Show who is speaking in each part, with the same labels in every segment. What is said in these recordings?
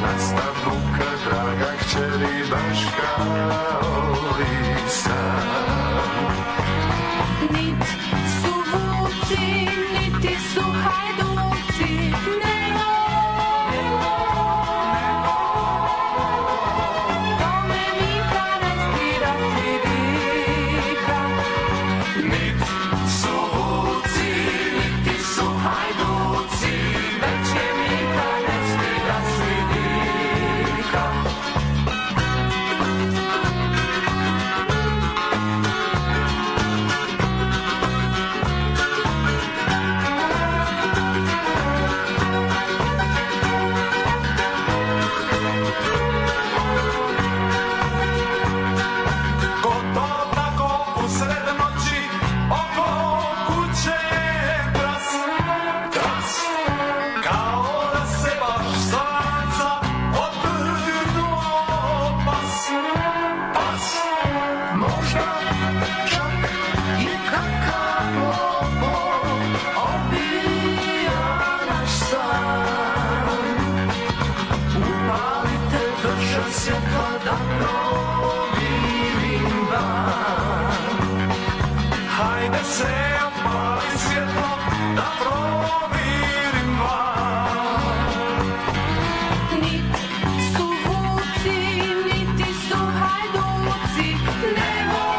Speaker 1: Nastavnuka draga kćeri baš kao i sam
Speaker 2: Nit su vuci, niti su hajduci, nego Tome mi parestira sirika
Speaker 1: Nit su vuci, niti su hajduci Već je mita ne stida slidika Ko to tako u sred noći oko kuće tras, tras, kao da se baš slanca otrgnuo pas, pas. Možda čak i kakav lopov obija naš san. Upalite drža svjetla da promirim dan Hajde se opali svjetlo da promirim van
Speaker 2: Nit su vuci, niti su hajduci, nego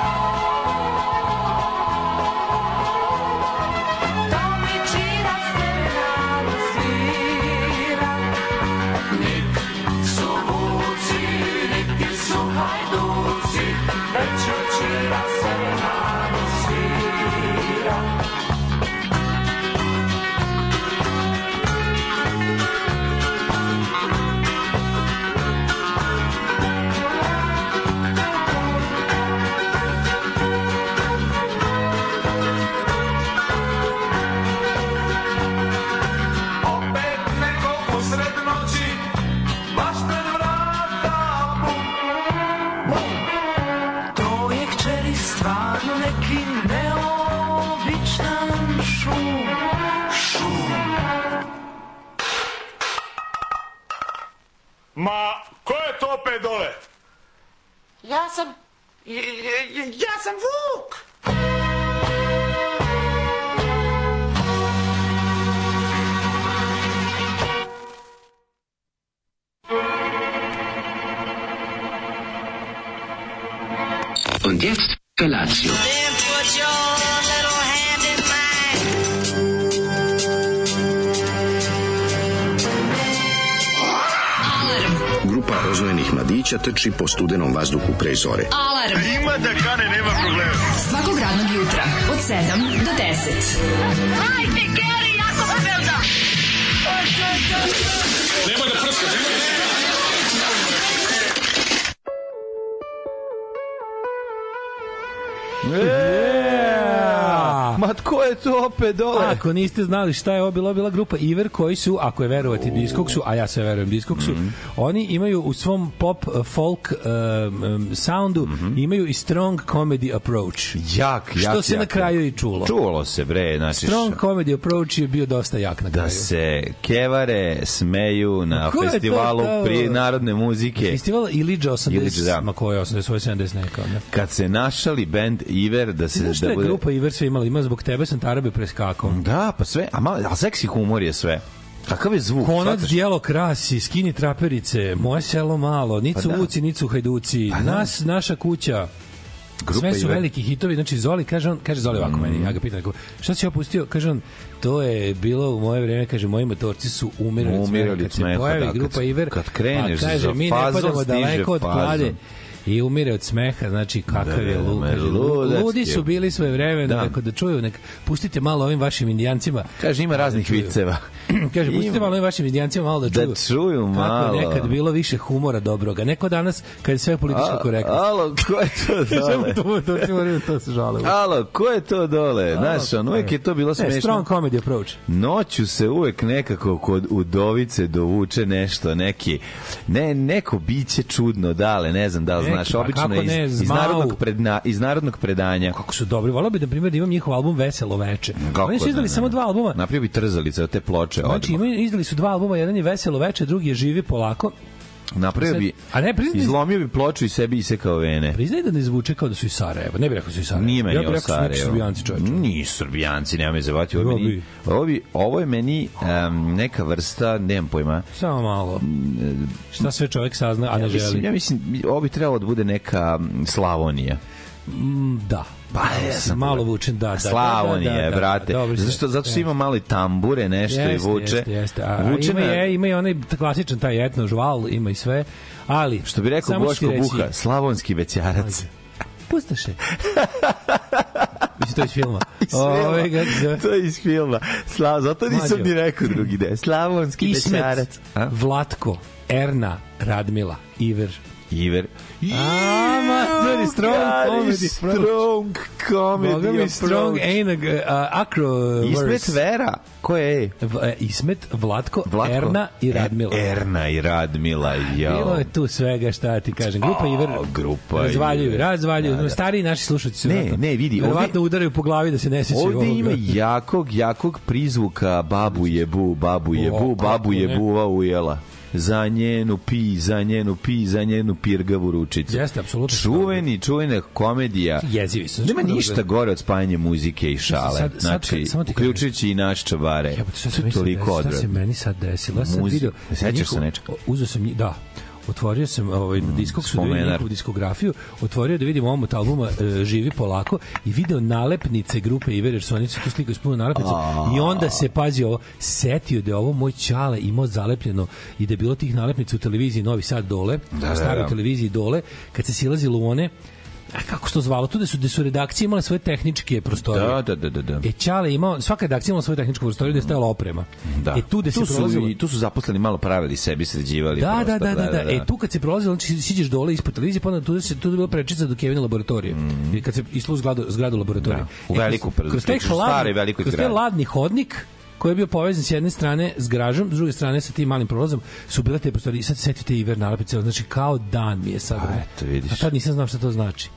Speaker 2: Tome čira se rano svira
Speaker 1: Nit su vuci, niti su hajduci Već učira se nadu svira Opet neko usred noći Baš pred vrata bum, bum To je kćeri stvarno neki neobičan šum Šum
Speaker 3: Ma, ko je to opet dole?
Speaker 4: Ja sam... Ja sam Vuk!
Speaker 5: Und jetzt Felatio.
Speaker 6: Then put your little hand in mine.
Speaker 7: Grupa rozvojenih mladića trči po studenom vazduhu pre zore.
Speaker 8: Alarm. Ima da kane, nema problema. Svakog radnog jutra, od 7 do 10.
Speaker 9: Ma tko je to opet dole?
Speaker 10: Ako niste znali šta je ovo bila, bila grupa Iver koji su, ako je verovati Diskoksu, a ja se verujem Diskoksu,
Speaker 9: Mhm.
Speaker 10: oni imaju u svom pop eh, folk um, um, soundu
Speaker 9: Mhm.
Speaker 10: imaju i strong comedy approach.
Speaker 9: jak, jak,
Speaker 10: Što se
Speaker 9: jak.
Speaker 10: na kraju i čulo.
Speaker 9: Čulo se, bre, znači...
Speaker 10: Strong comedy approach je bio dosta jak na kraju.
Speaker 9: da se kevare smeju na
Speaker 10: Pa Ko je to
Speaker 9: festivalu
Speaker 10: tamo?
Speaker 9: pri narodne muzike.
Speaker 10: Festival Iliđa 80,
Speaker 9: Iliđa, da.
Speaker 10: ma koje 80, svoje 70 neka. Ne?
Speaker 9: Kad se našali band Iver da se
Speaker 10: Znaš što
Speaker 9: da
Speaker 10: je
Speaker 9: bude
Speaker 10: grupa Iver sve imala? Ima zbog tebe sam Tarabe preskakao.
Speaker 9: Da, pa sve, a malo, a seksi humor je sve. Kakav je zvuk?
Speaker 10: Konac
Speaker 9: shvataš?
Speaker 10: dijelo krasi, skini traperice, moje selo malo, nicu
Speaker 9: Pa da. Pa
Speaker 10: uci, nicu hajduci,
Speaker 9: da.
Speaker 10: nas, naša kuća.
Speaker 9: Grupa
Speaker 10: Sve su
Speaker 9: Iver.
Speaker 10: veliki hitovi, znači Zoli, kaže on, kaže Zoli ovako meni, ja ga pitam, rekao, šta si opustio? Kaže on, to je bilo u moje vreme, kaže, moji motorci su umirali, od
Speaker 9: Umirali
Speaker 10: smeha.
Speaker 9: od smeha,
Speaker 10: Kad se pojavi
Speaker 9: da, kad-
Speaker 10: grupa Iver,
Speaker 9: kad kreneš
Speaker 10: pa kaže,
Speaker 9: za
Speaker 10: mi ne
Speaker 9: fazon,
Speaker 10: padamo
Speaker 9: stiže
Speaker 10: daleko od
Speaker 9: fazon."
Speaker 10: klade i umire od smeha, znači kakav je
Speaker 9: da,
Speaker 10: lud.
Speaker 9: ma,
Speaker 10: kaže,
Speaker 9: ludac
Speaker 10: Ludi
Speaker 9: je.
Speaker 10: su bili svoje vreme,
Speaker 9: Da.
Speaker 10: da. da čuju, nek, pustite malo ovim vašim indijancima. Znači,
Speaker 9: Kaže, ima raznih
Speaker 10: čuju.
Speaker 9: viceva.
Speaker 10: Kaže,
Speaker 9: Ima.
Speaker 10: pustite malo i vašim indijancima malo da
Speaker 9: Da
Speaker 10: čuju.
Speaker 9: čuju malo.
Speaker 10: Kako je nekad bilo više humora dobroga. Neko danas, kad je sve političko korektno.
Speaker 9: Alo, ko je to dole?
Speaker 10: to, to, ti moraju, to se žale.
Speaker 9: Alo, ko je to dole? Znaš, on uvijek je to bilo
Speaker 10: Ne,
Speaker 9: smešno.
Speaker 10: strong comedy approach.
Speaker 9: Noću se uvek nekako kod udovice dovuče nešto, neki, ne, neko biće čudno dale, ne znam da li
Speaker 10: Neki,
Speaker 9: znaš,
Speaker 10: pa
Speaker 9: obično
Speaker 10: kako
Speaker 9: iz,
Speaker 10: ne,
Speaker 9: iz,
Speaker 10: zmau.
Speaker 9: narodnog predna, iz narodnog predanja.
Speaker 10: Kako su dobri. Volao bi, na primjer, da imam njihov album Veselo veče.
Speaker 9: Kako
Speaker 10: Oni su
Speaker 9: da
Speaker 10: izdali
Speaker 9: ne?
Speaker 10: samo dva albuma.
Speaker 9: Napravio bi trzalice od te ploče.
Speaker 10: Znači,
Speaker 9: odmah.
Speaker 10: imaju, izdali su dva albuma, jedan je Veselo veče, drugi je Živi polako.
Speaker 9: Napravio
Speaker 10: Sad-
Speaker 9: bi,
Speaker 10: a ne, priznaj-
Speaker 9: izlomio bi ploču i sebi isekao vene.
Speaker 10: Priznaj da ne zvuče kao da su iz Sarajeva. Ne bih rekao da su iz Sarajeva.
Speaker 9: Nije meni Mm.
Speaker 10: ja bih
Speaker 9: ovo
Speaker 10: rekao da su neki
Speaker 9: Sarajevo.
Speaker 10: Srbijanci čoveče.
Speaker 9: Ni Srbijanci, nema me zavati. Ovo, je
Speaker 10: Ovo
Speaker 9: meni,
Speaker 10: bi.
Speaker 9: ovo, bi, ovo je meni em, neka vrsta, nemam pojma,
Speaker 10: Samo malo. Šta sve čovjek sazna, a ne
Speaker 9: Mislim,
Speaker 10: želi.
Speaker 9: Mm, ja mislim, ovo bi trebalo da bude neka mm, Slavonija.
Speaker 10: Da.
Speaker 9: Pa,
Speaker 10: Malo
Speaker 9: ja
Speaker 10: si,
Speaker 9: sam
Speaker 10: malo
Speaker 9: toga.
Speaker 10: vučen, da, da. da,
Speaker 9: Slavonija,
Speaker 10: da, da, da,
Speaker 9: brate.
Speaker 10: dobro si
Speaker 9: Zašto,
Speaker 10: rekao,
Speaker 9: zato što
Speaker 10: jeste.
Speaker 9: ima malo i tambure, nešto i vuče.
Speaker 10: Jeste, jeste. A,
Speaker 9: vuče
Speaker 10: ima,
Speaker 9: na-
Speaker 10: je, ima i onaj klasičan taj etno žval, ima i sve. Ali,
Speaker 9: Što bi rekao
Speaker 10: samo ću ti
Speaker 9: Boško
Speaker 10: reći-
Speaker 9: Buha, slavonski većarac.
Speaker 10: Pustaše. Mislim, to je iz filma.
Speaker 9: Iz filma.
Speaker 10: Ove, kako se zove?
Speaker 9: to je iz filma. Sla, zato nisam
Speaker 10: Mlađo.
Speaker 9: ni rekao drugi deo. Slavonski
Speaker 10: Ismet,
Speaker 9: većarac. A?
Speaker 10: Vlatko, Erna, Radmila, Iver.
Speaker 9: Iver.
Speaker 10: A, matori, strong comedy approach.
Speaker 9: Strong comedy
Speaker 10: Boga mi
Speaker 9: approach.
Speaker 10: strong ainag, a, acro e,
Speaker 9: Ismet Vera. Ko je?
Speaker 10: Ismet, Vlatko,
Speaker 9: Vlatko.
Speaker 10: Erna i Radmila.
Speaker 9: Er, Erna i Radmila, jo.
Speaker 10: Bilo je tu svega šta ti kažem. Grupa Iver
Speaker 9: A, grupa
Speaker 10: razvaljuju,
Speaker 9: Iver.
Speaker 10: razvaljuju. Ono, Stariji naši slušatelji su
Speaker 9: Ne,
Speaker 10: verovatno-
Speaker 9: ne, vidi, ovde-
Speaker 10: verovatno udaraju po glavi da se ne sećaju
Speaker 9: Ovde
Speaker 10: ovoga.
Speaker 9: ima jakog, jakog prizvuka babu je bu, babu je bu,
Speaker 10: O, kako
Speaker 9: babu je
Speaker 10: ne.
Speaker 9: buva ujela. Za njenu pi, za njenu pi, za njenu pirgavu ručicu.
Speaker 10: Jeste, apsolutno.
Speaker 9: Čuveni, čuvena komedija.
Speaker 10: Jezivi su.
Speaker 9: Nema
Speaker 10: Znaš
Speaker 9: ništa
Speaker 10: kako
Speaker 9: gore od spajanja muzike i šale.
Speaker 10: sad- sad
Speaker 9: znači,
Speaker 10: kad- samo ti kažem.
Speaker 9: uključujući i naš čabare.
Speaker 10: Jebote, šta
Speaker 9: To
Speaker 10: se
Speaker 9: je toliko
Speaker 10: toliko Šta se
Speaker 9: odvratno.
Speaker 10: meni sad desilo? Ja sam
Speaker 9: Muzi-
Speaker 10: video.
Speaker 9: Sećaš se
Speaker 10: njihov-
Speaker 9: nečega?
Speaker 10: o, Uzeo sam njih, da. Otvorio sam ovaj mm, diskog su da vidim
Speaker 9: spomenar.
Speaker 10: njihovu diskografiju, otvorio da vidim omot albuma e, Živi polako i video nalepnice grupe Iver, jer su oni se tu slikaju s puno nalepnica i onda se pazi ovo, setio da je ovo moj ćale imao zalepljeno i da je bilo tih nalepnica u televiziji Novi Sad dole, da,
Speaker 9: da,
Speaker 10: staroj
Speaker 9: da.
Speaker 10: televiziji dole, kad se silazilo u one a kako se to zvalo, tu da su, da su redakcije imale svoje tehničke prostorije.
Speaker 9: Da, da, da, da. da.
Speaker 10: E Ćale je imao, svaka redakcija imala svoju tehničku prostoriju gde je stajala oprema.
Speaker 9: Da.
Speaker 10: E tu gde se prolazilo...
Speaker 9: su, i tu su zaposleni malo pravili sebi, sređivali.
Speaker 10: Da, da,
Speaker 9: prostor,
Speaker 10: da, da, da, E tu kad se prolazilo, znači siđeš dole ispod televizije, pa onda tu se tu je bila prečica do Kevina laboratorije. I kad se islu zgradu, zgradu
Speaker 9: Mhm.
Speaker 10: laboratorije. E,
Speaker 9: Da, u veliku
Speaker 10: kroz, kroz taj
Speaker 9: uključujući
Speaker 10: hladni-
Speaker 9: stari veliku
Speaker 10: kroz taj
Speaker 9: zgradu.
Speaker 10: ladni hodnik koji je bio povezan s jedne strane s gražom, s druge strane sa tim malim prolazom, su bile te prostorije. I sad setite Iver nalepnice, znači kao dan mi je sad.
Speaker 9: A, eto, vidiš.
Speaker 10: A tad nisam znao šta to znači.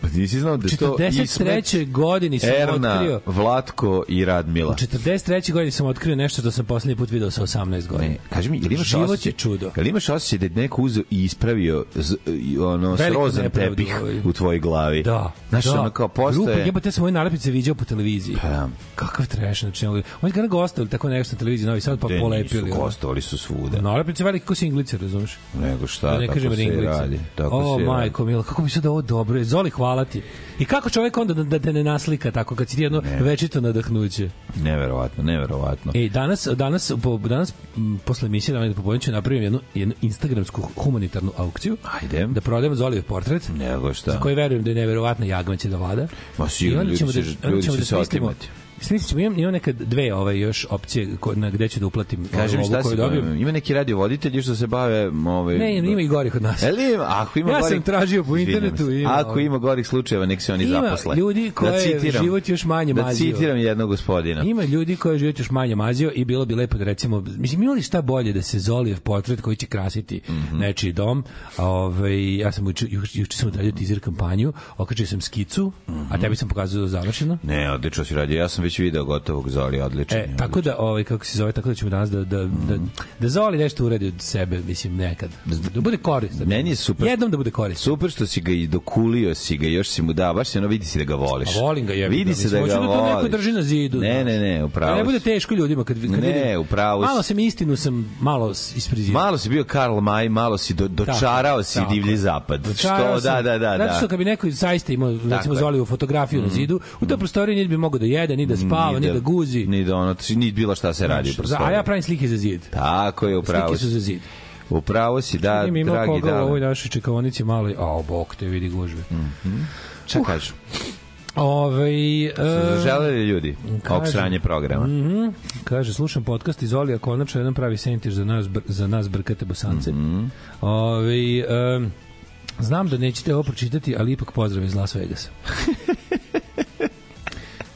Speaker 9: Pa nisi znao da to
Speaker 10: 43. godini sam
Speaker 9: Erna,
Speaker 10: otkrio.
Speaker 9: Vlatko i Radmila.
Speaker 10: U 43. godini sam otkrio nešto što sam poslednji put video sa 18 godina.
Speaker 9: Pa Ne, kaži mi, jel imaš
Speaker 10: Život
Speaker 9: osjećaj,
Speaker 10: je čudo.
Speaker 9: Jel imaš osjećaj da je neko uzeo i ispravio z, i ono
Speaker 10: Veliku
Speaker 9: srozan
Speaker 10: nepravdu,
Speaker 9: tepih
Speaker 10: ovaj.
Speaker 9: u tvojoj glavi?
Speaker 10: Da.
Speaker 9: Znaš,
Speaker 10: da.
Speaker 9: ono kao
Speaker 10: Grupa,
Speaker 9: postoje...
Speaker 10: jebote, ja sam ove nalepnice viđao po televiziji.
Speaker 9: Pa da.
Speaker 10: Kakav trash, znači, ono, oni ga gostali tako nešto na televiziji Novi Sad, pa
Speaker 9: Te
Speaker 10: polepili.
Speaker 9: nisu,
Speaker 10: ono.
Speaker 9: gostovali su svuda.
Speaker 10: Nalepnice velike kao singlice, razumeš?
Speaker 9: Nego šta,
Speaker 10: Da ne
Speaker 9: tako
Speaker 10: kažem
Speaker 9: se i
Speaker 10: ringlice.
Speaker 9: radi. Tako
Speaker 10: o,
Speaker 9: se i radi.
Speaker 10: majko, mila, kako bi sad ovo dobro je. Zoli, hvala ti. I kako čovjek onda da, da te ne naslika tako, kad si ti jedno
Speaker 9: Ne.
Speaker 10: večito nadahnuće?
Speaker 9: Neverovatno, neverovatno.
Speaker 10: E, danas, danas, po, danas m, posle emisije Dame popodne ću napravim jednu, jednu instagramsku humanitarnu aukciju.
Speaker 9: Ajde.
Speaker 10: Da prodajem Zolijev portret.
Speaker 9: Nego
Speaker 10: za
Speaker 9: šta.
Speaker 10: koje verujem da je neverovatna jagma će da vlada.
Speaker 9: Ma sigurno,
Speaker 10: I onda
Speaker 9: ljudi
Speaker 10: ćemo
Speaker 9: će-
Speaker 10: da- onda
Speaker 9: ljudi
Speaker 10: ćemo
Speaker 9: će
Speaker 10: da
Speaker 9: se
Speaker 10: smislimo-
Speaker 9: otimati.
Speaker 10: Smislit ćemo, imam, imam neke dve ove još opcije ko, na gde ću da uplatim
Speaker 9: Kaži mi
Speaker 10: ovu
Speaker 9: šta
Speaker 10: koju
Speaker 9: si,
Speaker 10: dobijem.
Speaker 9: ima neki radiovoditelji što se bave... Ovaj,
Speaker 10: Ne, ima i gorih od nas.
Speaker 9: Jel ima, ako ima
Speaker 10: Ja sam
Speaker 9: gorih,
Speaker 10: tražio po
Speaker 9: Izvinjam
Speaker 10: internetu
Speaker 9: se.
Speaker 10: i ima,
Speaker 9: ako
Speaker 10: ovaj.
Speaker 9: ima gorih slučajeva, nek se oni
Speaker 10: Ima
Speaker 9: zaposle.
Speaker 10: ljudi koje je
Speaker 9: citiram-
Speaker 10: život još manje
Speaker 9: Da
Speaker 10: mazio.
Speaker 9: citiram jednog gospodina.
Speaker 10: Ima ljudi koji je život još manje mazio i bilo bi lepo da recimo, mislim, ima li šta bolje da se Zolijev portret koji će krasiti
Speaker 9: Mhm.
Speaker 10: nečiji dom, a ovaj, ja sam juče, juče, juče sam odradio teaser kampanju, okačio sam skicu,
Speaker 9: Mhm.
Speaker 10: a tebi sam pokazao završeno.
Speaker 9: Ne, odlično si radio. Ja sam već video gotovog Zoli, odlično.
Speaker 10: E, tako da, ovaj, kako se zove, tako da ćemo danas da, da,
Speaker 9: Mhm.
Speaker 10: da, da Zoli nešto uradi od sebe, mislim, nekad. Da bude koristan.
Speaker 9: Meni je super.
Speaker 10: Jednom da bude koristan.
Speaker 9: Super što si ga i dokulio si ga, još si mu da, baš se ono vidi si da ga voliš.
Speaker 10: A volim ga, jebi
Speaker 9: Vidi
Speaker 10: ga,
Speaker 9: se da
Speaker 10: mislim,
Speaker 9: ga
Speaker 10: hoću da to
Speaker 9: voliš.
Speaker 10: neko drži na zidu,
Speaker 9: Ne,
Speaker 10: znaš.
Speaker 9: ne, ne, upravo.
Speaker 10: Da ne bude
Speaker 9: si.
Speaker 10: teško ljudima kad, kad
Speaker 9: Ne,
Speaker 10: vidim-
Speaker 9: upravo si.
Speaker 10: Malo sam istinu sam malo s- isfrizirao.
Speaker 9: Malo si bio Karl Maj, malo si do, dočarao si
Speaker 10: tako.
Speaker 9: divlji zapad.
Speaker 10: Dočarao
Speaker 9: što, da,
Speaker 10: sam.
Speaker 9: da, da,
Speaker 10: Zato
Speaker 9: da.
Speaker 10: što kad bi neko zaista imao, recimo,
Speaker 9: je.
Speaker 10: Zolijevu fotografiju na zidu, u toj prostoriji niti bi mogao da jede, ni da spava, ni da, guzi.
Speaker 9: Ni da ono, ni bilo šta se radi u
Speaker 10: Za-
Speaker 9: prostoru.
Speaker 10: a ja pravim slike za zid.
Speaker 9: Tako je, upravo
Speaker 10: Slike su za
Speaker 9: si.
Speaker 10: zid.
Speaker 9: Upravo si, da,
Speaker 10: Vidim, ima
Speaker 9: dragi
Speaker 10: koga u ovoj
Speaker 9: da.
Speaker 10: našoj čekavonici malo, a bok te vidi gužve.
Speaker 9: Mm.
Speaker 10: Uh.
Speaker 9: Šta kažu?
Speaker 10: Ovaj, e,
Speaker 9: Zaželeli ljudi ovog
Speaker 10: kažem.
Speaker 9: sranje programa.
Speaker 10: Mhm. Kaže, slušam podcast iz Olija, konačno jedan pravi sentiš za nas, br- za nas brkate bosance. Ovaj, em, znam da nećete ovo pročitati, ali ipak pozdrav iz Las Vegasa.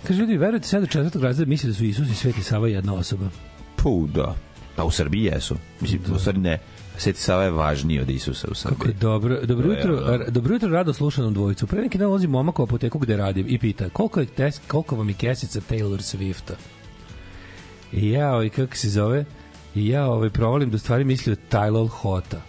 Speaker 10: Kaže, ljudi, verujete sad do četvrtog razreda misli da su Isus i Sveti Sava jedna osoba.
Speaker 9: Pu, da. Pa u Srbiji jesu. Mislim, u stvari ne. Sveti Sava je važniji od Isusa u Srbiji.
Speaker 10: Kako je dobro, dobro
Speaker 9: To je
Speaker 10: jutro,
Speaker 9: ono.
Speaker 10: r- dobro jutro rado slušanom dvojicu. Pre neki dan ulazim momak u apoteku gde radim i pita koliko, je tes, koliko vam je kesica Taylor Swifta? I ja, ovaj, kako se zove, i ja ovaj, provalim da u stvari misli o Tylol Hota.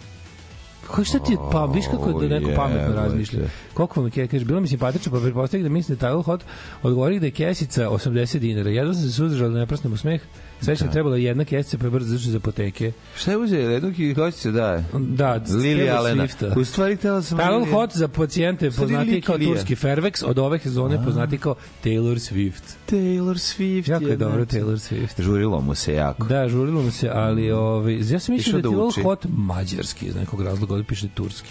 Speaker 10: Ko šta ti pa viš kako da neko
Speaker 9: O,
Speaker 10: pametno
Speaker 9: jebote.
Speaker 10: razmišlja. Koliko vam je kaže bilo mi simpatično pa pretpostavih da mislim da je Tyler Hot odgovorih da je kesica 80 dinara. Jedva sam se suzdržao da ne prsnem u smeh. Sve što je trebalo je jedna kesica pa je brzo zašao iz apoteke.
Speaker 9: Šta je uzeo? Jednog i hoće se daje.
Speaker 10: Da,
Speaker 9: Pa, Lili
Speaker 10: Taylor
Speaker 9: Alena.
Speaker 10: Swifta.
Speaker 9: U stvari tela sam...
Speaker 10: Tyler
Speaker 9: Lily-
Speaker 10: Hot za pacijente
Speaker 9: Sad je
Speaker 10: poznati kao
Speaker 9: Lilija.
Speaker 10: turski Fairvex, od ove sezone poznati kao Taylor Swift.
Speaker 9: Taylor Swift.
Speaker 10: Jako je dobro
Speaker 9: jebote.
Speaker 10: Taylor Swift.
Speaker 9: Žurilo mu se jako.
Speaker 10: Da, žurilo mu se, ali ovaj, ja sam mislio
Speaker 9: Išao
Speaker 10: da je
Speaker 9: da
Speaker 10: Taylor
Speaker 9: uči.
Speaker 10: Hot mađarski iz nekog razloga, ovdje piše turski.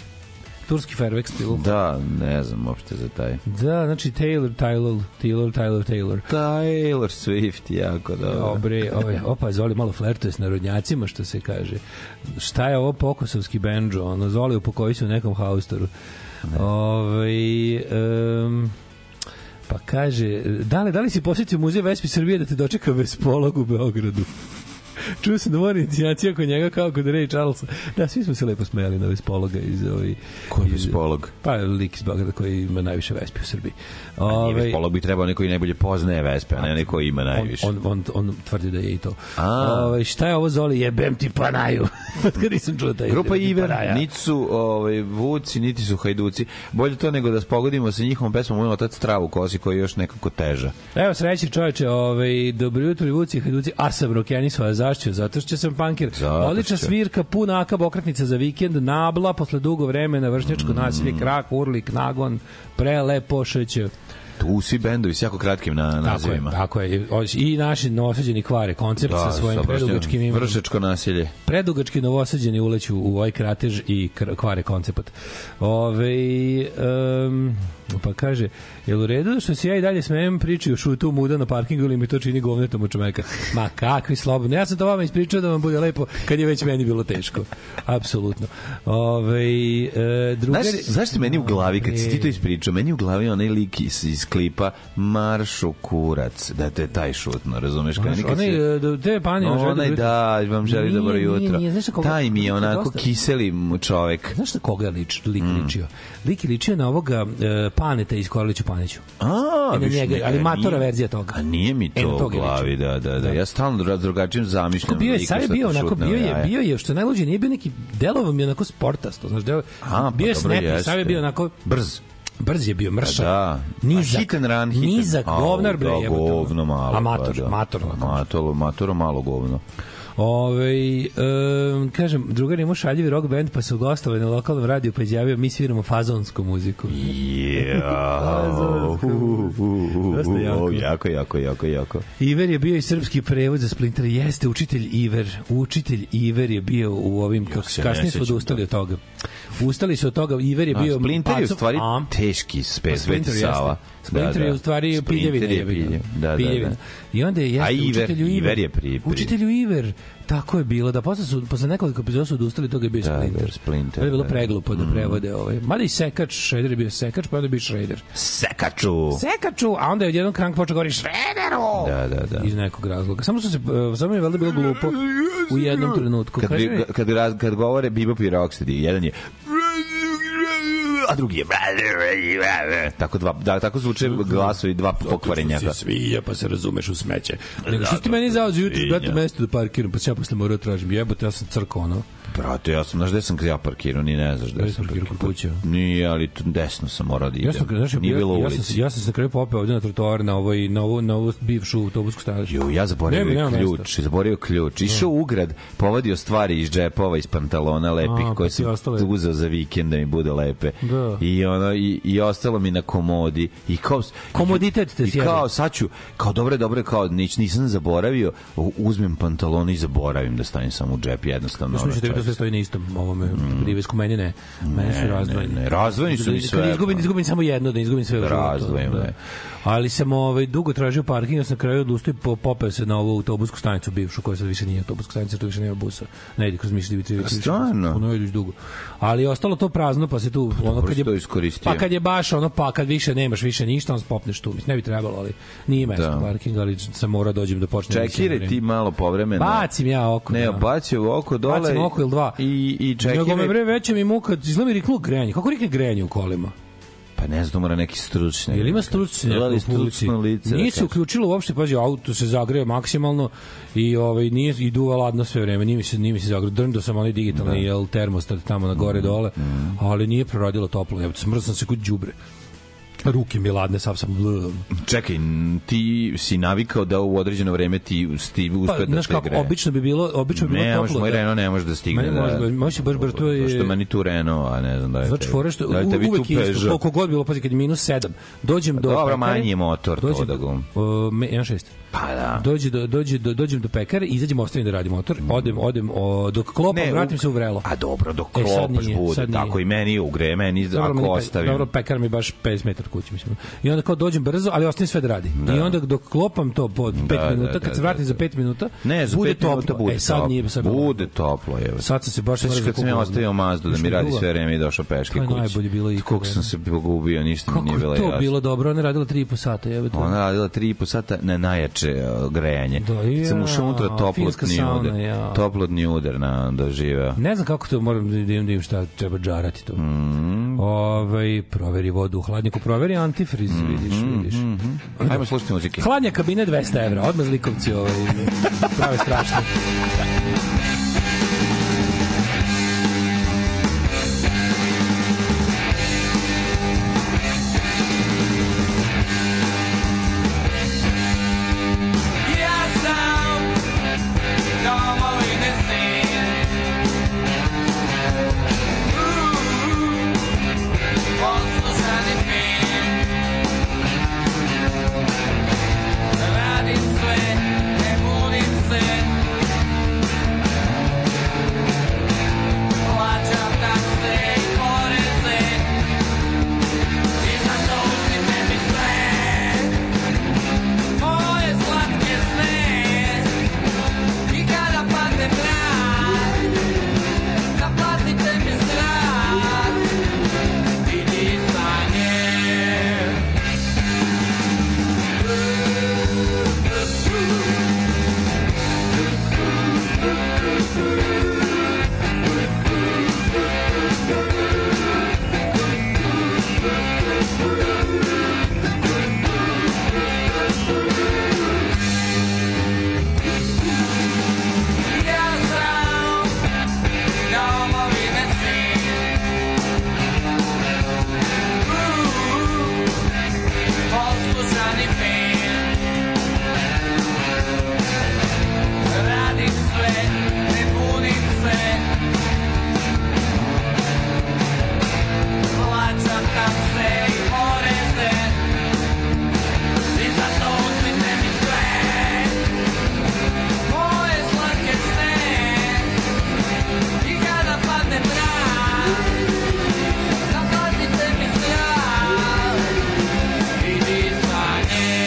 Speaker 10: Turski Fairvex Taylor Hot.
Speaker 9: Da, ne znam uopšte za taj.
Speaker 10: Da, znači Taylor, Taylor, Taylor, Taylor, Taylor.
Speaker 9: Taylor Swift, jako dobro.
Speaker 10: Dobre, ovaj, opa, Zoli malo flertuje s narodnjacima, što se kaže. Šta je ovo pokosovski benđo? Ono, Zoli upokoji se u nekom haustoru. Ovaj, em, pa kaže, da li, da li si posjetio muzej Vespi Srbije da te dočeka Vespolog u Beogradu? Čuo sam da mora inicijacija oko njega kao kod Ray Charlesa. Da, svi smo se lepo smejali na Vespologa iz ovi...
Speaker 9: Koji je
Speaker 10: iz-
Speaker 9: Vespolog?
Speaker 10: Pa, lik iz Beograda koji ima najviše Vespi u Srbiji.
Speaker 9: Ovaj
Speaker 10: Ovaj,
Speaker 9: Vespolog bi trebao neko i najbolje poznaje Vespe, a ne neko ima najviše.
Speaker 10: On, on, on, on tvrdi da je i to.
Speaker 9: A.
Speaker 10: Ove, šta je ovo Zoli? Jebem ti panaju. Od kada nisam čuo taj
Speaker 9: Grupa
Speaker 10: jebem ti
Speaker 9: Iver,
Speaker 10: Panaja.
Speaker 9: niti su ovaj, vuci, niti su hajduci. Bolje to nego da spogodimo sa njihovom pesmom Moj otac travu kosi koji je još nekako teža.
Speaker 10: Evo sreće čoveče, ovaj, dobro jutro i vuci i hajduci, a sam rokeni svoje zašću, zato što sam pankir.
Speaker 9: Zato što.
Speaker 10: Odlična svirka, puna akab okretnica za vikend, nabla, posle dugo vremena, vršnjačko
Speaker 9: Mm.
Speaker 10: nasilje, krak, urlik, nagon, prelepo šeće.
Speaker 9: Tu svi bendovi s jako kratkim na,
Speaker 10: Tako je,
Speaker 9: nazivima.
Speaker 10: tako je. O, I naši novosađeni kvare koncept sa
Speaker 9: sa
Speaker 10: svojim
Speaker 9: Bršnjanom.
Speaker 10: predugačkim imenom.
Speaker 9: Vršačko nasilje.
Speaker 10: predugački novosađeni uleću u ovaj kratež i kr- kvare koncept. Ove, um, pa kaže, jel u redu što se ja i dalje smijem priči o šutu muda na parkingu ili mi to čini govnetom u čoveka? Ma kakvi slobodno. Ja sam to vama ispričao da vam bude lepo kad je već meni bilo teško. Apsolutno. Ove, e, drugari...
Speaker 9: Znaš, znaš ti meni u glavi, kad si ti
Speaker 10: E.
Speaker 9: to ispričao, meni u glavi onaj lik iz, iz klipa Maršu kurac, da te taj šutno, razumeš? Kad
Speaker 10: Znaš,
Speaker 9: nikad
Speaker 10: onaj,
Speaker 9: si-
Speaker 10: e, da- tebe Panja želi
Speaker 9: onaj
Speaker 10: dobro jutro.
Speaker 9: da, vam želi
Speaker 10: Nije,
Speaker 9: dobro
Speaker 10: nije,
Speaker 9: jutro.
Speaker 10: nije, znaš kako-
Speaker 9: taj mi je
Speaker 10: kako
Speaker 9: onako
Speaker 10: dosta.
Speaker 9: kiseli mu čovek.
Speaker 10: Znaš na koga je lič, lik
Speaker 9: Mm.
Speaker 10: ličio? Lik je ličio na ovoga e, Paneta iz Korliću Paneću.
Speaker 9: A,
Speaker 10: I na
Speaker 9: viš,
Speaker 10: njega,
Speaker 9: ne,
Speaker 10: ali
Speaker 9: a
Speaker 10: matora
Speaker 9: nije-
Speaker 10: verzija toga.
Speaker 9: A nije mi
Speaker 10: E, na
Speaker 9: to u
Speaker 10: toga je
Speaker 9: glavi,
Speaker 10: ličio.
Speaker 9: da, da, da. Ja stalno dra- drugačijim zamišljam.
Speaker 10: Onako bio je,
Speaker 9: lika
Speaker 10: sad je
Speaker 9: što
Speaker 10: bio
Speaker 9: te
Speaker 10: onako,
Speaker 9: šutne
Speaker 10: bio
Speaker 9: u
Speaker 10: je,
Speaker 9: jaja.
Speaker 10: bio je, što je najluđe, nije bio neki, delovao mi je onako sportasto, znaš, delo,
Speaker 9: A, pa
Speaker 10: bio je
Speaker 9: dobro,
Speaker 10: snappy,
Speaker 9: jeste.
Speaker 10: sad je bio onako,
Speaker 9: Brz.
Speaker 10: brz je bio, mršav,
Speaker 9: Da.
Speaker 10: nizak,
Speaker 9: A hit and run, hit and-
Speaker 10: nizak,
Speaker 9: Au,
Speaker 10: govnar, bre,
Speaker 9: da,
Speaker 10: jebote, ono.
Speaker 9: govno malo.
Speaker 10: amator,
Speaker 9: pa da.
Speaker 10: amator, ono. onako.
Speaker 9: Matoro, matoro malo govno.
Speaker 10: Ove, um, kažem, drugar imao šaljivi rock band, pa su gostovali na lokalnom radiju, pa izjavio, mi sviramo fazonsku muziku.
Speaker 9: Yeah.
Speaker 10: Dosta
Speaker 9: jako.
Speaker 10: jako.
Speaker 9: jako, jako, jako, jako.
Speaker 10: Iver je bio i srpski prevod za Splinter, jeste učitelj Iver, učitelj Iver je bio u ovim, kako
Speaker 9: se ne
Speaker 10: kasnije su
Speaker 9: sećam,
Speaker 10: odustali od toga. Ustali su od toga, Iver je bio...
Speaker 9: A, Splinter je u
Speaker 10: pacov-
Speaker 9: stvari
Speaker 10: A? Pa
Speaker 9: teški spes, Sveti
Speaker 10: Splinter jeste.
Speaker 9: Sava.
Speaker 10: Splinter je u stvari
Speaker 9: Splinter
Speaker 10: piljevina.
Speaker 9: je
Speaker 10: jebi ga.
Speaker 9: pilje- Da, da,
Speaker 10: Piljevina.
Speaker 9: da.
Speaker 10: I onda je jeste
Speaker 9: A Iver,
Speaker 10: učitelju Iver.
Speaker 9: Iver je pri- pri-
Speaker 10: Učitelju Iver. Tako je bilo, da posle, su, posle nekoliko epizoda su odustali, toga je bio
Speaker 9: Da,
Speaker 10: Splinter.
Speaker 9: da, Splinter,
Speaker 10: To je bilo
Speaker 9: da. Mm.
Speaker 10: preglupo da prevode ovaj. Mada i Sekač, Shredder je bio Sekač, pa onda je bio Shredder.
Speaker 9: Sekaču!
Speaker 10: Sekaču, a onda je odjednom Krank počeo govoriti Shredderu!
Speaker 9: Da, da, da.
Speaker 10: Iz nekog razloga. Samo su se, e, samo je valjda bilo glupo u jednom trenutku.
Speaker 9: Kad,
Speaker 10: Kaže mi-
Speaker 9: bi, kad, raz, kad govore Biba Piroxidi, jedan je a drugi je tako dva da tako zvuče glasovi dva pokvarenjaka.
Speaker 10: svija, pa se razumeš u smeće. Nego što ti meni zaođe jutro,
Speaker 9: svinja.
Speaker 10: brate, mesto da parkiram, pa se ja posle morao tražim. Jebote, ja sam crko, ono.
Speaker 9: Brate, ja sam, znaš gde sam ja parkirao, ni ne znaš
Speaker 10: Ja
Speaker 9: gde
Speaker 10: sam
Speaker 9: sam.
Speaker 10: parkirao kod kuće.
Speaker 9: Nije, ali tu desno sam morao da idem.
Speaker 10: Ja sam, znaš, ja,
Speaker 9: Nije bilo u
Speaker 10: ja, sam, se-
Speaker 9: ulici.
Speaker 10: ja sam se na kraju popeo ovde na trotoar na ovoj, na ovu, na ovu bivšu autobusku stajalištu.
Speaker 9: Jo, ja zaboravio
Speaker 10: Nema,
Speaker 9: nema,
Speaker 10: nema
Speaker 9: ključ,
Speaker 10: mesta.
Speaker 9: zaboravio ključ. Išao u grad, povadio stvari iz džepova, iz pantalona lepih
Speaker 10: A, pa
Speaker 9: koje
Speaker 10: ti
Speaker 9: sam
Speaker 10: ostale.
Speaker 9: uzeo za vikend da mi bude lepe.
Speaker 10: Da.
Speaker 9: I ono i, i ostalo mi na komodi i kao
Speaker 10: Komoditet te
Speaker 9: i
Speaker 10: sjebe.
Speaker 9: kao sad ću, kao dobro, dobro, kao nič, nisam zaboravio, u- uzmem pantalone i zaboravim da stavim samo u džep jednostavno.
Speaker 10: Mislim
Speaker 9: ono,
Speaker 10: da tebi to sve
Speaker 9: čovječe.
Speaker 10: stoji na istom ovome privesku, meni ne. Meni su razdvojeni.
Speaker 9: Mm. ne, ne, razdvojeni su mi sve,
Speaker 10: Kad izgubim,
Speaker 9: pa.
Speaker 10: izgubim samo jedno, da izgubim sve. u životu,
Speaker 9: Razdvojim,
Speaker 10: da.
Speaker 9: ne.
Speaker 10: Ali sam ovaj, dugo tražio parking, ja sam na kraju odustao i po- popeo se na ovu autobusku stanicu bivšu, koja sad više nije autobuska stanica, tu više nema busa. Ne ide kroz Mišljivi Trivić.
Speaker 9: Stvarno?
Speaker 10: Ono ide dugo. Ali je ostalo to prazno, pa se tu... Ono,
Speaker 9: dobro
Speaker 10: kad
Speaker 9: si
Speaker 10: je,
Speaker 9: to iskoristio.
Speaker 10: Pa kad je baš ono, pa kad više nemaš više ništa, on spopneš tu. Mislim, ne bi trebalo, ali nije mesto
Speaker 9: Da.
Speaker 10: parking, ali sam morao dođem da počnem.
Speaker 9: Čekire ti malo povremeno.
Speaker 10: Bacim ja oko,
Speaker 9: Ne, pa
Speaker 10: da.
Speaker 9: bacim oko dole.
Speaker 10: Bacim oko ili dva.
Speaker 9: I, i
Speaker 10: Nego me
Speaker 9: čekire
Speaker 10: bre veće mi muka, izgleda mi riknulo grenje. Kako rikne grenje u kolima?
Speaker 9: Pa Pa ne znam, to mora neki stručni.
Speaker 10: Jel ima stručne
Speaker 9: Jel ima
Speaker 10: u publici?
Speaker 9: stručno lice?
Speaker 10: Nije
Speaker 9: da
Speaker 10: se
Speaker 9: kaže?
Speaker 10: uključilo uopšte, pazi, auto se zagreo maksimalno i ovaj nije i duva ladno sve vreme. Nije mi se nije mi se zagreo. Drndo sam onaj digitalni da. jel termostat tamo na
Speaker 9: Mm-hmm.
Speaker 10: gore dole, ali nije proradilo toplo. Evo, smrzao sam se kod đubre. Ruke mi ladne, sav sam bl.
Speaker 9: Čekaj, n- ti si navikao da u određeno vreme ti stivi
Speaker 10: Pa,
Speaker 9: uspe da
Speaker 10: znaš
Speaker 9: te
Speaker 10: kako,
Speaker 9: greje.
Speaker 10: obično bi bilo, obično bi bilo
Speaker 9: Ne, može,
Speaker 10: toplo.
Speaker 9: moj
Speaker 10: da-
Speaker 9: Renault ne može da stigne.
Speaker 10: Meni može,
Speaker 9: da,
Speaker 10: može baš brzo, to je-
Speaker 9: Zašto meni tu Renault, a ne znam da je...
Speaker 10: Znači
Speaker 9: tebi-
Speaker 10: fore što
Speaker 9: da je tebi
Speaker 10: uvek
Speaker 9: tu
Speaker 10: je isto,
Speaker 9: Peugeot?
Speaker 10: koliko god bilo, pazi, kad je minus 7, dođem do...
Speaker 9: dobro,
Speaker 10: pekare-
Speaker 9: manji je motor to
Speaker 10: dođem- e,
Speaker 9: da ga-
Speaker 10: O, me- 1.6.
Speaker 9: Pa da.
Speaker 10: Dođe do, dođe do, dođem do pekare, izađem, ostavim da radi motor, odem, odem, o, dok klopam,
Speaker 9: Ne,
Speaker 10: vratim se u vrelo.
Speaker 9: A dobro, dok
Speaker 10: E, sad
Speaker 9: klopaš
Speaker 10: nije,
Speaker 9: bude,
Speaker 10: sad nije.
Speaker 9: tako i meni ugre, meni
Speaker 10: meni
Speaker 9: ako
Speaker 10: pe-
Speaker 9: ostavim.
Speaker 10: Dobro, pekar mi je baš 50 metara kući, mislim. I onda kao dođem brzo, ali ostavim sve da radi. I onda dok klopam to po 5
Speaker 9: Da, da,
Speaker 10: minuta,
Speaker 9: da,
Speaker 10: kad se
Speaker 9: da,
Speaker 10: vratim
Speaker 9: da.
Speaker 10: za 5 minuta,
Speaker 9: Ne, za
Speaker 10: bude
Speaker 9: pet minuta
Speaker 10: toplo.
Speaker 9: bude
Speaker 10: e, sad
Speaker 9: toplo.
Speaker 10: nije sad
Speaker 9: bude toplo, je.
Speaker 10: Sad sam se baš
Speaker 9: Sveći
Speaker 10: mrzio
Speaker 9: kad sam ja
Speaker 10: kupovao.
Speaker 9: ostavio Mazdu da
Speaker 10: Još
Speaker 9: mi
Speaker 10: mi
Speaker 9: radi
Speaker 10: duva.
Speaker 9: sve vreme i došao peške
Speaker 10: To je
Speaker 9: kući.
Speaker 10: najbolje bilo ikada,
Speaker 9: Koliko sam
Speaker 10: ne.
Speaker 9: se pogubio, ništa mi
Speaker 10: Kako
Speaker 9: nije
Speaker 10: je
Speaker 9: bilo
Speaker 10: to
Speaker 9: jasno.
Speaker 10: bilo dobro, ona je radila 3,5 sata, jebote.
Speaker 9: Ona je radila 3,5 sata na najjače e, grejanje.
Speaker 10: Da, ja,
Speaker 9: sam ušao unutra
Speaker 10: finska
Speaker 9: toplotni
Speaker 10: sauna,
Speaker 9: udar.
Speaker 10: ja.
Speaker 9: Toplotni udar na doživeo.
Speaker 10: Ne znam kako to moram da idem, da im šta treba džarati to.
Speaker 9: Mhm.
Speaker 10: Mm. Ovaj proveri vodu u hladnjaku, proveri antifriz,
Speaker 9: Mhm.
Speaker 10: vidiš, vidiš.
Speaker 9: Ajmo slušati muzike.
Speaker 10: Hladnja kabine 200 evra, odmah zlikovci ovaj, prave strašno.
Speaker 11: Ja sam domovine sin Poslušani fin Radim sve, ne budim se Plaćam takse i poreze I za to uzmite mi sve moje slatke sne I kada padne mrak Naplatite mi strah I disanje Ja sam domovine sin Uh, Poslušani fin Radim sve, ne budim se Plaćam takse i poreze I za to uzmite mi sve moje slatke sne I kada padne mrak Naplatite mi strah I disanje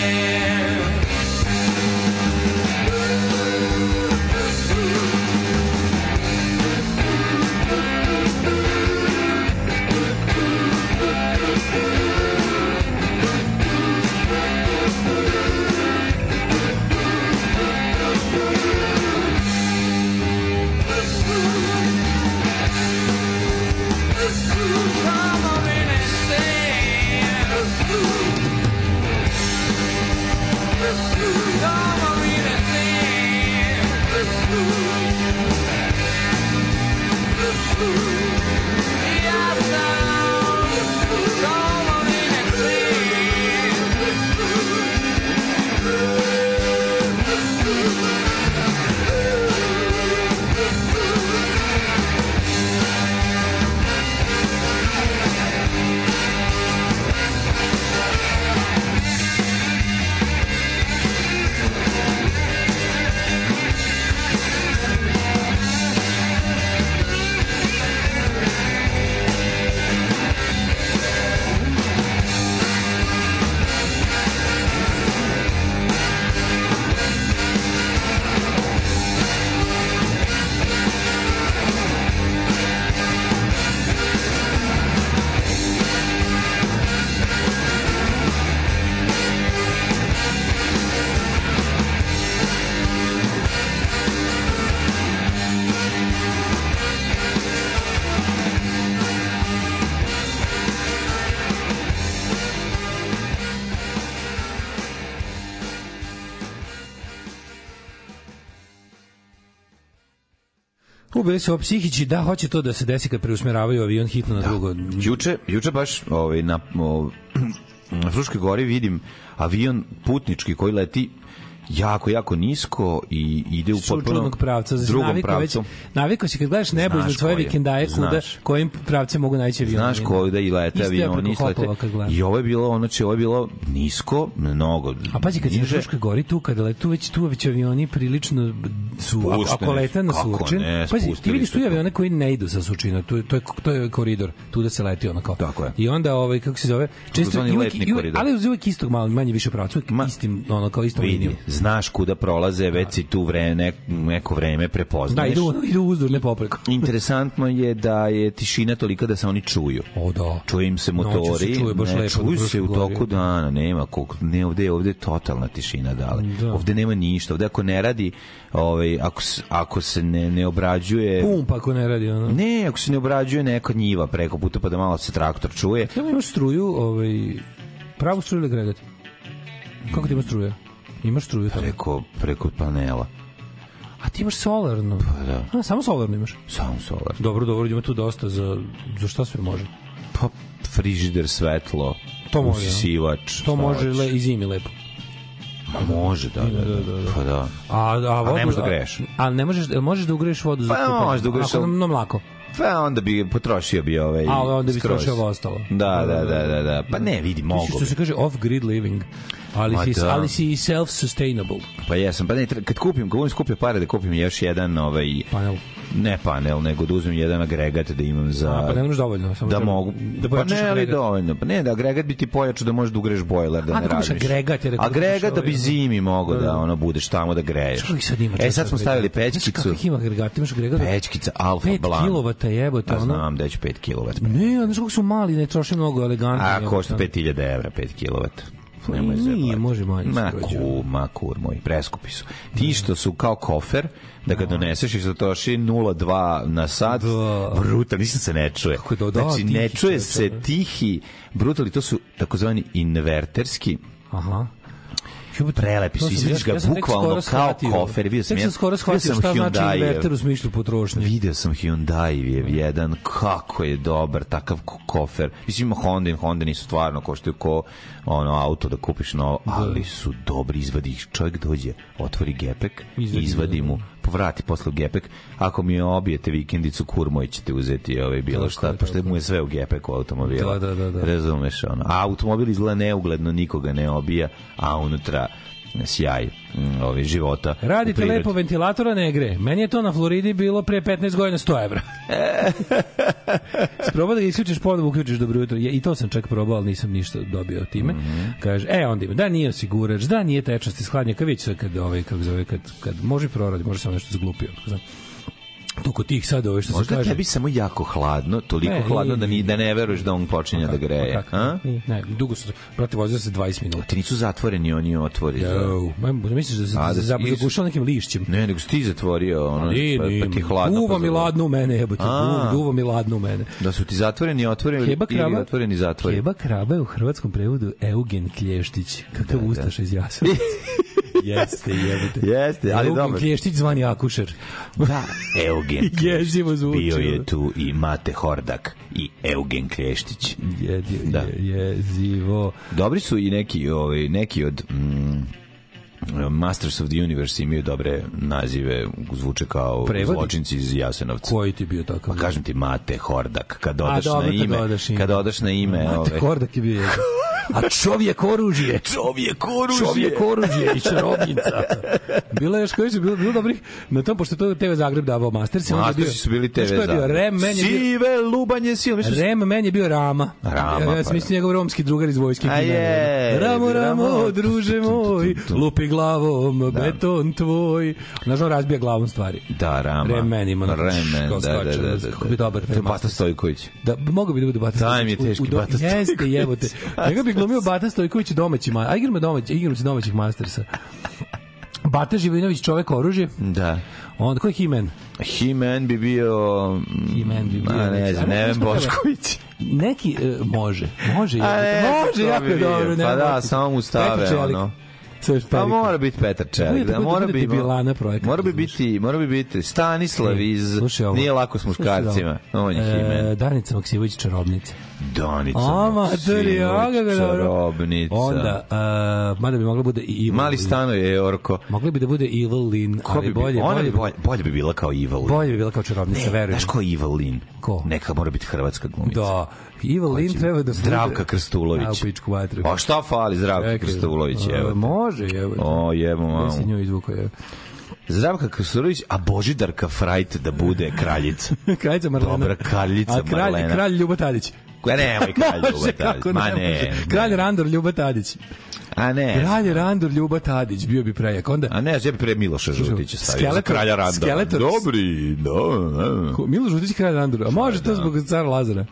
Speaker 11: Domovine sin Domovine sin Ja sam domovine sin
Speaker 9: Domovine
Speaker 10: Ubili su ovo psihići, da, hoće to da se desi kad preusmeravaju avion hitno na drugo.
Speaker 9: Juče, juče baš ovaj, na, o, na Fruškoj gori vidim avion putnički koji leti jako, jako nisko i ide u
Speaker 10: Su
Speaker 9: potpuno
Speaker 10: čudnog pravca. Znači,
Speaker 9: drugom
Speaker 10: navikao, već,
Speaker 9: pravcu.
Speaker 10: navikao si kad gledaš nebo
Speaker 9: Znaš
Speaker 10: iznad svoje
Speaker 9: koji je,
Speaker 10: vikendaje kuda,
Speaker 9: znaš.
Speaker 10: kojim pravcem mogu naći avion.
Speaker 9: Znaš ko da i lete
Speaker 10: Isto ja preko
Speaker 9: avioni, slete.
Speaker 10: hopova kad gledam.
Speaker 9: I ovo je bilo, ono će, ovo je bilo nisko, mnogo.
Speaker 10: A pazi kad si na
Speaker 9: niže.
Speaker 10: Fruškoj gori tu kada le, tu već tu već avioni prilično su ako- ako
Speaker 9: Spušteni
Speaker 10: lete na
Speaker 9: su, kako
Speaker 10: Surčin.
Speaker 9: ne,
Speaker 10: Pazi, ti
Speaker 9: spustili
Speaker 10: vidiš
Speaker 9: su
Speaker 10: tu
Speaker 9: to.
Speaker 10: avione koji ne idu sa Surčina, to je to je to je koridor, tu da se leti onako.
Speaker 9: Tako je.
Speaker 10: I onda ovaj kako se zove, često
Speaker 9: Takozvani
Speaker 10: i uvek,
Speaker 9: letni
Speaker 10: i uvek-
Speaker 9: koridor.
Speaker 10: ali uz uvek istog malo manje više pravcu, uvek
Speaker 9: Ma,
Speaker 10: istim ono kao istom
Speaker 9: vidi,
Speaker 10: linijom.
Speaker 9: znaš kuda prolaze, već si tu vreme, nek- neko vreme
Speaker 10: Da,
Speaker 9: prepoznaješ.
Speaker 10: idu, idu uzdur, ne popreko.
Speaker 9: Interesantno je da je tišina tolika da se oni čuju.
Speaker 10: O da.
Speaker 9: Čuju im se
Speaker 10: Noću
Speaker 9: motori,
Speaker 10: čuje baš
Speaker 9: ne,
Speaker 10: lepo na
Speaker 9: čuju se
Speaker 10: Fruškoj
Speaker 9: u
Speaker 10: gori.
Speaker 9: toku dana, nema koliko, ne ovde, je- ovde je totalna tišina dale.
Speaker 10: Da.
Speaker 9: Da. Ovde nema ništa, ovde ako ne radi, ovaj, ako, s- ako se ne, ne obrađuje...
Speaker 10: Pumpa ako ne radi ono.
Speaker 9: Ne, ako se ne obrađuje neka njiva preko puta pa da malo se traktor čuje.
Speaker 10: Jel imaš struju, ovaj, pravu struju ili gregat? Kako ti ima struja? Imaš struju tamo?
Speaker 9: Preko, preko panela.
Speaker 10: A ti imaš solarnu? Pa
Speaker 9: da.
Speaker 10: A, samo solarnu imaš?
Speaker 9: Samo solar.
Speaker 10: Dobro, dobro, ima tu dosta za, za šta sve može.
Speaker 9: Pa frižider, svetlo,
Speaker 10: To može, ja.
Speaker 9: usisivač.
Speaker 10: To
Speaker 9: šta
Speaker 10: može
Speaker 9: hoćeš.
Speaker 10: le, i zimi lepo.
Speaker 9: Ma može, da, da, da. Pa da.
Speaker 10: A, a, vodu,
Speaker 9: ne možeš da greješ.
Speaker 10: A, a ne možeš, jel možeš da ugreješ vodu za
Speaker 9: Pa, možeš da ugreješ,
Speaker 10: Ako
Speaker 9: ali-
Speaker 10: nam, nam lako.
Speaker 9: Pa onda bi potrošio bi ovaj
Speaker 10: A, ali onda bi
Speaker 9: skroz.
Speaker 10: trošio ovo ostalo.
Speaker 9: Da, da, da, da, da. Pa ne, vidi,
Speaker 10: Ti si,
Speaker 9: mogu.
Speaker 10: Što se kaže off-grid living. Ali,
Speaker 9: Ma
Speaker 10: si,
Speaker 9: da.
Speaker 10: ali si self-sustainable
Speaker 9: Pa jesam, pa ne, tre- kad kupim, kad budem skupio pare da kupim još jedan, ovaj,
Speaker 10: panel.
Speaker 9: ne panel, nego da uzmem jedan agregat da imam za...
Speaker 10: A, pa ne možeš dovoljno. Samo
Speaker 9: da
Speaker 10: treba-
Speaker 9: mogu. pa
Speaker 10: Da pojačaš
Speaker 9: ne, ali
Speaker 10: agregat.
Speaker 9: dovoljno. Pa ne, da agregat bi ti pojačao da možeš da ugreš bojler, da
Speaker 10: A,
Speaker 9: ne
Speaker 10: da kupiš
Speaker 9: razmiš.
Speaker 10: agregat, jer ako kupiš
Speaker 9: agregat da
Speaker 10: ovaj,
Speaker 9: bi
Speaker 10: ono-
Speaker 9: zimi mogao da, ono budeš tamo da greješ.
Speaker 10: Čekaj, sad ima
Speaker 9: e, sad
Speaker 10: četvrti
Speaker 9: smo stavili
Speaker 10: agregat. Znaš
Speaker 9: pećkicu.
Speaker 10: kakvih ima agregata? Imaš agregat?
Speaker 9: Pećkica Alfa
Speaker 10: 5
Speaker 9: Blanc.
Speaker 10: kilovata jebote,
Speaker 9: Pa
Speaker 10: ono.
Speaker 9: znam da će 5 kW.
Speaker 10: Ne, znaš kako su mali, ne troše mnogo elegantno.
Speaker 9: A
Speaker 10: jebote,
Speaker 9: košta
Speaker 10: ono.
Speaker 9: 5000 evra 5 kW. Nemoj
Speaker 10: Nije,
Speaker 9: zajebati.
Speaker 10: može manje
Speaker 9: Ma
Speaker 10: skroz.
Speaker 9: ku, ma kur moj, preskupi su. Ti što su kao kofer, da ga doneseš i što troši 0,2 na sat,
Speaker 10: Da.
Speaker 9: brutal, ništa se ne čuje.
Speaker 10: Kako je to, da,
Speaker 9: znači, ne
Speaker 10: tihi
Speaker 9: čuje
Speaker 10: čoveče,
Speaker 9: se
Speaker 10: da.
Speaker 9: tihi, brutal, i to su takozvani inverterski,
Speaker 10: Aha. Jebote,
Speaker 9: Prelepi
Speaker 10: to
Speaker 9: su,
Speaker 10: sam-
Speaker 9: izvidiš ga
Speaker 10: ja sam tek
Speaker 9: bukvalno
Speaker 10: skoro
Speaker 9: kao
Speaker 10: shvatio.
Speaker 9: kofer, vidio sam
Speaker 10: Tek
Speaker 9: jedan-
Speaker 10: sam skoro
Speaker 9: vidio
Speaker 10: shvatio
Speaker 9: sam
Speaker 10: šta znači
Speaker 9: Hyundaijev.
Speaker 10: inverter u smislu potrošnje.
Speaker 9: Video sam Hyundai jedan, kako je dobar takav ko- kofer. Mislim ima Honda, Honda nisu stvarno koštaju ko ono auto da kupiš novo, ali su dobri izvadi. ih. Čovjek dođe, otvori gepek,
Speaker 10: Izvadi,
Speaker 9: izvadi,
Speaker 10: da.
Speaker 9: mu, povrati posle u gepek. Ako mi obijete vikendicu, kurmoj ćete uzeti ovaj bilo
Speaker 10: Tako
Speaker 9: šta,
Speaker 10: je,
Speaker 9: pošto
Speaker 10: tako
Speaker 9: mu je sve u gepeku automobila.
Speaker 10: Da, da, da, da.
Speaker 9: Razumeš ono. A automobil izgleda neugledno, nikoga ne obija, a unutra sjaj mm, ovaj, života. u
Speaker 10: Radite
Speaker 9: prirodi.
Speaker 10: lepo, ventilatora ne gre. Meni je to na Floridi bilo pre 15 godina 100 evra. Proba da ga isključiš, ponovo uključiš dobro jutro. Ja, I to sam čak probao, ali nisam ništa dobio od time.
Speaker 9: Mhm.
Speaker 10: Kaže, e, onda ima, da nije osigurač, da nije tečnost iz hladnjaka, vidjet ću kad, ovaj, kako zove, kad, kad može i proradi, može samo nešto zglupio. kako znam. To kod tih sad, ove što se
Speaker 9: Možda
Speaker 10: kaže.
Speaker 9: tebi samo jako hladno, toliko
Speaker 10: Ne,
Speaker 9: hladno da
Speaker 10: nije.
Speaker 9: ni da ne veruješ da on počinje da greje,
Speaker 10: Pa Kako?
Speaker 9: a? Pa
Speaker 10: Ne, dugo su, brate, vozio se 20 minuta.
Speaker 9: Ti nisu zatvoreni, oni otvori.
Speaker 10: Jo, ma, misliš da se
Speaker 9: A, da
Speaker 10: da,
Speaker 9: si-
Speaker 10: zagušao nekim lišćem?
Speaker 9: Ne, nego si ti zatvorio, ono,
Speaker 10: Ne,
Speaker 9: pa, pa ti
Speaker 10: ne,
Speaker 9: je hladno.
Speaker 10: duva
Speaker 9: pa
Speaker 10: mi
Speaker 9: zato-
Speaker 10: ladno u mene, jebote, duva,
Speaker 9: A.
Speaker 10: duva mi ladno u mene.
Speaker 9: Da su ti zatvoreni, otvoreni
Speaker 10: Keba
Speaker 9: ili
Speaker 10: krava,
Speaker 9: otvoreni, zatvoreni.
Speaker 10: Keba krava je u hrvatskom prevodu Eugen Klještić, kakav ustaš iz Jasovca. Jeste, jebote.
Speaker 9: Jeste, ali
Speaker 10: Eugen
Speaker 9: dobro.
Speaker 10: Klještić zvani Akušer.
Speaker 9: Da, Eugen
Speaker 10: Jezivo
Speaker 9: Klještić.
Speaker 10: zvuči,
Speaker 9: Bio
Speaker 10: ono.
Speaker 9: je tu i Mate Hordak i Eugen Klještić.
Speaker 10: Jedio,
Speaker 9: Da.
Speaker 10: je, jezivo.
Speaker 9: Dobri su i neki, ovaj, neki od... Mm, Masters of the Universe imaju dobre nazive, zvuče kao
Speaker 10: Prevodi?
Speaker 9: zločinci iz Jasenovca.
Speaker 10: Koji ti je bio takav?
Speaker 9: Pa kažem ti Mate Hordak, kad odaš
Speaker 10: Mm. dobro,
Speaker 9: na
Speaker 10: kad
Speaker 9: ime,
Speaker 10: odaš ime.
Speaker 9: kad odaš na ime,
Speaker 10: Mate
Speaker 9: ove,
Speaker 10: Kordak je bio jezivo. A čovjek oružje.
Speaker 9: čovjek oružje.
Speaker 10: Čovjek oružje i čarobnica. Bilo je još koji su bilo, bilo dobrih. Na tom, pošto je to TV Zagreb davao Masters. onda je bio-
Speaker 9: Mastersi su bili TV
Speaker 10: Znaš ko je bio?
Speaker 9: Zagreb.
Speaker 10: Rem, meni je bio...
Speaker 9: Sive lubanje sila. Mislim, Re...
Speaker 10: Rem meni je bio Rama.
Speaker 9: Rama,
Speaker 10: ja, ja
Speaker 9: pa
Speaker 10: sam mislio njegov romski drugar iz vojske.
Speaker 9: A
Speaker 10: imena.
Speaker 9: je,
Speaker 10: Ramo, Ramo,
Speaker 9: Ramo. pa
Speaker 10: druže moj, lupi glavom, beton tvoj. Znaš, on razbija glavom stvari.
Speaker 9: Da, Rama.
Speaker 10: Remenima, ono,
Speaker 9: Remen,
Speaker 10: kao
Speaker 9: da, da,
Speaker 10: skače,
Speaker 9: da, da,
Speaker 10: znaš,
Speaker 9: da.
Speaker 10: kako bi dobar
Speaker 9: To je
Speaker 10: Rem
Speaker 9: Bata
Speaker 10: Masters.
Speaker 9: Stojković.
Speaker 10: Da, mogu bi da bude Bata
Speaker 9: Taj mi je
Speaker 10: Stojković u-
Speaker 9: teški
Speaker 10: u do-
Speaker 9: Bata Stojković.
Speaker 10: Jeste, jebote. Njega bi glumio Bata Stojković u domaćim, ma- a igramo domaći, igramo se domaćih Mastersa. Bata Živinović, čovek oružje.
Speaker 9: Da.
Speaker 10: Onda, ko je Himen?
Speaker 9: He-Man bi bio... mm,
Speaker 10: He-Man bi bio-
Speaker 9: A ne znam,
Speaker 10: Ali
Speaker 9: Neven
Speaker 10: znaš kako je?
Speaker 9: Bošković. Pa
Speaker 10: Neki, e, može, može,
Speaker 9: A
Speaker 10: jebote,
Speaker 9: ne,
Speaker 10: može,
Speaker 9: to
Speaker 10: jako
Speaker 9: bi
Speaker 10: je
Speaker 9: vidio.
Speaker 10: dobro.
Speaker 9: Pa
Speaker 10: nema
Speaker 9: da,
Speaker 10: otpisa.
Speaker 9: samo mu stave,
Speaker 10: Petar Čelik.
Speaker 9: ono.
Speaker 10: Sve
Speaker 9: Pa
Speaker 10: šperika.
Speaker 9: mora biti Petar
Speaker 10: Bude
Speaker 9: Čelik, da
Speaker 10: tako da
Speaker 9: mora
Speaker 10: bude
Speaker 9: biti.
Speaker 10: debilana projekat,
Speaker 9: Mora bi
Speaker 10: razumeš.
Speaker 9: biti, mora bi biti Stanislav iz
Speaker 10: E, Slušaj ovo.
Speaker 9: Nije lako s
Speaker 10: Slušaj
Speaker 9: muškarcima.
Speaker 10: ovo.
Speaker 9: On je Himen.
Speaker 10: E, Danica Maksimović čarobnica.
Speaker 9: Donica.
Speaker 10: Ama,
Speaker 9: Maksimović,
Speaker 10: čarobnica.
Speaker 9: Čarobnica.
Speaker 10: ono. Onda, e, mada bi mogla bude i Evil
Speaker 9: Mali
Speaker 10: Lyn.
Speaker 9: stano je Orko.
Speaker 10: Mogla bi da bude Evil Lyn,
Speaker 9: Ko
Speaker 10: ali
Speaker 9: bi
Speaker 10: bolje,
Speaker 9: bolje, ona
Speaker 10: bolje,
Speaker 9: bi bolje, bolje bi bila kao Ivalin.
Speaker 10: bolje bi bila kao čarobnica,
Speaker 9: ne,
Speaker 10: verujem.
Speaker 9: znaš ko je Ivalin?
Speaker 10: Ko?
Speaker 9: Neka mora biti hrvatska glumica.
Speaker 10: Da, Evil Lyn treba da... bude-
Speaker 9: Zdravka Krstulović.
Speaker 10: A, u pičku matru.
Speaker 9: Pa šta fali Zdravka
Speaker 10: Čekaj,
Speaker 9: Krstulović,
Speaker 10: a,
Speaker 9: evo.
Speaker 10: E, Može, evo.
Speaker 9: O, jebo
Speaker 10: Ja se
Speaker 9: mamu.
Speaker 10: nju izvuko, evo.
Speaker 9: Zdravka Krstulović, a Božidarka Frajt da bude kraljica.
Speaker 10: Kraljica Marlena.
Speaker 9: Dobra kraljica
Speaker 10: A kralj,
Speaker 9: Marlena.
Speaker 10: kralj Ljubo Tadić.
Speaker 9: Koja nemoj kralj
Speaker 10: Može,
Speaker 9: Ljuba Tadić.
Speaker 10: kako
Speaker 9: Ma
Speaker 10: ne
Speaker 9: ne.
Speaker 10: može. Kralj Randor Ljuba Tadić.
Speaker 9: A ne.
Speaker 10: Kralj Randor Ljuba Tadić bio bi prejak. Onda
Speaker 9: A ne, ja bi pre Miloša Žutića stavio. Skeletor,
Speaker 10: Skeletor-
Speaker 9: kralja Randa.
Speaker 10: Skeletor-
Speaker 9: Dobri, da, da.
Speaker 10: Ko- Milo Žutić kralj Randor. A može to zbog cara Lazara.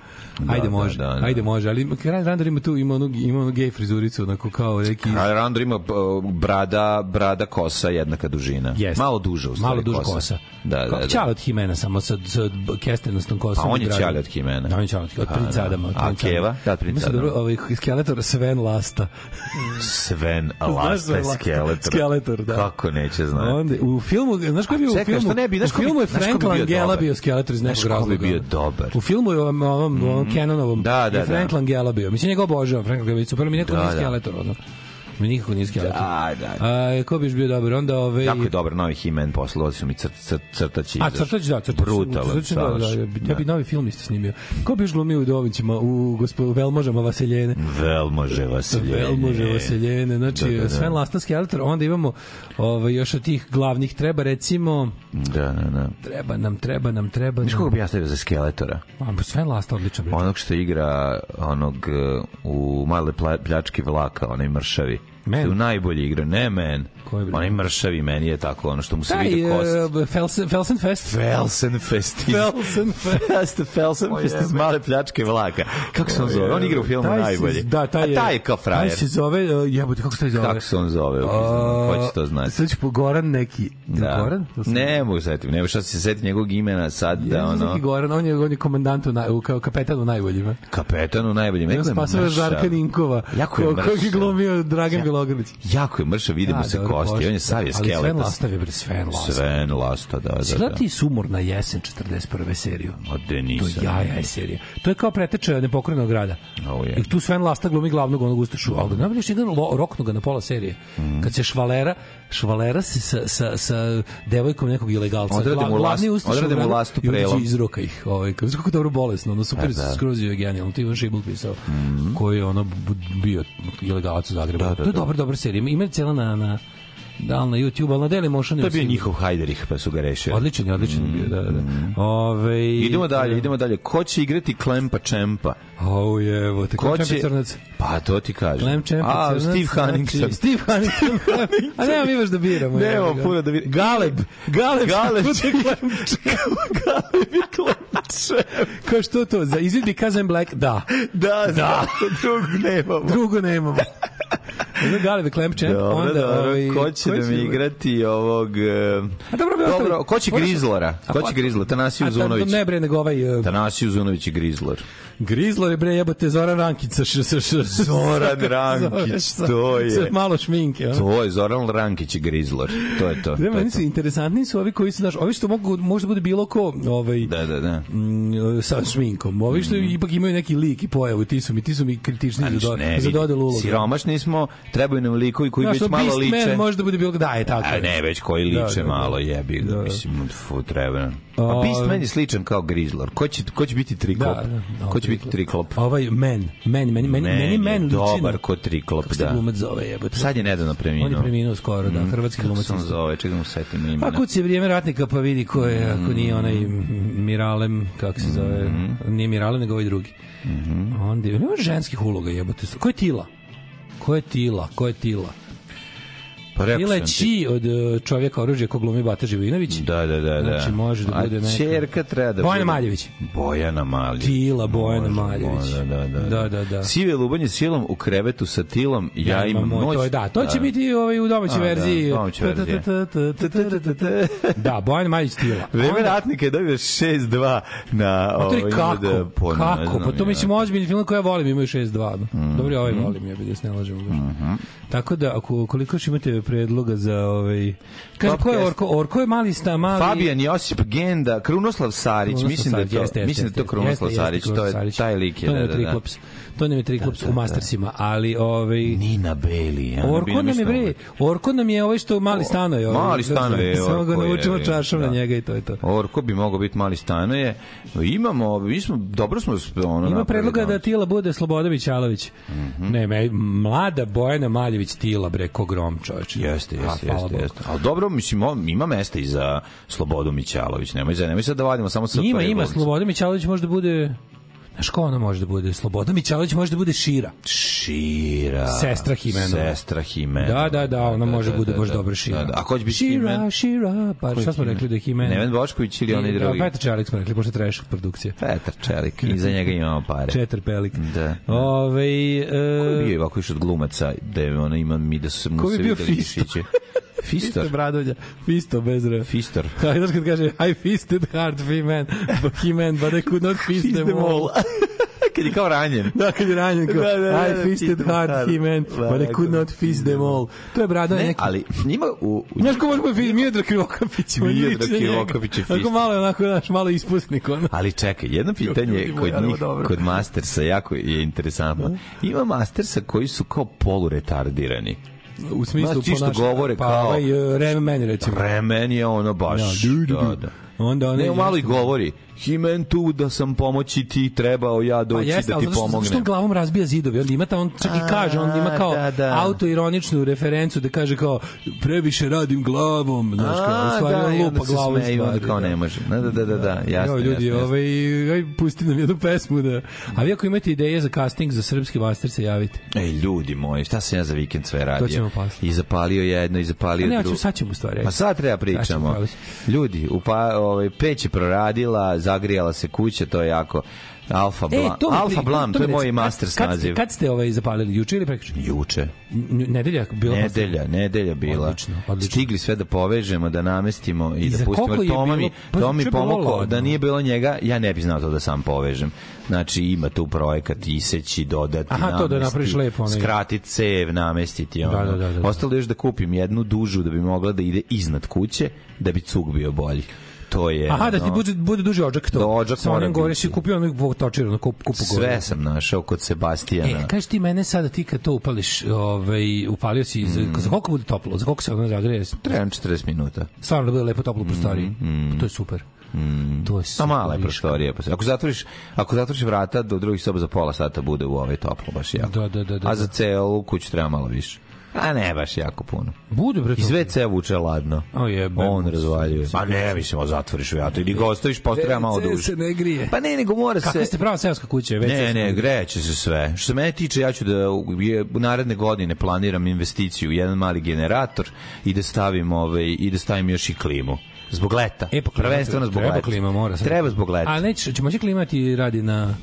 Speaker 10: Ajde
Speaker 9: da,
Speaker 10: može.
Speaker 9: da, da.
Speaker 10: Ajde može, ali kralj Randor ima tu ima onu ima onu gej frizuricu onako kao neki
Speaker 9: Kralj Randor ima uh, brada, brada kosa jednaka dužina.
Speaker 10: Jeste.
Speaker 9: Malo duža u stvari
Speaker 10: Malo duža kosa.
Speaker 9: Da, da, da.
Speaker 10: Ćale od Himena samo sa, sa kestenastom kosom.
Speaker 9: A on je
Speaker 10: i dragom.
Speaker 9: ćale od Himena.
Speaker 10: Da, on je Ćale od, od
Speaker 9: Pa,
Speaker 10: princa
Speaker 9: da.
Speaker 10: Adama. od
Speaker 9: A
Speaker 10: princa
Speaker 9: Keva?
Speaker 10: Adama.
Speaker 9: Da, od princa
Speaker 10: Mislim, dobro,
Speaker 9: Adama.
Speaker 10: ovaj skeletor Sven Lasta.
Speaker 9: Sven
Speaker 10: Znaš za
Speaker 9: Alasta je
Speaker 10: Alasta?
Speaker 9: Skeletor.
Speaker 10: Skeletor, da.
Speaker 9: Kako neće znati.
Speaker 10: Onda, u filmu, znaš ko je bio
Speaker 9: Čekaj,
Speaker 10: u filmu?
Speaker 9: što ne bi, znaš
Speaker 10: u
Speaker 9: ko bi-
Speaker 10: filmu je
Speaker 9: znaš ko bi
Speaker 10: Frank
Speaker 9: bio
Speaker 10: Langella
Speaker 9: dobar?
Speaker 10: bio skeletor iz
Speaker 9: Znaš
Speaker 10: nekog
Speaker 9: ko bi
Speaker 10: razloga.
Speaker 9: bio dobar? Mhm.
Speaker 10: U filmu je ovom, ovom, ovom Canonovom
Speaker 9: Da, da,
Speaker 10: je Frank
Speaker 9: da.
Speaker 10: Langella bio. Mislim, njega obožavam, Frank Langella, super, mi neko
Speaker 9: Da,
Speaker 10: nije
Speaker 9: da.
Speaker 10: skeletor, ono. Mi nikako nije skeletor.
Speaker 9: Da, da, da.
Speaker 10: A, ko bi još bio dobar? Onda ove...
Speaker 9: Jako je dobar novi Himen poslovali su mi crt, crt, crtaći.
Speaker 10: A
Speaker 9: izašli.
Speaker 10: crtač da, crtač.
Speaker 9: Brutalan.
Speaker 10: Crtač, da, da,
Speaker 9: savršen.
Speaker 10: ja, bi, ja bi novi film isto snimio. Ko bi još glumio u Dovićima, u gospod, Velmožama Vaseljene?
Speaker 9: Velmože vaseljenje.
Speaker 10: Velmože Vaseljene, znači da, da, da. Sven Lasta Skeletor, onda imamo ovaj, još od tih glavnih treba recimo,
Speaker 9: Da, da, da.
Speaker 10: treba nam, treba nam, treba nam.
Speaker 9: Znaš koga bi ja stavio za Skeletora?
Speaker 10: A, Sven Lasta odličan. bre.
Speaker 9: Pa Onog što igra onog eh, u male pla- pljački vlaka, onaj mršavi.
Speaker 10: Man?
Speaker 9: Što je najbolji igra, ne men.
Speaker 10: Koji bre?
Speaker 9: Onaj mršavi meni je tako, ono što mu se
Speaker 10: Taj,
Speaker 9: vidi kost.
Speaker 10: e, Felsen, Felsenfest.
Speaker 9: Felsenfest.
Speaker 10: Felsenfest.
Speaker 9: Jeste Felsenfest iz male pljačke vlaka. Kako se on zove? On igra u filmu
Speaker 10: Taj se-
Speaker 9: najbolje.
Speaker 10: Da, taj je.
Speaker 9: A taj je kao frajer.
Speaker 10: Taj se zove, e, jebote, kako se taj zove?
Speaker 9: Kako se on zove? Pa,
Speaker 10: A,
Speaker 9: Ko će to znati?
Speaker 10: Sad ću po Goran neki.
Speaker 9: Da.
Speaker 10: Goran? Ili sam-
Speaker 9: Ne mogu se setim, nema šta se setim njegovog imena sad
Speaker 10: Ja
Speaker 9: da
Speaker 10: mislim neki
Speaker 9: ono.
Speaker 10: Goran, on je, on je komandant u, naj, u, kao kapetan u najboljima.
Speaker 9: Kapetanu najbolje.
Speaker 10: Ja
Speaker 9: Neko je
Speaker 10: spasao
Speaker 9: mršav.
Speaker 10: Žarka Ninkova,
Speaker 9: Jako je
Speaker 10: ko- kojeg je
Speaker 9: mršav.
Speaker 10: glumio Dragan Bilogrlić.
Speaker 9: Jako je mršav, vidimo se
Speaker 10: dobro,
Speaker 9: kosti.
Speaker 10: pošto.
Speaker 9: On je savje
Speaker 10: Ali Sven
Speaker 9: skeleta.
Speaker 10: Lastav je bre Sven Lastav.
Speaker 9: Sven Lasta, da, da,
Speaker 10: Sve
Speaker 9: da.
Speaker 10: ti sumor na jesen 41. seriju.
Speaker 9: A de
Speaker 10: To
Speaker 9: nisam.
Speaker 10: jaja je serija. To je kao preteča nepokrenog grada.
Speaker 9: Au je.
Speaker 10: I tu Sven Lasta glumi glavnog onog Ustašu, ali ga najbolje što je jedan lo- roknu ga na pola serije.
Speaker 9: Mhm.
Speaker 10: Kad se švalera, švalera se sa, sa, sa devojkom nekog ilegalca.
Speaker 9: Odrade mu
Speaker 10: Gla- glavni
Speaker 9: last-
Speaker 10: Ustaša u
Speaker 9: odrade mu
Speaker 10: gradu
Speaker 9: lastu
Speaker 10: i onda će
Speaker 9: prelom. E,
Speaker 10: izroka ih. Ovaj, kako, kako dobro bolesno, ono super, da. skroz je genijalno. To je Ivan Šibul pisao, koji je ono bu- bio ilegalac u Zagrebu.
Speaker 9: Mhm. Da, da,
Speaker 10: to je
Speaker 9: da.
Speaker 10: dobra, dobra serija. Ima- Ima je cijela na, na da li na YouTube, ali na Dailymotionu.
Speaker 9: To je
Speaker 10: je
Speaker 9: bio
Speaker 10: sigurno.
Speaker 9: njihov Hajderih, pa su ga rešili.
Speaker 10: Odličan je, odličan je bio, da, da, Ovaj- da. Ove,
Speaker 9: Idemo dalje, idemo dalje. Ko će igrati Klempa Čempa?
Speaker 10: Au je, evo te,
Speaker 9: Ko
Speaker 10: Klem
Speaker 9: će...
Speaker 10: Crnac.
Speaker 9: Pa to ti kažem.
Speaker 10: Klem Čempe
Speaker 9: A,
Speaker 10: Crnac.
Speaker 9: Steve
Speaker 10: znači-
Speaker 9: Huntington.
Speaker 10: Steve Huntington. A nema mi baš da biramo.
Speaker 9: Nemamo
Speaker 10: evo ga.
Speaker 9: puno da biramo.
Speaker 10: Galeb. Galeb.
Speaker 9: Galeb
Speaker 10: će Klem Galeb i Klem Kao što to? Za izvidbi Kazan Black? Da.
Speaker 9: Da, da. Drug nemamo.
Speaker 10: Drugo nemamo. Ono Galeb i Klem Čemp.
Speaker 9: Dobro,
Speaker 10: onda,
Speaker 9: dobro.
Speaker 10: ovaj,
Speaker 9: ko će
Speaker 10: koji
Speaker 9: da mi igrati ovog... eh,
Speaker 10: A dobro, bi ostali.
Speaker 9: Dobro, ko će
Speaker 10: Možda-
Speaker 9: Grizlora?
Speaker 10: A
Speaker 9: Ko
Speaker 10: pa-
Speaker 9: će Grizlora? Tanasiju
Speaker 10: A, da-
Speaker 9: Zunović.
Speaker 10: Ne bre, nego ovaj... e,
Speaker 9: Tanasiju Zunović i Grizlor.
Speaker 10: Grizlor je bre jebote Zoran Rankić sa š, sa, sa,
Speaker 9: Zoran
Speaker 10: sa-
Speaker 9: Rankić,
Speaker 10: sa-
Speaker 9: to je.
Speaker 10: sa malo šminke, ono.
Speaker 9: To je Zoran Rankić i Grizlor. To je to.
Speaker 10: Ne,
Speaker 9: to je
Speaker 10: meni su
Speaker 9: to.
Speaker 10: interesantni su ovi koji su, znaš, ovi što mogu, možda bude bilo ko, ovaj,
Speaker 9: Da, da, da.
Speaker 10: mm, sa šminkom. Ovi što ipak imaju neki lik i pojavu, ti su mi, ti su mi kritični
Speaker 9: A
Speaker 10: za, do,
Speaker 9: ne,
Speaker 10: za
Speaker 9: vidi,
Speaker 10: dodelu uloga.
Speaker 9: Siromašni smo, trebaju nam likovi koji
Speaker 10: Znaš,
Speaker 9: već malo liče.
Speaker 10: Beastman može da bude bilo, da je tako.
Speaker 9: A
Speaker 10: je.
Speaker 9: ne, već koji
Speaker 10: Da,
Speaker 9: liče
Speaker 10: da, da.
Speaker 9: malo jebi ga, mislim, fu, treba. nam. A
Speaker 10: A-
Speaker 9: Beastman je sličan kao Grizzlor. Ko će, ko će biti triklop?
Speaker 10: Da, da, da,
Speaker 9: ko će biti triklop?
Speaker 10: Ovaj men, men, meni, meni,
Speaker 9: Men
Speaker 10: meni,
Speaker 9: je
Speaker 10: men liči na-
Speaker 9: dobar ko triklop,
Speaker 10: Kako se
Speaker 9: da.
Speaker 10: glumac zove, jebote?
Speaker 9: Sad je nedavno preminuo. Mhm.
Speaker 10: On je preminuo skoro, da, hrvatski
Speaker 9: Kako
Speaker 10: glumac.
Speaker 9: se on zove, čekaj da mu setim imena.
Speaker 10: Pa kuci je vrijeme ratnika pa vidi ko je, ako
Speaker 9: Mm.
Speaker 10: nije onaj Miralem, kako se zove,
Speaker 9: Mm-hmm.
Speaker 10: nije Miralem nego ovaj drugi. Onda, nema ženskih uloga jebote. Ko je Tila? Ko je Tila? Ko je Tila?
Speaker 9: Pa rekao
Speaker 10: Bila je
Speaker 9: sam ti.
Speaker 10: Či od e, čovjeka oružja ko glumi Bata Živinović.
Speaker 9: Da, da, da, da.
Speaker 10: Znači, može da bude
Speaker 9: A
Speaker 10: neka.
Speaker 9: čerka treba da
Speaker 10: Bojana
Speaker 9: bude-
Speaker 10: Maljević.
Speaker 9: Bojana Maljević.
Speaker 10: Tila Bojana
Speaker 9: Može,
Speaker 10: Maljević.
Speaker 9: može, Da, da,
Speaker 10: Da, da, da.
Speaker 9: Sive lubanje s silom u krevetu sa tilom, ja, imam
Speaker 10: moj-
Speaker 9: noć.
Speaker 10: To je, da, to će biti ovaj, u domaćoj
Speaker 9: A, da,
Speaker 10: verziji.
Speaker 9: domaća verzija.
Speaker 10: Ta, ta, ta, ta, ta, ta, ta, ta. Da, Bojan Majić Tila.
Speaker 9: Vreme
Speaker 10: Onda-
Speaker 9: ratnika je dobio 6-2 na...
Speaker 10: Pa to je
Speaker 9: ovaj,
Speaker 10: kako?
Speaker 9: da, po- ne
Speaker 10: kako? Pa
Speaker 9: znam
Speaker 10: to
Speaker 9: ja. Mhm.
Speaker 10: mislim ozbiljni film koji ja volim, imaju 6-2. Mm. Dobro, ja ovaj volim, ja bi da se ne lažemo. Mm -hmm. Tako da, ako, koliko još imate predloga za ovaj... Kaže,
Speaker 9: Top
Speaker 10: ko je
Speaker 9: cast.
Speaker 10: Orko? Orko je mali sta, mali...
Speaker 9: Fabijan Josip Genda, Krunoslav Sarić,
Speaker 10: Krunoslav
Speaker 9: mislim da je
Speaker 10: Sarić,
Speaker 9: to,
Speaker 10: jeste, jeste,
Speaker 9: mislim da je to
Speaker 10: jeste,
Speaker 9: Krunoslav
Speaker 10: jeste, jeste
Speaker 9: Sarić, to
Speaker 10: Krunoslav
Speaker 9: je
Speaker 10: Sarić.
Speaker 9: taj lik je,
Speaker 10: To nam
Speaker 9: da,
Speaker 10: je
Speaker 9: da, da.
Speaker 10: Triklops. To nam je Triklops u Mastersima, ali ovaj...
Speaker 9: Nina Beli.
Speaker 10: Orko nam je bre, Orko nam je ovaj što mali stano je. Ovaj,
Speaker 9: Mali stano je
Speaker 10: Samo ga
Speaker 9: Orko,
Speaker 10: naučimo
Speaker 9: je, je,
Speaker 10: čašom na
Speaker 9: da.
Speaker 10: njega i to je to.
Speaker 9: Orko bi mogao biti mali stanoje. Imamo, mi smo, dobro smo s- ono
Speaker 10: Ima
Speaker 9: napravili, Mhm.
Speaker 10: predloga
Speaker 9: ono.
Speaker 10: da Tila bude Slobodan Mićalović. Ne, me, mlada Bojana Maljević Tila, bre, ko grom čoveč.
Speaker 9: Jeste, jeste,
Speaker 10: A, hvala
Speaker 9: jeste,
Speaker 10: Bogu.
Speaker 9: jeste. Ali dobro, mislim, o- ima mesta i za Slobodu Mićalović. Nemoj, za- nemoj sad da vadimo samo sa
Speaker 10: Ima,
Speaker 9: prve
Speaker 10: ima,
Speaker 9: glumice.
Speaker 10: Slobodan Mićalović može da bude... Znaš ko ona može da bude? Slobodan Mićalović može da bude Šira.
Speaker 9: Šira.
Speaker 10: Sestra Himenova.
Speaker 9: Sestra Himenova.
Speaker 10: Da, da, da, ona može da bude baš dobra Šira.
Speaker 9: Da, da. A ko će biti
Speaker 10: Šira,
Speaker 9: Himen?
Speaker 10: Šira, pa šta smo
Speaker 9: Himen?
Speaker 10: rekli da je Himen?
Speaker 9: Neven Bošković ili onaj drugi?
Speaker 10: Petar Čalik smo rekli, pošto treš produkcija.
Speaker 9: Petar Čelik, i za njega imamo pare.
Speaker 10: Četar Pelik.
Speaker 9: Da.
Speaker 10: Ove,
Speaker 9: Ko
Speaker 10: e,
Speaker 9: bi bio ovako još od glumaca, da je ona ima mi da sam
Speaker 10: Ko
Speaker 9: mu
Speaker 10: bi
Speaker 9: se
Speaker 10: bio
Speaker 9: videli
Speaker 10: Fisto?
Speaker 9: mišiće. Fistor?
Speaker 10: Bradovlja. Fisto, bez re.
Speaker 9: Fistor.
Speaker 10: Kaj, znaš kad kaže, I fisted hard, he man, but he man, but I could not fist them all.
Speaker 9: Kad je kao ranjen.
Speaker 10: Da, kad je ranjen, kao,
Speaker 9: Da, da, da,
Speaker 10: I fisted
Speaker 9: fisted
Speaker 10: hard,
Speaker 9: hard.
Speaker 10: he man,
Speaker 9: Da,
Speaker 10: but I could not fist them all. To je brado
Speaker 9: Ne,
Speaker 10: neki.
Speaker 9: ali ima u... u
Speaker 10: Znaš ko možemo biti Miodra Krivokapić? on
Speaker 9: Miodrag
Speaker 10: liči na njega.
Speaker 9: Krivokapić je fist.
Speaker 10: Onako malo, je onako, znaš, malo ispusnik, ono.
Speaker 9: Ali čekaj, jedno pitanje
Speaker 10: ljudi moji,
Speaker 9: kod
Speaker 10: ali ovo
Speaker 9: njih,
Speaker 10: dobro.
Speaker 9: kod Mastersa, jako je interesantno. Ima Mastersa koji su kao poluretardirani.
Speaker 10: U smislu
Speaker 9: Znaš, ti što govore
Speaker 10: pa,
Speaker 9: kao-
Speaker 10: Ovaj, Rem meni, recimo.
Speaker 9: Remen je ono baš...
Speaker 10: Da, du, du, du.
Speaker 9: Da, da.
Speaker 10: Onda onaj
Speaker 9: Ne, malo i
Speaker 10: nešto-
Speaker 9: govori. Himen tu da sam pomoći ti, trebao ja
Speaker 10: Pa
Speaker 9: doći
Speaker 10: jeste,
Speaker 9: da ti
Speaker 10: ali zato što, zato što on
Speaker 9: pomognem.
Speaker 10: glavom razbija zidove, on ima ta, on čak i
Speaker 9: A,
Speaker 10: kaže, on ima kao
Speaker 9: da, da.
Speaker 10: autoironičnu referencu da kaže kao previše radim glavom, znaš kao, u
Speaker 9: A,
Speaker 10: stvari
Speaker 9: da, i
Speaker 10: on
Speaker 9: onda
Speaker 10: lupa
Speaker 9: se
Speaker 10: glavom
Speaker 9: smeje i onda
Speaker 10: stvari,
Speaker 9: kao
Speaker 10: da.
Speaker 9: ne može. Da, da, da, da, da, jasno,
Speaker 10: Jasno, ljudi,
Speaker 9: jasno, jasno.
Speaker 10: ovaj, aj, pusti nam jednu pesmu da... A vi ako imate ideje za casting za srpski master se javite.
Speaker 9: Ej, ljudi moji, šta sam ja za vikend sve radio?
Speaker 10: ćemo posle.
Speaker 9: I zapalio jedno, i zapalio
Speaker 10: A ne,
Speaker 9: drugo.
Speaker 10: ja ću, sad ćemo u stvari.
Speaker 9: Pa sad treba
Speaker 10: Sad ćemo,
Speaker 9: pričamo.
Speaker 10: pravi si.
Speaker 9: Ljudi, upa, ovaj, peć je proradila, zagrijala se kuća, to je jako... Alfa
Speaker 10: E,
Speaker 9: Blam,
Speaker 10: to mi-
Speaker 9: Alfa Blam, to,
Speaker 10: mi
Speaker 9: je moj
Speaker 10: reci,
Speaker 9: masters
Speaker 10: kad,
Speaker 9: naziv.
Speaker 10: Kad, kad ste ovaj zapalili, juče ili prekriče?
Speaker 9: Juče.
Speaker 10: Nedelja, bilo
Speaker 9: Nedelja, nedelja bila.
Speaker 10: Odlično, odlično.
Speaker 9: Stigli sve da povežemo, da namestimo i,
Speaker 10: I za
Speaker 9: da pustimo.
Speaker 10: koliko je
Speaker 9: Toma mi,
Speaker 10: bilo? Pa,
Speaker 9: Toma mi
Speaker 10: juče je bilo
Speaker 9: pomogao,
Speaker 10: ladno.
Speaker 9: da nije bilo njega, ja ne bi znao to da sam povežem. Znači, ima tu projekat iseći, dodati,
Speaker 10: Aha, to da
Speaker 9: namesti,
Speaker 10: napraviš lepo, onaj.
Speaker 9: skratiti cev, namestiti. Ono.
Speaker 10: da, da, da, da.
Speaker 9: Ostalo je još da kupim jednu dužu da bi mogla da ide iznad kuće, da bi cug bio bolji. To je...
Speaker 10: Aha, da ti
Speaker 9: ono,
Speaker 10: bude, bude duži odžak to.
Speaker 9: Da, odžak
Speaker 10: Sa
Speaker 9: mora
Speaker 10: onim gore
Speaker 9: biti.
Speaker 10: si kupio onog točirano, kup, kupu gore.
Speaker 9: Sve sam našao kod Sebastijana.
Speaker 10: E, kaži ti mene sada ti kad to upališ, ovaj, upalio si, za,
Speaker 9: Mm.
Speaker 10: za koliko bude toplo, za koliko se ono zagreje,
Speaker 9: Trebam 40 minuta.
Speaker 10: stvarno da bude lepo toplo u prostoriji. To je super. To je super.
Speaker 9: Mm, A mala je
Speaker 10: viš.
Speaker 9: prostorija. pa se- Ako zatvoriš, ako zatvoriš vrata, do drugih soba za pola sata bude u ovoj toplo, baš jako.
Speaker 10: Da, da, da, da.
Speaker 9: A za celu kuću treba malo više. A ne, baš jako puno.
Speaker 10: Bude, bre, to.
Speaker 9: Iz WC vuče ladno.
Speaker 10: O jebe.
Speaker 9: On razvaljuje. Pa ne, mislim, o zatvoriš vrata ili ga ostaviš, pa treba malo
Speaker 10: WC
Speaker 9: duže.
Speaker 10: se ne grije.
Speaker 9: Pa ne, nego mora
Speaker 10: Kakva
Speaker 9: se...
Speaker 10: ste prava seoska kuća? WC
Speaker 9: Ne,
Speaker 10: se
Speaker 9: ne, greće se sve. Što se mene tiče, ja ću da u- je, u naredne godine planiram investiciju u jedan mali generator i da stavim ovaj i da stavim još i klimu. Zbog leta.
Speaker 10: E, pa klima
Speaker 9: Prvenstveno zbog
Speaker 10: treba,
Speaker 9: leta.
Speaker 10: klima, mora sad.
Speaker 9: Treba zbog leta.
Speaker 10: A neće, ćemo će klimati radi na...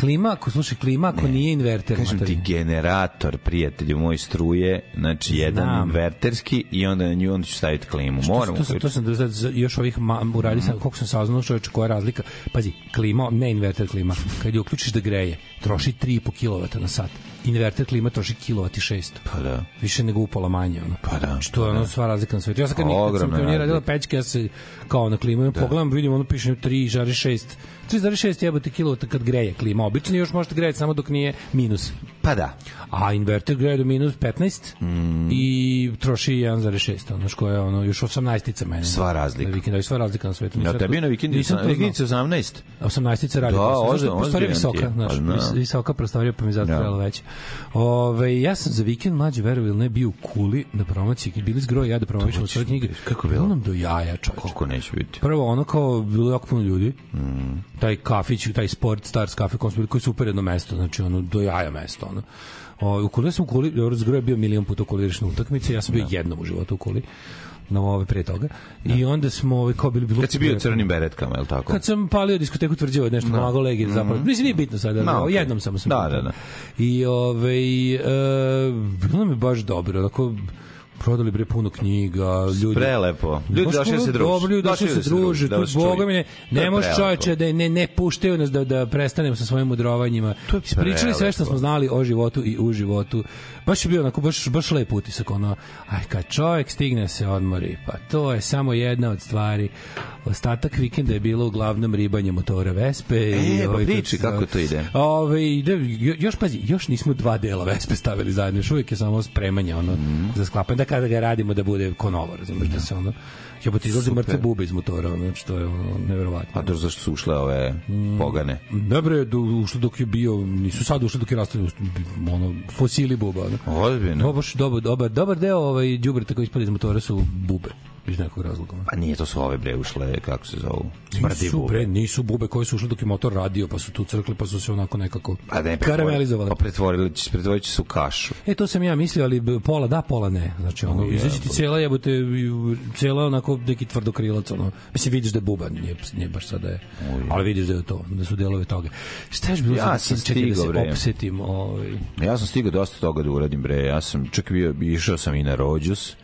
Speaker 10: Klima, ako slušaj, klima, ako nije inverter.
Speaker 9: Kažem ti,
Speaker 10: materijalni.
Speaker 9: generator, prijatelju moj struje, znači jedan
Speaker 10: Znam.
Speaker 9: inverterski i onda na nju onda ću staviti klimu. Moram
Speaker 10: to, to, to sam za, za još ovih ma, uradi
Speaker 9: Mhm.
Speaker 10: sam koliko sam saznao čoveče koja je razlika. Pazi, klima, ne inverter klima. Kad je uključiš da greje, troši 3,5 kW na sat. Inverter klima troši kilovat i 600.
Speaker 9: Pa da.
Speaker 10: Više nego upola manje ono.
Speaker 9: Pa da,
Speaker 10: Što je ono sva razlika na svetu. Ja sam kad, nikad sam
Speaker 9: Ogromna
Speaker 10: to nije
Speaker 9: razlika.
Speaker 10: radila pećke, ja se kao na klimu da. pogledam, vidim ono piše 3,6 3,6 jebote kilovata kad greje klima. Obično još možete grejati samo dok nije minus.
Speaker 9: Pa da.
Speaker 10: A inverter greje do minus 15 i troši 1,6, ono što je ono još 18-ica meni.
Speaker 9: Sva razlika.
Speaker 10: Na vikendu, sva razlika na svetu.
Speaker 9: Na
Speaker 10: Nisam
Speaker 9: tebi je
Speaker 10: to-
Speaker 9: na vikendu
Speaker 10: nisam to znao.
Speaker 9: 18.
Speaker 10: 18-ica radi.
Speaker 9: Da,
Speaker 10: posao. Znaš,
Speaker 9: ozbiljno,
Speaker 10: prostorija je
Speaker 9: ozbiljan ti
Speaker 10: visoka,
Speaker 9: je.
Speaker 10: znaš,
Speaker 9: Pa znam.
Speaker 10: vis- visoka prostorija, pa mi zato
Speaker 9: Da.
Speaker 10: trebalo veće. Ove, ja sam za vikend mlađe verovali ili ne bio u Kuli na promociji, kad bili zgroj ja da promovišemo
Speaker 9: hoćeš
Speaker 10: svoje knjige.
Speaker 9: biti. Kako je bilo?
Speaker 10: Bilo nam do jaja, čoveče.
Speaker 9: Koliko neće biti?
Speaker 10: Prvo, ono kao, bilo je jako puno ljudi. Mm. Taj kafić, taj sport, stars kafe, kom smo bili, koji je super jedno mesto, znači ono, do jaja mesto. Ono, ono. O, u kuli sam u kuli, Eurazgro je bio milion puta u kulirašne utakmice, ja sam bio jednom u životu u kuli na ove pre toga. I onda smo ovaj kao bili bilo
Speaker 9: Kad si bio u crnim beretkama, je li tako? Mhm.
Speaker 10: Kad sam palio diskoteku tvrđava je nešto pomagao legije zapravo. Mislim nije bitno sada,
Speaker 9: Ma,
Speaker 10: no,
Speaker 9: okej.
Speaker 10: jednom samo sam.
Speaker 9: Da,
Speaker 10: putao.
Speaker 9: da, da.
Speaker 10: I ovaj e, bilo mi je baš dobro, onako prodali bre puno knjiga, ljudi.
Speaker 9: Prelepo. Ljudi
Speaker 10: Baš
Speaker 9: došli da se druže.
Speaker 10: Dobro, ljudi došli da se druže, tu
Speaker 9: vas
Speaker 10: boga
Speaker 9: čuju.
Speaker 10: mi ne,
Speaker 9: To
Speaker 10: ne
Speaker 9: je
Speaker 10: možeš
Speaker 9: prelepo.
Speaker 10: čoveče da ne, ne puštaju nas da, da prestanemo sa svojim udrovanjima.
Speaker 9: To je
Speaker 10: Ispričali sve što
Speaker 9: prelepo.
Speaker 10: smo znali o životu i u životu. Baš je bio onako, baš, baš lep utisak, ono, aj, kad čovjek stigne se odmori, pa to je samo jedna od stvari. Ostatak vikenda je bilo uglavnom ribanje motora Vespe.
Speaker 9: E, pa
Speaker 10: ovaj,
Speaker 9: priči
Speaker 10: se zove-
Speaker 9: kako to ide.
Speaker 10: Ove, ide, jo- još pazi, još nismo dva dela Vespe stavili zajedno, još uvijek je samo spremanje ono,
Speaker 9: Mhm.
Speaker 10: za sklapanje, da kada ga radimo da bude ko novo, razumiješ, da se ono, jebote, izlaze mrtve bube iz motora, ono, znači to je ono,
Speaker 9: A
Speaker 10: nevjerovatno.
Speaker 9: dobro, zašto su ušle ove
Speaker 10: Mm.
Speaker 9: pogane?
Speaker 10: Ne bre, do, ušli dok je bio, nisu sad ušli dok je rastavljeno, ono, fosili buba, ono.
Speaker 9: Ozbiljno.
Speaker 10: Dobar, dobar, dobar, dobar deo ovaj, đubreta koji ispali iz motora su bube, iz nekog razloga. ono.
Speaker 9: Pa nije, to su ove bre ušle, kako se zovu? Smrdi
Speaker 10: Nisu,
Speaker 9: bube.
Speaker 10: bre, nisu bube koje su ušle dok je motor radio, pa su tu crkli, pa su se onako nekako
Speaker 9: A ne,
Speaker 10: karamelizovali.
Speaker 9: Pa pretvorili, će- pretvorit će se u kašu.
Speaker 10: E, to sam ja mislio, ali b- pola da, pola ne. Znači, ono, izađe ti cijela jebote, i u- cijela onako neki tvrdokrilac, ono. Mislim, vidiš da je buban, nije, nije baš sada je. Ali vidiš da je to, da su delove toga. Šta je još bilo?
Speaker 9: Ja
Speaker 10: sad?
Speaker 9: sam
Speaker 10: Čekaj da
Speaker 9: stigao,
Speaker 10: se
Speaker 9: bre.
Speaker 10: opsetim. Ovaj,
Speaker 9: Ja sam stigao dosta toga da uradim, bre. Ja sam čak bio, išao sam i na rođus.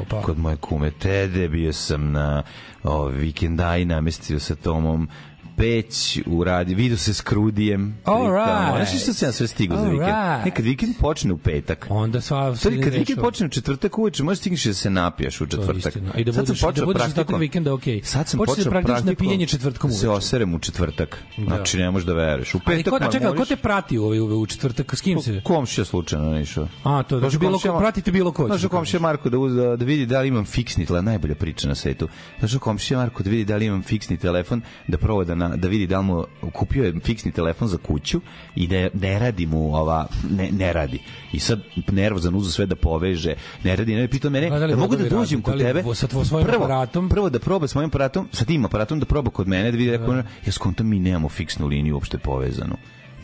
Speaker 10: Opa.
Speaker 9: Kod moje kume Tede, bio sam na o, vikendaj, namestio sa Tomom peć u radi, vidio se s Krudijem.
Speaker 10: All
Speaker 9: slikamo.
Speaker 10: right.
Speaker 9: Znaš što sam ja sve stigao za
Speaker 10: All
Speaker 9: vikend?
Speaker 10: right.
Speaker 9: Nekad vikend počne u petak.
Speaker 10: onda sva...
Speaker 9: Sad kad
Speaker 10: sve
Speaker 9: vikend
Speaker 10: rešava.
Speaker 9: počne u četvrtak uveče, možeš stigneš da se napiješ u četvrtak.
Speaker 10: istina. I da
Speaker 9: Sad sam
Speaker 10: budeš- i da
Speaker 9: počeo
Speaker 10: budeš ostatak
Speaker 9: praktikom-
Speaker 10: vikenda okej.
Speaker 9: Sad sam
Speaker 10: Počeš da
Speaker 9: počeo
Speaker 10: praktično
Speaker 9: praktikom
Speaker 10: pijenje četvrtkom
Speaker 9: da Se
Speaker 10: uveče.
Speaker 9: oserem u četvrtak. Znači ne možeš da veruješ. U
Speaker 10: Ali
Speaker 9: petak
Speaker 10: ko, a čekaj, ko
Speaker 9: mamuriš.
Speaker 10: te prati u ovaj, u ovaj u četvrtak? S kim se?
Speaker 9: Komšija slučajno je išao.
Speaker 10: A, to je, znači,
Speaker 9: Došao
Speaker 10: bilo
Speaker 9: komšija
Speaker 10: ko,
Speaker 9: Ma-
Speaker 10: pratite bilo ko.
Speaker 9: Došao komšija Marko da, uz, da vidi da li imam fiksni telefon, najbolja priča na svetu. Došao komšija Marko da vidi da li imam fiksni telefon, da proba da, na, da vidi da li mu kupio je fiksni telefon za kuću i da je- ne radi mu ova, ne, ne radi. I sad nervozan uzu sve da poveže, ne radi, ne pitao mene,
Speaker 10: A da
Speaker 9: da,
Speaker 10: li
Speaker 9: mogu da
Speaker 10: vodovi rade?
Speaker 9: dođem
Speaker 10: Da
Speaker 9: kod
Speaker 10: li
Speaker 9: tebe?
Speaker 10: vo- sa tvo- svojim
Speaker 9: prvo,
Speaker 10: aparatom?
Speaker 9: Prvo da proba svojim aparatom, sa tim aparatom da proba kod mene, da vidi, rekao, ja skontam mi nemamo fiksnu liniju uopšte povezanu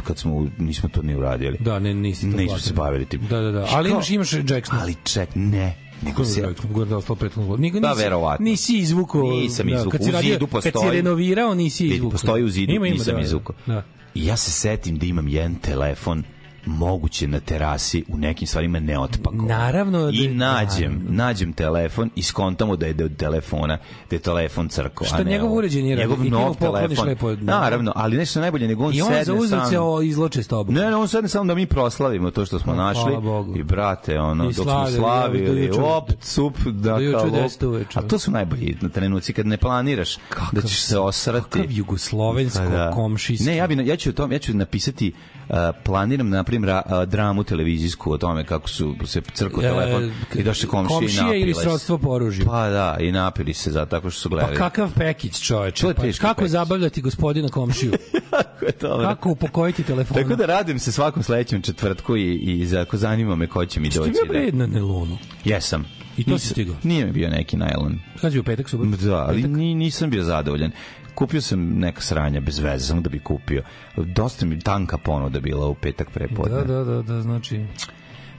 Speaker 9: kad smo u- nismo to ni uradili.
Speaker 10: Da, ne, nisi to
Speaker 9: Nismo
Speaker 10: platio.
Speaker 9: se bavili tim.
Speaker 10: Da, da, da. Ali imaš, imaš Jacksona.
Speaker 9: Ali ček, ne. Nego se
Speaker 10: Gore da ostalo prethodno. Niko
Speaker 9: Da,
Speaker 10: nisi-
Speaker 9: verovatno.
Speaker 10: Nisi izvuko.
Speaker 9: Nisam izvukao.
Speaker 10: Kad si
Speaker 9: U
Speaker 10: radio-
Speaker 9: zidu
Speaker 10: Kad si
Speaker 9: postoji.
Speaker 10: renovirao, nisi
Speaker 9: vidi,
Speaker 10: izvukao.
Speaker 9: postoji u zidu,
Speaker 10: Ima, ima,
Speaker 9: nisam
Speaker 10: da, da.
Speaker 9: izvukao.
Speaker 10: Da.
Speaker 9: I Ja se setim da imam jedan telefon moguće na terasi u nekim stvarima ne otpakovan.
Speaker 10: Naravno da-
Speaker 9: I nađem, nađem telefon i skontamo da je da je od telefona, da je telefon crko.
Speaker 10: Što
Speaker 9: a ne
Speaker 10: njegov
Speaker 9: ovo.
Speaker 10: uređaj nije radio
Speaker 9: Njegov
Speaker 10: i ti mu
Speaker 9: nov
Speaker 10: pokloniš
Speaker 9: telefon.
Speaker 10: lepo od-
Speaker 9: Naravno, ali nešto najbolje, nego on
Speaker 10: I on
Speaker 9: sedne
Speaker 10: zauzet se
Speaker 9: sam.
Speaker 10: o izloče s tobom.
Speaker 9: Ne, ne, on sedne samo da mi proslavimo to što smo
Speaker 10: Hvala
Speaker 9: našli.
Speaker 10: Bogu.
Speaker 9: I brate, ono,
Speaker 10: I
Speaker 9: dok smo
Speaker 10: slavili, do
Speaker 9: slavili,
Speaker 10: juče-
Speaker 9: op, cup, da,
Speaker 10: do juče
Speaker 9: kao
Speaker 10: u deset
Speaker 9: lop.
Speaker 10: uveče.
Speaker 9: A to su najbolji na trenuci kad ne planiraš da ćeš se osrati.
Speaker 10: Kakav jugoslovensko
Speaker 9: Pa da.
Speaker 10: komšijski.
Speaker 9: Ne, ja bi na- ja ću o tom, ja ću napisati uh, planiram na primjer ra- uh, dramu televizijsku o tome kako su se crko
Speaker 10: E,
Speaker 9: telefon i došli komšije i
Speaker 10: komšije ili
Speaker 9: napili se.
Speaker 10: srodstvo po oružju.
Speaker 9: Pa da, i napili se za tako što su
Speaker 10: Pa
Speaker 9: gledali.
Speaker 10: kakav pekić, čoveče.
Speaker 9: To je
Speaker 10: Pa
Speaker 9: teški
Speaker 10: kako
Speaker 9: pekić.
Speaker 10: zabavljati gospodina komšiju?
Speaker 9: Kako je dobro.
Speaker 10: kako upokojiti telefon?
Speaker 9: Tako da radim se svakom sledećem četvrtku i, i za, ako zanima me ko će mi
Speaker 10: Ti
Speaker 9: doći.
Speaker 10: bio
Speaker 9: da-
Speaker 10: bre na Nelonu.
Speaker 9: Jesam.
Speaker 10: I to si
Speaker 9: Nisam-
Speaker 10: stigao?
Speaker 9: Nije mi bio neki najlon.
Speaker 10: Kad je u petak, subot?
Speaker 9: Da, ali ni, nisam bio zadovoljan. Kupio sam neka sranja bez veze, samo da bi kupio. Dosta mi tanka ponuda bila u petak prepodne.
Speaker 10: Da, da, da, da, znači...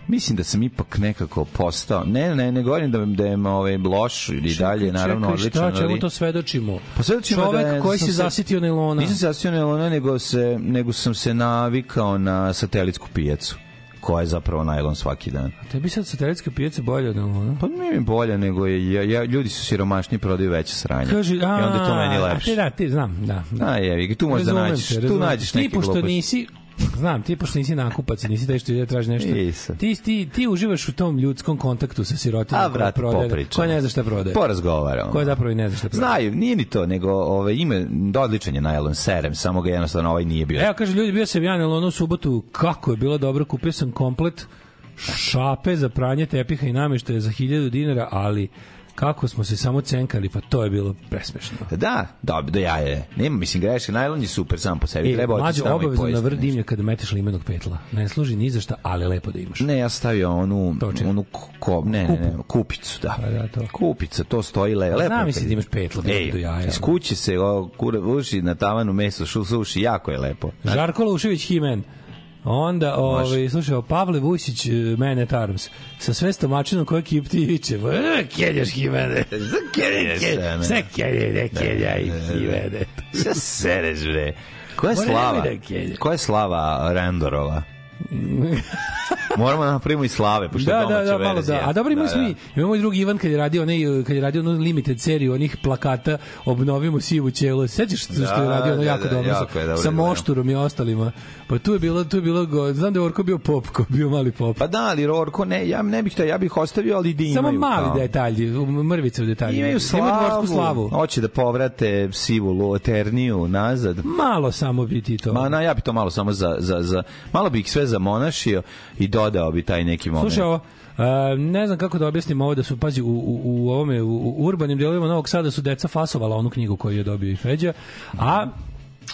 Speaker 9: Mislim da sam ipak nekako postao. Ne, ne, ne govorim da, da je ovaj, loš ili dalje, naravno,
Speaker 10: Čekaj,
Speaker 9: odličan.
Speaker 10: Šta, čemu
Speaker 9: ali-
Speaker 10: to svedočimo?
Speaker 9: Pa svedočimo
Speaker 10: Čovek
Speaker 9: da je-
Speaker 10: koji
Speaker 9: sam
Speaker 10: se
Speaker 9: se-
Speaker 10: zasitio Nelona.
Speaker 9: Nisam se zasio najlona, nego, se, nego sam se navikao na satelitsku pijacu, koja je zapravo najlon svaki dan.
Speaker 10: Tebi sad satelitska pijaca bolja od Nelona?
Speaker 9: Pa nije mi bolje nego je, ja, ja, ljudi su siromašni i prodaju veće sranje.
Speaker 10: Kaže, a,
Speaker 9: I onda je to meni
Speaker 10: a
Speaker 9: lepše.
Speaker 10: ti da, ti znam, da. da.
Speaker 9: A jevi, ga, tu možda
Speaker 10: Razumem
Speaker 9: nađeš,
Speaker 10: te,
Speaker 9: tu
Speaker 10: razumem.
Speaker 9: nađeš neki
Speaker 10: Ti pošto
Speaker 9: glupost.
Speaker 10: nisi, znam, ti pošto nisi nakupac, i nisi taj što ide da traži nešto.
Speaker 9: Nisam.
Speaker 10: Ti, ti, ti uživaš u tom ljudskom kontaktu sa sirotinom
Speaker 9: A
Speaker 10: koja
Speaker 9: vrat
Speaker 10: prodaje-
Speaker 9: popričamo.
Speaker 10: koja ne zna šta prodaje.
Speaker 9: Porazgovaramo.
Speaker 10: Koja zapravo i ne zna šta prodaje.
Speaker 9: Znaju, nije ni to, nego ovaj, ima da odličan je najlon serem, samo ga jednostavno ovaj nije bio.
Speaker 10: Evo, kaže, ljudi, bio sam ja na Lonu u subotu, kako je bilo dobro, kupio sam komplet šape za pranje tepiha i nameštaja za 1000 dinara, ali kako smo se samo cenkali, pa to je bilo presmešno.
Speaker 9: Da, dobro, da ja je. Nema, mislim, greške, najlon je super sam po sebi,
Speaker 10: E,
Speaker 9: treba otići
Speaker 10: mlađo,
Speaker 9: tamo i
Speaker 10: obavezno na
Speaker 9: pojesti
Speaker 10: vrh
Speaker 9: nešto.
Speaker 10: dimlja kada meteš limenog petla. Ne služi ni za šta, ali lepo da imaš.
Speaker 9: Ne, ja sam stavio onu,
Speaker 10: Toče.
Speaker 9: onu ko- ko, ne, ne, ne, kupicu, da.
Speaker 10: Pa da, to. Pa
Speaker 9: Kupica, to stoji le, lepo.
Speaker 10: Znam
Speaker 9: je
Speaker 10: mislim
Speaker 9: kad-
Speaker 10: da imaš petlo, bilo
Speaker 9: Ej,
Speaker 10: do jaja. ono.
Speaker 9: Iz kuće se o, kura, uši na tavanu meso, šu, suši, jako je lepo.
Speaker 10: Žarko Lušević Himen. Onda, ovaj, slušaj, o, Pavle eh, Vusić, mene Tarms, sa sve stomačinom koja kipti i viče, "E, keljaš ki mene.
Speaker 9: keljaš,
Speaker 10: Kelj-
Speaker 9: ono.
Speaker 10: Sve kelje, ne keljaj ki mene.
Speaker 9: Šta sereš, bre? Koja je
Speaker 10: Moram
Speaker 9: slava?
Speaker 10: da keljem.
Speaker 9: Koja je slava Rendorova? Moramo da napravimo i slave, pošto je
Speaker 10: Da, da,
Speaker 9: domaća
Speaker 10: da, malo
Speaker 9: verzija.
Speaker 10: da. A dobro, imali smo i, imamo i drugi Ivan kad je radio, onaj, kad je radio onu limited seriju onih plakata, obnovimo sivu ćelu. Sećaš se što je
Speaker 9: Da,
Speaker 10: radio ono
Speaker 9: da,
Speaker 10: jako
Speaker 9: da,
Speaker 10: dobro,
Speaker 9: jako je
Speaker 10: sa,
Speaker 9: dobro
Speaker 10: sa
Speaker 9: izgledao.
Speaker 10: Mošturom i ostalima. Pa tu je bilo, tu je bilo, go- znam da je Orko bio popko, bio mali pop.
Speaker 9: Pa da, ali Rorko, ne, ja ne bih to, ja bih ostavio, ali da imaju.
Speaker 10: Samo mali
Speaker 9: kao.
Speaker 10: detalji, mrvice u detalji.
Speaker 9: Imaju slavu.
Speaker 10: Imaju dvorsku slavu.
Speaker 9: Hoće da povrate sivu loterniju nazad.
Speaker 10: Malo samo bi ti to.
Speaker 9: Ma na, ja bi to malo samo za, za, za, malo bi ih sve zamonašio i dodao bi taj neki moment.
Speaker 10: Slušaj ovo, e, ne znam kako da objasnim ovo da su, pazi, u, u, u ovome, u, u urbanim delovima Novog Sada su deca fasovala onu knjigu koju je dobio i Feđa, a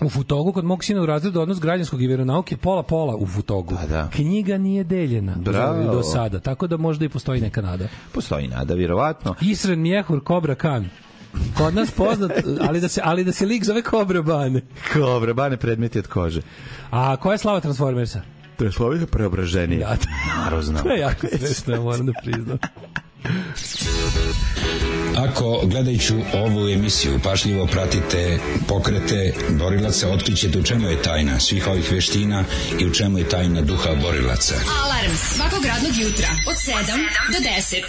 Speaker 10: u Futogu kod mog sina u razredu odnos građanskog i veronauke pola pola u Futogu.
Speaker 9: Pa da.
Speaker 10: Knjiga nije deljena
Speaker 9: Bravo.
Speaker 10: do sada, tako da možda i postoji neka nada.
Speaker 9: Postoji nada, vjerovatno.
Speaker 10: Isren Mjehur Kobra Khan. Kod nas poznat, ali da se, ali da se lik zove Kobra Bane.
Speaker 9: Kobra, bane predmeti od kože.
Speaker 10: A koja je slava Transformersa?
Speaker 9: Transformica preobraženije.
Speaker 10: Da,
Speaker 9: Naravno znam.
Speaker 10: to je jako smešno, ja moram da priznam.
Speaker 12: Ako gledajući ovu emisiju pašljivo pratite pokrete borilaca, otkrićete u čemu je tajna svih ovih veština i u čemu je tajna duha borilaca.
Speaker 8: Alarm svakog radnog jutra od 7 do 10. Do 10.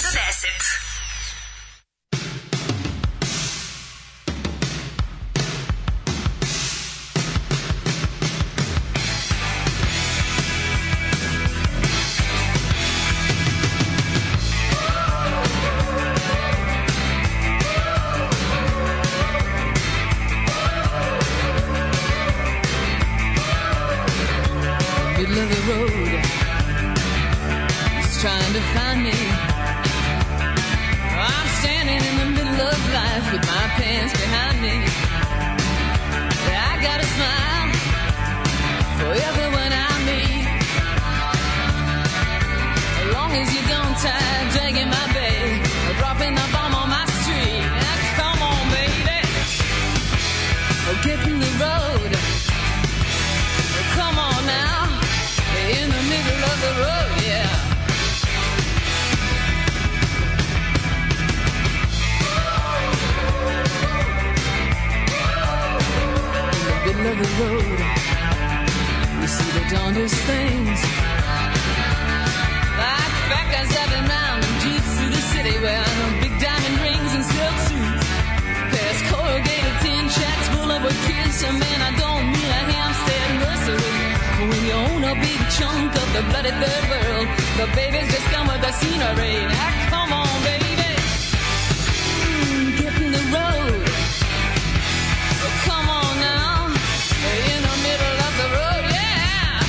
Speaker 5: middle of the road. It's trying to find me. I'm standing in the middle of life with my pants behind me. I got a smile for everyone I meet. As long as you don't try dragging my bay or dropping the bomb on my street. Now, come on, baby. Oh, Get in the road. Come on now, in the middle of the road, yeah. In the middle of the road, you see the darndest things. Like fat guys driving round in jeeps through the city wearing big diamond rings and silk suits. There's corrugated tin shacks full of kids. And man, I don't mean a hamster nursery. When you own a big chunk of the bloody third world, the babies just come with the scenery. Now, come on, baby. Mm, get in the road. Oh, come on now. In the middle of the road, yeah.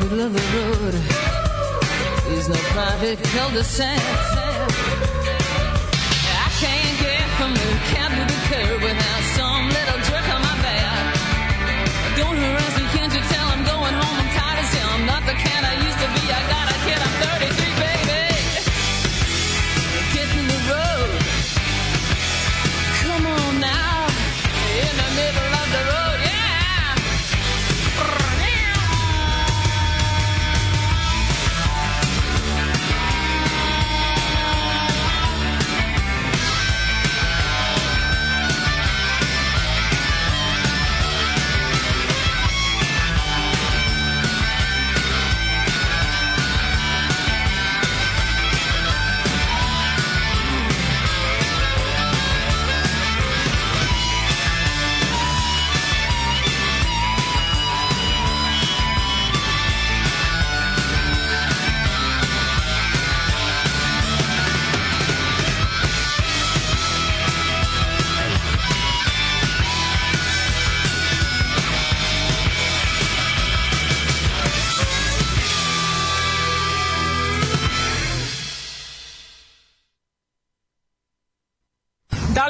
Speaker 5: middle of the road is no private cul-de-sac. I can't get from the cab to the curb without some little jerk on my back. Don't harass me, can't you tell I'm going home? I'm tired as hell. I'm not the cat I used to be. I got a kid, I'm 33, baby. Get in the road. Come on now. In the middle of the road, yeah.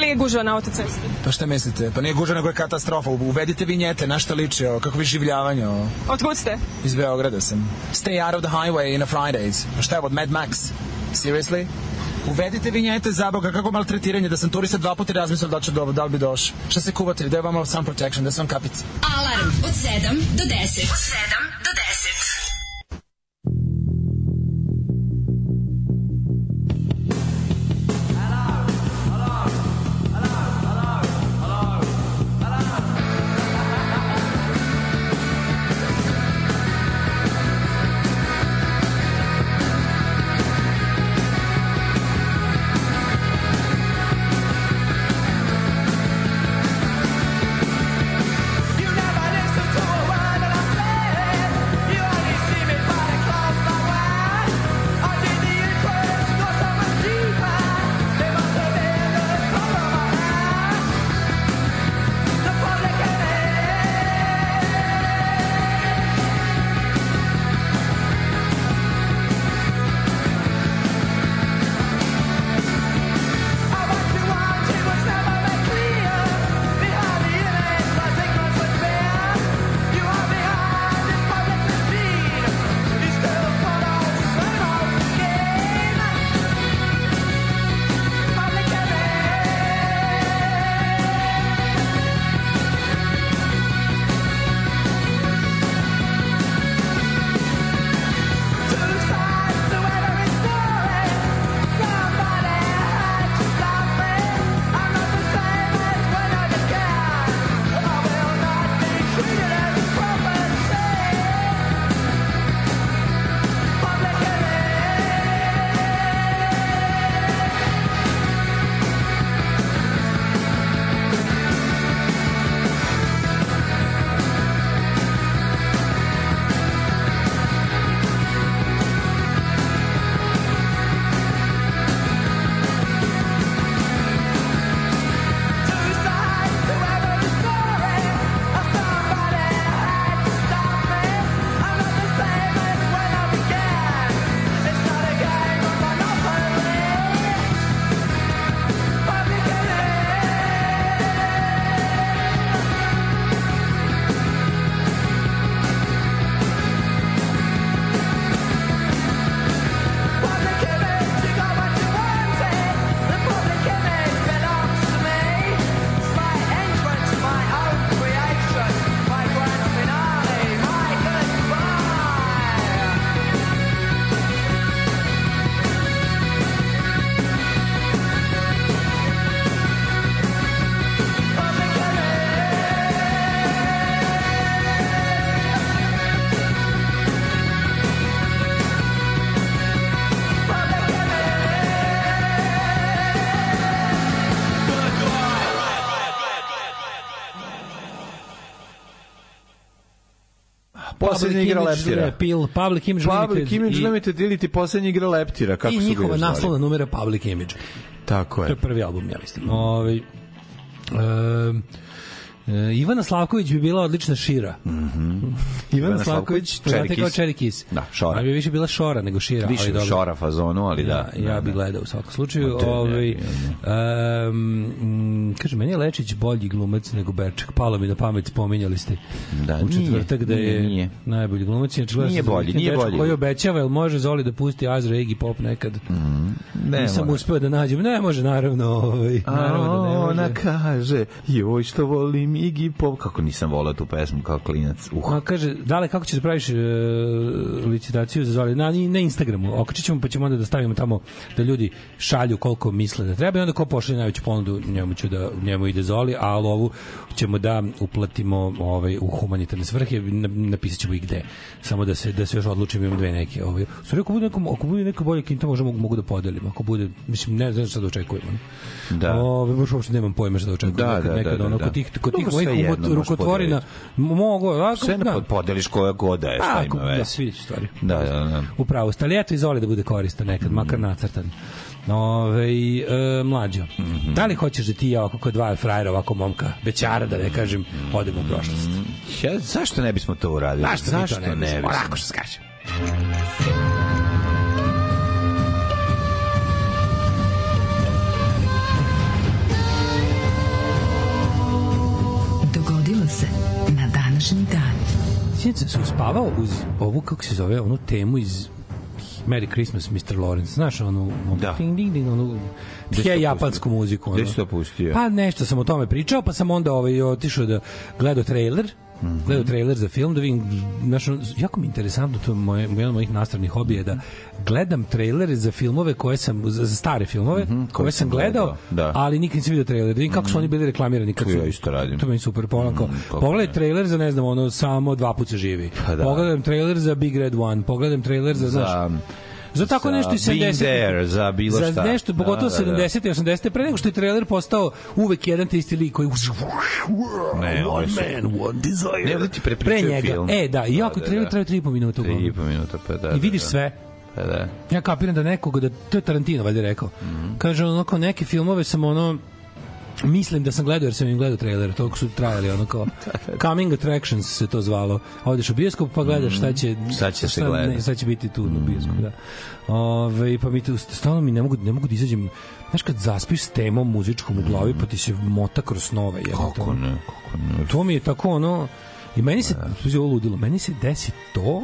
Speaker 5: li je gužva na autocesti?
Speaker 13: Pa šta mislite? Pa nije gužva, nego je katastrofa. Uvedite vinjete, na šta liči ovo, kako vi življavanje ovo.
Speaker 5: Otkud ste?
Speaker 13: Iz Beograda sam. Stay out of the highway na Fridays. Pa šta je od Mad Max? Seriously? Uvedite vinjete za Boga, kako maltretiranje, da sam turista dva puta razmislio da, ću do, da li bi došao. Šta se kuvate, da je vama sun protection, da sam kapic.
Speaker 14: Alarm od 7 do 10. Od 7 do 10.
Speaker 11: Poslednja Pa igra
Speaker 10: Image
Speaker 11: Leptira.
Speaker 10: Appeal, Public Image
Speaker 11: Public
Speaker 10: Limited
Speaker 11: Image
Speaker 10: i-
Speaker 11: Limited ili ti poslednja igra Leptira, kako
Speaker 10: I
Speaker 11: su ga
Speaker 10: njihova
Speaker 11: još zvali?
Speaker 10: naslovna numera Public Image.
Speaker 11: Tako
Speaker 10: To
Speaker 11: je.
Speaker 10: je prvi album, ja mislim. Ovaj em, e, Ivana Slavković bi bila odlična šira.
Speaker 11: Mhm.
Speaker 10: Ivana Slavković, poznate kao Cherry Kiss.
Speaker 11: Da, Šora.
Speaker 10: Ona bi više bila Šora nego Šira.
Speaker 11: Više
Speaker 10: ali dobro.
Speaker 11: Šora fazonu, ali da.
Speaker 10: Ja, ja bih gledao u svakom slučaju.
Speaker 11: Ma to je
Speaker 10: Ovaj, um, kaže, meni je Lečić bolji glumac nego Berček. Palo mi na pamet, pominjali ste
Speaker 11: Da,
Speaker 10: u
Speaker 11: nije,
Speaker 10: četvrtak da
Speaker 11: nije,
Speaker 10: je
Speaker 11: nije.
Speaker 10: najbolji glumac. Inače, gledao
Speaker 11: Nije
Speaker 10: sam za
Speaker 11: bolji,
Speaker 10: vikend
Speaker 11: nije
Speaker 10: dečko
Speaker 11: bolji.
Speaker 10: Koji obećava, jel može Zoli da pusti Azra Iggy Pop nekad?
Speaker 11: Mm. ne
Speaker 10: Nisam
Speaker 11: mora.
Speaker 10: uspeo da nađem. Ne može, naravno. Ovaj,
Speaker 11: A
Speaker 10: naravno da ne može.
Speaker 11: ona kaže, joj što volim Iggy Pop, kako nisam volao tu pesmu kao klinac. Uh,
Speaker 10: Ona kaže, dale, kako ćeš da praviš e, licitaciju za Zoli? Na, na Instagramu. Okačit ćemo, pa ćemo onda da stavimo tamo da ljudi šalju koliko misle da treba i onda ko pošalje najveću ponudu, njemu, ću da, njemu ide Zoli, a ovu ćemo da uplatimo ovaj, u humanitarne svrhe, na- napisat ćemo i gde. Samo da se, da se još odlučimo, imam dve neke. Ovaj. U Stvari, ako bude nekom, ako bude neko bolje kinta, možda mogu, mogu da podelim. Ako bude, mislim, ne znam šta da očekujemo. ne?
Speaker 11: Da.
Speaker 10: Ovaj, baš uopšte nemam pojma šta da očekujem.
Speaker 11: Da,
Speaker 10: nekad,
Speaker 11: da,
Speaker 10: nekad,
Speaker 11: da, da,
Speaker 10: ono,
Speaker 11: da.
Speaker 10: Kod tih, kod tih
Speaker 11: Dobro,
Speaker 10: mojih
Speaker 11: svejedno,
Speaker 10: umot-
Speaker 11: možeš
Speaker 10: rukotvorina, mogu, ovako,
Speaker 11: sve
Speaker 10: da.
Speaker 11: na Pa podeliš koja god da je,
Speaker 10: A,
Speaker 11: šta
Speaker 10: ako-
Speaker 11: ima
Speaker 10: da,
Speaker 11: veze.
Speaker 10: svi stvari.
Speaker 11: Da, da, Mhm. da.
Speaker 10: Upravo ste, ali eto izvoli da bude koristan nekad, makar nacrtan. Ove, e, mlađo,
Speaker 11: Mhm.
Speaker 10: da li hoćeš da ti i ja ovako kod dva frajera, ovako momka, bećara da ne kažem, odemo u prošlost?
Speaker 11: Ja, zašto ne bismo to uradili?
Speaker 10: Zašto mi to ne bismo? Onako što se
Speaker 11: kaže.
Speaker 9: Thank
Speaker 10: sinoć sam se uspavao uz ovu, kako se zove, onu temu iz Merry Christmas, Mr. Lawrence. Znaš, onu, onu da. ding, ding, ding, onu
Speaker 9: Gde si to
Speaker 10: tje
Speaker 9: pustio?
Speaker 10: japansku muziku.
Speaker 9: Gde
Speaker 10: ono.
Speaker 9: si to pustio?
Speaker 10: Pa nešto sam o tome pričao, pa sam onda ovaj, otišao da gledao trailer, Mm
Speaker 9: Mhm.
Speaker 10: -hmm. gledao trailer za film da vidim, znaš, ono, jako mi je interesantno to je moje, jedan od mojih nastavnih hobija da gledam trailere za filmove koje sam, za, za stare filmove mm -hmm, koje, koje sam gledao,
Speaker 9: Mhm, gledao, da.
Speaker 10: ali nikad nisam video trailer, da vidim kako su oni bili reklamirani kad
Speaker 9: To
Speaker 10: su,
Speaker 9: ja isto radim.
Speaker 10: to meni super polako. Mm,
Speaker 9: kako
Speaker 10: Pogledaj
Speaker 9: ne.
Speaker 10: trailer za ne znam ono samo dva puta se živi.
Speaker 9: Pa da.
Speaker 10: Pogledam trailer za Big Red One, pogledam trailer za znaš,
Speaker 9: Za-
Speaker 10: za tako
Speaker 9: za
Speaker 10: nešto iz
Speaker 9: Been
Speaker 10: 70
Speaker 9: There, za bilo
Speaker 10: za
Speaker 9: šta.
Speaker 10: nešto
Speaker 9: Da,
Speaker 10: pogotovo
Speaker 9: da, da.
Speaker 10: 70 i 80 pre nego što je trailer postao uvek jedan te isti lik koji
Speaker 9: Ne,
Speaker 10: one
Speaker 9: oni su-
Speaker 10: man one desire.
Speaker 9: Ne, ovde ti
Speaker 10: pre
Speaker 9: prepričaju
Speaker 10: njega.
Speaker 9: film.
Speaker 10: E da, i jako
Speaker 9: Da, da,
Speaker 10: trailer
Speaker 9: da.
Speaker 10: traje 3,5 minuta uglavnom.
Speaker 9: 3,5 minuta, pa da.
Speaker 10: I vidiš
Speaker 9: da, da.
Speaker 10: sve.
Speaker 9: Pa da. Mhm.
Speaker 10: Ja kapiram da nekoga da to je Tarantino valjda rekao. Kaže ono kao neke filmove sam ono mislim da sam gledao jer sam im gledao trailer, toliko su trajali ono kao Coming Attractions se to zvalo. Odeš u bioskop pa gledaš šta će
Speaker 9: Mm, Šta će se Mm. gleda.
Speaker 10: ne, šta će biti tu u bioskopu, da. Ove, pa mi tu stalno mi ne mogu ne mogu da izađem. Znaš kad zaspiš s temom muzičkom u glavi pa ti se mota kroz snove, je
Speaker 9: Kako ne, kako ne.
Speaker 10: to mi je tako ono i meni se sve ovo ludilo meni se desi to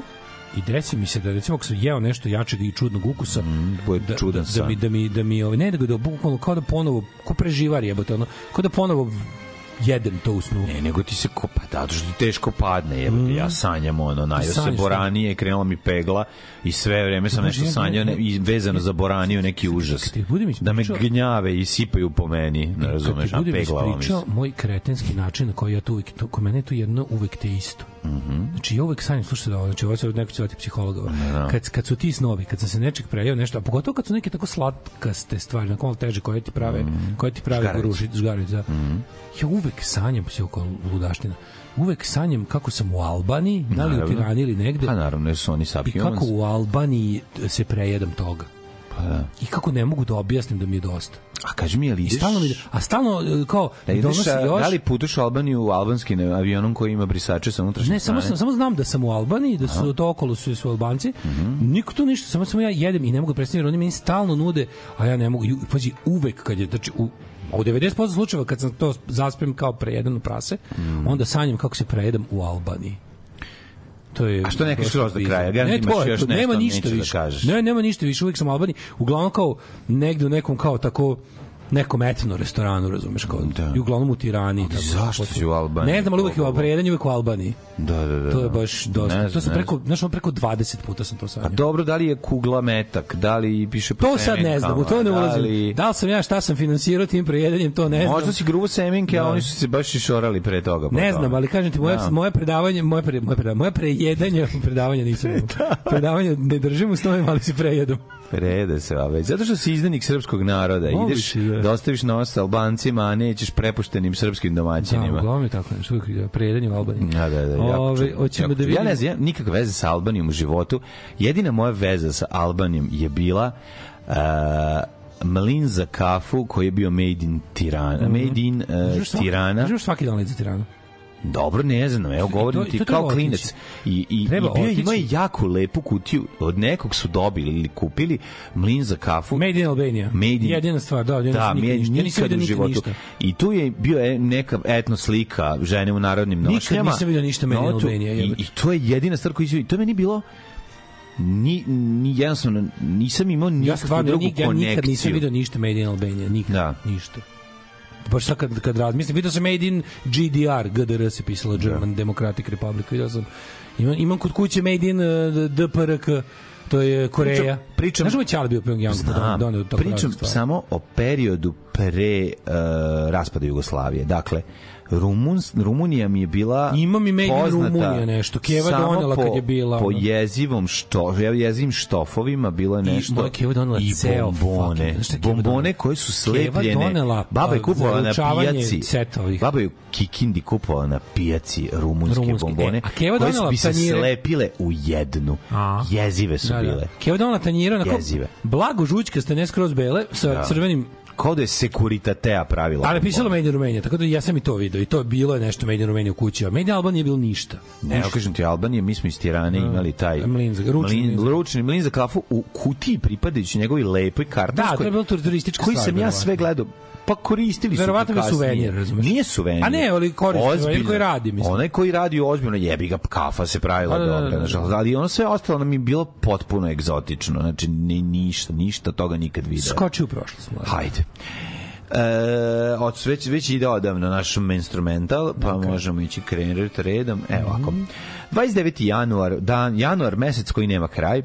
Speaker 10: i desi mi se da recimo ako sam jeo nešto jačeg i čudnog ukusa
Speaker 9: bude
Speaker 10: da,
Speaker 9: čudan
Speaker 10: da, da
Speaker 9: san.
Speaker 10: mi da mi da mi ovaj ne nego da bukvalno kao da ponovo ko preživar jebote ono kao da ponovo jedem to u snu
Speaker 9: Ne, nego ti se kopa, da, to što ti teško padne, jebote, ja sanjam ono, najao se
Speaker 10: Mhm. sanjaš, da.
Speaker 9: boranije, krenula mi pegla i sve vreme sam nešto sanjao ne, i vezano za boraniju neki užas.
Speaker 10: ti budem
Speaker 9: Da me
Speaker 10: ispričao-
Speaker 9: gnjave i sipaju po meni, ne
Speaker 10: Kad
Speaker 9: razumeš,
Speaker 10: ti
Speaker 9: a
Speaker 10: budem
Speaker 9: peglava mi se.
Speaker 10: ispričao moj kretenski način na koji ja to uvijek, to, kod mene je to jedno uvek te isto. Mm
Speaker 9: Mhm.
Speaker 10: -hmm. Znači ja uvek sanjam, slušajte da ovo, znači ovo se neko će zvati psihologa. Kad, kad su ti snovi, kad sam se nečeg prejao nešto, a pogotovo kad su neke tako slatkaste stvari, na malo teže koje ti prave, mm
Speaker 9: Mhm.
Speaker 10: -hmm. koje ti prave
Speaker 9: Žgaravice.
Speaker 10: goruši, žgarice, da. Mm
Speaker 9: Mhm.
Speaker 10: -hmm. Ja uvek sanjam, psih oko ludaština, uvek sanjam kako sam u Albaniji, da li u
Speaker 9: Naravno.
Speaker 10: Tirani ili negde,
Speaker 9: Pa naravno, jer su oni
Speaker 10: i
Speaker 9: sapiomans.
Speaker 10: kako u Albaniji se prejedam toga.
Speaker 9: Pa da.
Speaker 10: I kako ne mogu da objasnim da mi je dosta.
Speaker 9: A kaži mi, je li
Speaker 10: I
Speaker 9: ideš...
Speaker 10: stalno mi, a stalno e, kao
Speaker 9: Da
Speaker 10: mi
Speaker 9: ideš,
Speaker 10: donosi
Speaker 9: a,
Speaker 10: još.
Speaker 9: da li putuješ u Albaniju albanskim avionom koji ima brisače sa unutrašnje
Speaker 10: Ne, samo
Speaker 9: strane?
Speaker 10: sam, samo znam da sam u Albaniji, da su to okolo su, su Albanci.
Speaker 9: Mhm.
Speaker 10: Niko tu ništa, samo samo ja jedem i ne mogu predstaviti, jer oni meni stalno nude, a ja ne mogu. I, pazi, uvek kad je, znači, u, u 90% slučajeva kad sam to zaspem kao prejedeno prase,
Speaker 9: Mhm.
Speaker 10: onda sanjam kako se prejedem u Albaniji. To je
Speaker 9: A što ne kažeš
Speaker 10: dosta
Speaker 9: skroz do
Speaker 10: bizarno.
Speaker 9: kraja? Garanti
Speaker 10: Ne, to
Speaker 9: imaš
Speaker 10: je
Speaker 9: još
Speaker 10: to, nema
Speaker 9: nešto,
Speaker 10: ništa
Speaker 9: nećeš da
Speaker 10: više.
Speaker 9: kažeš.
Speaker 10: Ne, nema ništa više, uvijek sam u Albaniji. Uglavnom kao negde u nekom kao tako nekom etno restoranu, razumeš, kao, da. i uglavnom u Tirani. tako,
Speaker 9: zašto si u Albaniji?
Speaker 10: Ne znam, ali uvek je u Albaniji, uvek u Albaniji.
Speaker 9: Da, da, da.
Speaker 10: To je baš dosta.
Speaker 9: Ne
Speaker 10: to
Speaker 9: znam,
Speaker 10: sam
Speaker 9: ne
Speaker 10: preko, znači preko 20 puta sam to sanjao.
Speaker 9: A Pa dobro, da li je kugla metak, da li piše po
Speaker 10: To sad ne znam, u to ne
Speaker 9: semenkama,
Speaker 10: ulazim.
Speaker 9: Da li...
Speaker 10: Da li sam ja šta sam finansirao tim prejedanjem, to ne znam.
Speaker 9: Možda si gruvo semenke, a oni su se baš išorali pre toga. po
Speaker 10: Ne
Speaker 9: tome.
Speaker 10: znam, ali kažem ti, moje,
Speaker 9: Da.
Speaker 10: moje predavanje, moje, pre, moje, predavanje, moje prejedanje, predavanje nisam imao. Predavanje ne držim u snovima, ali se prejedam.
Speaker 9: Prede se, a već. Zato što si izdanik srpskog naroda.
Speaker 10: Moguće,
Speaker 9: Ideš,
Speaker 10: da.
Speaker 9: da ostaviš nos Albancima, a nećeš prepuštenim srpskim
Speaker 10: Da,
Speaker 9: domaćinima.
Speaker 10: uglavnom je tako nešto, uvijek ide, prejedanje u Albaniji.
Speaker 9: Da, da, da. jako
Speaker 10: Ove,
Speaker 9: čudno,
Speaker 10: hoćemo
Speaker 9: jako čudno.
Speaker 10: da vidimo.
Speaker 9: Ja ne znam, ja nemam nikakve veze sa Albanijom u životu. Jedina moja veza sa Albanijom je bila uh, mlin za kafu koji je bio made in Tirana.
Speaker 10: Mhm.
Speaker 9: Made in uh,
Speaker 10: Možeš svaki-
Speaker 9: Tirana.
Speaker 10: možeš svaki dan lezi Tirana.
Speaker 9: Dobro, ne znam, evo govorim
Speaker 10: E, to-
Speaker 9: ti
Speaker 10: to treba
Speaker 9: kao
Speaker 10: otići.
Speaker 9: klinec. I, i, i
Speaker 10: Treba
Speaker 9: bio je- imao je
Speaker 10: otići.
Speaker 9: jako lepu kutiju, od nekog su dobili ili kupili mlin za kafu.
Speaker 10: Made in Albania.
Speaker 9: Made in-
Speaker 10: Jedina stvar, da, jedina
Speaker 9: da,
Speaker 10: stvar,
Speaker 9: mi je
Speaker 10: nikad, ništa. Ja nisam
Speaker 9: nikad
Speaker 10: vidio
Speaker 9: u
Speaker 10: nikad
Speaker 9: životu.
Speaker 10: ništa.
Speaker 9: I tu je bio je neka etno slika žene u narodnim
Speaker 10: Nikad
Speaker 9: nošnjama.
Speaker 10: nisam vidio ništa meni
Speaker 9: Notu.
Speaker 10: Albanije,
Speaker 9: I,
Speaker 10: jebote.
Speaker 9: I to je jedina stvar koju izvedi. To meni bilo ni, ni jednostavno nisam imao nikakvu
Speaker 10: ja stvarno
Speaker 9: drugu
Speaker 10: nik, ja
Speaker 9: konekciju.
Speaker 10: nikad nisam video ništa Made in Albania, nikad, da.
Speaker 9: Da.
Speaker 10: ništa. Baš sad kad, kad razmislim, video sam Made in GDR, GDR se pisalo German Democratic Republic, video sam. Imam, imam kod kuće Made in uh, DPRK, to je Koreja.
Speaker 9: Pričam- pričam-
Speaker 10: Znaš ovo je Ćale bio u Pjongjangu, pa
Speaker 9: Znam,
Speaker 10: da donio tako
Speaker 9: pričam
Speaker 10: raznih stvari.
Speaker 9: samo o periodu pre uh, raspada Jugoslavije. Dakle, Rumun, Rumunija mi je bila
Speaker 10: Imam i made in
Speaker 9: poznata
Speaker 10: Rumunija nešto. Keva
Speaker 9: samo
Speaker 10: donela kad
Speaker 9: po-
Speaker 10: je bila,
Speaker 9: Po
Speaker 10: ono.
Speaker 9: jezivom što, jezivim štofovima bilo je nešto.
Speaker 10: moja Keva donela
Speaker 9: i
Speaker 10: ceo
Speaker 9: bombone.
Speaker 10: fucking- Znaš šta je Keva
Speaker 9: bombone
Speaker 10: donela?
Speaker 9: koje su
Speaker 10: Keva
Speaker 9: slepljene.
Speaker 10: donela,
Speaker 9: Baba je
Speaker 10: a,
Speaker 9: kupovala na
Speaker 10: zaručavanje
Speaker 9: pijaci.
Speaker 10: set ovih.
Speaker 9: Baba je u Kikindi kupovala na pijaci rumunske,
Speaker 10: Rumunske.
Speaker 9: bombone.
Speaker 10: E, a Keva
Speaker 9: koje su
Speaker 10: donela
Speaker 9: bi se
Speaker 10: tanjire.
Speaker 9: slepile u jednu.
Speaker 10: A.
Speaker 9: Jezive su
Speaker 10: Da, da.
Speaker 9: bile.
Speaker 10: Keva donela tanjira, onako,
Speaker 9: Jezive.
Speaker 10: blago žućka ste ne skroz bele, sa crvenim
Speaker 9: Kao da je Sekuritatea pravila.
Speaker 10: Ali je pisalo
Speaker 9: bombone.
Speaker 10: Made in Romania, tako da ja sam i to video i to je bilo je nešto Made in Romania u kući, a Made in Albania nije bilo ništa.
Speaker 9: Ne, evo kažem ti, Albanije, mi smo iz Tirane imali taj
Speaker 10: Mlin za- ručni
Speaker 9: mlin,
Speaker 10: mlin za-
Speaker 9: ručni mlin za kafu u kutiji pripadajući njegovi lepoj kartonskoj.
Speaker 10: Da, to je bilo turistička
Speaker 9: koji
Speaker 10: stvar,
Speaker 9: sam ja
Speaker 10: verovatno.
Speaker 9: sve gledao Pa koristili su
Speaker 10: Verovatno
Speaker 9: ga
Speaker 10: ga
Speaker 9: kasnije.
Speaker 10: suvenir, razumeš?
Speaker 9: Nije suvenir.
Speaker 10: A ne, ali koristi suvenir
Speaker 9: Ozbiljno.
Speaker 10: koji radi, mislim.
Speaker 9: Onaj koji radi ozbiljno, jebi ga, kafa se pravila
Speaker 10: Da, da, da,
Speaker 9: dobra.
Speaker 10: da.
Speaker 9: znaš, Ali ono sve ostalo nam je bilo potpuno egzotično. Znači, ni, ništa, ništa toga nikad video.
Speaker 10: Skoči u prošlost. mlade.
Speaker 9: Hajde. E, od već, već ide odavno naš instrumental, pa možemo ići krenuti redom.
Speaker 10: Mhm.
Speaker 9: Evo ovako. 29. januar, dan, januar mesec koji nema kraj.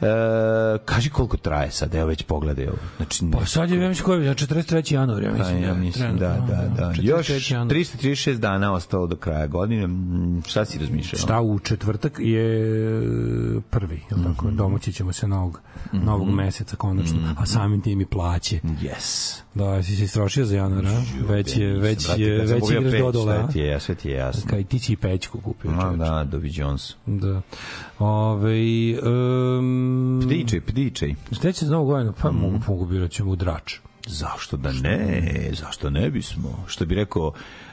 Speaker 9: E, kaži koliko traje sad, evo već pogledaj ovo. Znači,
Speaker 10: Pa sad je, ja mislim, koji je, 43. januar, ja
Speaker 9: Da,
Speaker 10: Pa, mislim.
Speaker 9: Pa ja mislim, da,
Speaker 10: trenutno,
Speaker 9: da, da.
Speaker 10: 43.
Speaker 9: Još
Speaker 10: januar.
Speaker 9: 336 dana ostalo do kraja godine. Mm, Šta si razmišljao?
Speaker 10: Šta u četvrtak je e, prvi, jel tako?
Speaker 9: Mhm.
Speaker 10: Domoći ćemo se novog, novog meseca konačno, a samim tim i plaće.
Speaker 9: Mhm. Yes.
Speaker 10: Da, si se istrošio za januar, a? Već je, već je, već igraš dodole, a?
Speaker 9: Sve ti je, sve ti je jasno.
Speaker 10: Kaj ti si i pećku kupio.
Speaker 9: Ma
Speaker 10: čoveče.
Speaker 9: da, Dovi Jones.
Speaker 10: Da. Ove, um,
Speaker 9: Pdičej, pdičej.
Speaker 10: Šta će za novu godinu? Pa
Speaker 9: Mhm.
Speaker 10: mogu, mogu birat ćemo u drač.
Speaker 9: Zašto da ne? Zašto ne bismo? Što bi rekao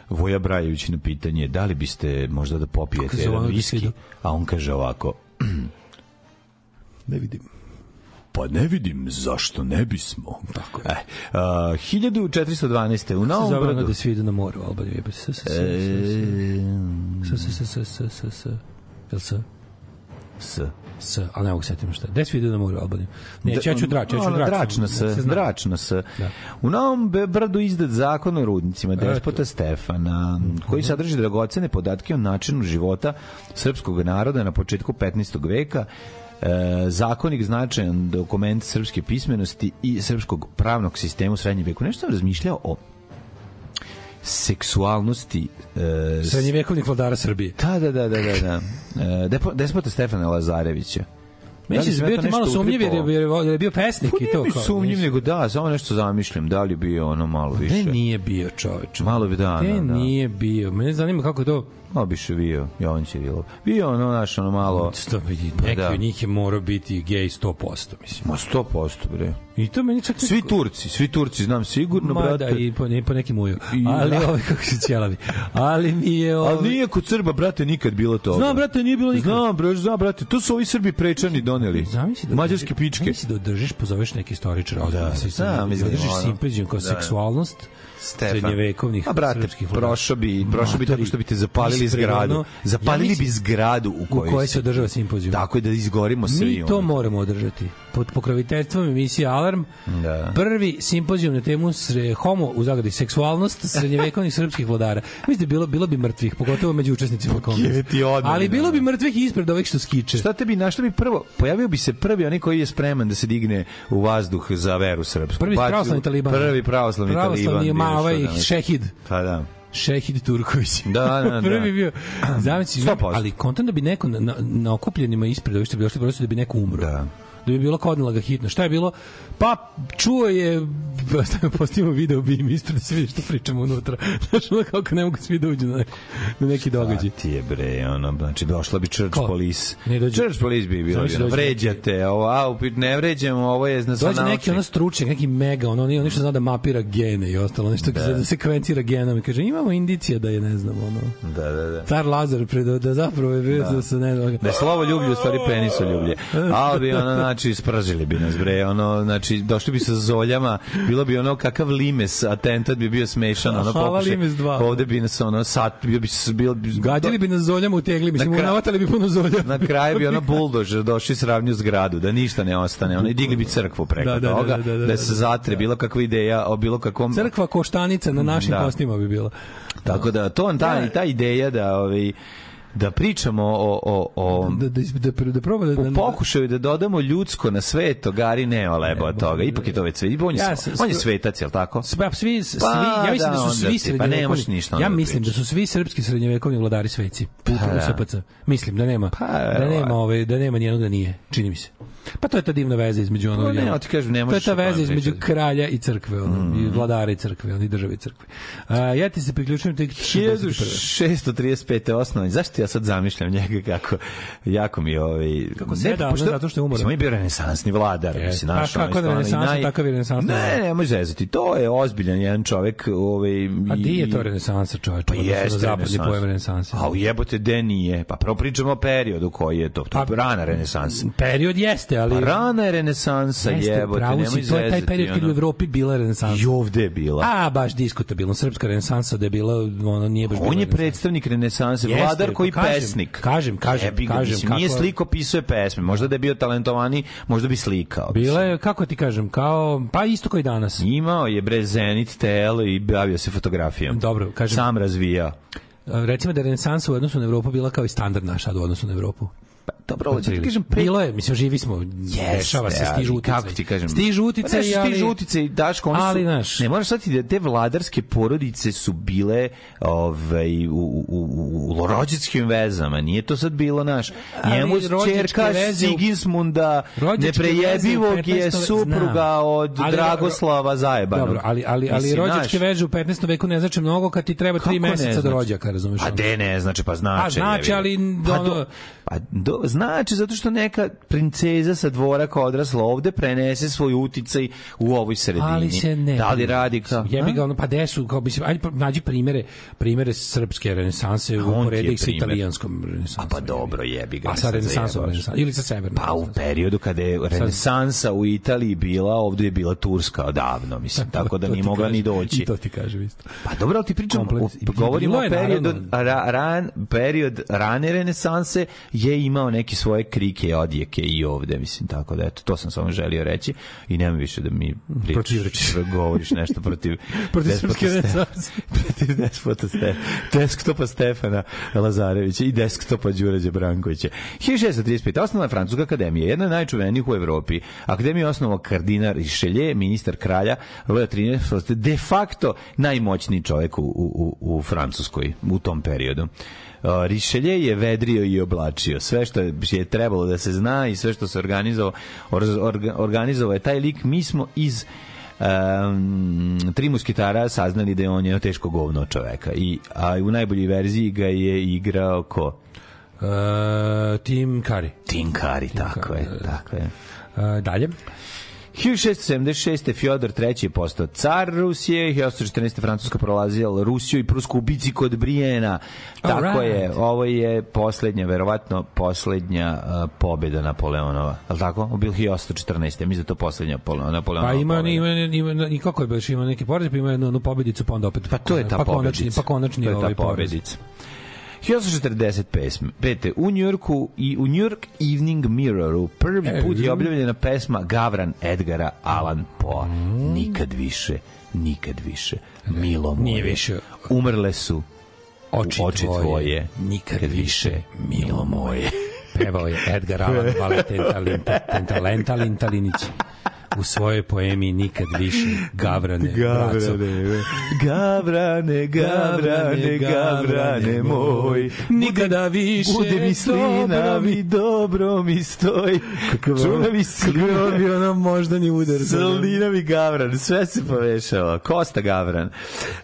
Speaker 9: Voja Brajević na pitanje, da li biste možda da popijete
Speaker 10: Kako se
Speaker 9: jedan
Speaker 10: ono
Speaker 9: viski?
Speaker 10: decidu?
Speaker 9: A on kaže ovako,
Speaker 10: Ne vidim.
Speaker 9: pa ne vidim zašto ne bismo. Tako je. E, a, 1412. u Novom
Speaker 10: Zabrano
Speaker 9: Brdu.
Speaker 10: da svi idu na moru, Alban jebe se. se, se, se,
Speaker 9: E,
Speaker 10: se, se, se, se, se, se, se. Jel se?
Speaker 9: S.
Speaker 10: S, ali ne mogu setim šta. Gde svi idu na moru, Albaniju? Ne, ja ću drač, ja ću
Speaker 9: Ono,
Speaker 10: drač.
Speaker 9: Dračno
Speaker 10: Nek
Speaker 9: se,
Speaker 10: zna.
Speaker 9: dračno se. U Novom Be- Brdu izdat zakon o rudnicima despota Stefana, koji
Speaker 10: Mhm.
Speaker 9: sadrži dragocene podatke o načinu života srpskog naroda na početku 15. veka, E, zakonik značajan dokument srpske pismenosti i srpskog pravnog sistema u srednjem veku. Nešto sam razmišljao o seksualnosti e,
Speaker 10: Srednjevekovnik vladara Srbije.
Speaker 9: Da, da, da, da, da. da. E, depo- despota Stefana Lazarevića. Da
Speaker 10: Meni
Speaker 9: li
Speaker 10: se
Speaker 9: si na
Speaker 10: bio
Speaker 9: to
Speaker 10: ti malo
Speaker 9: nešto
Speaker 10: sumnjiv jer
Speaker 9: utripovao?
Speaker 10: je, jer je bio pesnik
Speaker 9: Pa
Speaker 10: i
Speaker 9: nije
Speaker 10: to.
Speaker 9: mi
Speaker 10: kao,
Speaker 9: sumnjiv,
Speaker 10: mislim. Pa
Speaker 9: nego da, samo nešto zamišljam, da li bi ono malo više.
Speaker 10: Ne, nije bio čoveč.
Speaker 9: Malo bi da,
Speaker 10: Ne,
Speaker 9: da, da.
Speaker 10: nije bio. Mene zanima kako je to...
Speaker 9: Malo bi ševio, Jovan Ćirilov. Bio ono, naš, ono malo...
Speaker 10: Sto, vidi,
Speaker 9: Pa
Speaker 10: neki
Speaker 9: da.
Speaker 10: od njih je morao biti gej 100%, mislim.
Speaker 9: Ma 100% bre.
Speaker 10: I to meni čak...
Speaker 9: Svi Turci, svi Turci, znam sigurno,
Speaker 10: Ma da,
Speaker 9: brate.
Speaker 10: i po, ne, po nekim uju.
Speaker 9: I-
Speaker 10: Ali
Speaker 9: da.
Speaker 10: ovo kako se ćelavi. Ali mi je ovo...
Speaker 9: Ali nije kod Srba, brate, nikad bilo to.
Speaker 10: Znam, brate, nije bilo nikad.
Speaker 9: Znam, brate, znam, brate. To su ovi Srbi prečani doneli.
Speaker 10: Zamisli da
Speaker 9: Mađarske pičke.
Speaker 10: Zamisli da održiš, pozoveš neki istoričar ovde,
Speaker 9: Da,
Speaker 10: da, se
Speaker 9: znam,
Speaker 10: da,
Speaker 9: mislim,
Speaker 10: održiš
Speaker 9: ono.
Speaker 10: simpozijum kao
Speaker 9: Da.
Speaker 10: seksualnost
Speaker 9: Stefan.
Speaker 10: srednjevekovnih
Speaker 9: A brate,
Speaker 10: srpskih vladara.
Speaker 9: prošao bi, prošao bi
Speaker 10: Matori,
Speaker 9: tako što biste zapalili
Speaker 10: iskreno,
Speaker 9: zgradu.
Speaker 10: ono,
Speaker 9: Zapalili
Speaker 10: ja mislim-
Speaker 9: bi zgradu u
Speaker 10: u
Speaker 9: kojoj,
Speaker 10: kojoj se održava simpozijum.
Speaker 9: Tako je da izgorimo svi.
Speaker 10: Mi to
Speaker 9: ono.
Speaker 10: moramo održati. Pod pokroviteljstvom emisije Alarm,
Speaker 9: Da.
Speaker 10: prvi simpozijum na temu sre, homo u zagradi seksualnost srednjevekovnih srpskih vladara. Mislim, bilo, bilo bi mrtvih, pogotovo među učesnicima kongresa.
Speaker 9: Pa ti odmah,
Speaker 10: Ali bilo
Speaker 9: da.
Speaker 10: bi mrtvih i ispred ovih što skiče.
Speaker 9: Šta te bi našli bi prvo? Pojavio bi se prvi onaj koji je spreman da se digne u vazduh za veru srpsku.
Speaker 10: Prvi
Speaker 9: Pa,
Speaker 10: pravoslavni taliban.
Speaker 9: Prvi pravoslavni,
Speaker 10: Pravoslavni je
Speaker 9: taliban.
Speaker 10: ma, ovaj
Speaker 9: bio, što da ne-
Speaker 10: šehid.
Speaker 9: Pa da.
Speaker 10: Šehid Turković.
Speaker 9: Da, da, da.
Speaker 10: Prvi bio. Zamisli,
Speaker 9: 100%.
Speaker 10: ali kontam da bi neko na, na, na okupljenima ispred ovih što bi došli prosto da bi neko umro.
Speaker 9: Da.
Speaker 10: Da bi bilo kodnila ga hitno. Šta je bilo? Pa čuo je postimo video bi im ispred da se vidi što pričamo unutra. Znaš, ono kako ne mogu svi da uđu na, neko, na neki događaj.
Speaker 9: Ti je bre, ono, znači došla bi church
Speaker 10: Ko?
Speaker 9: police.
Speaker 10: Ne dođe.
Speaker 9: Church police bi bilo,
Speaker 10: Znači,
Speaker 9: znači,
Speaker 10: dođe.
Speaker 9: vređate, ovo, a, upit, ne vređamo, ovo je na
Speaker 10: Dođe
Speaker 9: nauči.
Speaker 10: neki ono stručnjak, neki mega, ono, ono što zna da mapira gene i ostalo, nešto da. da sekvencira genom i kaže imamo indicija da je, ne znam, ono,
Speaker 9: Da, da, da.
Speaker 10: car Lazar, pre, da, da zapravo je bio, da. da se ne znam,
Speaker 9: Da je E, slovo ljublje, u stvari peniso ljublje.
Speaker 10: E,
Speaker 9: Ali bi ono, znači, spržili bi nas, bre, ono, znači, došli bi sa zoljama, bilo bi ono kakav limes, atentat bi bio smešan, ono,
Speaker 10: Aha,
Speaker 9: pokušaj.
Speaker 10: Limes dva.
Speaker 9: Ovde bi nas, ono, sat, bio bi, bilo bi,
Speaker 10: Gađali bi nas zoljama u tegli, mislim,
Speaker 9: Na kraju-
Speaker 10: unavatali bi puno zolja.
Speaker 9: Na kraju bi ono buldožer došli sravnju zgradu, da ništa ne ostane. Oni digli bi crkvu preko
Speaker 10: Da, da, da,
Speaker 9: toga, da,
Speaker 10: da, da, da,
Speaker 9: se zatre bilo kakva ideja o bilo kakvom...
Speaker 10: Crkva koštanica na našim
Speaker 9: Mm, Da.
Speaker 10: kostima bi bila.
Speaker 9: Tako da, to, ta, ta ideja da, ovaj, da pričamo o, o, o
Speaker 10: Da, da, da, da, da proba da... da-
Speaker 9: Um. u pokušaju da dodamo ljudsko na sveto, Gari ne olebo od toga. Ipak je to već sve. On je,
Speaker 10: Ja
Speaker 9: sve-
Speaker 10: se-
Speaker 9: on je svetac, je li tako?
Speaker 10: Pa, svi, svi,
Speaker 9: Pa,
Speaker 10: ja mislim
Speaker 9: da,
Speaker 10: da, su
Speaker 9: onda
Speaker 10: svi
Speaker 9: ti- pa ne možeš ništa onda
Speaker 10: ja
Speaker 9: da
Speaker 10: mislim da su svi srpski srednjevekovni vladari sveci. U, u SPC. Mislim da nema,
Speaker 9: Pa,
Speaker 10: da
Speaker 9: verovatno.
Speaker 10: nema, ovaj, da nema nijednog da nije, čini mi se. Pa to je ta divna veza između onog...
Speaker 9: Pa ne,
Speaker 10: i onog.
Speaker 9: a ti kažem, ne
Speaker 10: to je
Speaker 9: možeš
Speaker 10: ta
Speaker 9: o tome Mm.
Speaker 10: veza između
Speaker 9: pričati.
Speaker 10: kralja i crkve, ono, i vladara i crkve, ono, i države i crkve. A, ja ti se priključujem tek 61.
Speaker 9: 1635. osnovan. Zašto ja sad zamišljam njega kako jako mi je ovaj
Speaker 10: Kako seda, ono, zato što je umoran.
Speaker 9: Mislim, on je bio renesansni vladar,
Speaker 10: Je.
Speaker 9: mislim,
Speaker 10: A
Speaker 9: naš,
Speaker 10: kako je renesansan, takav je renesansan
Speaker 9: Ne,
Speaker 10: vladar.
Speaker 9: ne, nemoj zezati. To je ozbiljan jedan čovek, ovaj
Speaker 10: A di je
Speaker 9: i-
Speaker 10: to renesansa, čoveče?
Speaker 9: Pa
Speaker 10: Odnosno na
Speaker 9: jeste
Speaker 10: zapadni
Speaker 9: renesansa.
Speaker 10: pojam renesanse.
Speaker 9: A u jebote, de nije? Pa prvo pričamo o periodu koji je to. To je rana renesansa.
Speaker 10: Period jeste, ali...
Speaker 9: Pa rana renesansa,
Speaker 10: Jeste,
Speaker 9: jebote,
Speaker 10: pravo
Speaker 9: nemoj
Speaker 10: si, to je taj
Speaker 9: zezati,
Speaker 10: period kad je u
Speaker 9: ono.
Speaker 10: Evropi bila renesansa.
Speaker 9: I ovde je bila.
Speaker 10: A, baš diskutabilno. Srpska renesansa da je bila, ono, nije baš
Speaker 9: On
Speaker 10: bila
Speaker 9: je predstavnik renesanse,
Speaker 10: Jeste,
Speaker 9: vladar
Speaker 10: pa
Speaker 9: koji
Speaker 10: kažem,
Speaker 9: pesnik.
Speaker 10: kažem, kažem,
Speaker 9: Jebi ga,
Speaker 10: kažem,
Speaker 9: mislim, nije
Speaker 10: kako-
Speaker 9: sliko, pisao je pesme. Možda da je bio talentovani, možda bi slikao.
Speaker 10: Bila je, kako ti kažem, kao, pa isto kao i danas.
Speaker 9: Imao je bre Zenit TL i bavio se fotografijom.
Speaker 10: Dobro, kažem-
Speaker 9: Sam razvijao.
Speaker 10: A, Recimo da je renesansa u odnosu na Evropu bila kao i standard naš sad u odnosu na Evropu.
Speaker 9: Pa, dobro, ovo ću ti kažem, pre...
Speaker 10: Bilo je, mislim, živi smo, dešava se,
Speaker 9: ali
Speaker 10: stižu utice.
Speaker 9: Kako ti kažem?
Speaker 10: Stižu
Speaker 9: Pa
Speaker 10: utice,
Speaker 9: ne,
Speaker 10: ali...
Speaker 9: Stižu utice i Daško, oni
Speaker 10: Ali,
Speaker 9: su...
Speaker 10: znaš-
Speaker 9: Ne, moraš shvatiti da te vladarske porodice su bile ovaj, u, u, u, u rođačkim vezama. Nije to sad bilo, naš.
Speaker 10: Ali
Speaker 9: Njemu
Speaker 10: rođačke
Speaker 9: čerka
Speaker 10: veze u-
Speaker 9: Sigismunda
Speaker 10: Rođačke
Speaker 9: neprejebivog
Speaker 10: veze u
Speaker 9: je
Speaker 10: 15.
Speaker 9: supruga
Speaker 10: Znam.
Speaker 9: od
Speaker 10: Ali ro-
Speaker 9: Dragoslava Zajebanog.
Speaker 10: Dobro, ali, ali, ali
Speaker 9: Mislim,
Speaker 10: rođačke
Speaker 9: znaš,
Speaker 10: veže u 15. veku ne znači mnogo kad ti treba
Speaker 9: kako
Speaker 10: tri
Speaker 9: ne
Speaker 10: meseca do
Speaker 9: znači?
Speaker 10: rođaka, razumeš?
Speaker 9: A
Speaker 10: ono?
Speaker 9: de ne, znači, pa znači.
Speaker 10: A,
Speaker 9: jebi
Speaker 10: znači,
Speaker 9: ga.
Speaker 10: ali,
Speaker 9: Pa,
Speaker 10: ono-
Speaker 9: do, pa do, znači, zato što neka princeza sa dvora koja je odrasla ovde prenese svoj uticaj u ovoj sredini.
Speaker 10: Ali se ne.
Speaker 9: Da li radi kao...
Speaker 10: Jebi ga, ono, pa gde su, kao, mislim, ajde, pa nađi primere, primere srpske renesanse,
Speaker 9: on ti je
Speaker 10: uporedi ih sa
Speaker 9: primer.
Speaker 10: italijanskom renesansom.
Speaker 9: A pa dobro, jebi ga.
Speaker 10: ono- A sa
Speaker 9: sad
Speaker 10: renesansom,
Speaker 9: zajebaš.
Speaker 10: renesansom, ili sa severnom.
Speaker 9: Pa u periodu kada je renesansa u Italiji bila, ovde je bila Turska odavno, mislim, tako da
Speaker 10: To ti
Speaker 9: nije mogla ni
Speaker 10: kažem,
Speaker 9: doći.
Speaker 10: I to ti kažem isto.
Speaker 9: Pa dobro, ali ti pričam,
Speaker 10: Komplet-
Speaker 9: o, govorimo o
Speaker 10: Bilo je,
Speaker 9: periodu, ra,
Speaker 10: naravno.
Speaker 9: ran, period rane renesanse je imao neki svoje krike i odjeke i ovde, mislim, tako da, eto, to sam samo želio reći i nema više da mi pričaš,
Speaker 10: Protivrečiš.
Speaker 9: govoriš nešto protiv
Speaker 10: Protiv
Speaker 9: despota
Speaker 10: srpske
Speaker 9: Ste-
Speaker 10: renesanse.
Speaker 9: protiv despota Ste, desktopa Stefana Lazarevića i desktopa Đurađa Brankovića. 1635. Osnovna je Francuska akademija, jedna od najčuvenijih u Evropi. Akademiju je osnovao kardinar Richelieu, ministar kralja Loja 13. De facto najmoćniji čovjek u, u, u, u Francuskoj u tom periodu. Uh, Richelieu je vedrio i oblačio sve što je- je trebalo da se zna i sve što se organizovao orz- orga- organizovao je taj lik mi smo iz um, tri muskitara saznali da je on jedno teško govno od čoveka i a u najboljoj verziji ga je igrao ko
Speaker 10: Uh, Tim Curry.
Speaker 9: Tinkari, tako je, tako je.
Speaker 10: Uh, dalje.
Speaker 9: 1676. Fjodor III. je postao car Rusije, 1814. Francuska prolazila Rusiju i Prusku u bici kod Brijena. Tako
Speaker 10: Alright.
Speaker 9: je, ovo je poslednja, verovatno poslednja uh, pobeda Napoleonova. Je li tako? Bil 1814. Mislim da je to poslednja Napole- Napoleonova
Speaker 10: Pa ima,
Speaker 9: pobeda.
Speaker 10: ima, ima, ima, i kako je baš, ima neki poraz, pa ima jednu, jednu pobedicu, pa onda opet...
Speaker 9: Pa to je ta
Speaker 10: pa konačni,
Speaker 9: pobedica.
Speaker 10: pa konačni
Speaker 9: to je ta
Speaker 10: ovaj poraz.
Speaker 9: pobedica. 1845. Pete, u Njurku i u New York Evening Mirroru prvi
Speaker 10: E,
Speaker 9: put je
Speaker 10: vidim.
Speaker 9: objavljena pesma Gavran Edgara Allan Poe. Nikad više, nikad više. Milo moje.
Speaker 10: nije više.
Speaker 9: Umrle su
Speaker 10: Oči,
Speaker 9: oči tvoje, nikad više, milo moje.
Speaker 10: Pevao je Edgar Allan Valentin Talin, Tentalin, Talin, Talinić u svojoj poemi Nikad više Gavrane, braco.
Speaker 9: Gavrane, Gavrane, Gavrane moj,
Speaker 10: nikada više
Speaker 9: Bude mi slina,
Speaker 10: dobro
Speaker 9: mi dobro mi stoji. Čuna mi slina,
Speaker 10: Kako bi ono možda ni udar.
Speaker 9: slina mi Gavran. Sve se povešalo. Kosta Gavran.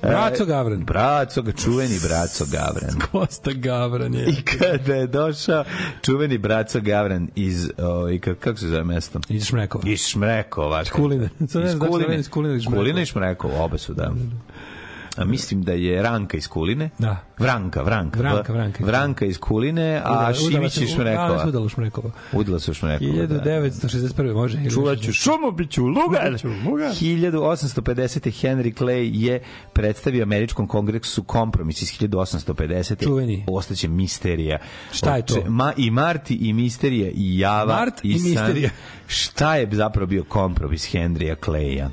Speaker 10: Braco
Speaker 9: E,
Speaker 10: Gavran.
Speaker 9: Braco, ga- čuveni braco Gavran.
Speaker 10: Kosta Gavran je.
Speaker 9: I kada je došao čuveni braco Gavran iz, o, i ka- kako se zove mesto?
Speaker 10: Iz Šmrekova.
Speaker 9: Iz Šmrekova.
Speaker 10: Kuline. Sad ne
Speaker 9: Iz
Speaker 10: znam zašto
Speaker 9: Kuline.
Speaker 10: meni iz Kuline ili iz Šmrekova.
Speaker 9: Kulina i Šmrekova, oba su da. A mislim da je Ranka iz Kuline.
Speaker 10: Da.
Speaker 9: Vranka, Vranka.
Speaker 10: Vranka, Vranka.
Speaker 9: Vranka iz Kuline, a
Speaker 10: Udala- udala
Speaker 9: Šimić
Speaker 10: se-
Speaker 9: iz
Speaker 10: udala se
Speaker 9: Šmrekova.
Speaker 10: Udala u Šmrekova.
Speaker 9: Udala su Šmrekova. da.
Speaker 10: 1961. može. ili
Speaker 9: Čuvaću
Speaker 10: više?
Speaker 9: šumu, biću lugar.
Speaker 10: Biću lugar.
Speaker 9: 1850. Henry Clay je predstavio američkom kongresu kompromis iz 1850.
Speaker 10: Čuveni.
Speaker 9: Ostaće misterija.
Speaker 10: Šta je to?
Speaker 9: Oče- Ma, I Marti, i misterija, i java,
Speaker 10: Mart i
Speaker 9: san.
Speaker 10: misterija.
Speaker 9: Šta je zapravo bio kompromis Henrya Claya?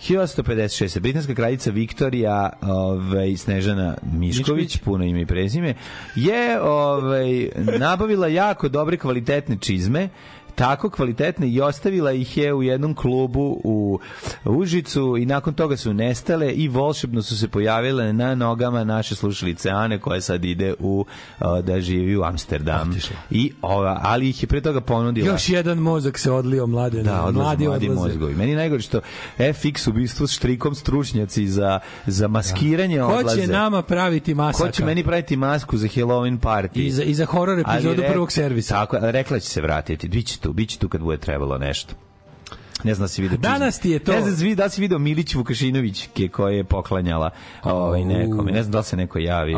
Speaker 9: 1856. Britanska kraljica Viktorija ovaj, Snežana Mišković,
Speaker 10: Mišković.
Speaker 9: puno ime i prezime, je ovaj, nabavila jako dobre kvalitetne čizme tako kvalitetne i ostavila ih je u jednom klubu u Užicu i nakon toga su nestale i volšebno su se pojavile na nogama naše slušalice Ane koja sad ide u a, da živi u Amsterdam. I ova, ali ih je pre toga ponudila.
Speaker 10: Još jedan mozak se odlio mlade.
Speaker 9: Da, odlaze mladi, mladi mozgovi. Meni je najgore što FX u bistvu s štrikom stručnjaci za, za maskiranje
Speaker 10: Ko će
Speaker 9: odlaze.
Speaker 10: nama praviti masaka?
Speaker 9: Ko će meni praviti masku za Halloween party?
Speaker 10: I za- i za horor
Speaker 9: Ali
Speaker 10: epizodu
Speaker 9: rek-
Speaker 10: prvog servisa.
Speaker 9: Tako, je, ali rekla je će se vratiti. Biće tu, biće tu kad bude trebalo nešto. Ne znam da si video.
Speaker 10: Danas ti je to-
Speaker 9: Ne znam da si video- da si video Milić Vukašinović ke- koja je poklanjala ovaj nekome. Ne znam da li se neko javi.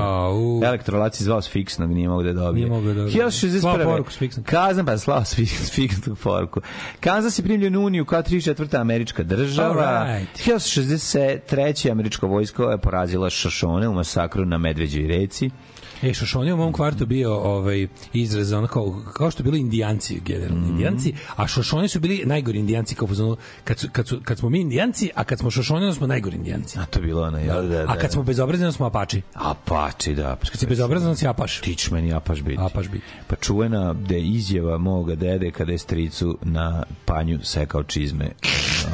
Speaker 9: Elektrolac je zvao s fiksnog, nije mogao da dobije.
Speaker 10: Nije mogao da dobije.
Speaker 9: 1061.
Speaker 10: Slao poruku s fiksnog.
Speaker 9: Kazan pa slao s fiks- s fiksnog poruku. Kazan se primljen u Uniju kao 34. američka država.
Speaker 10: Alright.
Speaker 9: 1963. američka vojska je porazila Šošone u masakru na Medveđoj reci.
Speaker 10: E, Šošon je u mom kvartu bio ovaj, izraz, ono kao, kao što bili indijanci, generalno
Speaker 9: Mhm.
Speaker 10: indijanci, a Šošoni su bili najgori indijanci, kao pozvano, kad, su, kad, su, kad smo mi indijanci, a kad smo Šošoni, onda smo najgori indijanci.
Speaker 9: A to je bilo ono, jel? Da, da,
Speaker 10: A kad smo bezobrazni, onda smo apači.
Speaker 9: Apači, da. pa Kad
Speaker 10: si bezobrazan, onda si apaš.
Speaker 9: Ti ćeš meni apaš biti. Apaš biti. Pa čuvena da je izjava moga dede kada je stricu na panju sekao čizme.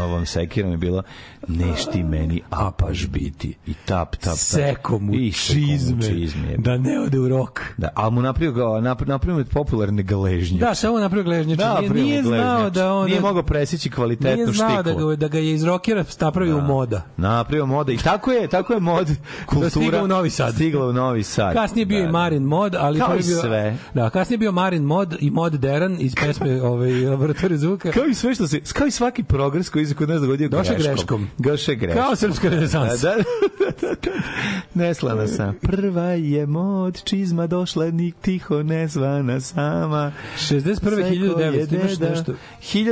Speaker 9: Ovom sekirom je bilo neš ti meni apaš biti. I tap, tap, tap.
Speaker 10: Seko mu
Speaker 9: I sekao mu
Speaker 10: čizme,
Speaker 9: čizme.
Speaker 10: da ne ode u rok.
Speaker 9: Da, ali mu napravio ga, nap- napravio mu je popularne galežnje.
Speaker 10: Da, samo napravio gležnjače. nije,
Speaker 9: napravio mu
Speaker 10: nije znao
Speaker 9: gležnjače.
Speaker 10: da ono- on...
Speaker 9: Nije mogao presjeći
Speaker 10: nije
Speaker 9: kvalitetnu
Speaker 10: znao
Speaker 9: štiklu.
Speaker 10: da ga, da ga je iz rokera napravio u moda.
Speaker 9: Napravio moda i tako je, tako je mod kultura.
Speaker 10: stigla u Novi Sad.
Speaker 9: Stigla u Novi Sad.
Speaker 10: Kasnije je bio i Marin Mod, ali
Speaker 9: Kao
Speaker 10: prvi
Speaker 9: i
Speaker 10: bio,
Speaker 9: sve.
Speaker 10: Da, kasnije je bio Marin Mod i Mod Deran iz pesme ovaj, Laboratorij zvuka.
Speaker 9: Kao i sve što se, kao i svaki progres koji se kod nas dogodio
Speaker 10: Došao
Speaker 9: greškom.
Speaker 10: greškom.
Speaker 9: Došao greškom.
Speaker 10: Kao srpska renesansa.
Speaker 9: Da, da, da, da, da. Neslana sam. Prva je mod, čizma došla, nik tiho nezvana sama.
Speaker 10: 61. 1900, imaš nešto?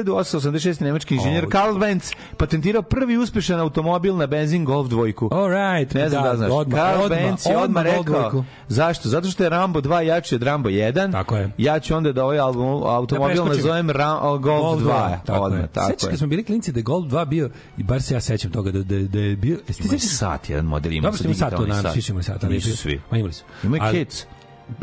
Speaker 9: 1886. nemački inženjer
Speaker 10: O,
Speaker 9: Karl Benz patentirao prvi uspešan automobil na benzin Golf dvojku.
Speaker 10: All right.
Speaker 9: Ne znam da, znaš.
Speaker 10: Odmah,
Speaker 9: Karl
Speaker 10: odmah,
Speaker 9: Benz je odmah,
Speaker 10: odmah
Speaker 9: rekao.
Speaker 10: odvojku.
Speaker 9: Zašto? Zato što je Rambo 2 jači od Rambo 1.
Speaker 10: Tako je.
Speaker 9: Ja ću onda da ovaj album, automobil
Speaker 10: preskočim.
Speaker 9: nazovem Ram, Golf,
Speaker 10: Golf
Speaker 9: 2.
Speaker 10: 2, tako
Speaker 9: odmah,
Speaker 10: je.
Speaker 9: tako
Speaker 10: Sećaš
Speaker 9: je.
Speaker 10: kad smo bili klinci da je Golf 2 bio, i bar se ja sećam toga da, da, da je bio... Jeste ti
Speaker 9: Ima
Speaker 10: sećaš-
Speaker 9: sat, jedan model ima
Speaker 10: Dobro
Speaker 9: sa
Speaker 10: ste imali sat, to
Speaker 9: digitalni
Speaker 10: naravno, svi su imali sat. ali-
Speaker 9: Nisu svi.
Speaker 10: Ma imali su.
Speaker 9: Ima i
Speaker 10: Ali-
Speaker 9: kids.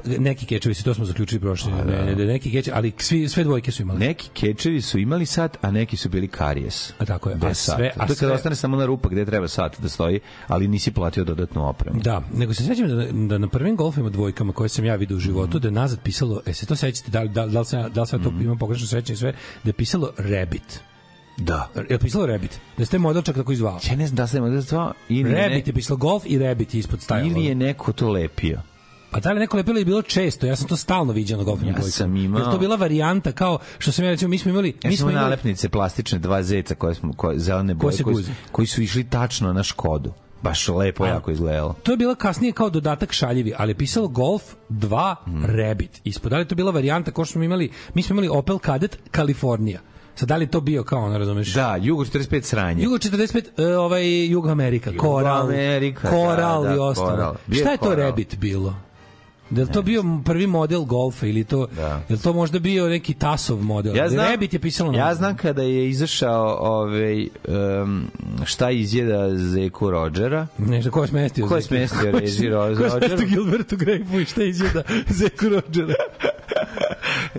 Speaker 10: Neki kečevi su, to smo zaključili prošle. Ne, ne, neki kečevi, ali svi, sve dvojke su imali.
Speaker 9: Neki kečevi su imali sat, a neki su bili karijes.
Speaker 10: A tako je. A
Speaker 9: Bez sata.
Speaker 10: sve, a
Speaker 9: to je kada
Speaker 10: sve-
Speaker 9: ostane samo na rupa gde treba sat da stoji, ali nisi platio dodatnu opremu.
Speaker 10: Da, nego se sećam da, da na prvim golfima dvojkama koje sam ja vidio u životu, da je nazad pisalo, e se to sećate, da, li- da, li- da li sam, ja- da li sam ja to
Speaker 9: Mhm.
Speaker 10: imam pogrešno sećanje i sve, da je pisalo Rabbit.
Speaker 9: Da.
Speaker 10: Je li pisalo Rabbit? Da ste model čak tako i zvao.
Speaker 9: Ja ne znam da se da to ili je
Speaker 10: Rabbit je pisalo golf i Rabbit je ispod
Speaker 9: ne,
Speaker 10: stajalo.
Speaker 9: ili je neko to lepio.
Speaker 10: Pa da li neko lepilo je bilo često, ja sam to stalno viđao na golfnim
Speaker 9: Ja
Speaker 10: dvojkama.
Speaker 9: sam imao-
Speaker 10: Jer to bila varijanta kao, što sam ja recimo, mi smo imali...
Speaker 9: Ja
Speaker 10: mi
Speaker 9: sam
Speaker 10: smo
Speaker 9: imao
Speaker 10: imali
Speaker 9: nalepnice plastične dva zeca koje smo koje zelene boje
Speaker 10: se
Speaker 9: koji,
Speaker 10: guze.
Speaker 9: koji su išli tačno na Škodu. Baš lepo jako izgledalo.
Speaker 10: to je bila kasnije kao dodatak šaljivi, ali je pisalo Golf 2
Speaker 9: Mm.
Speaker 10: Rabbit. Ispod, da li je to bila varijanta ko što smo imali, mi smo imali Opel Kadett Kalifornija. Sad, da li je to bio kao ono, razumeš?
Speaker 9: Da, Jugo 45 sranje.
Speaker 10: Jugo 45, e, ovaj Jug Amerika, Koral,
Speaker 9: Amerika,
Speaker 10: Koral
Speaker 9: da, da,
Speaker 10: i ostalo.
Speaker 9: Koral. Bio je
Speaker 10: Šta je to
Speaker 9: Koral.
Speaker 10: Rabbit bilo? Da li to bio prvi model golfa ili to,
Speaker 9: Da.
Speaker 10: je li to možda bio neki Tasov model?
Speaker 9: Ja znam,
Speaker 10: Rabbit je pisalo na
Speaker 9: ja znam kada je izašao ovaj, um, šta izjeda Zeku Rodžera.
Speaker 10: Nešto, ko je smestio?
Speaker 9: Ko je
Speaker 10: Zeku?
Speaker 9: smestio
Speaker 10: Ko je-
Speaker 9: Rezi Ro-
Speaker 10: Ko je smestio
Speaker 9: Rodgeru?
Speaker 10: Gilbertu Grape-u i šta izjeda Zeku Rodgera?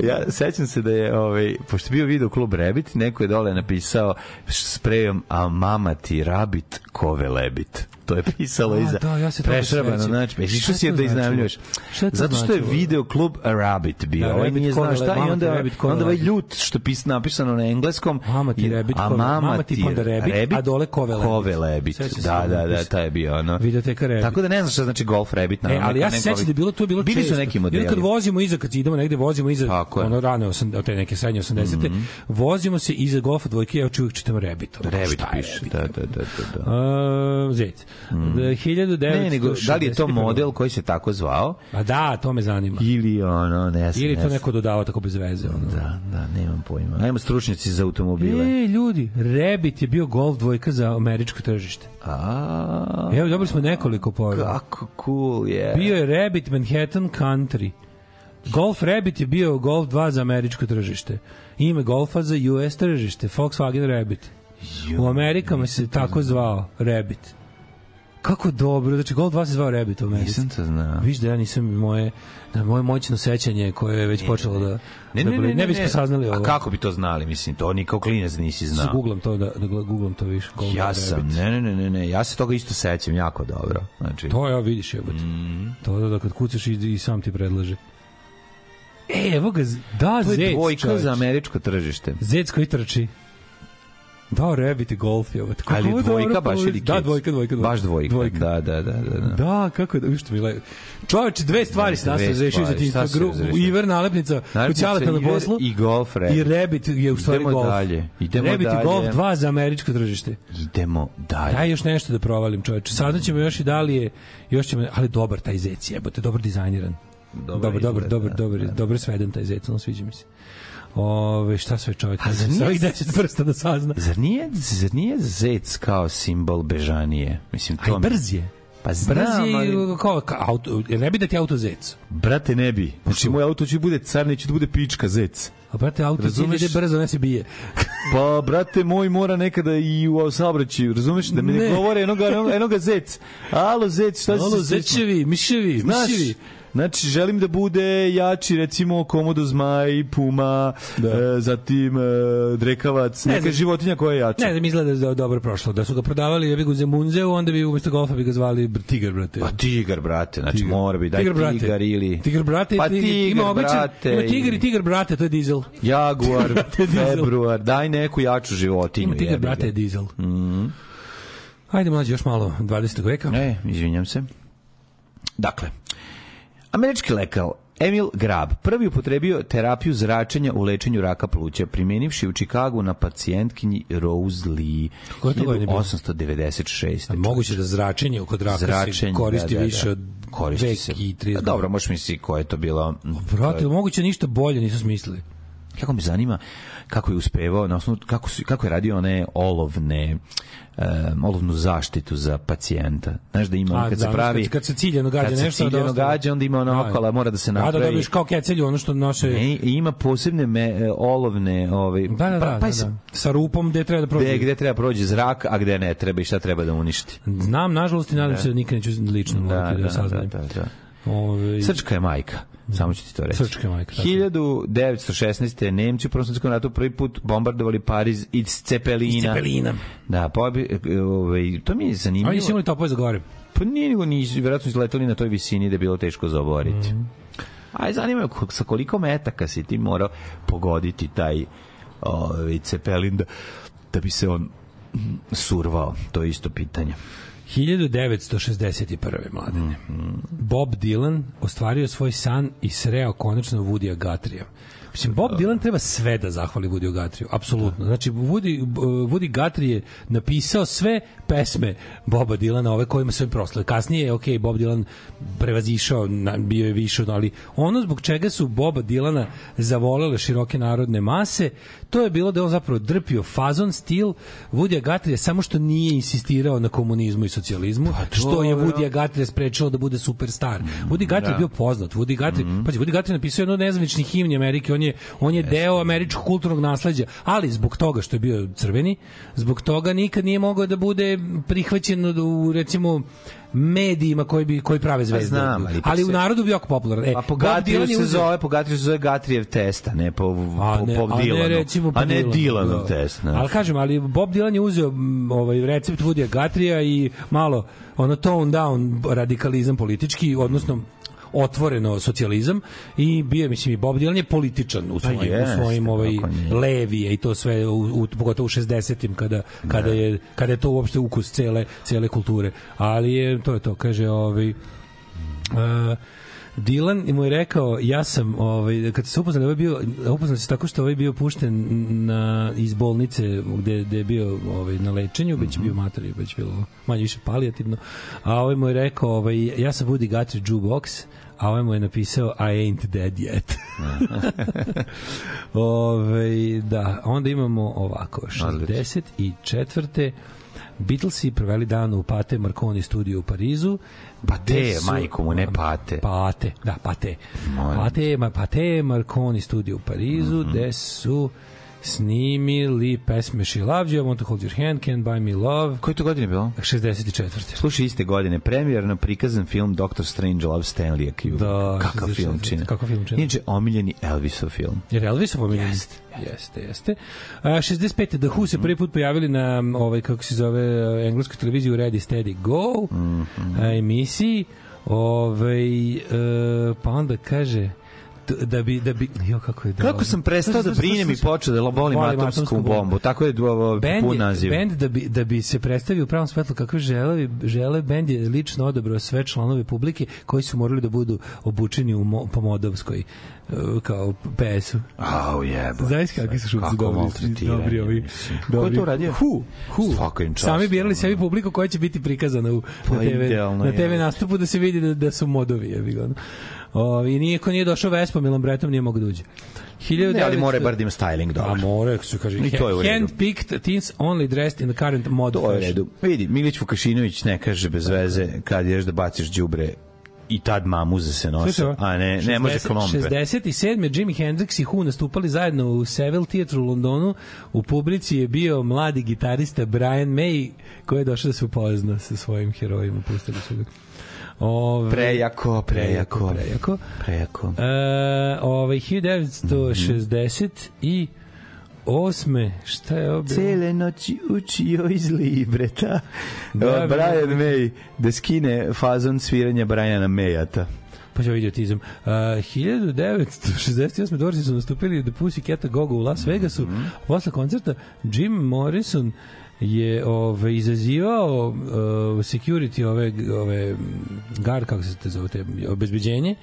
Speaker 9: ja sećam se da je, ovaj, pošto je bio video klub Rabbit, neko je dole napisao s sprejom, a mama ti Rabbit kove lebit. To je pisalo
Speaker 10: A,
Speaker 9: iza.
Speaker 10: da, ja se toga
Speaker 9: Prešrabano,
Speaker 10: sećam.
Speaker 9: znači, pa
Speaker 10: Šta
Speaker 9: išao
Speaker 10: je
Speaker 9: si je
Speaker 10: to
Speaker 9: da
Speaker 10: značilo?
Speaker 9: iznajmljuješ.
Speaker 10: Šta je to
Speaker 9: Zato što je
Speaker 10: značilo?
Speaker 9: video klub Rabbit bio.
Speaker 10: Da,
Speaker 9: ovaj
Speaker 10: Rabbit
Speaker 9: nije
Speaker 10: kove
Speaker 9: znao
Speaker 10: le-
Speaker 9: šta i
Speaker 10: mama ti
Speaker 9: onda,
Speaker 10: Rabbit kove
Speaker 9: onda ovaj
Speaker 10: lebit.
Speaker 9: ljut što pis napisano na engleskom.
Speaker 10: Mama ti
Speaker 9: i-
Speaker 10: Rabbit
Speaker 9: a
Speaker 10: kove-
Speaker 9: mama
Speaker 10: mama ti
Speaker 9: ti
Speaker 10: pa onda Rabbit,
Speaker 9: Rabbit,
Speaker 10: a dole kove lebit.
Speaker 9: Kove lebit.
Speaker 10: Sećam se
Speaker 9: Da,
Speaker 10: toga
Speaker 9: da, da,
Speaker 10: napisa.
Speaker 9: taj je bio ono.
Speaker 10: Videoteka Rabbit.
Speaker 9: Tako da ne znam šta znači golf Rabbit.
Speaker 10: E,
Speaker 9: naravno,
Speaker 10: ali ja
Speaker 9: neko-
Speaker 10: se sećam da je bilo to je bilo
Speaker 9: Bili
Speaker 10: često.
Speaker 9: su neki
Speaker 10: Ili
Speaker 9: modeli.
Speaker 10: Kad vozimo iza kad idemo negde vozimo iza
Speaker 9: Tako je. Mhm.
Speaker 10: ono rane 80 te neke srednje 80-te. Vozimo se iza golfa dvojke ja čovjek čitam Rabbit. Ono,
Speaker 9: Revit
Speaker 10: šta je
Speaker 9: piše. Da, da, da, da. da.
Speaker 10: A, Zec. Mm.
Speaker 9: Ne, nego da li je to model koji se tako zvao
Speaker 10: A Pa da, to me zanima.
Speaker 9: ili ono, ne znam.
Speaker 10: Ili
Speaker 9: ne
Speaker 10: to
Speaker 9: znam.
Speaker 10: neko dodava tako bez veze. Ono.
Speaker 9: Da, da, nemam pojma. Ajmo stručnjaci za automobile.
Speaker 10: E, ljudi, Rabbit je bio golf dvojka za američko tržište.
Speaker 9: A,
Speaker 10: Evo, dobili smo nekoliko poruka.
Speaker 9: kako cool je.
Speaker 10: Bio je Rabbit Manhattan Country. Golf Rabbit je bio Golf 2 za američko tržište. Ime Golfa za US tržište, Volkswagen Rabbit. U Amerikama se tako zvao Rabbit. Kako dobro, znači Gold 2 se zvao Rabbit u Americi.
Speaker 9: Nisam to znao.
Speaker 10: Viš da ja nisam moje, da moje moćno sećanje koje je već ne, počelo da...
Speaker 9: Ne,
Speaker 10: da
Speaker 9: ne, ne,
Speaker 10: boli.
Speaker 9: ne,
Speaker 10: ne, bismo saznali ovo.
Speaker 9: A kako bi to znali, mislim, to ni kao klinac nisi
Speaker 10: Sa
Speaker 9: znao.
Speaker 10: googlam to, da, da googlam to više. Gold
Speaker 9: Ja
Speaker 10: Rabbit.
Speaker 9: sam, ne, ne, ne, ne, ne, ja se toga isto sećam jako dobro. Znači,
Speaker 10: To ja vidiš jebote.
Speaker 9: Mhm.
Speaker 10: Mm. To da, da kad kucaš i, i sam ti predlaže. E, evo ga, z- da,
Speaker 9: to je
Speaker 10: zec,
Speaker 9: dvojka
Speaker 10: čoveče.
Speaker 9: za američko tržište.
Speaker 10: Zec koji trči. Da, Rabbit i golf, jebote. Kako ovo
Speaker 9: Ali
Speaker 10: je dobro
Speaker 9: dvojka baš ili
Speaker 10: povezano. Da,
Speaker 9: kec?
Speaker 10: dvojka, dojka, dojka.
Speaker 9: Baš dvojka, da, da, da, da. da.
Speaker 10: Da, kako je, da- što mi le... Čoveče, dve stvari se nas
Speaker 9: Dve
Speaker 10: razrešio za
Speaker 9: stvari,
Speaker 10: tinta.
Speaker 9: šta se razrešio?
Speaker 10: Iver nalepnica,
Speaker 9: Naravno,
Speaker 10: kućalata na
Speaker 9: Iver
Speaker 10: poslu.
Speaker 9: I golf Rabbit.
Speaker 10: I Rabbit je u stvari
Speaker 9: Idemo
Speaker 10: golf.
Speaker 9: dalje, idemo
Speaker 10: Rabbit
Speaker 9: dalje.
Speaker 10: i golf 2 za američko tržište.
Speaker 9: Idemo dalje.
Speaker 10: Daj još nešto da provalim, čoveče. Sada ćemo još i dalje, još ćemo, ali dobar taj zec, jebote, dobro dizajniran.
Speaker 9: Dobar
Speaker 10: Dobar, dobar,
Speaker 9: izgled,
Speaker 10: dobar,
Speaker 9: da,
Speaker 10: dobar,
Speaker 9: da.
Speaker 10: dobro sveden taj zec, on sviđa mi se. Ove, šta sve čovjek
Speaker 9: A zar
Speaker 10: sa
Speaker 9: nije-
Speaker 10: ovih 10 prsta da sazna?
Speaker 9: Zar nije, zar nije zec kao simbol bežanije? Mislim, to
Speaker 10: Aj,
Speaker 9: mi-
Speaker 10: brz je.
Speaker 9: Pa znam,
Speaker 10: Brz je,
Speaker 9: ali-
Speaker 10: i kao, kao auto, ne bi da ti je auto zec.
Speaker 9: Brate, ne bi. Znači, moj auto će da bude car, neće da bude pička zec.
Speaker 10: A brate, auto
Speaker 9: Razumeš?
Speaker 10: Razumeš? ide brzo, ne se bije.
Speaker 9: Pa, brate moj, mora nekada i u saobraćaju, razumeš? Da mi ne,
Speaker 10: Ne.
Speaker 9: govore enoga, enoga, enoga zec. Alo, zec, šta si
Speaker 10: Alo,
Speaker 9: se sretno?
Speaker 10: zečevi, miševi,
Speaker 9: Znaš,
Speaker 10: miševi.
Speaker 9: znači želim da bude jači recimo komodo zmaj, puma,
Speaker 10: Da.
Speaker 9: e, zatim e, drekavac,
Speaker 10: Ne
Speaker 9: neka
Speaker 10: znam.
Speaker 9: životinja koja je jača.
Speaker 10: Ne, da mi izgleda da je dobro prošlo. Da su ga prodavali, ja bih ga u Zemunzeu, onda bi umesto golfa bi ga zvali br- tigar, brate.
Speaker 9: Pa tigar, brate, znači
Speaker 10: Tigar.
Speaker 9: mora bi, daj tigar,
Speaker 10: brate.
Speaker 9: ili...
Speaker 10: Tigar, brate,
Speaker 9: pa
Speaker 10: tigar, ima običan,
Speaker 9: brate,
Speaker 10: ima tigar i tigar, brate, to je dizel.
Speaker 9: Jaguar,
Speaker 10: Brate, dizel.
Speaker 9: februar, daj neku jaču životinju.
Speaker 10: Ima tigar,
Speaker 9: jebi ga. Mhm.
Speaker 10: brate, je dizel. Mm. Ajde, mlađe, još malo 20. veka.
Speaker 9: E, izvinjam se. Dakle, američki lekar Emil Grab prvi upotrebio terapiju zračenja u lečenju raka pluća, primenivši u Čikagu na pacijentkinji Rose Lee
Speaker 10: Koje to godine bilo?
Speaker 9: 1896.
Speaker 10: A moguće da zračenje kod raka se
Speaker 9: Zračenje, da,
Speaker 10: koristi
Speaker 9: da, da.
Speaker 10: više od
Speaker 9: Koristi se.
Speaker 10: vek i 30
Speaker 9: A Dobro, možeš misliti koje je to bilo.
Speaker 10: Brate, moguće ništa bolje nisu smislili.
Speaker 9: Kako me zanima kako je uspevao, na osnovu, kako, su, kako je radio one olovne, um, olovnu zaštitu za pacijenta. Znaš da ima,
Speaker 10: A,
Speaker 9: on kad
Speaker 10: da,
Speaker 9: se
Speaker 10: ono
Speaker 9: pravi...
Speaker 10: kad, kad se ciljano gađa
Speaker 9: kad
Speaker 10: nešto
Speaker 9: se ciljano
Speaker 10: ostane-
Speaker 9: gađa, onda ima ona
Speaker 10: Da.
Speaker 9: okala, mora da se
Speaker 10: da da
Speaker 9: napravi.
Speaker 10: dobiješ kao kecelju ono što noše
Speaker 9: E,
Speaker 10: ne,
Speaker 9: i ima posebne me, e, olovne ovaj
Speaker 10: da da da,
Speaker 9: pa,
Speaker 10: da,
Speaker 9: pa
Speaker 10: da,
Speaker 9: se-
Speaker 10: sa rupom gde treba da
Speaker 9: Gde,
Speaker 10: prođe
Speaker 9: gde treba prođe zrak, a gde ne treba i šta treba da uništi.
Speaker 10: znam nažalost i nadam se da nikad neću lično
Speaker 9: Da,
Speaker 10: morati da,
Speaker 9: da, da,
Speaker 10: saznajem
Speaker 9: da, da.
Speaker 10: Ovaj,
Speaker 9: Srčka je majka, samo ću ti to reći.
Speaker 10: Srčka je majka, tako.
Speaker 9: 1916. Nemci u Prvom svetskom ratu prvi put bombardovali Pariz iz Cepelina.
Speaker 10: Iz Cepelina.
Speaker 9: Da, pobi, e, ovaj, to mi je zanimljivo.
Speaker 10: oni su imali topove za gore
Speaker 9: Pa nije nego nisu, vjerojatno su letali na toj visini da je bilo teško za oboriti. Mm. Aj, zanima me ko- sa koliko metaka si ti morao pogoditi taj ovaj, cepelin da, da bi se on mm, survao, to je isto pitanje.
Speaker 10: 1961. mladene. Bob Dylan ostvario svoj san i sreo konačno Woodya Guthrie. Mislim, Bob Dylan treba sve da zahvali Woody Guthrie, apsolutno. Znači, Woody, Woody Guthrie je napisao sve pesme Boba Dylana, ove kojima se on proslao. Kasnije je, ok, Bob Dylan prevazišao, na- bio je više, ali ono zbog čega su Boba Dilana zavolele široke narodne mase, to je bilo da je on zapravo drpio fazon stil Woodya Guthrie samo što nije insistirao na komunizmu i socijalizmu,
Speaker 9: Pa
Speaker 10: što je Woodya Guthrie sprečilo da bude
Speaker 9: Mm,
Speaker 10: superstar. Woody Guthrie je bio poznat. Woody Guthrie, mm -hmm. pazi, Woody Guthrie je napisao jednu od nezvaničnih himni Amerike, on je, on je deo američkog kulturnog nasleđa, ali zbog toga što je bio crveni, zbog toga nikad nije mogao da bude prihvaćen u, recimo, medijima koji bi koji prave zvezde.
Speaker 9: Pa znam, ali ipak
Speaker 10: ali u
Speaker 9: se- Pa
Speaker 10: narodu je bio jako popularan. E,
Speaker 9: A po
Speaker 10: Bob Dylan
Speaker 9: Gatriju
Speaker 10: je
Speaker 9: se
Speaker 10: uzeo-
Speaker 9: zove, po Gatriju se zove Gatrijev testa, ne po,
Speaker 10: A
Speaker 9: po,
Speaker 10: ne,
Speaker 9: po
Speaker 10: a ne,
Speaker 9: Dilanu.
Speaker 10: recimo po
Speaker 9: a ne
Speaker 10: Dylanu,
Speaker 9: Dilanov
Speaker 10: da.
Speaker 9: test. znaš.
Speaker 10: Ali kažem, ali Bob Dylan je uzeo mm, ovaj recept Woodya Guthrie i malo ono tone down radikalizam politički, odnosno otvoreno socijalizam i bio je, mislim i Bob Dylan je političan u svojim,
Speaker 9: Pa jeste,
Speaker 10: u svojim ovaj
Speaker 9: kako nije.
Speaker 10: levije i to sve u, u pogotovo u 60-im kada kada je kada je to uopšte ukus cele cele kulture. Ali je to je to kaže ovaj Uh, Dilan mu je rekao ja sam ovaj kad su se upoznali ovaj bio upoznali se tako što je ovaj bio pušten na iz bolnice gde gde je bio ovaj na lečenju već je bio
Speaker 9: Mhm.
Speaker 10: mater već je bilo manje više palijativno a ovaj mu je rekao ovaj ja sam Woody Guthrie jukebox a ovaj mu je napisao I ain't dead yet Ove, Ovaj, da, onda imamo ovako, 64. Beatlesi proveli dan u Pate Marconi studiju u Parizu.
Speaker 9: Pate,
Speaker 10: gde su-
Speaker 9: Pa
Speaker 10: Pa-
Speaker 9: majko mu, ne Pate.
Speaker 10: Pate, da, Pate.
Speaker 9: Molim Mhm.
Speaker 10: Pate, ma, Pate Marconi studiju u Parizu, mm -hmm. gde su snimili pesme She Loves You, I Want to Hold Your Hand, Can't Buy Me Love.
Speaker 9: Koje to godine je bilo?
Speaker 10: 64.
Speaker 9: Slušaj, iste godine premijerno prikazan film Doctor Strange Love Stanley Kubricka.
Speaker 10: Da,
Speaker 9: kakav
Speaker 10: 64.
Speaker 9: film čini.
Speaker 10: Kakav film čini.
Speaker 9: Inače, omiljeni Elvisov film.
Speaker 10: Jer Elvis pominjen? Jeste, jeste, jeste. A, 65. The Who se prvi put pojavili na m, ovaj, kako se zove, e, engleskoj televiziji u Ready, Steady, Go
Speaker 9: Mhm.
Speaker 10: a, emisiji. Ove, e, pa onda kaže d- da bi da bi jo kako je da
Speaker 9: Kako sam prestao da brinem i počeo da volim atomsku bombu. Tako je duo-
Speaker 10: Bend,
Speaker 9: pun
Speaker 10: je-
Speaker 9: naziv.
Speaker 10: Bend da bi, da bi se predstavio u pravom svetlu kakve žele, žele bend je lično odabrao sve članove publike koji su morali da budu obučeni u mo, po modovskoj e, kao PS-u.
Speaker 9: Au jebo.
Speaker 10: Znaš kakvi su šupci
Speaker 9: Pa, Kako
Speaker 10: dobri,
Speaker 9: maltretiranje,
Speaker 10: dobri ovi.
Speaker 9: mislim. Ko je
Speaker 10: Dobri.
Speaker 9: to radio?
Speaker 10: Hu, hu.
Speaker 9: Svaka im čast,
Speaker 10: Sami birali sebi publiku koja će biti prikazana u,
Speaker 9: Pa
Speaker 10: na TV,
Speaker 9: idealno,
Speaker 10: na TV
Speaker 9: je.
Speaker 10: nastupu da se vidi da, da su modovi. Je bi O, I niko nije došao Vespom, Milom Bretom nije mogu da uđe. 1900...
Speaker 9: Ne, ali mora bar da im styling dobro.
Speaker 10: A more, kako se kaže,
Speaker 9: I to je u redu.
Speaker 10: handpicked teens only dressed in the current mod
Speaker 9: To je u
Speaker 10: fashion.
Speaker 9: redu. Vidi, Milić Vukašinović ne kaže bez veze kad ješ da baciš đubre i tad mamuze se nose,
Speaker 10: Slušaj, ovo.
Speaker 9: a ne, ne može
Speaker 10: 60
Speaker 9: klompe.
Speaker 10: 67. Jimi Hendrix i Who nastupali zajedno u Seville Theatre u Londonu. U publici je bio mladi gitarista Brian May koji je došao da se upozna sa svojim herojima. Pustili su ga. Ove,
Speaker 9: Prejako, prejako,
Speaker 10: prejako.
Speaker 9: prejako.
Speaker 10: E, ovaj 1960 i osme, šta je ovo? bilo?
Speaker 9: Cele noći učio iz Libreta.
Speaker 10: Da,
Speaker 9: Da, Brian
Speaker 10: bi-
Speaker 9: May da skine fazon sviranja Briana Mayata.
Speaker 10: Pa je idiotizam. Uh, 1968. Dorsi su nastupili The Pussycat Gogo u Las Vegasu.
Speaker 9: Mhm.
Speaker 10: Posle koncerta Jim Morrison je ove, izazivao uh, security ove, ove gar, kako se te zove, te, obezbeđenje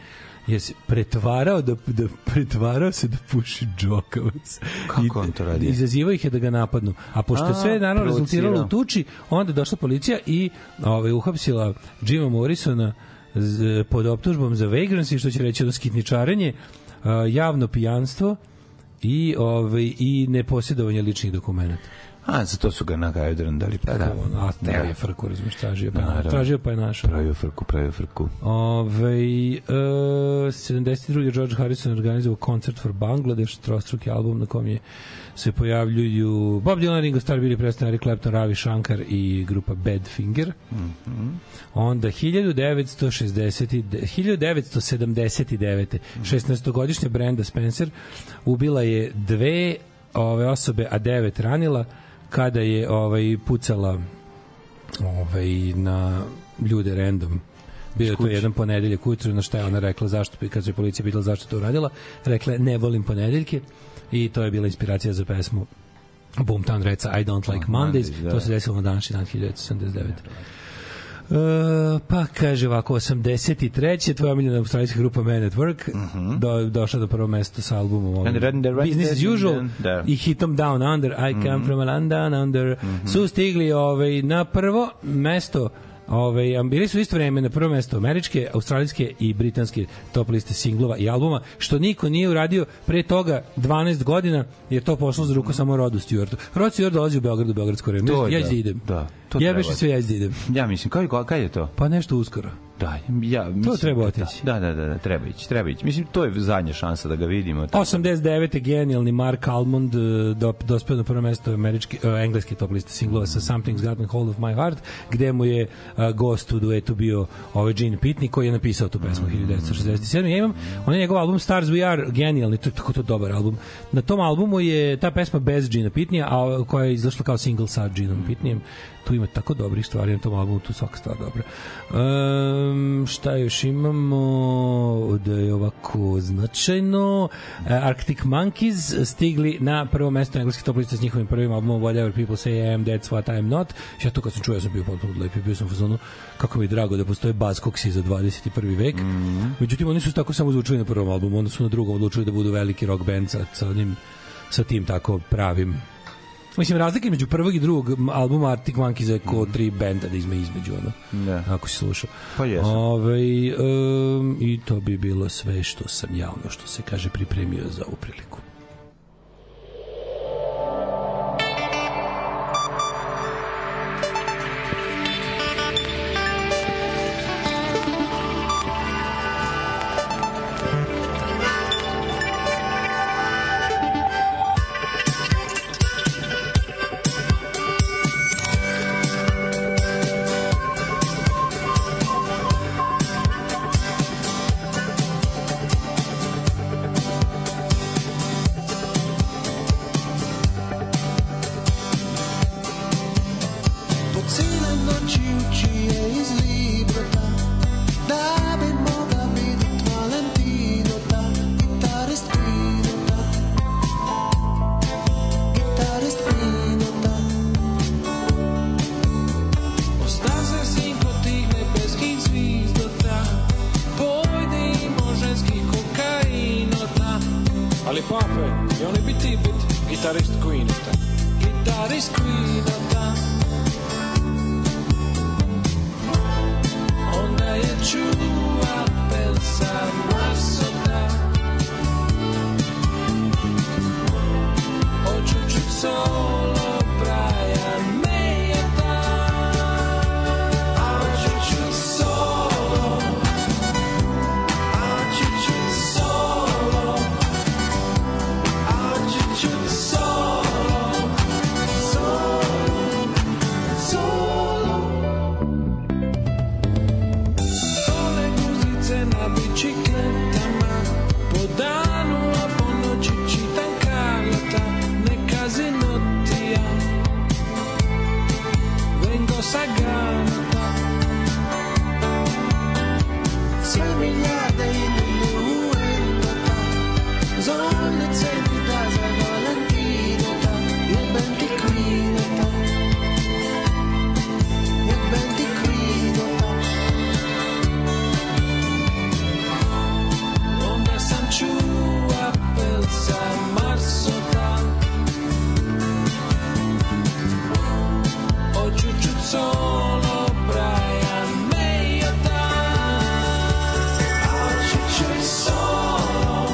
Speaker 10: je se pretvarao da, da pretvarao se da puši džokavac.
Speaker 9: Kako
Speaker 10: I-
Speaker 9: on to radi?
Speaker 10: Izazivao ih je da ga napadnu. A pošto
Speaker 9: A,
Speaker 10: sve je naravno rezultiralo u
Speaker 9: provocirao.
Speaker 10: tuči, onda je došla policija i ovaj, uhapsila Jima Morrisona z, pod optužbom za vagrancy, što će reći ono skitničarenje, a, javno pijanstvo i, ovaj, i neposjedovanje ličnih dokumenta.
Speaker 9: A, za to su ga na Gajodran dali. Pa da.
Speaker 10: Ono, a teo je
Speaker 9: Da.
Speaker 10: frku, razumiješ, tražio pa,
Speaker 9: Naravno.
Speaker 10: tražio pa je našao.
Speaker 9: Pravio frku, pravio frku.
Speaker 10: Ove, e, 72. George Harrison organizovao koncert for Bangladesh, trostruki album na kom je se pojavljuju Bob Dylan, Ringo Starr, Billy Preston, Eric Clapton, Ravi Shankar i grupa Badfinger. Onda 1960, 1979. 16-godišnja Brenda Spencer ubila je dve ove osobe, a devet ranila kada je ovaj pucala ovaj, na ljude random. Bio je to jedan ponedeljak ujutru, na šta je ona rekla zašto, kad se policija pitala zašto je to uradila, rekla je ne volim ponedeljke i to je bila inspiracija za pesmu Boomtown Redsa I Don't Like Mondays,
Speaker 9: Mondays, da.
Speaker 10: to se desilo na današnji dan 1979. E, pa kaže ovako 83. tvoja omiljena australijska grupa Man at Work do, došla do prvo mesto sa albumom ovim,
Speaker 9: Mhm. And then the rest
Speaker 10: Business as
Speaker 9: is-
Speaker 10: usual
Speaker 9: Da.
Speaker 10: i hitom Down Under I
Speaker 9: Mhm.
Speaker 10: come from a land down under su stigli ovaj, na prvo mesto Ove, a bili su isto vreme na prvo mesto američke, australijske i britanske top liste singlova i albuma, što niko nije uradio pre toga 12 godina, jer to pošlo za ruku samo Rodu Stewartu. Rod Stewart dolazi u Beogradu, u Beogradsku arenu.
Speaker 9: Mhm. To je
Speaker 10: Ja
Speaker 9: da,
Speaker 10: ću da idem.
Speaker 9: da, to
Speaker 10: Jebeš
Speaker 9: treba.
Speaker 10: mi sve, ja ću da idem.
Speaker 9: Ja mislim, kaj, kaj je to?
Speaker 10: Pa nešto uskoro.
Speaker 9: Da, ja mislim,
Speaker 10: treba
Speaker 9: da,
Speaker 10: otići.
Speaker 9: Da, da, da, da, treba ići, treba ići. Mislim, to je zadnja šansa da ga vidimo.
Speaker 10: 89. genijalni Mark Almond e, do, dospeo na prvo mesto američki, e, engleski top liste singlova sa Something's Gotten Hold of My Heart, gde mu je e, gost u duetu bio ovaj Gene Pitney koji je napisao tu pesmu 1967. Ja imam, on je njegov album Stars We Are genijalni, to je tako to dobar album. Na tom albumu je ta pesma bez Gina Pitneya, a ova koja je izašla kao single sa Ginom Pitneyem. Tu ima tako dobrih stvari na tom albumu, tu je svaka stvar dobra. Um, šta još imamo da je ovako značajno? E, Arctic Monkeys stigli na prvo mesto engleske top liste s njihovim prvim albumom Whatever People Say I Am, That's What I Am Not. Ja to kad sam čuo, ja sam bio potpuno lepi, bio sam u fazonu kako mi je drago da postoje Buzz Coxi za 21. vek. Međutim, oni su tako samo zvučili na prvom albumu, onda su na drugom odlučili da budu veliki rock band sa, sa, onim, sa tim tako pravim Mislim, razlika između prvog i drugog m- albuma Arctic Monkeys je ko tri benda da izme između, ono,
Speaker 9: Mhm. Da.
Speaker 10: ako si slušao.
Speaker 9: Pa jesu.
Speaker 10: Ovaj, em, I to bi bilo sve što sam ja, ono što se kaže, pripremio za ovu priliku.
Speaker 11: Thank
Speaker 13: Gitarist Queen. Gitarist Queen da. Ona je čuva pelsa masoda. Hoću čut solo Brian Mayata. Hoću čut solo. Hoću čut solo. Saganata Sve milijarde idu u etata Zorne cene da za Valentinota Jebem ti kvinota Jebem ti kvinota Onda sam čuva pelca Marsota Hoću čut solo Brian Mayota Hoću čut solo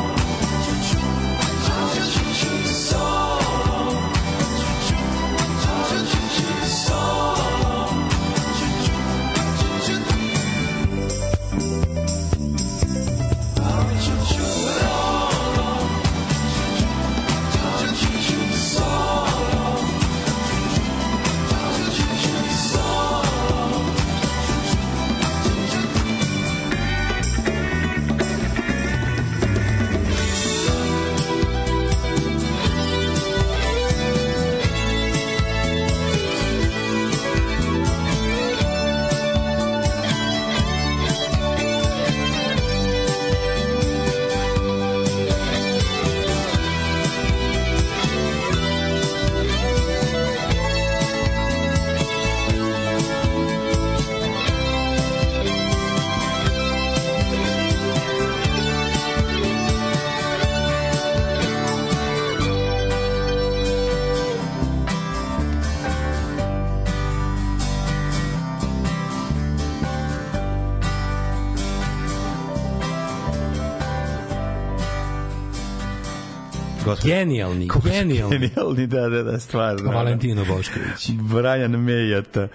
Speaker 10: Genijalni, genijalni. Pa
Speaker 9: Genijalni, da, da, da, stvarno.
Speaker 10: Valentino Bošković.
Speaker 9: Brian Mejata.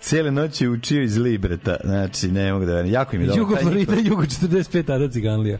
Speaker 9: Cijele noći je učio iz Libreta. Znači, ne mogu da verujem. Jako im je dobro.
Speaker 10: Jugo
Speaker 9: Taj
Speaker 10: Florida,
Speaker 9: njihov- Mhm.
Speaker 10: Jugo 45, tada Ciganlija.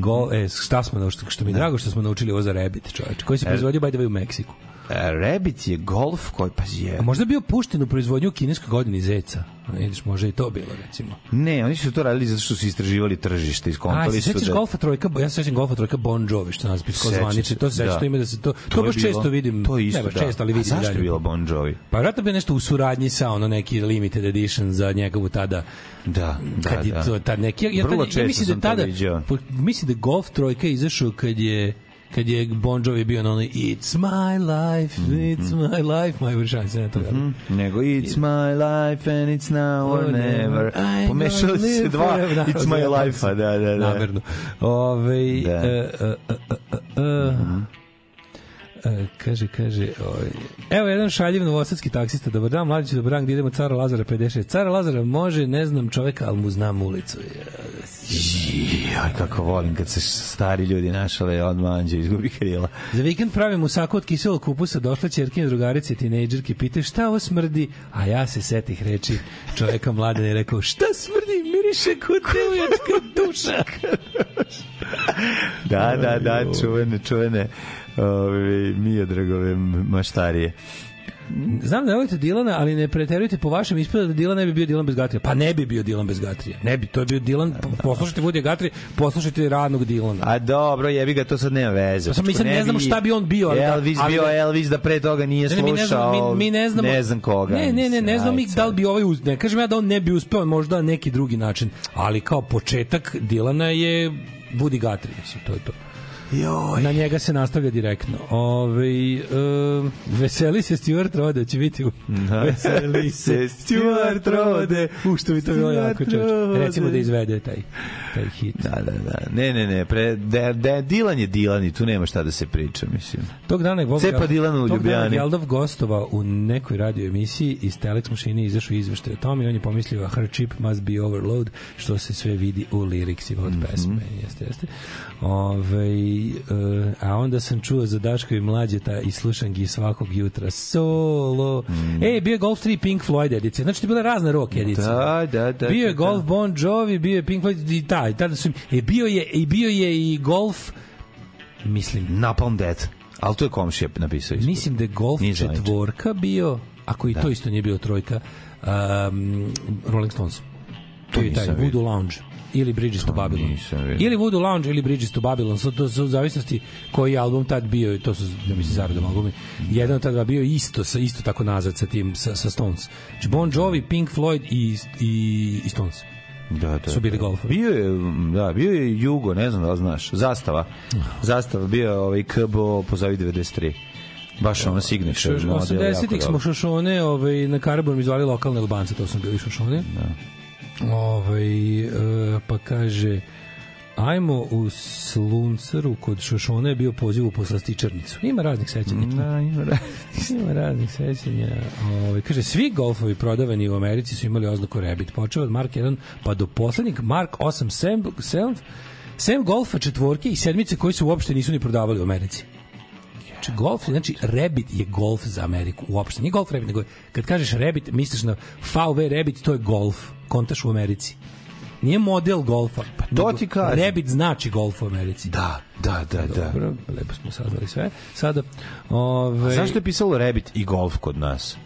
Speaker 10: Gol, e, šta smo naučili, što mi je drago što smo naučili ovo za Rebit, čoveče, koji se
Speaker 9: E.
Speaker 10: proizvodio by the way u Meksiku.
Speaker 9: E, Rabbit je golf koji, pa je...
Speaker 10: A možda je bio pušten u proizvodnju u kineskoj godini zeca. Vidiš, možda je i to bilo, recimo.
Speaker 9: Ne, oni su to radili zato što su istraživali tržište,
Speaker 10: A, se
Speaker 9: iskontali su
Speaker 10: sećaš
Speaker 9: da...
Speaker 10: golfa trojka, ja se sećam golfa trojka Bon Jovi, što nas pisko
Speaker 9: Sećam
Speaker 10: zvaniči,
Speaker 9: se,
Speaker 10: to se sećam,
Speaker 9: da.
Speaker 10: to ime da se to, to,
Speaker 9: je
Speaker 10: baš
Speaker 9: bilo-
Speaker 10: često vidim,
Speaker 9: To je isto,
Speaker 10: ne baš
Speaker 9: da.
Speaker 10: često, ali vidim.
Speaker 9: A zašto
Speaker 10: dalje.
Speaker 9: je bilo Bon Jovi?
Speaker 10: Pa vjerojatno bi nešto u suradnji sa ono neki limited edition za njegovu tada
Speaker 9: da, da,
Speaker 10: kad je
Speaker 9: da.
Speaker 10: to, tad neki ja, tad-
Speaker 9: Vrlo
Speaker 10: ja
Speaker 9: često
Speaker 10: mislim da
Speaker 9: sam to
Speaker 10: tada
Speaker 9: viđao.
Speaker 10: po- mislim da Golf trojka je izašao kad je kad je Bon Jovi bio na onoj It's my life,
Speaker 9: Mhm.
Speaker 10: it's my life, my vršan se na to. Mm
Speaker 9: Nego It's my life and it's now
Speaker 10: Or
Speaker 9: or
Speaker 10: never.
Speaker 9: never.
Speaker 10: I
Speaker 9: Pomešali
Speaker 10: don't
Speaker 9: su se
Speaker 10: live
Speaker 9: dva
Speaker 10: forever. Da,
Speaker 9: It's my
Speaker 10: zajebam
Speaker 9: life,
Speaker 10: se.
Speaker 9: a da, da, da.
Speaker 10: Namerno. Ove,
Speaker 9: Da. Mhm.
Speaker 10: e, e, e, e, e, e, kaže, kaže, oj. evo jedan šaljiv novosadski taksista, dobar dan, mladić, dobar dan, gdje idemo, cara Lazara 56. Cara Lazara može, ne znam čoveka, ali mu znam ulicu.
Speaker 9: Jaj, kako volim kad se stari ljudi našale odmah anđe izgubi krila.
Speaker 10: Za vikend pravim u saku od kiselog kupusa, došla čerkina drugarice, tinejdžerke, pite šta ovo smrdi, a ja se setih reči čoveka mladena i rekao, šta smrdi, miriše kod devojačka duša.
Speaker 9: Da, da, da, čuvene, čuvene ove, Mio Dragove maštarije.
Speaker 10: Znam da ne volite Dilana, ali ne preterujte po vašem ispada da Dilan ne bi bio Dilan bez Gatrija. Pa ne bi bio Dilan bez Gatrija. Ne bi, to je bio Dilan, poslušajte Woody Gatrija, poslušajte radnog Dilana.
Speaker 9: A Pa dobro, jebi ga, to sad nema veze.
Speaker 10: Pa sad mi sad
Speaker 9: Čekaj,
Speaker 10: ne znamo
Speaker 9: bi-
Speaker 10: šta bi on bio, ali da-
Speaker 9: Elvis
Speaker 10: ali
Speaker 9: bio
Speaker 10: da-
Speaker 9: Elvis da pre toga nije
Speaker 10: Ne, ne, mi ne znamo,
Speaker 9: slušao.
Speaker 10: mi, mi ne znamo.
Speaker 9: Ne znam koga.
Speaker 10: Ne, ne, ne,
Speaker 9: mislim,
Speaker 10: ne znamo mi
Speaker 9: ajde.
Speaker 10: da li bi ovaj, uz- ne kažem ja da on ne bi uspeo, možda na neki drugi način, ali kao početak Dilana je Woody Guthrie, mislim, to je to.
Speaker 9: Joj.
Speaker 10: Na njega se nastavlja direktno. Ove, um, veseli se Stuart Rode, će biti u...
Speaker 9: Da.
Speaker 10: Veseli se Stuart Rode. U, što bi to bilo jako čoč. Recimo da izvede taj, taj hit.
Speaker 9: Da, da, da. Ne, ne, ne, pre, de, de, Dilan je Dilan i tu nema šta da se priča, mislim.
Speaker 10: Tog dana je Bob
Speaker 9: Cepa
Speaker 10: Jel-
Speaker 9: Dilana u
Speaker 10: Tog dana je
Speaker 9: Ljubljani.
Speaker 10: Jeldov gostovao u nekoj radio emisiji iz Telex mašine izašao izveštaj o tome i on je pomislio her chip must be overload što se sve vidi u liriksima
Speaker 9: Mhm.
Speaker 10: od pesme. Jeste, jeste. Ove, e, a onda sam čuo za Daško i mlađeta i slušam gi svakog jutra solo. E, bio je Golf 3 Pink Floyd edicija. Znači, to je bila razna rock edicija.
Speaker 9: Mhm. Da, da, da,
Speaker 10: Bio je
Speaker 9: da,
Speaker 10: Golf
Speaker 9: da.
Speaker 10: Bon Jovi, bio je Pink Floyd i taj. Tada su, im- e, bio je, i bio je i Golf mislim
Speaker 9: Napalm Death. Ali to je komšija napisao. ispod.
Speaker 10: Mislim da je golf
Speaker 9: Nije zvanično.
Speaker 10: četvorka bio, ako i
Speaker 9: Da.
Speaker 10: to isto nije bio trojka, um, Rolling Stones. To je taj
Speaker 9: nisam vidio.
Speaker 10: Voodoo Lounge ili Bridges to Babylon.
Speaker 9: nisam vidio.
Speaker 10: Ili Voodoo Lounge ili Bridges to Babylon, so, to su u zavisnosti koji je album tad bio, to su da mi se zaradom albumi. Jedan od tada bio isto sa isto tako nazad sa tim sa, sa Stones. Znači Bon Jovi, Pink Floyd i i, i Stones.
Speaker 9: da, da,
Speaker 10: su bili
Speaker 9: da.
Speaker 10: golfovi.
Speaker 9: Bio je, mm, da, bio je Jugo, ne znam da li znaš, zastava. Zastava bio je ovaj KBO pozavi 93. Baš ono signature. model, jako
Speaker 10: 80-ih smo
Speaker 9: dobro.
Speaker 10: šošone, ovaj, na Karabom izvali lokalne Albance, to smo bili šošone. Ovaj, e, pa kaže, ajmo u Sluncaru kod Šošone je bio poziv u poslastičarnicu. Ima raznih sećanja.
Speaker 9: Da, ima ra-
Speaker 10: Ima raznih sećanja. Ovaj, kaže, svi golfovi prodavani u Americi su imali oznaku Rabbit. Počeo od Mark 1 pa do poslednjeg Mark 8 Sam, Sam, Sam golfa četvorke i sedmice koji se uopšte nisu ni prodavali u Americi. Znači, golf, je- znači, Rabbit je golf za Ameriku uopšte. Nije golf Rabbit, nego je- kad kažeš Rabbit, misliš na VW Rabbit, to je golf. Kontaš u Americi. Nije model golfa. Pa
Speaker 9: to ti kažem.
Speaker 10: Rabbit znači golf u Americi.
Speaker 9: Da, da, da, da.
Speaker 10: Dobro, lepo smo saznali sve. Sada, ovaj, ove...
Speaker 9: Zašto je pisalo Rabbit i golf kod nas?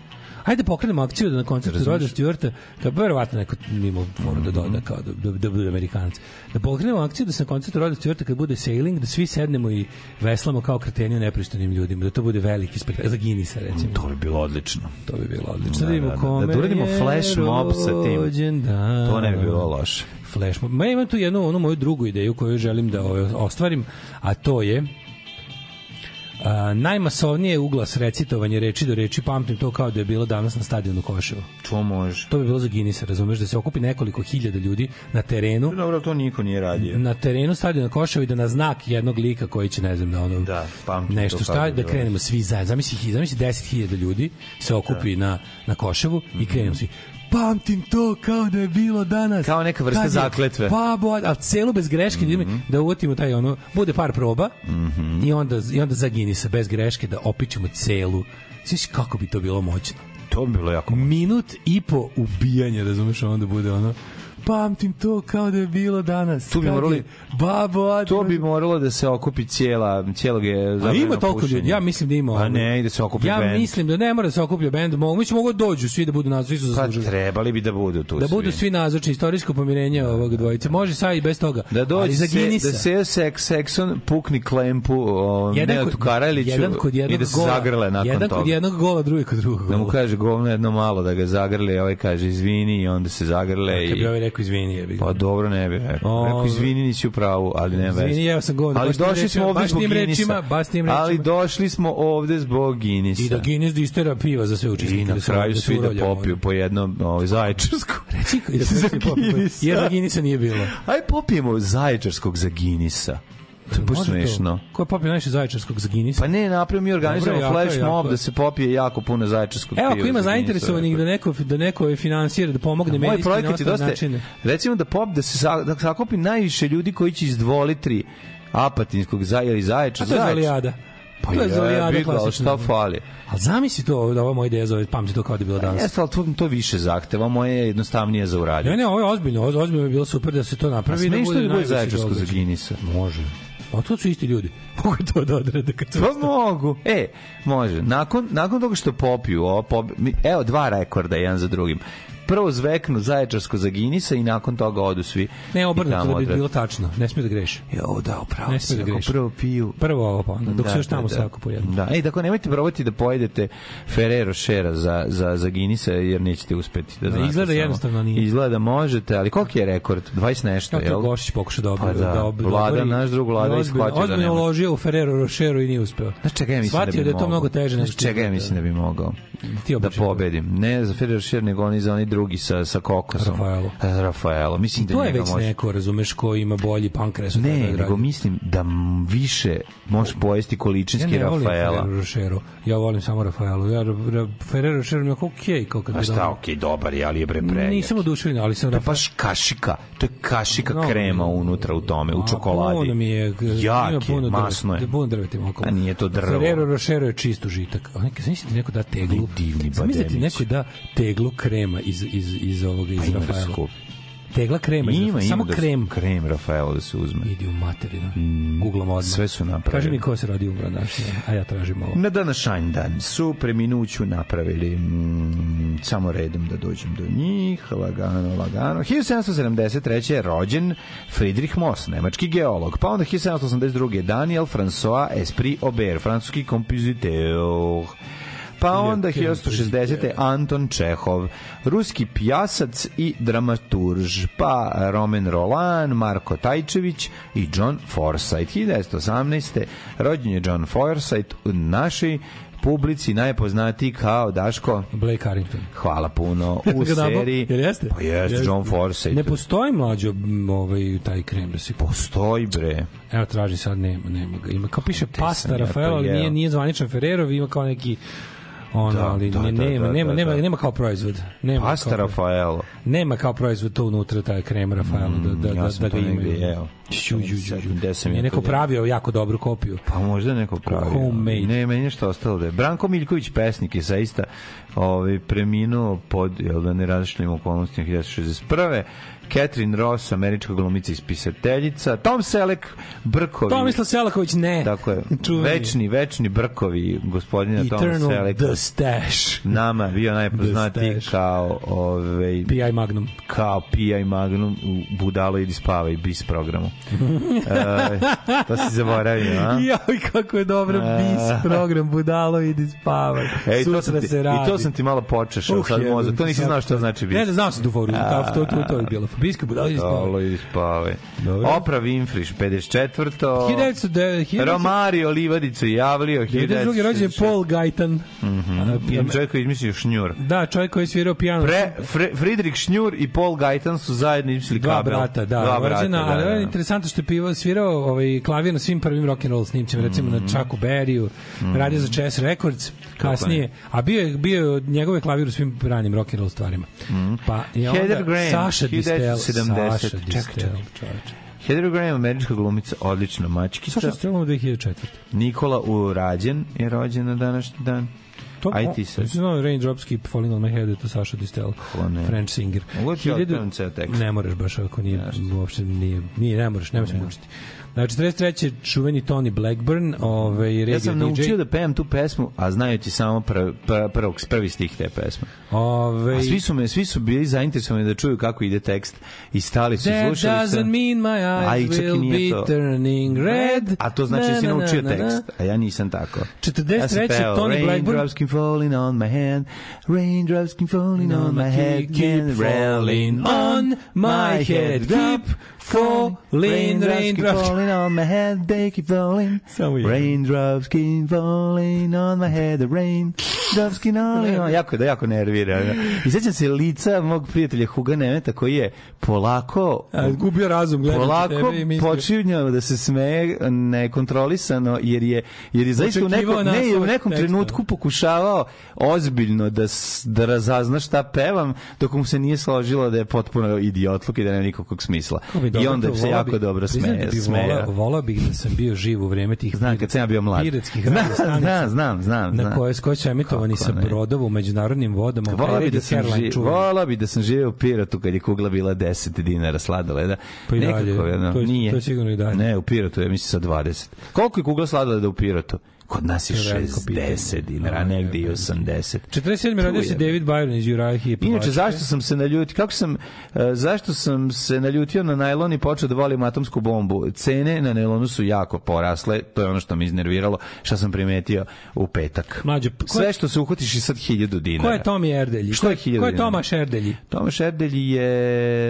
Speaker 10: Hajde pokrenemo akciju da na koncertu Roda Stewarta, kao verovatno neko mimo foru da doda kao da, da, da bude Amerikanac. Da pokrenemo akciju da se na koncertu Roda Stewarta kad bude sailing, da svi sednemo i veslamo kao kreteni neprištenim ljudima, da to bude veliki spektakl za Guinnessa recimo.
Speaker 9: To bi bilo odlično.
Speaker 10: To bi bilo odlično. Da,
Speaker 9: Da, da, da, da, da uradimo flash mob sa tim. To ne bi bilo loše.
Speaker 10: Flash mob. Ma imam tu jednu onu moju drugu ideju koju želim da ovaj, ostvarim, a to je a, najmasovnije uglas recitovanje reči do reči, pamtim to kao da je bilo danas na stadionu Koševo.
Speaker 9: To može.
Speaker 10: To bi bilo za Guinness, razumeš, da se okupi nekoliko hiljada ljudi na terenu
Speaker 9: Dobro, to niko nije radio.
Speaker 10: na terenu stadiona Koševo i da na znak jednog lika koji će ne znam da ono
Speaker 9: Da, pamtim
Speaker 10: nešto
Speaker 9: to kako
Speaker 10: šta
Speaker 9: je
Speaker 10: da
Speaker 9: bilo.
Speaker 10: krenemo svi zajedno zamisli hi- zamisli 10.000 ljudi se okupi na na Koševu
Speaker 9: Mhm.
Speaker 10: i krenemo svi pamtim to kao da je bilo danas
Speaker 9: Kao neka vrsta
Speaker 10: Kad je
Speaker 9: zakletve. Mhm.
Speaker 10: babo a celo bez greške da idemo- da uvatimo taj ono bude par proba i onda i onda zagini se bez greške da opičemo celu Znaš kako bi to bilo moćno?
Speaker 9: To bi bilo jako
Speaker 10: Minut i po ubijanja, razumeš, onda bude ono pamtim to kao da je bilo danas.
Speaker 9: Tu bi
Speaker 10: Kad
Speaker 9: morali-
Speaker 10: je Babo, a-
Speaker 9: To bi moralo da se okupi cijela, cijelog je
Speaker 10: A
Speaker 9: zabranjeno
Speaker 10: ima toliko ljudi, ja mislim da ima.
Speaker 9: A
Speaker 10: ono.
Speaker 9: Pa ne, i da se okupi
Speaker 10: Ja
Speaker 9: bend.
Speaker 10: mislim da ne mora da se okuplja bend, mogu, mislim mogu da dođu svi da budu nazočni, svi su
Speaker 9: Pa
Speaker 10: zaslužili.
Speaker 9: trebali bi da budu tu
Speaker 10: Da budu svi nazočni, istorijsko pomirenje ovog dvojice. Može sa i bez toga.
Speaker 9: Da
Speaker 10: Ali
Speaker 9: dođe
Speaker 10: za
Speaker 9: se, da
Speaker 10: Guinnessa.
Speaker 9: se sek, sekson pukni klempu o,
Speaker 10: Jedan
Speaker 9: Nenadu
Speaker 10: kod-
Speaker 9: Karaliću
Speaker 10: jedan kod jednog
Speaker 9: i da se
Speaker 10: gola,
Speaker 9: zagrle nakon
Speaker 10: jedan
Speaker 9: toga.
Speaker 10: kod jednog gola, drugi kod drugog
Speaker 9: Da mu
Speaker 10: gola.
Speaker 9: kaže govno jedno malo da ga zagrle, a ovaj kaže izvini i onda se zagrle
Speaker 10: Kad bi
Speaker 9: i...
Speaker 10: ovaj rekao izvini, jebi ga.
Speaker 9: Pa dobro ne bi rekao.
Speaker 10: O,
Speaker 9: Rekao izvini nisi u pravu, ali ne veze.
Speaker 10: Izvini, jeo sam govno,
Speaker 9: Pa, Ali
Speaker 10: baš tim
Speaker 9: došli smo
Speaker 10: rečima,
Speaker 9: ovde
Speaker 10: baš
Speaker 9: zbog
Speaker 10: tim
Speaker 9: Guinnessa.
Speaker 10: rečima, baš tim rečima.
Speaker 9: Ali došli smo ovde zbog Guinnessa.
Speaker 10: I da Guinness distera piva za sve učesnike.
Speaker 9: I na
Speaker 10: da se-
Speaker 9: kraju
Speaker 10: se
Speaker 9: svi da
Speaker 10: urolja
Speaker 9: popiju po jednom ovaj, zaječarsku.
Speaker 10: Reci, i da se
Speaker 9: Za
Speaker 10: svi popiju.
Speaker 9: Guinnessa.
Speaker 10: Jer da Guinnessa nije bilo.
Speaker 9: Aj popijemo zaječarskog za Guinnessa. To je baš
Speaker 10: Može to?
Speaker 9: Pa smešno.
Speaker 10: Ko je popio najviše zaječarskog za Guinnessa?
Speaker 9: Pa ne, napravimo mi organizujemo
Speaker 10: Dobro, jako je,
Speaker 9: flash
Speaker 10: jako
Speaker 9: mob
Speaker 10: je.
Speaker 9: da se popije jako puno zaječarskog
Speaker 10: Evo,
Speaker 9: piva.
Speaker 10: ako ima
Speaker 9: za Guinnessa,
Speaker 10: zainteresovanih
Speaker 9: rekao
Speaker 10: da
Speaker 9: je.
Speaker 10: neko, da neko je finansira, da pomogne
Speaker 9: Moj
Speaker 10: medijski na
Speaker 9: projekat je
Speaker 10: ostale
Speaker 9: dosta...
Speaker 10: načine.
Speaker 9: Recimo da pop, da se sa- da sakupi najviše ljudi koji će iz dvolitri apatinskog zaja ili zaječa.
Speaker 10: A to je
Speaker 9: Zajač.
Speaker 10: Zolijada.
Speaker 9: Pa
Speaker 10: to je
Speaker 9: jebi
Speaker 10: Zolijada
Speaker 9: ga,
Speaker 10: klasična.
Speaker 9: Šta fali?
Speaker 10: A zamisli to, da ova moja ideja zove, pamti to kao da je bilo danas.
Speaker 9: Jeste, ali to, to više zahteva, moje je jednostavnije za uraditi.
Speaker 10: Ne, ne, ovo je ozbiljno, oz- ozbiljno bi bilo super da se to
Speaker 9: A
Speaker 10: napravi. i
Speaker 9: smiješno da bude
Speaker 10: najveći
Speaker 9: zaječarsko za
Speaker 10: događaj.
Speaker 9: Guinnessa?
Speaker 10: Može. A to su isti ljudi. Mogu to da odrede kad su...
Speaker 9: Pa mogu. E, može. Nakon, nakon toga što popiju, ovo, pob... mi- evo dva rekorda jedan za drugim. prvo zveknu Zaječarsko za Ginisa i nakon toga odu svi.
Speaker 10: Ne,
Speaker 9: i
Speaker 10: obrnuto
Speaker 9: tamo
Speaker 10: da bi
Speaker 9: odrade.
Speaker 10: bilo tačno. Ne smije da greši.
Speaker 9: Jo, da, upravo
Speaker 10: Ne
Speaker 9: si,
Speaker 10: smije da
Speaker 9: ako
Speaker 10: greši.
Speaker 9: prvo piju...
Speaker 10: Prvo ovo pa onda, dok se još tamo
Speaker 9: da.
Speaker 10: svako po jedno.
Speaker 9: Da. Ej, dakle, nemojte probati da pojedete Ferrero Šera za, za, za Guinnessa, jer nećete uspeti. Da,
Speaker 10: Da,
Speaker 9: znate
Speaker 10: izgleda
Speaker 9: samo.
Speaker 10: jednostavno nije.
Speaker 9: Izgleda možete, ali koliki je rekord? 20 nešto,
Speaker 10: Evo to
Speaker 9: jel?
Speaker 10: Gošić pokušao da
Speaker 9: Pa
Speaker 10: obori.
Speaker 9: da, Vlada, naš drug Vlada ishvatio da
Speaker 10: Ozbiljno
Speaker 9: ne
Speaker 10: je
Speaker 9: može.
Speaker 10: uložio u Ferrero Rochero i nije uspeo.
Speaker 9: Znaš čega ja mislim
Speaker 10: Shvatio
Speaker 9: da bi
Speaker 10: da je to
Speaker 9: mogao?
Speaker 10: mnogo teže. nego
Speaker 9: Znaš
Speaker 10: što
Speaker 9: čega ja
Speaker 10: izgleda.
Speaker 9: mislim da bi mogao? da pobedim. Ne za Ferrer Scher, nego oni za onaj drugi sa, sa kokosom.
Speaker 10: Rafaelo.
Speaker 9: Rafaelo. Mislim
Speaker 10: I
Speaker 9: da
Speaker 10: to je
Speaker 9: njega
Speaker 10: već
Speaker 9: može...
Speaker 10: neko, razumeš, ko ima bolji pankres. od tebe,
Speaker 9: Ne,
Speaker 10: dragi.
Speaker 9: nego mislim da m- više možeš pojesti
Speaker 10: Ja
Speaker 9: količinski
Speaker 10: ne volim
Speaker 9: Rafaela.
Speaker 10: Ferrero Rochero. Ja volim samo Rafaelo. Ja, ra, ra, Ferrero Rochero mi je kao okej. kao kad
Speaker 9: A
Speaker 10: bi
Speaker 9: Pa šta, Pa
Speaker 10: dobro.
Speaker 9: okej, dobar je, ali je bre prejak.
Speaker 10: Nisam oduševljen, ali sam
Speaker 9: To je
Speaker 10: Rafaelo.
Speaker 9: baš kašika, to je kašika
Speaker 10: No,
Speaker 9: krema unutra u tome, u
Speaker 10: A,
Speaker 9: čokoladi.
Speaker 10: Puno mi je, e,
Speaker 9: Jak
Speaker 10: ima
Speaker 9: je,
Speaker 10: puno
Speaker 9: masno je.
Speaker 10: drveta, puno drveta ima okolo.
Speaker 9: A nije to drvo.
Speaker 10: Ferrero Rochero je čist užitak. A neka znači ti neko da teglu.
Speaker 9: divni
Speaker 10: Zamisli da ti
Speaker 9: bademić. Pa
Speaker 10: neko da teglu krema iz iz iz ovoga iz
Speaker 9: ima da
Speaker 10: Rafaela.
Speaker 9: skupi.
Speaker 10: Tegla krema, iz
Speaker 9: Ima,
Speaker 10: Rafaela.
Speaker 9: ima
Speaker 10: samo
Speaker 9: da se-
Speaker 10: krem.
Speaker 9: Krem Rafaelo da se uzme.
Speaker 10: Idi u materinu. Mm. Googlamo odmah.
Speaker 9: Sve su napravili.
Speaker 10: Kaži mi ko se radi umro naš. A ja tražim ovo.
Speaker 9: Na današanj dan su preminuću napravili mm, samo redom da dođem do njih, lagano, lagano. 1773. je rođen Friedrich Moss, nemački geolog. Pa onda 1782. Daniel François Esprit Aubert, francuski kompoziteur. Pa onda 1860. Anton Čehov, ruski pijasac i dramaturž, pa Roman Roland, Marko Tajčević i John Forsyth. 1918. rođen je John Forsyth u našoj publici najpoznatiji kao Daško
Speaker 10: Blake Harrington.
Speaker 9: Hvala puno u
Speaker 10: Ga nabao?
Speaker 9: seriji.
Speaker 10: Jel jeste?
Speaker 9: Pa jeste, John Forsyth.
Speaker 10: Ne postoji mlađo m, ovaj, taj krem da se
Speaker 9: Postoji bre.
Speaker 10: Evo traži sad nema, nema ga. Ima kao piše
Speaker 9: sam
Speaker 10: pasta
Speaker 9: ja to
Speaker 10: Rafaela, ali
Speaker 9: jeo.
Speaker 10: nije nije zvaničan Ferrerov, ima kao neki ono,
Speaker 9: Da,
Speaker 10: ali
Speaker 9: da,
Speaker 10: ne,
Speaker 9: da,
Speaker 10: nema,
Speaker 9: da,
Speaker 10: nema,
Speaker 9: da,
Speaker 10: nema,
Speaker 9: da.
Speaker 10: nema kao proizvod. Nema
Speaker 9: Pasta
Speaker 10: kao,
Speaker 9: Rafaelo.
Speaker 10: Nema kao proizvod to unutra taj krem Rafaela da da
Speaker 9: Mm, ja
Speaker 10: da,
Speaker 9: sam
Speaker 10: da
Speaker 9: to
Speaker 10: ga ima.
Speaker 9: negde jeo.
Speaker 10: Ću, ću, ću, ću.
Speaker 9: Sećam gde sam ja
Speaker 10: Je
Speaker 9: to
Speaker 10: neko
Speaker 9: jeo.
Speaker 10: pravio jako dobru kopiju.
Speaker 9: Pa možda neko pravi.
Speaker 10: Homemade.
Speaker 9: Ne, meni je nešto ostalo da je. Branko Miljković, pesnik je zaista ovaj, preminuo pod, jel da ne različnim okolnostima 1961. Catherine Ross, američka glumica i spisateljica. Tom Selek, Brkovi.
Speaker 10: Tomislav Selaković ne.
Speaker 9: Tako je,
Speaker 10: Čuveni.
Speaker 9: večni, večni Brkovi gospodina Tom
Speaker 10: Eternal
Speaker 9: Seleka.
Speaker 10: The Stash.
Speaker 9: Nama bio najpoznatiji
Speaker 10: The Stash.
Speaker 9: kao ovaj,
Speaker 10: P.I. Magnum.
Speaker 9: kao pijaj magnum u budalo ili spavaj bis programu. e, to si zaboravio, a?
Speaker 10: Joj, kako je dobro bis program, budalo, idi spavaj.
Speaker 9: Ej, E, to sam
Speaker 10: Sutra
Speaker 9: ti,
Speaker 10: se radi.
Speaker 9: I to sam ti malo počešao
Speaker 10: Uh,
Speaker 9: sad
Speaker 10: jebem
Speaker 9: mozak. To
Speaker 10: ti
Speaker 9: nisi
Speaker 10: sad.
Speaker 9: znao što znači bis.
Speaker 10: Ne, ne, znao sam tu foru, to, to, to, to je bilo. Biska budala iz
Speaker 9: Dalo ili spavaj.
Speaker 10: Dobro.
Speaker 9: Opra Winfriš, 54.
Speaker 10: 1900
Speaker 9: Romario Livadicu javlio
Speaker 10: 1992. rođen
Speaker 9: 1966.
Speaker 10: Paul Gaitan. A,
Speaker 9: Jedan
Speaker 10: pijam-
Speaker 9: čovjek koji je izmislio šnjur.
Speaker 10: Da, čovjek koji je svirao pijano.
Speaker 9: Pre, Fre, Friedrich Šnjur i Paul Gaitan su zajedno izmislili
Speaker 10: Dva
Speaker 9: kabel.
Speaker 10: brata, da,
Speaker 9: Dva brata,
Speaker 10: rođena,
Speaker 9: da,
Speaker 10: ali
Speaker 9: da,
Speaker 10: on je
Speaker 9: da.
Speaker 10: interesantno što je pivo svirao ovaj klavir na svim prvim rock and roll snimcima, recimo
Speaker 9: Mhm.
Speaker 10: na Chucku Berryu, radio za Chess Records kasnije, a bio je bio je njegove klavir u svim ranim rock and roll stvarima. Pa je onda
Speaker 9: Mhm. Heather Graham,
Speaker 10: Saša Distel,
Speaker 9: 1970.
Speaker 10: Saša
Speaker 9: Čekaj,
Speaker 10: Distel,
Speaker 9: čekaj.
Speaker 10: čoveče.
Speaker 9: Heather Graham, američka glumica, odlična mačkica.
Speaker 10: Saša Distel u 2004.
Speaker 9: Nikola Urađen je rođen na današnji dan.
Speaker 10: To,
Speaker 9: Aj ti sad.
Speaker 10: No, Raindrops Keep Falling on My Head, je to Saša Distel,
Speaker 9: Ko ne?
Speaker 10: French singer.
Speaker 9: Mogu ti ja
Speaker 10: Hiljadu-
Speaker 9: otkrivam ceo tekst?
Speaker 10: Ne moraš baš ako nije, uopšte nije, nije, ne moraš, nemoj se mučiti. Znači, 43. čuveni Tony Blackburn, ovaj, regio
Speaker 9: Ja sam
Speaker 10: DJ.
Speaker 9: naučio da pevam tu pesmu, a znajući samo prv, prv, prvog, prvi stih te pesme.
Speaker 10: Ove,
Speaker 9: A svi su, me, svi su bili zainteresovani da čuju kako ide tekst i stali su,
Speaker 10: That
Speaker 9: slušali su.
Speaker 10: doesn't mean my
Speaker 9: A i
Speaker 10: eyes
Speaker 9: čak i
Speaker 10: will
Speaker 9: nije
Speaker 10: be
Speaker 9: to.
Speaker 10: turning red.
Speaker 9: A to znači da si
Speaker 10: Na, na,
Speaker 9: naučio
Speaker 10: na, na, na.
Speaker 9: tekst, a ja nisam tako.
Speaker 10: 43.
Speaker 9: Ja sam pevao,
Speaker 10: Tony Blackburn.
Speaker 9: Raindrops keep falling on my hand, raindrops keep falling on my head,
Speaker 10: Keep falling on my head. Keep falling
Speaker 9: Raindrops keep
Speaker 10: raindrops.
Speaker 9: falling on my head, they keep falling.
Speaker 10: Samo jedno.
Speaker 9: Raindrops keep falling on my head, the raindrops keep falling on... Jako je da jako nervira. I sećam se lica mog prijatelja Huga Nemeta koji je polako
Speaker 10: A, gubio razum, gledam
Speaker 9: polako
Speaker 10: tebe i mislio.
Speaker 9: počinjao da se smeje nekontrolisano jer je jer je zaista u
Speaker 10: Očekivao
Speaker 9: nekom ne je u
Speaker 10: nastavak
Speaker 9: nekom
Speaker 10: teksta.
Speaker 9: trenutku pokušavao ozbiljno da s- da razazna šta pevam dok mu se nije složilo da je potpuno idiotluk i da nema nikakvog smisla.
Speaker 10: Kako bi
Speaker 9: I
Speaker 10: dobro
Speaker 9: onda
Speaker 10: to,
Speaker 9: se
Speaker 10: volao
Speaker 9: jako
Speaker 10: bi-
Speaker 9: dobro
Speaker 10: priznajem
Speaker 9: smeje,
Speaker 10: da bi
Speaker 9: smeje.
Speaker 10: volao- Volao bih da sam bio živ u vreme tih
Speaker 9: Znam kad sam ja bio mlad.
Speaker 10: piratskih
Speaker 9: Znam,
Speaker 10: radio stanica
Speaker 9: znam, znam, znam.
Speaker 10: na
Speaker 9: znam.
Speaker 10: koje s koje su emitovani
Speaker 9: Kako
Speaker 10: sa
Speaker 9: ne?
Speaker 10: brodova u međunarodnim vodama.
Speaker 9: Volao bi,
Speaker 10: Pirate
Speaker 9: da sam
Speaker 10: Airline
Speaker 9: živ,
Speaker 10: čuveni.
Speaker 9: volao bi da sam živeo u Piratu kad je kugla bila 10 dinara sladoleda.
Speaker 10: Pa i dalje,
Speaker 9: Nekako, ono,
Speaker 10: to je-
Speaker 9: nije.
Speaker 10: to je sigurno i dalje.
Speaker 9: Ne, u Piratu, ja mislim sa 20. Koliko je kugla sladoleda u Piratu? Kod nas je
Speaker 10: To je veliko pitanje.
Speaker 9: 60 dinara, a negde i 80.
Speaker 10: 47. rodio se
Speaker 9: Tu je.
Speaker 10: David Byron iz Jurajhi.
Speaker 9: Inače, zašto sam se naljutio? Kako sam, e, zašto sam se naljutio na najlon i počeo da volim atomsku bombu? Cene na najlonu su jako porasle, to je ono što me iznerviralo, što sam primetio u petak.
Speaker 10: Mlađe, ko je-
Speaker 9: Sve što se uhvatiš i sad 1000 dinara.
Speaker 10: Ko je Tomi Erdelji?
Speaker 9: Što je
Speaker 10: Ko
Speaker 9: 1000
Speaker 10: Ko je
Speaker 9: dinara?
Speaker 10: Tomaš Erdelji?
Speaker 9: Tomaš Erdelj je,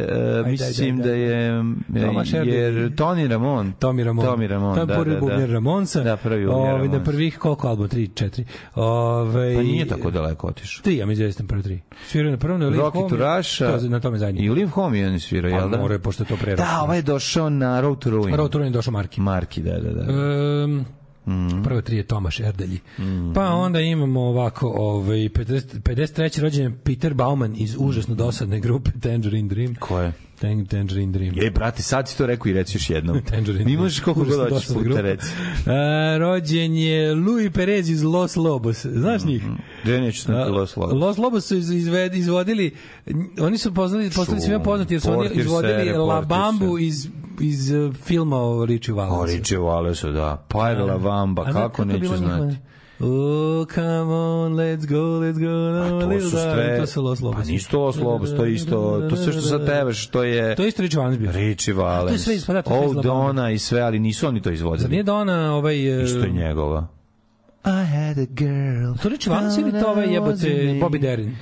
Speaker 9: e,
Speaker 10: ajde,
Speaker 9: mislim
Speaker 10: ajde.
Speaker 9: da je, e,
Speaker 10: Tomaš Erdelj.
Speaker 9: jer Toni Ramon.
Speaker 10: Tomi Ramon.
Speaker 9: Tomi Ramon,
Speaker 10: to je
Speaker 9: da,
Speaker 10: prvi
Speaker 9: da,
Speaker 10: bubnjar
Speaker 9: da.
Speaker 10: Ramonsa.
Speaker 9: Da, prvi bubnjar
Speaker 10: Ovaj, Na
Speaker 9: Ramonsa.
Speaker 10: prvih koliko album? 3, 4. Ove,
Speaker 9: Pa nije tako daleko otišao.
Speaker 10: Tri, ja mi izvestim sam prvo tri. Svirao je na prvom, na Live
Speaker 9: Rocky
Speaker 10: Home.
Speaker 9: Turaša.
Speaker 10: To, na tome zadnje.
Speaker 9: I Live Home je on svirao,
Speaker 10: Pa
Speaker 9: jel da?
Speaker 10: morao je, pošto je to prerasno.
Speaker 9: Da, ovaj je došao na Road to Ruin.
Speaker 10: Road to Ruin je došao Marki.
Speaker 9: Marki, da, da, da.
Speaker 10: Um,
Speaker 9: Mm.
Speaker 10: Prvo tri je Tomaš Erdelji. Pa onda imamo ovako, ovaj, 50, 53. rođen je Peter Bauman iz užasno dosadne grupe Tangerine Dream.
Speaker 9: Ko je?
Speaker 10: Tang, Tangerine Dream.
Speaker 9: Ej, brate, sad si to rekao i reci još jednom. Mi
Speaker 10: Tangerine Dream.
Speaker 9: možeš koliko
Speaker 10: Užasno
Speaker 9: god hoćeš
Speaker 10: dosadna
Speaker 9: puta
Speaker 10: grupa.
Speaker 9: reci.
Speaker 10: E, rođen je Louis Perez iz Los Lobos. Znaš njih?
Speaker 9: Ja neću sam
Speaker 10: A,
Speaker 9: Mhm. Los Lobos.
Speaker 10: Los Lobos su iz- izved, izvodili, n- oni su poznali, postali svima poznati jer su oni
Speaker 9: Portir se,
Speaker 10: izvodili
Speaker 9: reportir
Speaker 10: La
Speaker 9: se.
Speaker 10: Bambu iz, iz eh, filma o Richie Valens.
Speaker 9: Oriđe Valesu, da. Pajrla Vamba,
Speaker 10: A znaš
Speaker 9: kako
Speaker 10: je
Speaker 9: neću
Speaker 10: bilo
Speaker 9: znati.
Speaker 10: njihova? Oh, come on, let's go, let's go. No,
Speaker 9: Pa To
Speaker 10: little
Speaker 9: su
Speaker 10: darling.
Speaker 9: sve...
Speaker 10: To su Los Lobos.
Speaker 9: Pa nisu to Los Lobos, to je isto... To sve što sad pevaš, to je...
Speaker 10: To je isto Richie Valens bio.
Speaker 9: Richie
Speaker 10: A,
Speaker 9: Valens.
Speaker 10: to je sve iz- pa da, to je sve
Speaker 9: Old
Speaker 10: iz La Bamba.
Speaker 9: Donna i sve, ali nisu oni to
Speaker 10: Zar nije
Speaker 9: izvodili.
Speaker 10: Dona ovaj... eh,
Speaker 9: Isto je njegova.
Speaker 10: I had a girl. To Richie Valens ili to ovaj jebote Bobby Darin?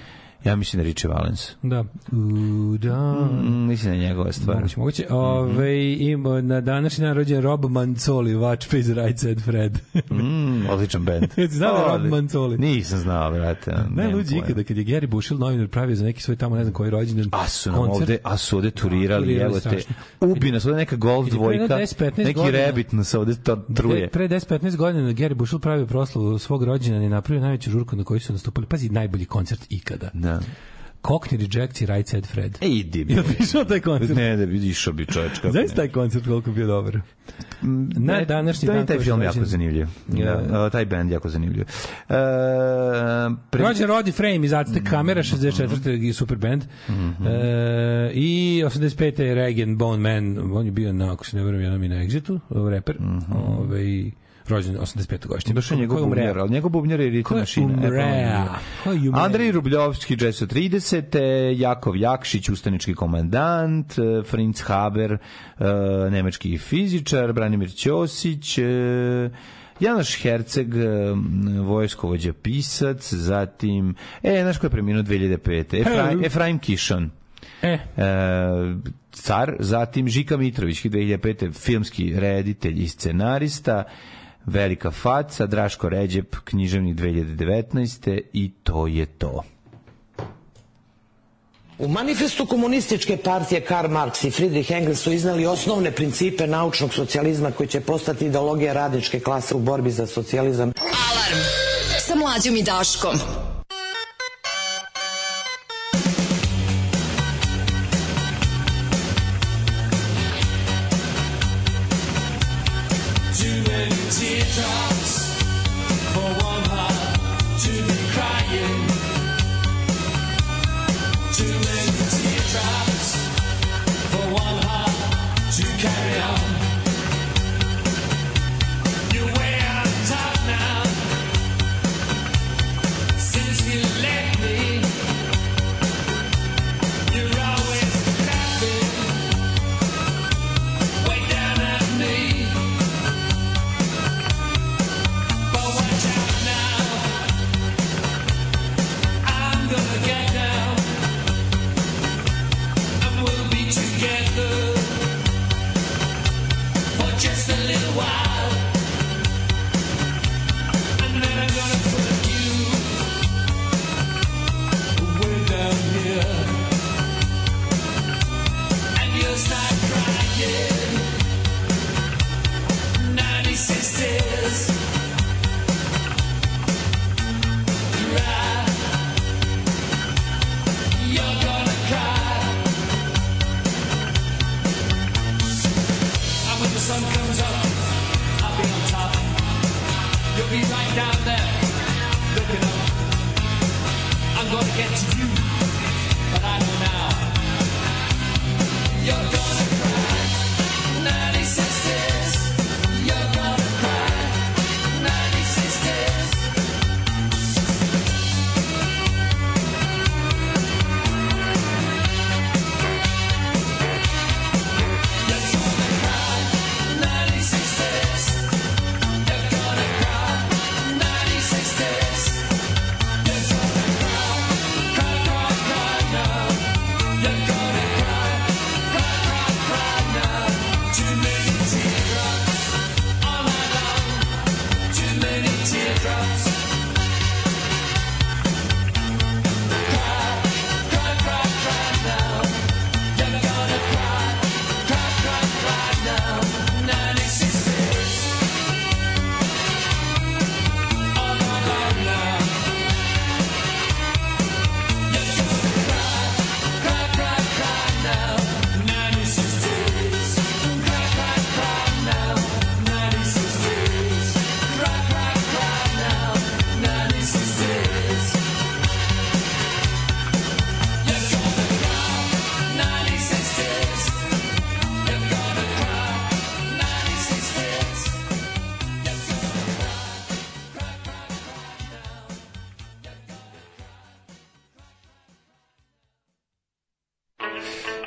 Speaker 9: Ja mislim da je Richie Valens.
Speaker 10: Da. Ooh, darling.
Speaker 9: Mm, Mm-hmm. Mislim da je njegova stvar.
Speaker 10: Moguće, moguće. Ove, ima, na današnji dan rođen Rob Mancoli, vač iz Right Said Fred.
Speaker 9: Mm, odličan band.
Speaker 10: Znao da je Rob
Speaker 9: Odli-
Speaker 10: Mancoli?
Speaker 9: Nisam znao, brate. nemam
Speaker 10: Najluđi
Speaker 9: pojma.
Speaker 10: ikada kad je Gary Bushel novinar pravio za neki svoj tamo ne znam koji rođendan
Speaker 9: A su nam
Speaker 10: koncert.
Speaker 9: ovde, a su ovde turirali,
Speaker 10: Turirali
Speaker 9: evo te.
Speaker 10: strašno.
Speaker 9: Ubi nas ovde neka golf
Speaker 10: Kad je pre jedno
Speaker 9: dvojka,
Speaker 10: 10-15
Speaker 9: neki
Speaker 10: godina-
Speaker 9: rebit nas ovde to truje.
Speaker 10: Pre, pre 10-15 godina Gary Bushel pravio proslavu svog rođendana i napravio najveću žurku na kojoj su nastupali. Pazi, najbolji koncert ikada.
Speaker 9: Da.
Speaker 10: Cockney Rejects i Right Said Fred.
Speaker 9: E, idi bi.
Speaker 10: Jel ti išao taj koncert?
Speaker 9: Ne, da bi išao bi čoveč. kako
Speaker 10: Znaš
Speaker 9: ne.
Speaker 10: taj koncert koliko je bio dobar? Mm, Na
Speaker 9: Ne,
Speaker 10: današnji
Speaker 9: to je
Speaker 10: dan
Speaker 9: taj
Speaker 10: koji
Speaker 9: film
Speaker 10: je
Speaker 9: jako
Speaker 10: rođen.
Speaker 9: zanimljiv. Da, o, taj band jako zanimljiv. E, pre-
Speaker 10: Rođen Roddy Frame iz Aztec
Speaker 9: Mm-hmm.
Speaker 10: Kamera, 64. super band. E, I 85. je Regan Bone Man, on je bio na, ako se ne vrem, jednom i na Exitu, reper. Ove, rođen 85. godišnje.
Speaker 9: Došao Mm-hmm. je njegov bubnjar, ali njegov bubnjar je ritam
Speaker 10: Ko je
Speaker 9: mašina. E, pa on je
Speaker 10: umreo?
Speaker 9: bio.
Speaker 10: Ko je umreo?
Speaker 9: Andrej Rubljovski, 430, Jakov Jakšić, ustanički komandant, e, Fritz Haber, e, nemački fizičar, Branimir Ćosić, e, Janoš Herceg, e, vojskovođa pisac, zatim, e, znaš ko je preminuo 2005. Efraim,
Speaker 10: Hello.
Speaker 9: Efraim Kišon.
Speaker 10: E,
Speaker 9: E, car, zatim Žika Mitrović, 2005. filmski reditelj i scenarista, Velika faca, Draško Ređep, književnik 2019. i to je to.
Speaker 15: U manifestu komunističke partije Karl Marx i Friedrich Engels su iznali osnovne principe naučnog socijalizma koji će postati ideologija radničke klase u borbi za socijalizam.
Speaker 8: Alarm sa mlađom i Daškom.
Speaker 13: Too many teardrops for one heart to be crying. Too many teardrops for one heart to carry on. You're way out of top now. Since you left me, you're always laughing. Way down at me.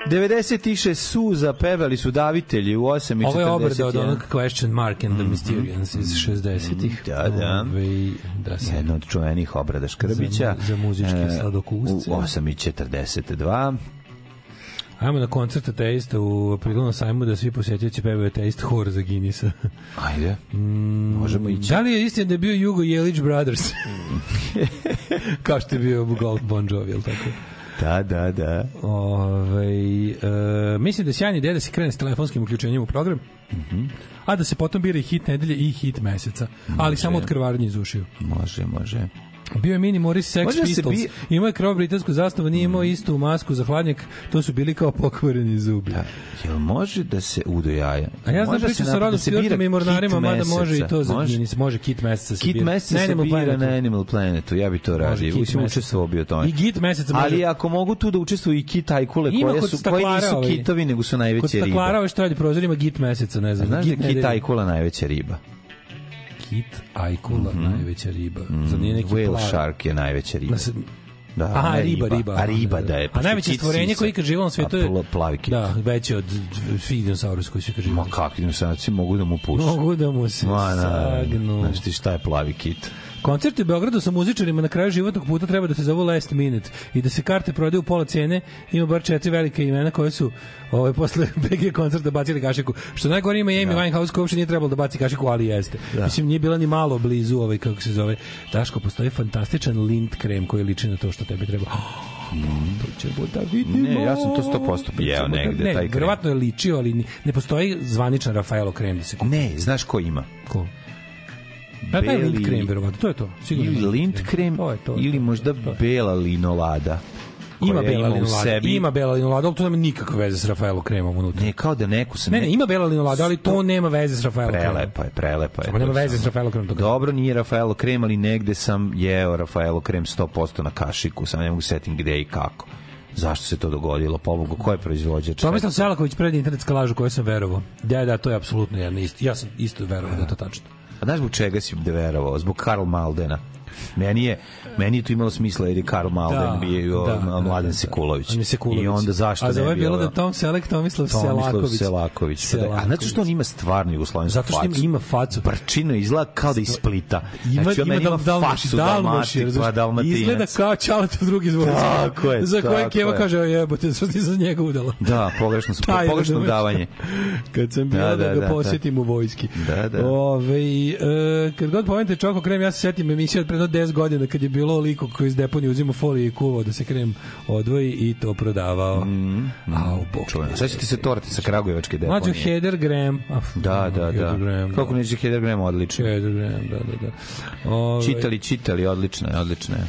Speaker 9: 96 suza pevali su davitelji u 8 i 41.
Speaker 10: Ovo je obrada od onog question mark and the Mysterians iz 60-ih.
Speaker 9: Mhm. Da, da.
Speaker 10: Ove, da se...
Speaker 9: Jedna od čuvenih obrada Škrbića. E,
Speaker 10: Za mu- za muzičke sladokusce.
Speaker 9: U 8.42.
Speaker 10: Ajmo na koncert Ateista u aprilu na sajmu da svi posjetioci pevaju Ateist hor za Guinnessa.
Speaker 9: Ajde.
Speaker 10: Mm.
Speaker 9: Možemo ići.
Speaker 10: Da li je istina da je bio Jugo Jelić Brothers? Kao što je bio Gold Bon Jovi, ili tako?
Speaker 9: Da, da, da.
Speaker 10: Ove, e, mislim da je sjajni ideja da se krene s telefonskim uključenjem u program, a da se potom bira i hit nedelje i hit meseca, ali
Speaker 9: Mhm. Može.
Speaker 10: samo od krvarnje iz ušiju.
Speaker 9: Može, može.
Speaker 10: Bio je Mini Morris Sex
Speaker 9: Može da se
Speaker 10: Pistols.
Speaker 9: bi-
Speaker 10: Imao je krov britansku zastavu, nije imao istu masku za hladnjak, to su bili kao pokvareni zubi.
Speaker 9: Jel može da se udo jaja?
Speaker 10: A ja znam
Speaker 9: Može da
Speaker 10: priču
Speaker 9: se
Speaker 10: sa
Speaker 9: napravi-
Speaker 10: Rodom
Speaker 9: da se bira
Speaker 10: Stewardom i Mornarima,
Speaker 9: kit
Speaker 10: mada može i to za
Speaker 9: Može.
Speaker 10: Guinness, može kit meseca se
Speaker 9: Kit
Speaker 10: bira.
Speaker 9: meseca
Speaker 10: Ne,
Speaker 9: se
Speaker 10: Animal
Speaker 9: bira
Speaker 10: Planetu.
Speaker 9: na Animal Planetu, ja bi to radio.
Speaker 10: kit
Speaker 9: Mislim,
Speaker 10: meseca.
Speaker 9: učestvovao bi u tome.
Speaker 10: I git meseca može.
Speaker 9: Ali ako mogu tu da učestvuju i kit ajkule,
Speaker 10: Ima
Speaker 9: koje,
Speaker 10: kod
Speaker 9: su, koje
Speaker 10: staklara
Speaker 9: nisu
Speaker 10: ovaj.
Speaker 9: kitovi, nego su
Speaker 10: Kod
Speaker 9: najveće ribe.
Speaker 10: staklara ovaj ove što radi prozor ima git meseca, ne znam.
Speaker 9: Znaš da je
Speaker 10: git
Speaker 9: kit
Speaker 10: nedelje.
Speaker 9: ajkula najveća riba?
Speaker 10: Kit ajkula, najveća riba. Zar nije neki
Speaker 9: Mhm. Whale
Speaker 10: plav?
Speaker 9: shark je najveća riba.
Speaker 10: Na se-
Speaker 9: Da,
Speaker 10: Aha,
Speaker 9: ona je
Speaker 10: riba, riba.
Speaker 9: A riba da je.
Speaker 10: A
Speaker 9: pošto je
Speaker 10: najveće
Speaker 9: kit
Speaker 10: stvorenje
Speaker 9: sisa.
Speaker 10: koje je ikad živelo na svijetu je...
Speaker 9: A pla- plavi kit.
Speaker 10: Da, veće od Fidiosaurus koji su ikad živjeli.
Speaker 9: Ma kakvi dinosaurci mogu da mu pušu.
Speaker 10: Mogu da mu se
Speaker 9: Ma, na,
Speaker 10: sagnu.
Speaker 9: Znaš ti šta je plavi kit?
Speaker 10: Koncert u Beogradu sa muzičarima na kraju životnog puta treba da se zove last minute i da se karte prodaju u pola cene. Ima bar četiri velike imena koje su ovaj, posle BG koncerta bacili kašiku. Što najgore ima i Amy Winehouse koja uopšte nije trebalo da baci kašiku, ali jeste. Mislim, nije bila ni malo blizu ovaj, kako se zove. Daško, postoji fantastičan lint krem koji liči na to što tebi treba. To ćemo da vidimo.
Speaker 9: Ne, ja sam to 100% jeo
Speaker 10: Ćemo da-
Speaker 9: negde,
Speaker 10: ne,
Speaker 9: taj krem.
Speaker 10: Verovatno je ličio, ali ni- ne postoji zvaničan Rafaelo krem da se kupi.
Speaker 9: Ne, znaš ko ima?
Speaker 10: Ko? Pa taj
Speaker 9: Beli-
Speaker 10: lint krem, verovatno. To je to. Sigurno
Speaker 9: Ili
Speaker 10: ima
Speaker 9: lint krem,
Speaker 10: To je to.
Speaker 9: ili možda bela linolada.
Speaker 10: Ima
Speaker 9: koja
Speaker 10: bela
Speaker 9: u
Speaker 10: linolada,
Speaker 9: sebi-
Speaker 10: ima bela linolada, ali to nema nikakve veze s Rafaelo kremom unutra.
Speaker 9: Ne, kao da neku sam...
Speaker 10: Ne, ne, ima bela linolada, ali to
Speaker 9: Sto-
Speaker 10: nema veze s Rafaelo kremom.
Speaker 9: Prelepa je, prelepa je.
Speaker 10: Samo nema
Speaker 9: To
Speaker 10: veze
Speaker 9: sam-
Speaker 10: s Rafaelo kremom. to-
Speaker 9: Dobro, nije Rafaelo krem, ali negde sam jeo Rafaelo krem 100% na kašiku, sam ne mogu setim gde i kako. Zašto se to dogodilo? Pobogu, ko je proizvođač?
Speaker 10: Tomislav Selaković pred internetsku lažu koju sam verovao. Da, da, to je apsolutno jedna isto. Ja sam isto verovao da je to tačno.
Speaker 9: A znaš zbog čega si da verovao? Zbog Karl Maldena. Meni je, meni je to imalo smisla jer je Karl Malden
Speaker 10: Da,
Speaker 9: bio
Speaker 10: da, da,
Speaker 9: da, Mladen
Speaker 10: da.
Speaker 9: Sekulović.
Speaker 10: On je Sekulović.
Speaker 9: I onda zašto
Speaker 10: A za ovo
Speaker 9: ne
Speaker 10: je
Speaker 9: bi
Speaker 10: bilo
Speaker 9: ono?
Speaker 10: da je Tom Selek, Tomislav,
Speaker 9: Tomislav
Speaker 10: Selaković.
Speaker 9: Selaković. pa da je- A znate što on ima stvarno jugoslovensku
Speaker 10: Zato što
Speaker 9: facu?
Speaker 10: ima- ima facu.
Speaker 9: Brčino izgleda kao da isplita.
Speaker 10: Ima,
Speaker 9: Znači, on
Speaker 10: ima,
Speaker 9: meni
Speaker 10: ima
Speaker 9: ima
Speaker 10: Dalmaš,
Speaker 9: facu
Speaker 10: Dalmaš,
Speaker 9: Dalmati, pa Dalmatinac.
Speaker 10: Izgleda kao Čalet u drugi zvonac.
Speaker 9: Tako je,
Speaker 10: Za koje
Speaker 9: tako
Speaker 10: Keva
Speaker 9: je.
Speaker 10: kaže, "O jebote, što ti za njega udala.
Speaker 9: Da, pogrešno, su-
Speaker 10: Taj,
Speaker 9: pogrešno
Speaker 10: razumeš?
Speaker 9: davanje.
Speaker 10: Kad sam bio da,
Speaker 9: Da, da,
Speaker 10: ga
Speaker 9: da,
Speaker 10: posjetim u vojski.
Speaker 9: Da, da.
Speaker 10: Ove, e, kad god pomenete čoko krem, ja se setim emisije od predno 10 godina kad je bilo o liku koji iz deponije uzima folije i kuvao da se krem odvoji i to prodavao.
Speaker 9: Mhm,
Speaker 10: Mm, Au, bok.
Speaker 9: Čuveno. Sećate se torte sa Kragujevačke deponije?
Speaker 10: Mlađo Heder Graham. Af,
Speaker 9: Da, da, da.
Speaker 10: Heather Graham,
Speaker 9: Kako
Speaker 10: da.
Speaker 9: neće Heather Graham odlično.
Speaker 10: Heather Graham, da, da, da. Ove,
Speaker 9: Čitali, čitali, odlično je, odlično je.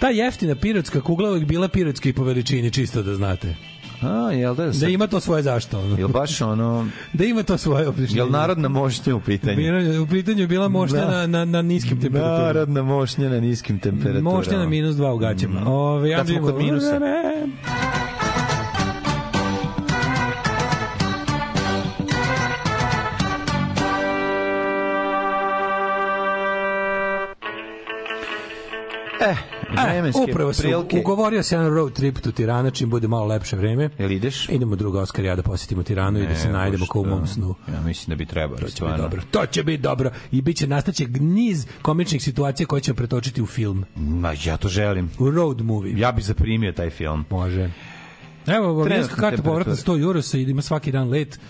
Speaker 10: Ta jeftina pirotska kugla uvijek bila pirotska i po veličini, čisto da znate.
Speaker 9: A, jel da?
Speaker 10: Da
Speaker 9: Sad,
Speaker 10: ima to svoje zašto. ono.
Speaker 9: Jel baš ono...
Speaker 10: Da ima to svoje oprišnje.
Speaker 9: Jel narodna mošnja u pitanju?
Speaker 10: U pitanju je bila mošnja
Speaker 9: Da.
Speaker 10: na, na, na niskim temperaturama.
Speaker 9: Narodna mošnja na niskim temperaturama.
Speaker 10: Možete na minus dva u gaćama. Ove,
Speaker 9: ono. Mhm. Kad smo
Speaker 10: Andrej
Speaker 9: kod
Speaker 10: Mol-
Speaker 9: minusa. Eh,
Speaker 10: E,
Speaker 9: vremenske
Speaker 10: upravo sam
Speaker 9: prilike.
Speaker 10: ugovorio se jedan road trip tu Tirana, čim bude malo lepše vreme.
Speaker 9: Jel ideš?
Speaker 10: Idemo druga Oskar i ja da posjetimo Tiranu i da se
Speaker 9: Evo
Speaker 10: najdemo kao u
Speaker 9: šta.
Speaker 10: mom snu.
Speaker 9: Ja mislim da bi trebalo.
Speaker 10: To će biti
Speaker 9: stvarno.
Speaker 10: dobro. To će biti dobro. I bit će nastaće niz komičnih situacija koje ćemo pretočiti u film.
Speaker 9: Ma, ja to želim.
Speaker 10: U road movie.
Speaker 9: Ja bi zaprimio taj film.
Speaker 10: Može. Evo, avionska karta
Speaker 9: temperatura.
Speaker 10: povratna 100 euro sa ima svaki dan let.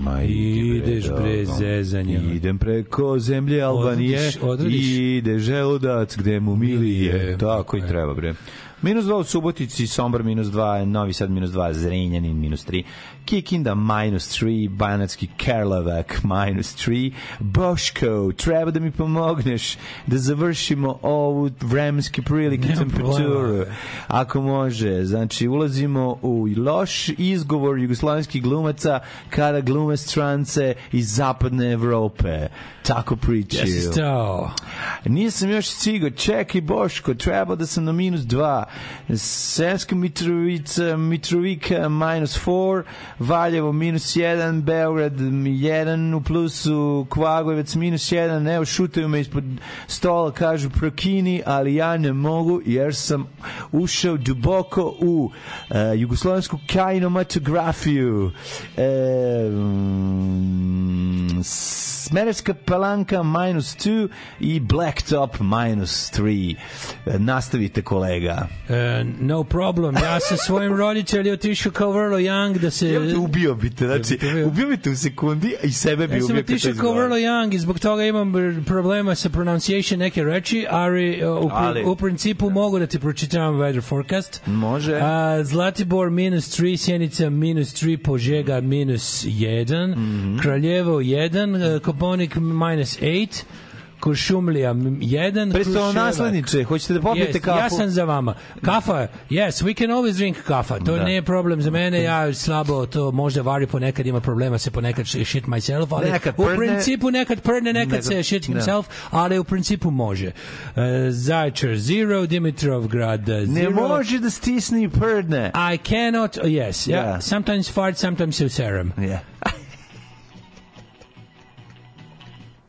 Speaker 9: Ma,
Speaker 10: Ideš, bre,
Speaker 9: dobro.
Speaker 10: zezanje.
Speaker 9: Idem preko zemlje Albanije.
Speaker 10: Odradiš- odradiš.
Speaker 9: Ide želudac gde mu mili
Speaker 10: Milije.
Speaker 9: je.
Speaker 10: Tako
Speaker 9: Tako
Speaker 10: je.
Speaker 9: i treba, bre. Minus 2 u Subotici, Sombor minus 2, Novi Sad minus 2, Zrenjanin minus 3, Kikinda minus 3, Banatski Karlovac minus 3, Boško, treba da mi pomogneš da završimo ovu vremenske prilike
Speaker 10: Nema
Speaker 9: temperaturu.
Speaker 10: problema.
Speaker 9: Ako može, znači ulazimo u loš izgovor jugoslovenskih glumaca kada glume strance iz zapadne Evrope. Tako pričaju.
Speaker 10: Yes, to.
Speaker 9: Nisam još stigao, čekaj Boško, treba da sam na minus dva. Senska Mitrovica, Mitrovika minus 4, Valjevo minus 1, Beograd 1 u plusu, Kvagojevac minus 1, evo šutaju me ispod stola, kažu prokini, ali ja ne mogu jer sam ušao duboko u e, jugoslovensku kinematografiju. E, mm, Smerečka palanka minus 2 i Blacktop minus 3. E, nastavite kolega.
Speaker 10: E, no problem, ja sa svojim roditeljima otišao kao vrlo young da se...
Speaker 9: Evo te ubio bi te, znači, ubio bi te u sekundi i sebe bi
Speaker 10: Ja sam
Speaker 9: ubio. kad to
Speaker 10: otišao kao
Speaker 9: izgovaraš.
Speaker 10: vrlo young i zbog toga imam br- problema sa pronunciation neke reči, ali, uh, u, pri-
Speaker 9: Ali-
Speaker 10: u principu mogu da ti pročitavam weather forecast.
Speaker 9: Može.
Speaker 10: A, Zlatibor minus 3, Sjenica minus 3, Požega minus 1,
Speaker 9: Mhm.
Speaker 10: Kraljevo 1, uh, Koponik minus 8, Kuršumlija 1.
Speaker 9: Predstavno
Speaker 10: Kruševac-
Speaker 9: nasledniče, hoćete da popijete
Speaker 10: Yes,
Speaker 9: kafu?
Speaker 10: Ja sam za vama. Kafa, yes, we can always drink kafa. To
Speaker 9: Da.
Speaker 10: da. nije problem za mene, ja slabo to možda vari ponekad, ima problema se ponekad sh- shit myself, ali
Speaker 9: Nekad
Speaker 10: u
Speaker 9: prdne.
Speaker 10: principu nekad prdne, nekad,
Speaker 9: Nekad-
Speaker 10: se shit
Speaker 9: da.
Speaker 10: himself, ali u principu može. Uh, Zajčar zero, Dimitrovgrad uh,
Speaker 9: Ne
Speaker 10: zero.
Speaker 9: može da stisne i prdne.
Speaker 10: I cannot, yes, yeah.
Speaker 9: Da.
Speaker 10: sometimes fart, sometimes you serum.
Speaker 9: Yeah.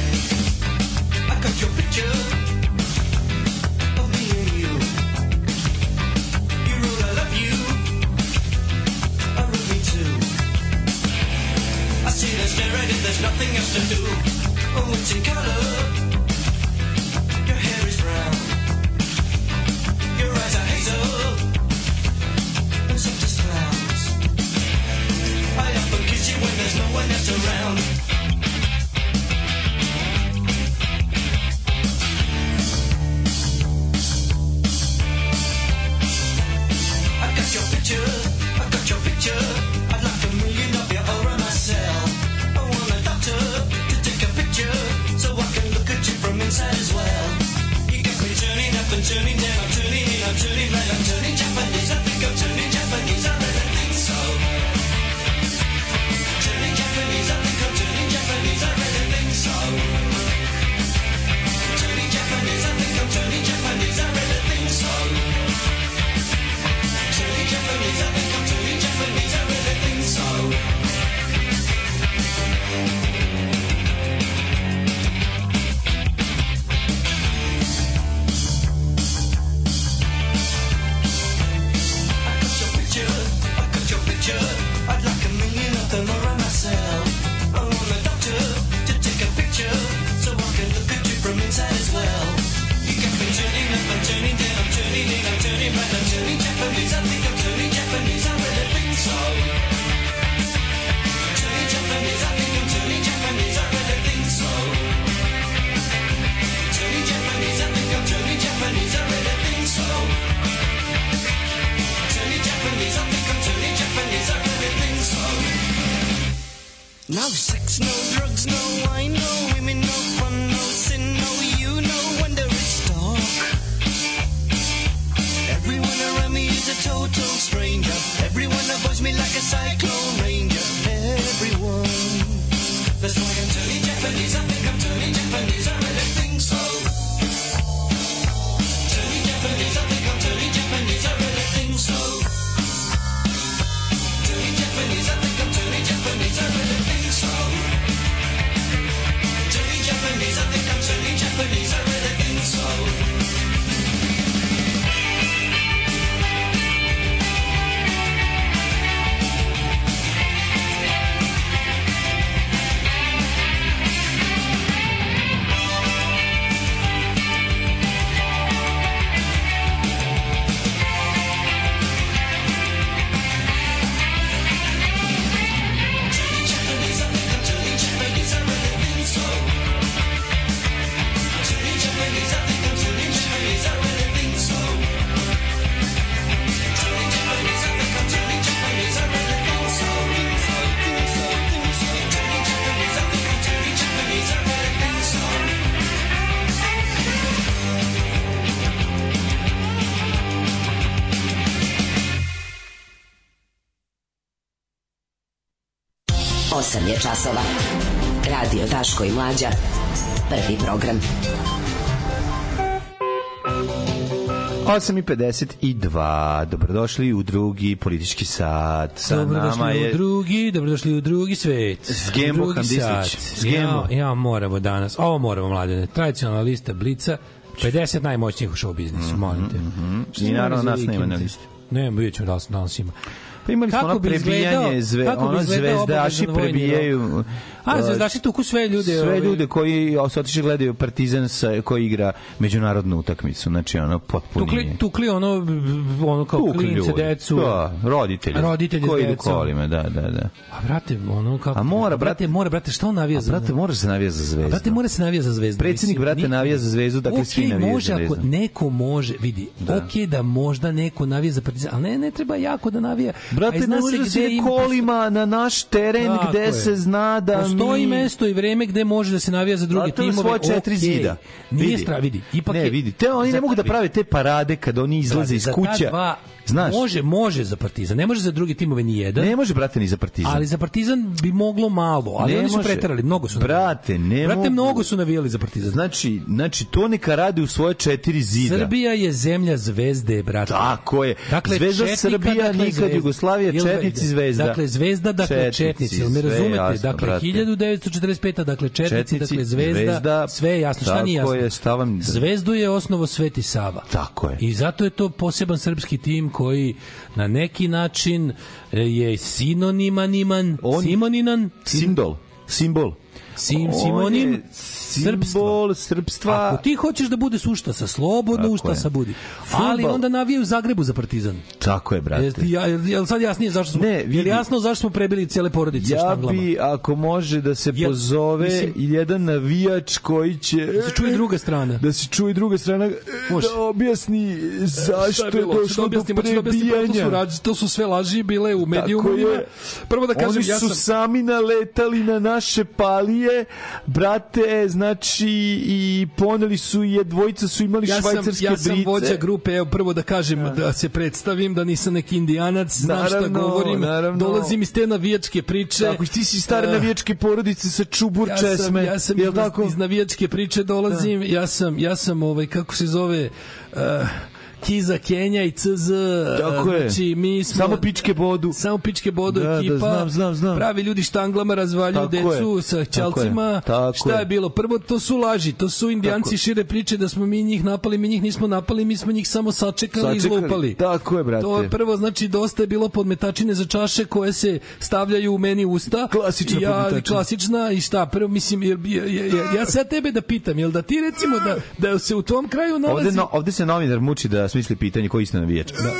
Speaker 11: I got your picture of me and you. You wrote I love you. I wrote me too. I see there's narrative, there's nothing else to do. Oh, it's in color. Your hair is brown. Your eyes are hazel. And soft as clouds. I often kiss you when there's no one else around. I got your picture, I got your picture. I'd like a million of your aura myself. I want a doctor to take a picture so I can look at you from inside as well. You got me turning up and turning down, I'm turning in, I'm turning right, I'm turning Japanese. I think I'm turning Japanese, I really think so. Turning Japanese, I think I'm turning Japanese, I really think so. Turning Japanese, I think I'm turning Japanese, I really think so. Turning Japanese, I think I'm turning Japanese, I really think so. I got your picture, I got your picture. I'd like a million of them around myself. I want a doctor to take a picture so I can look at you from inside as well. You got me turning up, I'm turning down, I'm turning in, I'm turning right, I'm turning Japanese. I think I'm turning Japanese, I really think so. Turning Japanese, I think I'm turning Japanese, I really think so. Turning Japanese, I think I'm turning Japanese, I really think so. Turning Japanese, I think I'm turning Japanese, I really think so. No sex, no drugs, no wine, no women, no fun, no sin, no you, no wonder it's dark. Everyone around me is a total stranger. Everyone avoids me like a cyclone ranger. Everyone. That's why I'm turning Japanese, I think I'm turning Japanese, I really think so. Turning Japanese, I think I'm turning Japanese, I really think so. Turning Japanese, I think I'm turning Japanese, I really think so. Turning Japanese, I think I'm turning Japanese, I really think so.
Speaker 16: 8 je časova. Radio Daško i Mlađa. Prvi program.
Speaker 9: 8.52, dobrodošli u drugi politički sat. Sa nama
Speaker 10: Dobrodošli
Speaker 9: je...
Speaker 10: u drugi, dobrodošli u drugi svet. S
Speaker 9: Gembo Handislić. S Gembo.
Speaker 10: Ja, ja moramo danas, ovo moramo mladene, tradicionalna lista Blica, 50 najmoćnijih u show biznisu, molim te. Šta
Speaker 9: Mhm, I
Speaker 10: ima
Speaker 9: naravno
Speaker 10: za
Speaker 9: nas nema
Speaker 10: vikend?
Speaker 9: na listi.
Speaker 10: Ne, vidjet ćemo da li, da li ima.
Speaker 9: Pa imali smo
Speaker 10: Kako
Speaker 9: ono
Speaker 10: bi
Speaker 9: prebijanje,
Speaker 10: izgledao-
Speaker 9: zve,
Speaker 10: kako bi
Speaker 9: ono
Speaker 10: izgledao
Speaker 9: zvezdaši
Speaker 10: obavezan vojni
Speaker 9: prebijaju...
Speaker 10: rok? A,
Speaker 9: uh,
Speaker 10: zvezdaši tuku sve ljude.
Speaker 9: sve
Speaker 10: ovaj,
Speaker 9: ljude koji se otišli gledaju Partizan sa, koji igra međunarodnu utakmicu, znači ono potpunije.
Speaker 10: Tukli, tukli ono, ono kao
Speaker 9: Tukli
Speaker 10: klince,
Speaker 9: ljudi.
Speaker 10: decu.
Speaker 9: Da, roditelji.
Speaker 10: Roditelji s
Speaker 9: koji idu
Speaker 10: decom.
Speaker 9: kolima, da, da, da.
Speaker 10: A brate, ono kako...
Speaker 9: A mora,
Speaker 10: brate, mora, brate, šta on navija za...
Speaker 9: Brate, moraš se navija za zvezdu.
Speaker 10: Brate, mora se navija za zvezdu.
Speaker 9: Predsednik,
Speaker 10: Mislim,
Speaker 9: brate,
Speaker 10: ni-
Speaker 9: navija za zvezdu, dakle
Speaker 10: Okej,
Speaker 9: svi navijaju
Speaker 10: može
Speaker 9: za zvezdu.
Speaker 10: ako neko može, vidi,
Speaker 9: Da.
Speaker 10: da. okej da možda neko navija za Partizan, ali ne, ne treba jako da navija.
Speaker 9: Brate,
Speaker 10: A i zna
Speaker 9: ne
Speaker 10: se
Speaker 9: može da se
Speaker 10: gde
Speaker 9: ide
Speaker 10: ima-
Speaker 9: kolima na naš teren
Speaker 10: Tako
Speaker 9: gde
Speaker 10: je.
Speaker 9: se zna da
Speaker 10: Postoji
Speaker 9: mi-
Speaker 10: mesto i vreme gde može da se navija za druge
Speaker 9: Zato je
Speaker 10: timove.
Speaker 9: svoje četiri
Speaker 10: okej.
Speaker 9: zida.
Speaker 10: Nije
Speaker 9: Vidi.
Speaker 10: stra, vidi. Ipak
Speaker 9: ne,
Speaker 10: je,
Speaker 9: vidi. Te, oni ne
Speaker 10: Zato-
Speaker 9: mogu da
Speaker 10: vidi.
Speaker 9: prave te parade kad oni izlaze iz
Speaker 10: Za ta
Speaker 9: kuća.
Speaker 10: dva-
Speaker 9: Znaš,
Speaker 10: Može, može za Partizan, ne može za druge timove ni jedan.
Speaker 9: ne može, brate, ni za partizan.
Speaker 10: Ali za Partizan bi moglo malo, ali
Speaker 9: Ne
Speaker 10: oni su
Speaker 9: može.
Speaker 10: preterali, mnogo su.
Speaker 9: Brate, ne
Speaker 10: Brate,
Speaker 9: mogu.
Speaker 10: mnogo su navijali za Partizan.
Speaker 9: Znači, znači to neka radi u svoje četiri zida.
Speaker 10: Srbija je zemlja zvezde, brate.
Speaker 9: Tako je.
Speaker 10: Dakle,
Speaker 9: Zvezda
Speaker 10: četnika,
Speaker 9: Srbija,
Speaker 10: dakle,
Speaker 9: nikad
Speaker 10: zvezda.
Speaker 9: Jugoslavija,
Speaker 10: Jel
Speaker 9: četnici,
Speaker 10: da ide?
Speaker 9: zvezda.
Speaker 10: Dakle, zvezda, dakle,
Speaker 9: Četnici,
Speaker 10: četnici. Jel me
Speaker 9: sve
Speaker 10: razumete?
Speaker 9: jasno,
Speaker 10: dakle,
Speaker 9: brate.
Speaker 10: 1945. Dakle, četnici, dakle, zvezda, sve je jasno. Šta
Speaker 9: tako
Speaker 10: nije jasno?
Speaker 9: Je, stavam,
Speaker 10: Zvezdu je osnovo Sveti Sava.
Speaker 9: Tako je.
Speaker 10: I zato je to poseban srpski tim koji na neki način e, je sinoniman iman,
Speaker 9: On-
Speaker 10: simoninan,
Speaker 9: Simbol. Simbol.
Speaker 10: sim,
Speaker 9: On je
Speaker 10: simonim,
Speaker 9: simbol srpstva.
Speaker 10: Ako ti hoćeš da bude sušta sa slobodno,
Speaker 9: Tako
Speaker 10: ušta
Speaker 9: je.
Speaker 10: sa budi. Ali
Speaker 9: Fudbal.
Speaker 10: onda navijaju u Zagrebu za Partizan.
Speaker 9: Tako je, brate.
Speaker 10: Jel, E, ti- ja- jel, jel sad jasnije zašto smo,
Speaker 9: Ne,
Speaker 10: ne, jel
Speaker 9: vidi.
Speaker 10: jasno zašto smo prebili cele porodice
Speaker 9: Ja
Speaker 10: štanglama?
Speaker 9: bi, ako može, da se
Speaker 10: Ja-
Speaker 9: pozove
Speaker 10: mislim-
Speaker 9: jedan navijač koji će...
Speaker 10: Da se čuje druga strana.
Speaker 9: Da se čuje druga strana, e,
Speaker 10: Može.
Speaker 9: da objasni zašto je došlo do prebijanja.
Speaker 10: To su, to su sve laži bile u
Speaker 9: Tako
Speaker 10: medijumima.
Speaker 9: je.
Speaker 10: Prvo da kažem,
Speaker 9: Oni
Speaker 10: ja
Speaker 9: su
Speaker 10: sam...
Speaker 9: sami naletali na naše palije, brate, znači, i poneli su je, dvojica su imali
Speaker 10: Ja sam,
Speaker 9: švajcarske
Speaker 10: ja sam
Speaker 9: brice.
Speaker 10: vođa grupe, evo prvo da kažem, da se predstavim, da nisam neki indijanac, znam šta
Speaker 9: Naravno,
Speaker 10: govorim,
Speaker 9: naravno.
Speaker 10: dolazim iz te navijačke priče.
Speaker 9: Tako, ti si stare
Speaker 10: Eh,
Speaker 9: navijačke porodice sa čubur
Speaker 10: ja sam,
Speaker 9: česme.
Speaker 10: ja sam
Speaker 9: jel
Speaker 10: iz,
Speaker 9: tako?
Speaker 10: iz navijačke priče dolazim, ja sam, ja sam ovaj, kako se zove, uh, Kiza Kenja i CZ, eh,
Speaker 9: Tako je.
Speaker 10: znači mi smo...
Speaker 9: Samo pičke bodu.
Speaker 10: Samo pičke bodo
Speaker 9: Da, da,
Speaker 10: ekipa.
Speaker 9: znam, znam, znam.
Speaker 10: Pravi ljudi štanglama razvaljuju
Speaker 9: Tako je.
Speaker 10: decu sa
Speaker 9: Tako je.
Speaker 10: ćalcima.
Speaker 9: Tako
Speaker 10: Šta
Speaker 9: je.
Speaker 10: je bilo? Prvo, to su laži. To su indijanci šire priče da smo mi njih napali, mi njih nismo napali, mi smo njih samo sačekali, i
Speaker 9: Sačekali.
Speaker 10: izlupali.
Speaker 9: Tako je, brate.
Speaker 10: To je prvo, znači, dosta je bilo podmetačine za čaše koje se stavljaju u meni u usta.
Speaker 9: Klasična
Speaker 10: I ja,
Speaker 9: podmetačina.
Speaker 10: Klasična i šta? Prvo, mislim, jer, ja, ja, ja, ja sad tebe da pitam, jel da ti recimo da, da se u tom kraju nalazi...
Speaker 9: Ovde, no, ovde se novinar muči da smisli pitanje koji je isto navijač. Da.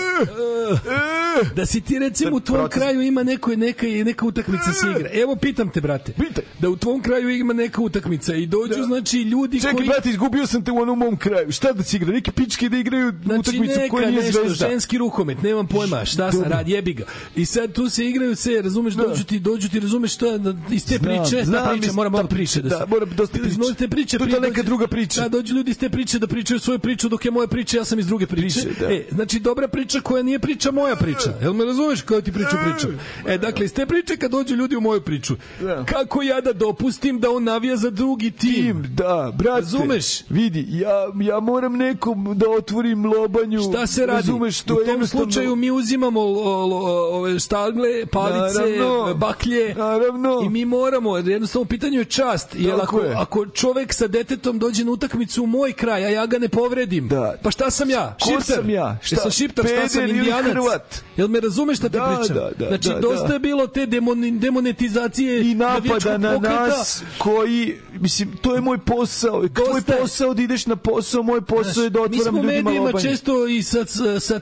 Speaker 10: da si ti recimo u tvom
Speaker 9: Proces-
Speaker 10: kraju ima neko neka neka utakmica se igra. Evo pitam te brate. Da u tvom kraju ima neka utakmica i dođu znači ljudi
Speaker 9: Čekaj, pa
Speaker 10: koji
Speaker 9: brate, izgubio sam te u onom mom kraju. Šta da si igra? Neke pičke da igraju
Speaker 10: Znači
Speaker 9: utakmicu
Speaker 10: neka
Speaker 9: koja nije
Speaker 10: nešto,
Speaker 9: zvezda.
Speaker 10: ženski rukomet, nemam pojma, šta sam
Speaker 9: Dobro.
Speaker 10: rad, jebi ga. I sad tu se igraju se, razumeš, dođu ti, dođu ti, razumeš šta, da- iz te
Speaker 9: Znam,
Speaker 10: priče,
Speaker 9: znam,
Speaker 10: ta priča,
Speaker 9: iz-
Speaker 10: mora malo
Speaker 9: ta
Speaker 10: priče.
Speaker 9: priča,
Speaker 10: se-
Speaker 9: da, mora dosta
Speaker 10: Iz
Speaker 9: priče.
Speaker 10: te priče,
Speaker 9: To je
Speaker 10: prije
Speaker 9: neka
Speaker 10: dođu-
Speaker 9: druga priča.
Speaker 10: Da, dođu ljudi iz te priče da pričaju svoju priču, dok je moja priča, ja sam iz druge priče.
Speaker 9: Priče, da.
Speaker 10: E, znači, dobra priča koja nije priča, moja priča. Jel me razumeš koju ti priču pričam? E, dakle, iz te priče kad dođu ljudi u moju priču,
Speaker 9: Da.
Speaker 10: kako ja da dopustim da on navija za drugi tim?
Speaker 9: Tim, da, brate.
Speaker 10: Razumeš?
Speaker 9: Vidi, ja, ja moram nekom da otvorim lobanju.
Speaker 10: Šta se radi?
Speaker 9: Razumeš, to
Speaker 10: u
Speaker 9: je
Speaker 10: tom
Speaker 9: jednostavno-
Speaker 10: slučaju mi uzimamo lo- lo- ove štagle, palice,
Speaker 9: Naravno.
Speaker 10: baklje
Speaker 9: Naravno.
Speaker 10: i mi moramo, jer jednostavno u pitanju je čast, jer
Speaker 9: Tako
Speaker 10: ako,
Speaker 9: je.
Speaker 10: ako čovek sa detetom dođe na utakmicu u moj kraj, a ja ga ne povredim,
Speaker 9: Da.
Speaker 10: pa šta sam ja?
Speaker 9: Ko
Speaker 10: Šiptar?
Speaker 9: sam ja? Šta?
Speaker 10: Jesam šiptar, šta sam
Speaker 9: Peder ili
Speaker 10: indijanac?
Speaker 9: Hrvat?
Speaker 10: Jel me razumeš šta ti
Speaker 9: Da,
Speaker 10: pričam?
Speaker 9: da, da,
Speaker 10: znači,
Speaker 9: da,
Speaker 10: dosta
Speaker 9: da.
Speaker 10: je bilo te demoni- demonetizacije
Speaker 9: i napada
Speaker 10: navijačkog
Speaker 9: na
Speaker 10: pokreta.
Speaker 9: nas koji mislim to je moj posao tvoj
Speaker 10: Dosta je.
Speaker 9: posao da ideš na posao moj posao je da
Speaker 10: Mi smo
Speaker 9: otvaram
Speaker 10: u
Speaker 9: ljudima
Speaker 10: medijima
Speaker 9: lobanje
Speaker 10: često i sat,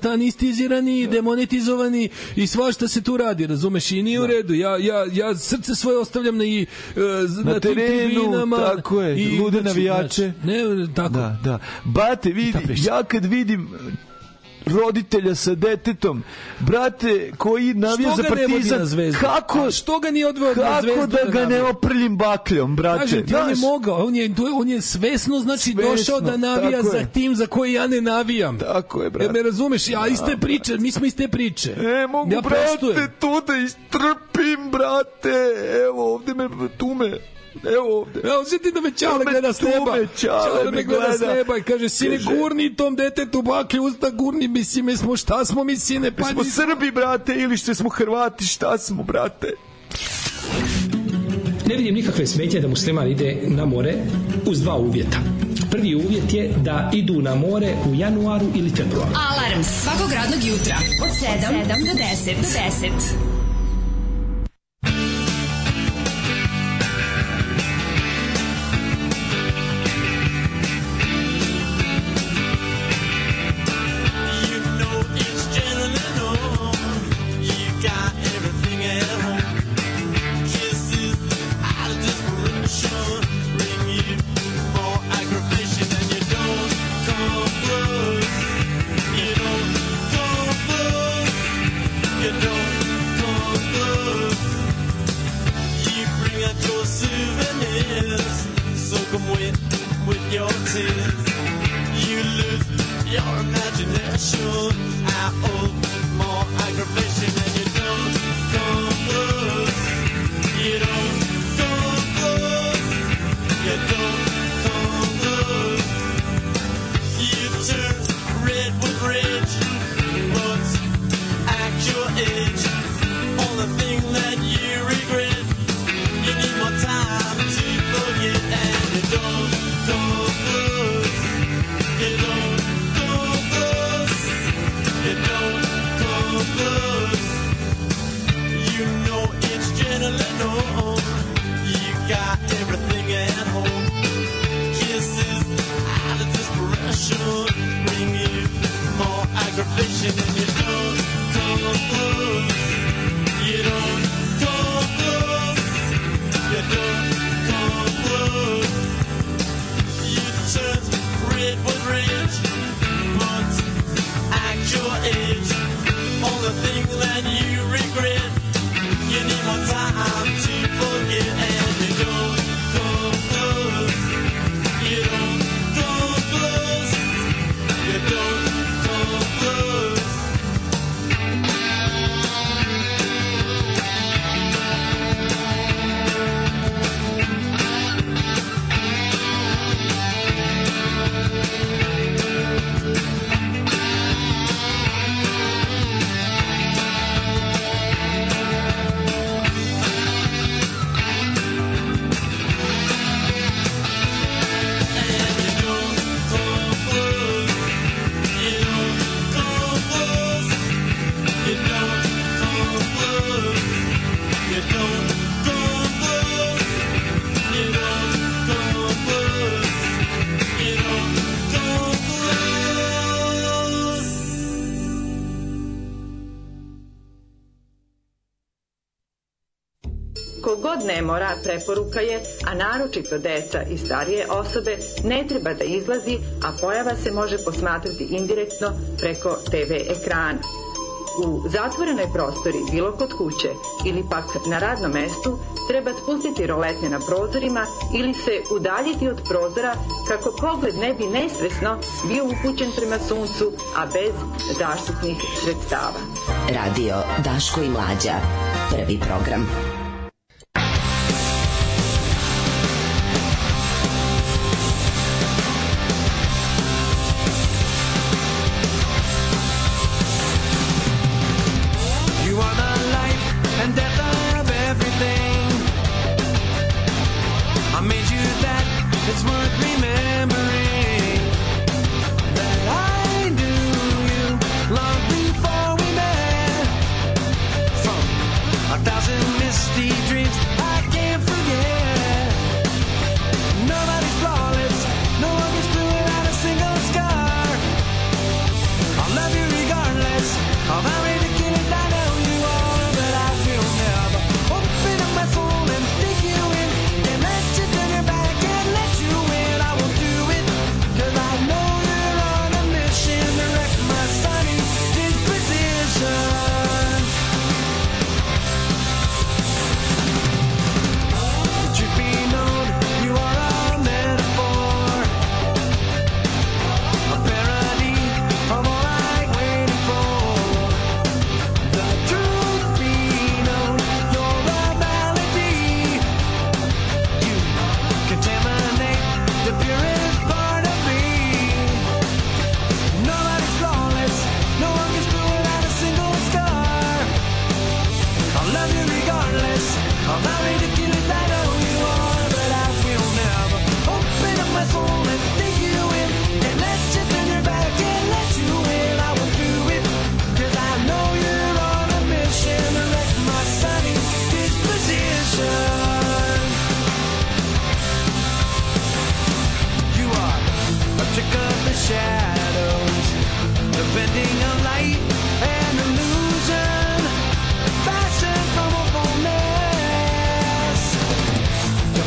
Speaker 10: satanistizirani, da. demonetizovani i svašta se tu radi, razumeš? I nije u redu. Ja, ja, ja srce svoje ostavljam na, i, e, z-
Speaker 9: Na
Speaker 10: na, tim
Speaker 9: terenu,
Speaker 10: tribinama.
Speaker 9: tako je, lude navijače.
Speaker 10: Znači, ne, tako.
Speaker 9: da da bate vidi
Speaker 10: Ta priča.
Speaker 9: ja kad vidim roditelja sa detetom, brate, koji navija za
Speaker 10: Što ga ne vodi na
Speaker 9: partizan,
Speaker 10: Zvezdu?
Speaker 9: kako,
Speaker 10: A što ga nije odveo na
Speaker 9: kako
Speaker 10: Zvezdu
Speaker 9: da
Speaker 10: da
Speaker 9: ga ne
Speaker 10: navija?
Speaker 9: oprljim bakljom, brate.
Speaker 10: Kažem ti, on je
Speaker 9: Znaš,
Speaker 10: mogao, on je, on je svesno, znači,
Speaker 9: Svesno,
Speaker 10: došao da navija
Speaker 9: tako je.
Speaker 10: za tim za koji ja ne navijam.
Speaker 9: Tako je, brate.
Speaker 10: Jer me razumeš, ja iste priče, mi smo iste priče.
Speaker 9: E, mogu,
Speaker 10: ja
Speaker 9: brate,
Speaker 10: poštujem.
Speaker 9: to da istrpim, brate. Evo, ovde me, tu me. Evo ovde.
Speaker 10: Ja osjetim da me Čale
Speaker 9: Tu me,
Speaker 10: gleda s
Speaker 9: tu
Speaker 10: neba.
Speaker 9: me, Čale
Speaker 10: Čale
Speaker 9: me
Speaker 10: me gleda s
Speaker 9: gleda.
Speaker 10: neba i kaže, sine,
Speaker 9: Kaže-
Speaker 10: gurni tom detetu baklju, usta gurni, mi si, mi smo, šta smo mi, sine, pa
Speaker 9: smo
Speaker 10: nismo-
Speaker 9: Srbi, brate, ili što smo Hrvati, šta smo, brate?
Speaker 17: Ne vidim nikakve smetje da musliman ide na more uz dva uvjeta. Prvi uvjet je da idu na more u januaru ili februaru.
Speaker 8: Alarm svakog radnog jutra od 7, do 10. Do 10.
Speaker 13: You know each gentleman on. You got everything at home. Kisses out of desperation bring you more aggravation, and you don't come close. You don't come close. You don't come close. You bring out your souvenirs, soak 'em wet with your tears. You lose your imagination. I owe more aggravation and you don't come close. You don't come close. You don't come close. You turn red with rage. What's at your age? Only thing that you regret. You need more time to forget and you don't come close. You don't come close. You don't come close. You know it's adrenaline on. You got everything at home. Kisses out of desperation bring you more aggravation, and you don't come close. You don't come close. You don't come close. You turn red with rage, but at your age, only thing that you regret. You need more time to forget, and you don't come close. You don't come close. You don't come close.
Speaker 2: Kogod ne mora, preporuka je, a naročito deca i starije osobe, ne treba da izlazi, a pojava se može posmatrati indirektno preko TV ekrana. U zatvorenoj prostori, bilo kod kuće ili pak na radnom mestu, treba spustiti roletne na prozorima ili se udaljiti od prozora kako pogled ne bi nesvesno bio upućen prema suncu, a bez zaštitnih sredstava.
Speaker 16: Radio Daško i Mlađa. Prvi program.
Speaker 11: You are the life and death of everything. I made you that, it's worth remembering. That I knew you long before we met. From a thousand misty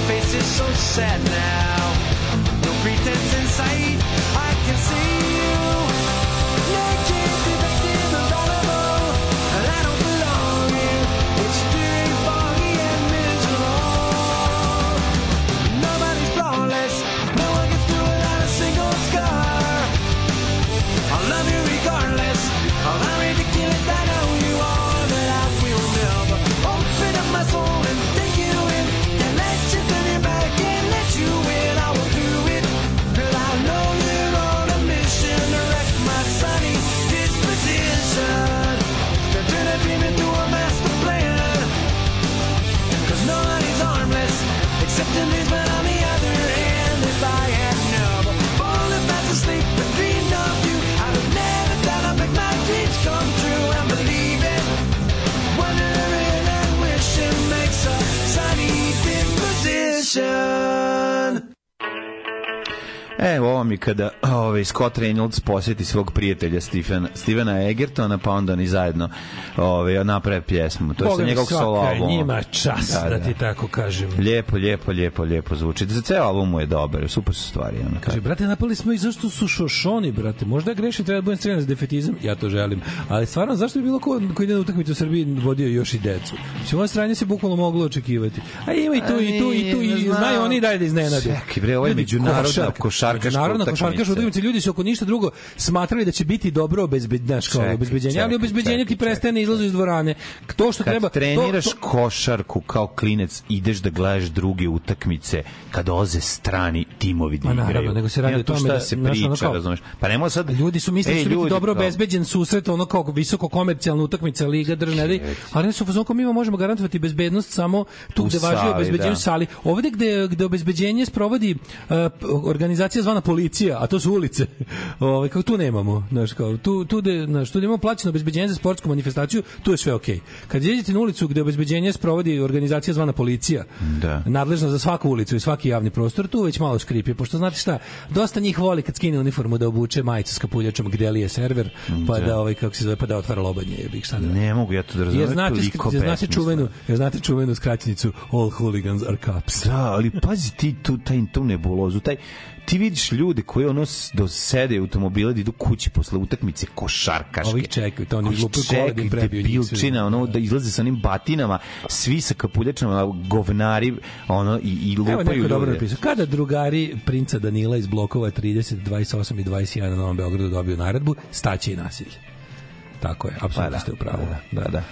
Speaker 11: face is so sad now. No pretense in sight. I can see you naked, defective, available, and I don't belong here. It's dreary, foggy, and miserable. Nobody's flawless. No one gets through without a single scar. I'll love you regardless. All I'm ridiculous. I know you are that I will never open up my soul and take you in and let you turn your back and let you in. I will do it, girl. I know you're on a mission to wreck my sunny disposition. To turn a dream into a master plan. Cause nobody's harmless except in these men on the other hand. If I had known, fallen fast asleep and dreamed of you, I would never thought I'd make my dreams come true. I'm believing, wondering, and wishing makes a sunny disposition.
Speaker 9: Evo ovo mi kada ovaj, Scott Reynolds posjeti svog prijatelja Stevena, Stevena Egertona, pa onda oni zajedno ovaj, naprave pjesmu. To je sa
Speaker 10: Boga mi,
Speaker 9: njegovog
Speaker 10: svaka
Speaker 9: solo
Speaker 10: je
Speaker 9: albuma.
Speaker 10: njima čast, da ti tako kažem.
Speaker 9: Lijepo, lijepo, lijepo, lijepo zvuči. Za ceo album mu je dobar, super su stvari. Ono,
Speaker 10: Kaže, Znači, brate, napali smo i zašto su šošoni, brate? Možda greši, treba da budem streljan za defetizam, ja to želim. Ali stvarno, zašto bi bilo ko, ko ide na utakmicu u Srbiji vodio još i decu? Mislim, ovo stranje se bukvalno moglo očekivati. A ima i tu, i tu, i tu, i
Speaker 9: Ne znam.
Speaker 10: znaju oni i dalje da iznenade.
Speaker 9: Čekaj, bre, ovo je
Speaker 10: Ljudi,
Speaker 9: međunarodna
Speaker 10: košarka.
Speaker 9: košarkaška
Speaker 10: Međunarodna
Speaker 9: utakmica.
Speaker 10: košarkaška utakmica. Ljudi su ako ništa drugo smatrali da će biti dobro obezbednaš kao
Speaker 9: Čekaj,
Speaker 10: obezbeđenje, ali
Speaker 9: čekaj,
Speaker 10: obezbeđenje ti
Speaker 9: čekaj,
Speaker 10: prestaje ne izlazu iz dvorane. To što
Speaker 9: Kad
Speaker 10: treba... to-
Speaker 9: treniraš
Speaker 10: to-
Speaker 9: košarku kao klinec, ideš da gledaš druge utakmice, kad oze strani timovi da
Speaker 10: Ma
Speaker 9: igraju.
Speaker 10: naravno, nego se radi
Speaker 9: Nema
Speaker 10: o
Speaker 9: tu
Speaker 10: tome
Speaker 9: šta
Speaker 10: da,
Speaker 9: da se
Speaker 10: znaš, ono
Speaker 9: priča,
Speaker 10: kao-
Speaker 9: razumeš? Pa nema sad...
Speaker 10: Ljudi su mislili
Speaker 9: Ej,
Speaker 10: da će biti
Speaker 9: ljudi,
Speaker 10: dobro
Speaker 9: kao-
Speaker 10: obezbeđen susret, ono kao visoko komercijalna utakmica Liga Držne, ali ali oni su u fazonu kao mi vam možemo garantovati bezbednost samo tu
Speaker 9: U
Speaker 10: gde važi
Speaker 9: sali,
Speaker 10: obezbeđenje
Speaker 9: da.
Speaker 10: u sali. Ovde gde gde obezbeđenje sprovodi e, p- organizacija zvana policija, a to su ulice. Ovaj kako tu nemamo, znači kao tu tu gde znaš, tu gde imamo plaćeno obezbeđenje za sportsku manifestaciju, tu je sve okej. Kad izađete na ulicu gde obezbeđenje sprovodi organizacija zvana policija,
Speaker 9: Da.
Speaker 10: nadležna za svaku ulicu i svaki javni prostor, tu već malo škripi, pošto znate šta, dosta njih voli kad skine uniformu da obuče majicu s kapuljačom gde li je server, pa da,
Speaker 9: Da.
Speaker 10: ovaj, kako se zove, pa da otvara lobanje, jebik šta da radi.
Speaker 9: Ne mogu ja to da razumem.
Speaker 10: Jer znate,
Speaker 9: toliko
Speaker 10: jer znate
Speaker 9: besmisleno.
Speaker 10: čuvenu, jer znate čuvenu skraćenicu All hooligans are cops.
Speaker 9: Da, ali pazi ti tu taj tu nebulozu, taj ti vidiš ljude koji ono s- do sede u automobile da idu kući posle utakmice košarkaške.
Speaker 10: Ovih čekaju, to oni
Speaker 9: Ovih
Speaker 10: glupi kola da im
Speaker 9: čekaju,
Speaker 10: prebiju njih sve.
Speaker 9: debilčina, ono da izlaze sa onim batinama, svi sa kapuljačama, govnari, ono i, i
Speaker 10: Evo neko
Speaker 9: lupaju
Speaker 10: je dobro
Speaker 9: ljude.
Speaker 10: napisao. Kada drugari princa Danila iz blokova 30, 28 i 21 na Novom Beogradu dobiju naredbu, staće i nasilje. Tako je, apsolutno ste u pravu.
Speaker 9: Pa Da, pa da.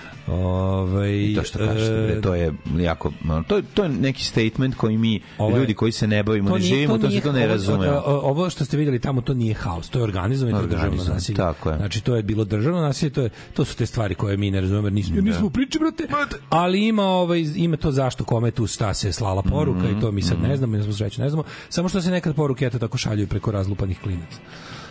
Speaker 10: Ovaj,
Speaker 9: I to što kažete,
Speaker 10: e,
Speaker 9: bre, to je jako, ono, to, je- to je neki statement koji mi,
Speaker 10: Ovo je-
Speaker 9: ljudi koji se ne bavimo,
Speaker 10: Ovaj- to
Speaker 9: ne
Speaker 10: nije-
Speaker 9: živimo, to se
Speaker 10: nije-
Speaker 9: to ne
Speaker 10: ovo-
Speaker 9: razumemo.
Speaker 10: o- o- Ovo što ste videli tamo, to nije haos, to je organizovano i to je državno
Speaker 9: Organizovano,
Speaker 10: nasilje.
Speaker 9: tako je.
Speaker 10: Znači, to je bilo državno nasilje, to, je, to su te stvari koje mi ne razumemo, jer nismo, jer
Speaker 9: Da.
Speaker 10: nismo u priči, brate. Ali ima, ovaj, ima to zašto kome tu šta se slala poruka i to mi sad
Speaker 9: Mhm.
Speaker 10: ne znamo, ne znamo sreću, ne znamo. Samo što se nekad poruke eto tako šalju preko razlupanih klinaca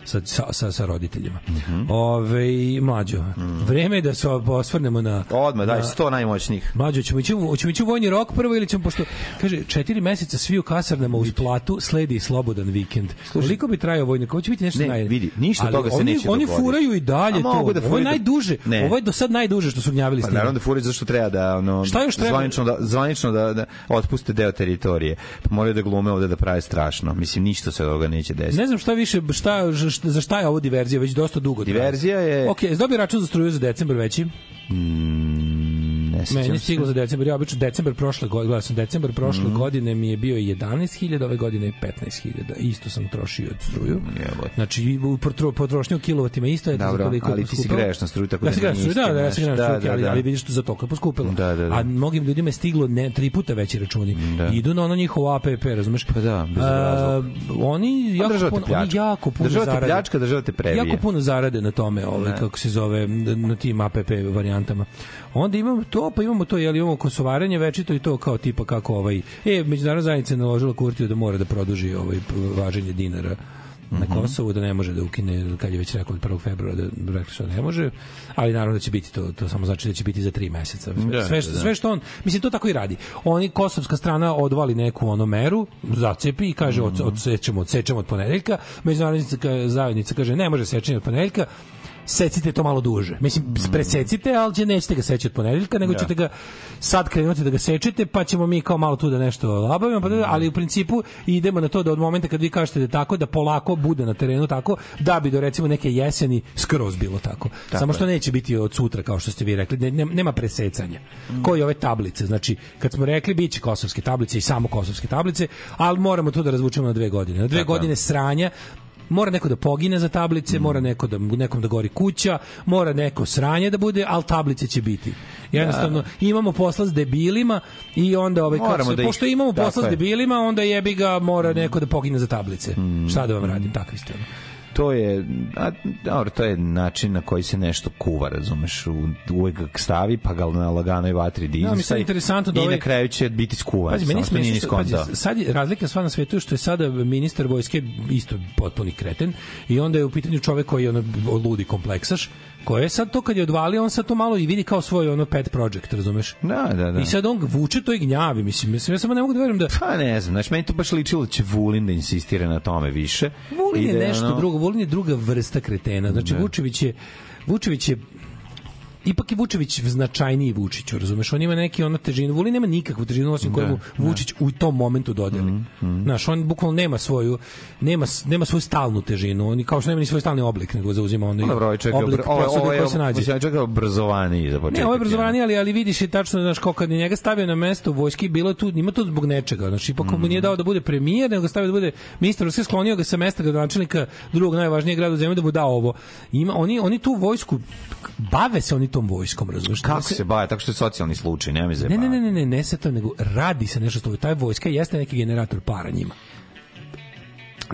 Speaker 10: sa, sa, sa, sa roditeljima.
Speaker 9: Mhm.
Speaker 10: Ove, mlađo, vreme je da se osvrnemo na...
Speaker 9: Odmah, daj,
Speaker 10: na-
Speaker 9: 100 najmoćnijih.
Speaker 10: Mlađo, ćemo ići, u- ćemo ići u vojni rok prvo ili ćemo, pošto, kaže, četiri meseca svi u kasarnama uz platu, sledi i slobodan vikend. Koliko bi trajao vojni rok? Ovo će biti nešto
Speaker 9: Ne,
Speaker 10: naj...
Speaker 9: vidi, ništa
Speaker 10: Ali
Speaker 9: toga se
Speaker 10: oni,
Speaker 9: neće
Speaker 10: Oni
Speaker 9: dogoditi.
Speaker 10: furaju i dalje
Speaker 9: A
Speaker 10: to.
Speaker 9: mogu da
Speaker 10: ovo je
Speaker 9: furaju do-
Speaker 10: najduže,
Speaker 9: Ne.
Speaker 10: ovo je do sad najduže što su gnjavili s
Speaker 9: Pa
Speaker 10: tim.
Speaker 9: naravno da furaju zašto treba da ono
Speaker 10: Šta još treba?
Speaker 9: zvanično da zvanično da, da otpuste deo teritorije. Pa moraju da glume ovde da prave strašno. Mislim ništa se od toga neće desiti.
Speaker 10: Ne znam šta više, šta, ž- za šta je ovo diverzija, već dosta dugo. traje.
Speaker 9: Diverzija je-
Speaker 10: Ok, jesi dobio račun za struju za decembar veći?
Speaker 9: Mm, ne
Speaker 10: Meni je
Speaker 9: sećam se. Mhm.
Speaker 10: stiglo za decembar, ja obično decembar prošle godine, gledao sam decembar prošle godine mi je bio 11.000, ove godine je 15.000, isto sam trošio od struju.
Speaker 9: Jebote.
Speaker 10: Znači, i u potro- potrošnja u kilovatima isto je to
Speaker 9: Dobro,
Speaker 10: za toliko je
Speaker 9: ali ti si
Speaker 10: poskupelo.
Speaker 9: greješ na struju, tako
Speaker 10: ja
Speaker 9: da
Speaker 10: se grejem na
Speaker 9: nije
Speaker 10: struju, da,
Speaker 9: isto,
Speaker 10: da, ja se
Speaker 9: znaš.
Speaker 10: grejem na
Speaker 9: Da,
Speaker 10: struju,
Speaker 9: da,
Speaker 10: ali,
Speaker 9: da.
Speaker 10: ali vidiš to za toliko je poskupilo.
Speaker 9: Da, da, da.
Speaker 10: A mnogim ljudima je stiglo ne, tri puta veći računi. Idu na ono njihovo APP, razumeš? Pa
Speaker 9: da, bez razloga.
Speaker 10: oni
Speaker 9: Pa
Speaker 10: jako
Speaker 9: država te
Speaker 10: puno, oni
Speaker 9: pljačka.
Speaker 10: jako puno
Speaker 9: Država te
Speaker 10: zarade.
Speaker 9: pljačka, država te previje.
Speaker 10: Jako puno zarade na tome, ovaj,
Speaker 9: Ne.
Speaker 10: kako se zove, na tim APP varijantama. Onda imamo to, pa imamo to, jel imamo kosovaranje večito i to kao tipa kako ovaj, e, međunarodna zajednica je naložila Kurtiju da mora da produži ovaj p- važenje dinara na
Speaker 9: Mhm.
Speaker 10: Kosovu, da ne može da ukine, kad je već rekao od 1. februara da rekli su da ne može, ali naravno da će biti to, to samo znači da će biti za tri meseca.
Speaker 9: Da,
Speaker 10: Sve, što,
Speaker 9: da, da.
Speaker 10: sve što on, mislim, to tako i radi. Oni, kosovska strana odvali neku ono meru, zacepi i kaže,
Speaker 9: Mhm.
Speaker 10: od, odsećemo, odsećemo od ponedeljka, međunarodna zajednica kaže, ne može sečenje od ponedeljka, secite to malo duže. Mislim, presecite, ali će, nećete ga seći od ponedeljka, nego
Speaker 9: Mm. Da.
Speaker 10: ćete ga sad krenuti da ga sečete, pa ćemo mi kao malo tu da nešto labavimo,
Speaker 9: Mm.
Speaker 10: pa da- ali u principu idemo na to da od momenta kad vi kažete da je tako, da polako bude na terenu tako, da bi do recimo neke jeseni skroz bilo tako.
Speaker 9: Tako
Speaker 10: Samo
Speaker 9: je.
Speaker 10: što neće biti od sutra, kao što ste vi rekli, ne, ne- nema presecanja.
Speaker 9: Mm.
Speaker 10: Koji ove tablice, znači, kad smo rekli, bit će kosovske tablice i samo kosovske tablice, ali moramo tu da razvučemo na dve godine. Na dve
Speaker 9: Tako je.
Speaker 10: godine sranja, mora neko da pogine za tablice, mora neko da, nekom da gori kuća, mora neko sranje da bude, ali tablice će biti. Jednostavno, imamo posla s debilima i onda ovaj, kako
Speaker 9: Moramo
Speaker 10: se-
Speaker 9: da ih-
Speaker 10: pošto imamo
Speaker 9: tako
Speaker 10: posla s
Speaker 9: je. Mm.
Speaker 10: debilima, onda jebi ga, mora neko da pogine za tablice. Šta da vam radim, takvi ste. ono.
Speaker 9: to je a, dobro, to je način na koji se nešto kuva, razumeš, U- uvek ga stavi pa ga na laganoj vatri
Speaker 10: mi
Speaker 9: dizaj.
Speaker 10: sad interesantno da
Speaker 9: i
Speaker 10: ovaj-
Speaker 9: na kraju će biti skuvan.
Speaker 10: Pazi, meni
Speaker 9: Pa samo što nije ni
Speaker 10: smiješno, pazi,
Speaker 9: skontao.
Speaker 10: sad je razlika sva na svetu je što je sada ministar vojske isto potpuni kreten i onda je u pitanju čovek koji je ono ludi kompleksaš, koji je sad to kad je odvalio, on sad to malo i vidi kao svoj ono pet project, razumeš?
Speaker 9: Da, da, da.
Speaker 10: I sad on vuče to i gnjavi, mislim, mislim ja samo ne mogu da verujem da
Speaker 9: Pa ne znam, znači meni to baš ličilo da će Vulin da insistira na tome više.
Speaker 10: Vulin
Speaker 9: I da
Speaker 10: je nešto
Speaker 9: ono-
Speaker 10: drugo, Vulin je druga vrsta kretena. Znači Vučević je Vučević je ipak je Vučević značajniji Vučiću, razumeš? On ima neki ona težinu, Vulin nema nikakvu težinu osim koju mu Vučić u tom momentu dodeli.
Speaker 9: Mm,
Speaker 10: Znaš, on bukvalno nema svoju nema s- nema svoju stalnu težinu. On i kao što nema ni svoj stalni oblik, nego zauzima onaj
Speaker 9: Dobro, ovaj čovjek je
Speaker 10: oblik
Speaker 9: obr- ovaj-
Speaker 10: posade
Speaker 9: ovaj je-
Speaker 10: koja se nađe.
Speaker 9: mislim, ovaj čovjek je obrazovaniji za početak.
Speaker 10: Ne, ovo je obrazovanje, ali, ali vidiš i tačno, znaš, kao kad je njega stavio na mesto u vojski, bilo je tu, ima to zbog nečega. Znači, ipak mu nije dao da bude premijer, nego ga stavio da bude ministar vojske, sklonio ga sa mesta gradonačelnika drugog najvažnijeg grada u zemlji da mu da ovo. Ima, oni, oni tu vojsku, bave se oni tom vojskom, razumiješ?
Speaker 9: Kako se baje, tako što je socijalni slučaj, nema se
Speaker 10: Ne, ne, ne, ne, ne, ne se to, nego radi se nešto što taj vojska jeste neki generator para njima.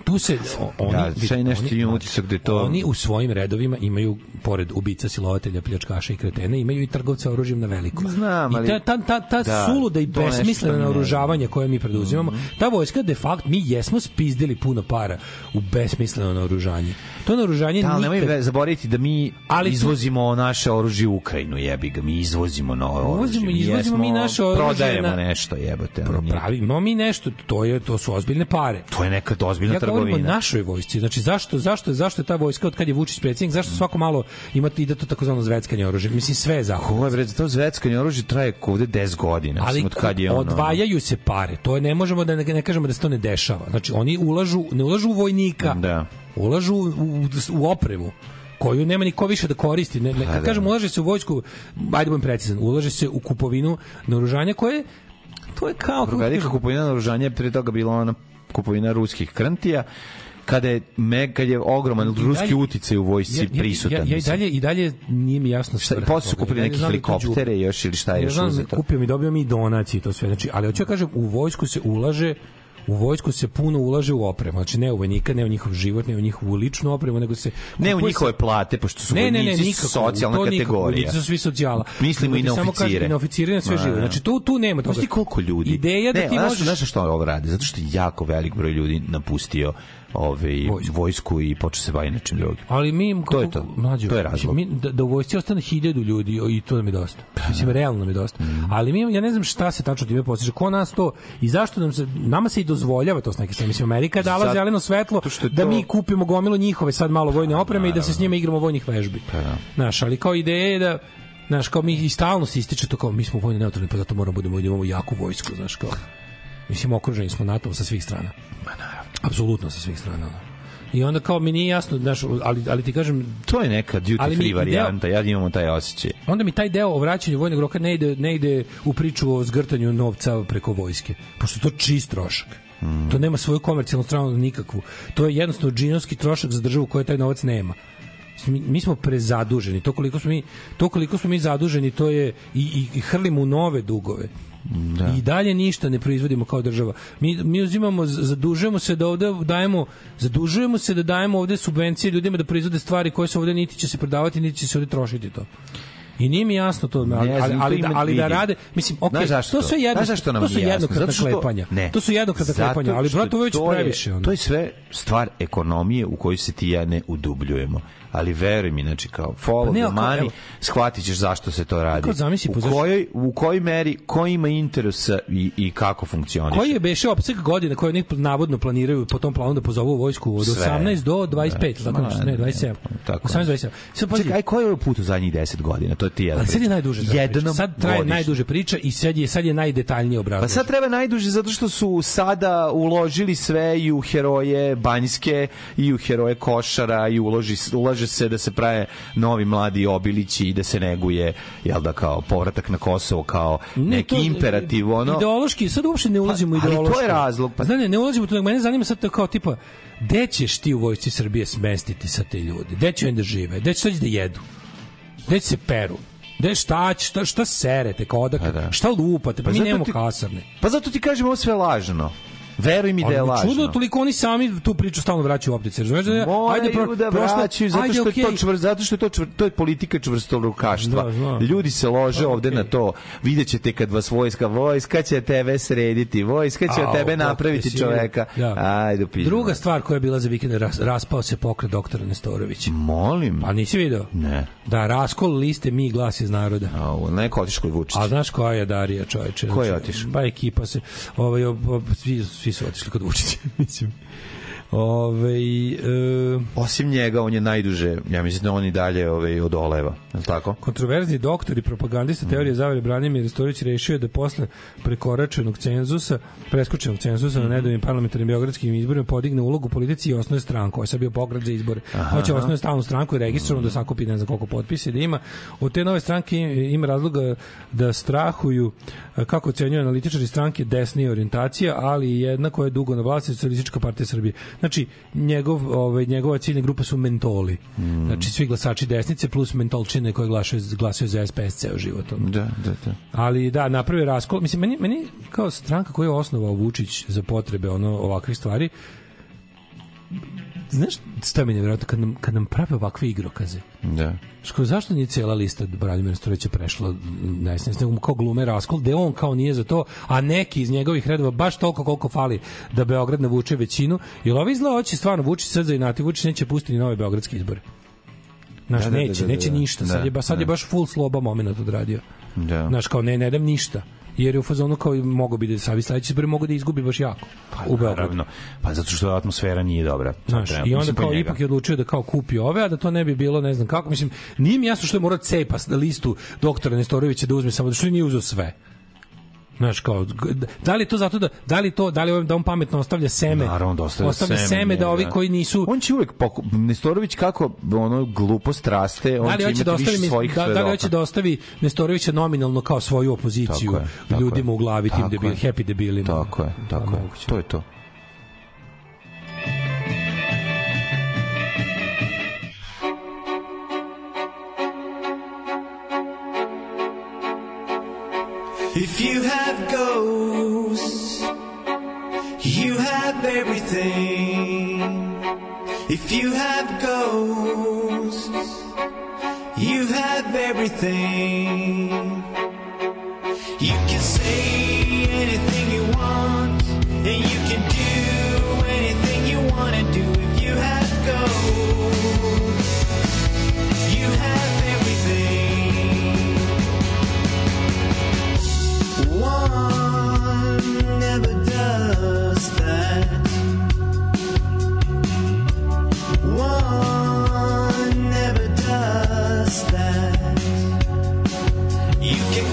Speaker 10: Tu se o- oni,
Speaker 9: Da, sad je nešto
Speaker 10: oni-
Speaker 9: imam utisak da je to-
Speaker 10: oni u svojim redovima imaju pored ubica, silovatelja, pljačkaša i kretena, imaju i trgovce oružjem na veliko.
Speaker 9: Znam, ali-
Speaker 10: I ta, ta, ta, ta
Speaker 9: Da,
Speaker 10: suluda i
Speaker 9: to je nešto
Speaker 10: besmislena
Speaker 9: mi ne- Mhm.
Speaker 10: naoružavanja koje mi preduzimamo, ta vojska de facto, mi jesmo spizdili puno para u besmisleno naoružanje. To naoružanje
Speaker 9: Da, ali nemoj
Speaker 10: nikad...
Speaker 9: ve- zaboraviti da mi
Speaker 10: Ali tu-
Speaker 9: izvozimo naše oružje u Ukrajinu, jebi ga, mi izvozimo no oružje.
Speaker 10: Uvozimo,
Speaker 9: Mi
Speaker 10: izvozimo mi
Speaker 9: jesmo-
Speaker 10: naše oružje
Speaker 9: Prodajemo
Speaker 10: na-
Speaker 9: nešto, jebote. ono, nije-
Speaker 10: Pravimo mi nešto, to je to su ozbiljne pare.
Speaker 9: To je neka ozbiljna
Speaker 10: ja govorim o
Speaker 9: trgovina.
Speaker 10: našoj vojsci. Znači zašto zašto zašto je ta vojska od kad je Vučić predsjednik, zašto
Speaker 9: Mm.
Speaker 10: svako malo ima ide to takozvano zveckanje oružja. Mislim sve je zapravo.
Speaker 9: Ovo je bre, to zveckanje oružje traje ovde 10 godina.
Speaker 10: Ali
Speaker 9: mislim, od kad je ono...
Speaker 10: odvajaju se pare. To je ne možemo da ne, ne kažemo da se to ne dešava. Znači oni ulažu ne ulažu u vojnika.
Speaker 9: Da.
Speaker 10: Ulažu u, u, u opremu koju nema niko više da koristi. Ne, ne,
Speaker 9: Pa
Speaker 10: kad
Speaker 9: da.
Speaker 10: kažem ulaže se u vojsku, ajde budem precizan, ulaže se u kupovinu naoružanja koje to je kao kako
Speaker 9: Druga
Speaker 10: ti
Speaker 9: velika
Speaker 10: kažem,
Speaker 9: kupovina naoružanja je pre toga bila ona kupovina ruskih krntija kada je me kad je ogroman
Speaker 10: dalje-
Speaker 9: ruski uticaj u vojsci
Speaker 10: Ja- ja-
Speaker 9: prisutan.
Speaker 10: Ja, ja i
Speaker 9: mislim.
Speaker 10: dalje i dalje nije mi jasno
Speaker 9: Šta,
Speaker 10: svrha.
Speaker 9: posle su
Speaker 10: toga.
Speaker 9: kupili
Speaker 10: Ja ne
Speaker 9: neke
Speaker 10: znam da je to
Speaker 9: helikoptere
Speaker 10: đubre.
Speaker 9: još ili šta je
Speaker 10: Ja
Speaker 9: još
Speaker 10: znam,
Speaker 9: uzeto.
Speaker 10: Kupio mi, dobio mi i donacije i to sve. Znači, ali hoću ja kažem, u vojsku se ulaže u vojsku se puno ulaže u opremu. Znači ne u vojnika, ne u njihov život, ne u njihovu ličnu opremu, nego se
Speaker 9: Ne u
Speaker 10: kupuje se-
Speaker 9: njihove plate, pošto su
Speaker 10: ne,
Speaker 9: vojnici
Speaker 10: ne, ne, nikako,
Speaker 9: socijalna
Speaker 10: to nikako,
Speaker 9: kategorija.
Speaker 10: Vojnici su svi socijala.
Speaker 9: Mislimo i
Speaker 10: Nego
Speaker 9: na
Speaker 10: ti samo kažem,
Speaker 9: oficire.
Speaker 10: i Na oficire i na sve
Speaker 9: Ma,
Speaker 10: živo.
Speaker 9: da.
Speaker 10: Znači tu, tu nema toga.
Speaker 9: Znaš ti koliko ljudi?
Speaker 10: Ideja da
Speaker 9: ne,
Speaker 10: ti
Speaker 9: znaš-
Speaker 10: možeš...
Speaker 9: Znaš što ovo radi? Zato što je jako velik broj ljudi napustio ovaj, vojsku. i počeo se baviti nečim drugim.
Speaker 10: Ali mi kako,
Speaker 9: je to.
Speaker 10: Mlađo,
Speaker 9: To je razlog.
Speaker 10: Mi, da, da u vojsci ostane hiljadu ljudi i to nam je dosta. Mislim, realno mi je dosta.
Speaker 9: Mhm.
Speaker 10: Ali mi, ja ne znam šta se tačno time postiže. Ko nas to i zašto nam se, nama se i dozvoljava to s neke strane. Mislim, Amerika je dala
Speaker 9: Zato
Speaker 10: zeleno svetlo
Speaker 9: što je
Speaker 10: da
Speaker 9: to-
Speaker 10: mi kupimo gomilo njihove sad malo vojne opreme i da se s njima igramo vojnih vežbi.
Speaker 9: Pa
Speaker 10: Naš, ali kao ideja je da Znaš, kao mi i stalno se ističe to kao mi smo vojno neutralni, pa zato moramo budemo da imamo jaku vojsku, znaš, kao. Mislim, okruženi smo NATO sa svih strana. Apsolutno sa svih strana. ono. I onda kao mi nije jasno, znaš, ali, ali ti kažem,
Speaker 9: To je neka
Speaker 10: Ali
Speaker 9: duty
Speaker 10: mi
Speaker 9: free
Speaker 10: ideja-
Speaker 9: varijanta, ja imamo taj osjećaj.
Speaker 10: onda mi taj deo o vraćanju vojnog roka ne ide, ne ide u priču o zgrtanju novca preko vojske, pošto je to čist trošak. To nema svoju komercijalnu stranu nikakvu. To je jednostavno džinovski trošak za državu koja taj novac nema. Mislim, Mi, mi smo prezaduženi. To koliko smo mi, to koliko smo mi zaduženi, to je i, i, i hrlimo u nove dugove. I dalje ništa ne proizvodimo kao država. Mi, mi uzimamo, z- zadužujemo se da ovde dajemo, zadužujemo se da dajemo ovde subvencije ljudima da proizvode stvari koje se ovde niti će se prodavati, niti će se ovde trošiti to. I nije mi jasno to, ali,
Speaker 9: Ne znam,
Speaker 10: ali,
Speaker 9: to
Speaker 10: ali, da,
Speaker 9: ima-
Speaker 10: ali da
Speaker 9: vidim.
Speaker 10: rade, mislim, ok,
Speaker 9: Znaš zašto
Speaker 10: to sve jedno,
Speaker 9: Znaš zašto nam
Speaker 10: to su
Speaker 9: nije jasno? Zato
Speaker 10: jednokratna
Speaker 9: što-
Speaker 10: klepanja.
Speaker 9: Ne.
Speaker 10: To su jednokratna
Speaker 9: Zato
Speaker 10: klepanja, ali
Speaker 9: što
Speaker 10: brate, ovo je već
Speaker 9: to je-
Speaker 10: previše. ono.
Speaker 9: To je sve stvar ekonomije u kojoj se ti i ja ne udubljujemo. ali veruj mi, znači kao follow
Speaker 10: Pa ne,
Speaker 9: the
Speaker 10: ako-
Speaker 9: money,
Speaker 10: evo.
Speaker 9: shvatit ćeš zašto se to radi.
Speaker 10: Kao zamisli, pa
Speaker 9: u,
Speaker 10: pozaš-
Speaker 9: kojoj, u kojoj meri, ko ima interesa i, i kako funkcioniš.
Speaker 10: Koji je beše opseg godina koji oni navodno planiraju po tom planu da pozovu vojsku od
Speaker 9: Sve.
Speaker 10: 18 do 25, tako
Speaker 9: Ma,
Speaker 10: nešto, ne, 27.
Speaker 9: Znači, Tako.
Speaker 10: 18 27. Sad pazi,
Speaker 9: Čekaj, aj, ko je u putu zadnjih 10 godina? To je ti jedan.
Speaker 10: ali sad je
Speaker 9: priča.
Speaker 10: najduže. ta priča.
Speaker 9: Jednom
Speaker 10: sad traje
Speaker 9: godišnje.
Speaker 10: najduže priča i sad je sad je najdetaljnije
Speaker 9: Pa
Speaker 10: obrazac.
Speaker 9: sad treba najduže zato što su sada uložili sve i u heroje Banjske i u heroje Košara i uloži, ulaže se da se prave novi mladi obilići i da se neguje jel da kao povratak na Kosovo kao neki imperativ ono
Speaker 10: Ideološki, sad uopšte ne ulazimo
Speaker 9: ali to je
Speaker 10: ideološki.
Speaker 9: razlog,
Speaker 10: Pa... Ne, ne, ne ulazimo tu, nego mene zanima sad to kao tipa, gde ćeš ti u vojsci Srbije smestiti sa te ljude? Gde će oni da žive? Gde će sad da jedu? Gde će se peru? Gde šta, će- šta, šta serete, kao odakle, da. šta lupate, pa, mi
Speaker 9: zato
Speaker 10: nemamo
Speaker 9: ti-
Speaker 10: kasarne.
Speaker 9: pa zato ti kažem ovo sve je lažno veruj mi da je
Speaker 10: Ali me
Speaker 9: lažno
Speaker 10: Čudo, toliko oni sami tu priču stalno vraćaju u optice. Razumeš? Da,
Speaker 9: Moraju
Speaker 10: pro-
Speaker 9: da
Speaker 10: prošlo-
Speaker 9: vraćaju zato
Speaker 10: ajde,
Speaker 9: što je to
Speaker 10: okej.
Speaker 9: čvrst, zato što je to čvrst, to je politika čvrstog rukaštva.
Speaker 10: Da, znam.
Speaker 9: Ljudi se lože ovde na to. Videćete kad vas vojska, vojska će tebe srediti, vojska će
Speaker 10: Au,
Speaker 9: od tebe
Speaker 10: Bog te
Speaker 9: napraviti
Speaker 10: sili.
Speaker 9: čoveka.
Speaker 10: Da.
Speaker 9: Ajde, pizdu.
Speaker 10: Druga stvar koja je bila za vikend, ras, raspao se pokret doktora Nestorovića.
Speaker 9: Molim.
Speaker 10: Pa nisi video?
Speaker 9: Ne.
Speaker 10: Da, raskol liste mi glas iz naroda.
Speaker 9: Au, neko otišao kod Vučića.
Speaker 10: A znaš koja je Darija, čoveče?
Speaker 9: Ko je
Speaker 10: Znači,
Speaker 9: otišao?
Speaker 10: Pa ekipa se, ovaj, ob- ob- svi, svi su otišli kod Vučića, mislim. Ove, e,
Speaker 9: Osim njega, on je najduže, ja mislim da on i dalje ovaj, odoleva, je li tako?
Speaker 10: Kontroverzni doktor i propagandista teorije zavere Branimir Ristorić rešio je da posle prekoračenog cenzusa, preskočenog cenzusa
Speaker 9: Mhm.
Speaker 10: na nedovim parlamentarnim beogradskim izborima podigne ulogu u politici i osnoje stranku. Ovo je sad bio pograd za izbore.
Speaker 9: Aha.
Speaker 10: Hoće osnoje stalnu stranku i registrovano da sakupi ne znam koliko potpise da ima. Od te nove stranke ima razloga da strahuju, eh, kako ocenjuju analitičari stranke, desnije orijentacija, ali i jedna koja je dugo na vlasti, Socialistička partija Srbije. Znači, njegov, ovaj, njegova ciljna grupa su mentoli. Znači, svi glasači desnice plus mentolčine koje glasaju, glasaju za SPS ceo život. ono.
Speaker 9: Da, da, da.
Speaker 10: Ali da, napravio raskol. Mislim, meni, meni kao stranka koju je osnovao Vučić za potrebe ono ovakvih stvari, znaš šta je meni nevjerojatno, kad nam, kad nam prave ovakve igrokaze,
Speaker 9: Da.
Speaker 10: Što zašto nije cijela lista Branimira Stojića prešla na SNS, nego mu kao glume raskol, gde on kao nije za to, a neki iz njegovih redova baš toliko koliko fali da Beograd navuče većinu, jer ovi zla oči stvarno Vučić sad za inati, Vučić neće pustiti ni nove beogradske izbore. Znaš,
Speaker 9: Da,
Speaker 10: da,
Speaker 9: da, da,
Speaker 10: neće,
Speaker 9: da, da,
Speaker 10: neće
Speaker 9: da.
Speaker 10: ništa,
Speaker 9: Da,
Speaker 10: sad, je, ba- sad je
Speaker 9: da.
Speaker 10: baš full sloba moment odradio.
Speaker 9: Da.
Speaker 10: Znaš, kao ne, ne dam ništa. Jer je u fazonu kao mogo bi da savi sledeći izbor mogo da izgubi baš jako.
Speaker 9: Pa, u Beogradu. Pa zato što atmosfera nije dobra.
Speaker 10: Znaš,
Speaker 9: Trenutno,
Speaker 10: i onda
Speaker 9: mislim, po
Speaker 10: kao
Speaker 9: njega.
Speaker 10: ipak je odlučio da kao kupi ove, a da to ne bi bilo ne znam kako. Mislim, nije mi jasno što je morao cepa na listu doktora Nestorovića da uzme samo, da što nije uzeo sve. Znaš, kao, g- da li je to zato da, da li to, da li ovim da on pametno ostavlja seme?
Speaker 9: Naravno, dosta
Speaker 10: ostavlja seme, da ovi koji nisu...
Speaker 9: On će uvek poku... Nestorović kako ono glupost raste, on
Speaker 10: da li
Speaker 9: će
Speaker 10: hoće
Speaker 9: imati
Speaker 10: da
Speaker 9: više
Speaker 10: ostavi
Speaker 9: svojih
Speaker 10: da, da li
Speaker 9: svedoka.
Speaker 10: hoće da ostavi Nestorovića nominalno kao svoju opoziciju
Speaker 9: Tako je, tako
Speaker 10: ljudima
Speaker 9: je.
Speaker 10: u glavi tim
Speaker 9: Tako
Speaker 10: debil,
Speaker 9: je.
Speaker 10: happy debilima
Speaker 9: Tako je, tako je. To je to.
Speaker 11: If you have ghosts, you have everything. If you have ghosts, you have everything. You can say anything you want, and you can do anything you want to do if you have ghosts. You have everything. One never does that. One never does that. You can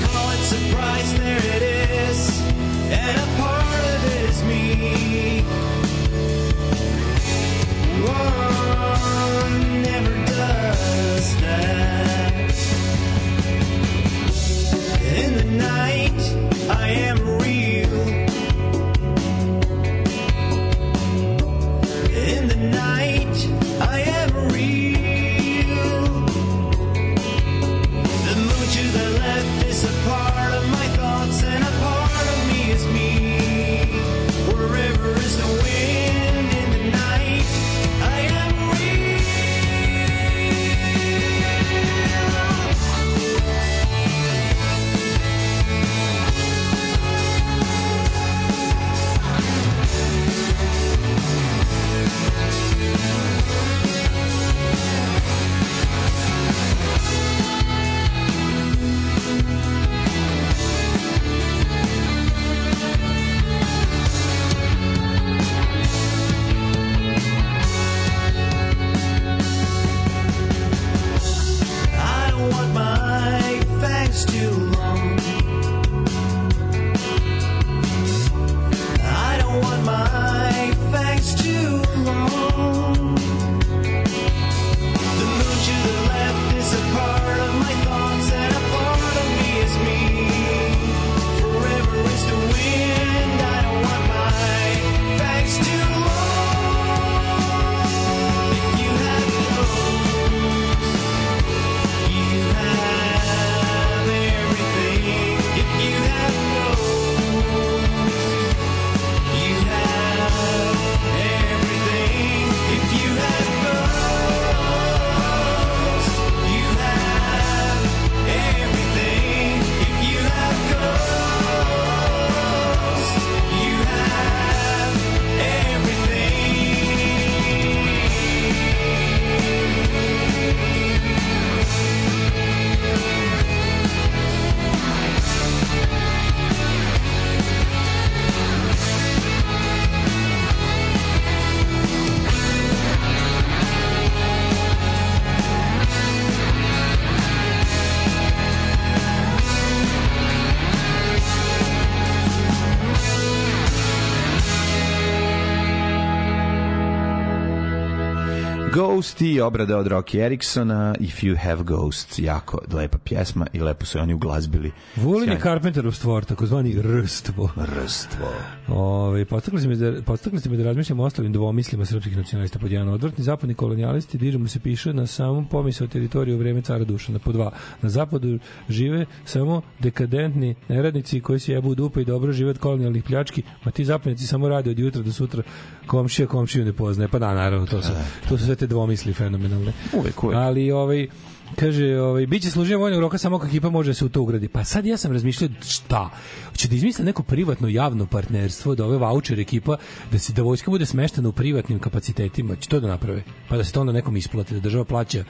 Speaker 9: Ghost i obrada od Rocky Ericksona, If You Have Ghosts, jako lepa pjesma i lepo su je oni uglazbili.
Speaker 10: Vulin je
Speaker 9: Sjajno.
Speaker 10: Carpenterov stvor, takozvani rstvo.
Speaker 9: Rstvo.
Speaker 10: Ove, podstakli, ste me da, podstakli ste me da razmišljam o ostalim dvomislima srpskih nacionalista pod jedan. Odvrtni zapadni kolonijalisti, diže mu se piše na samom pomisao teritoriju u vreme cara Dušana. Po dva. Na zapadu žive samo dekadentni neradnici koji se jebu u dupe i dobro žive od kolonijalnih pljački, ma ti zapadnici samo rade od jutra do sutra komšija komšiju ne poznaje. Pa da, naravno, to su, to su sve te dvomisli fenomenalne.
Speaker 9: Uvek, uvek.
Speaker 10: Ali, ovaj, Kaže, ovaj, biće služenje vojnog roka samo ako ekipa može da se u to ugradi. Pa sad ja sam razmišljao, šta? Hoće da izmisle neko privatno javno partnerstvo, da ove voucher ekipa, da se da vojska bude smeštena u privatnim kapacitetima, će to da naprave. Pa da se to onda nekom isplati, da država plaća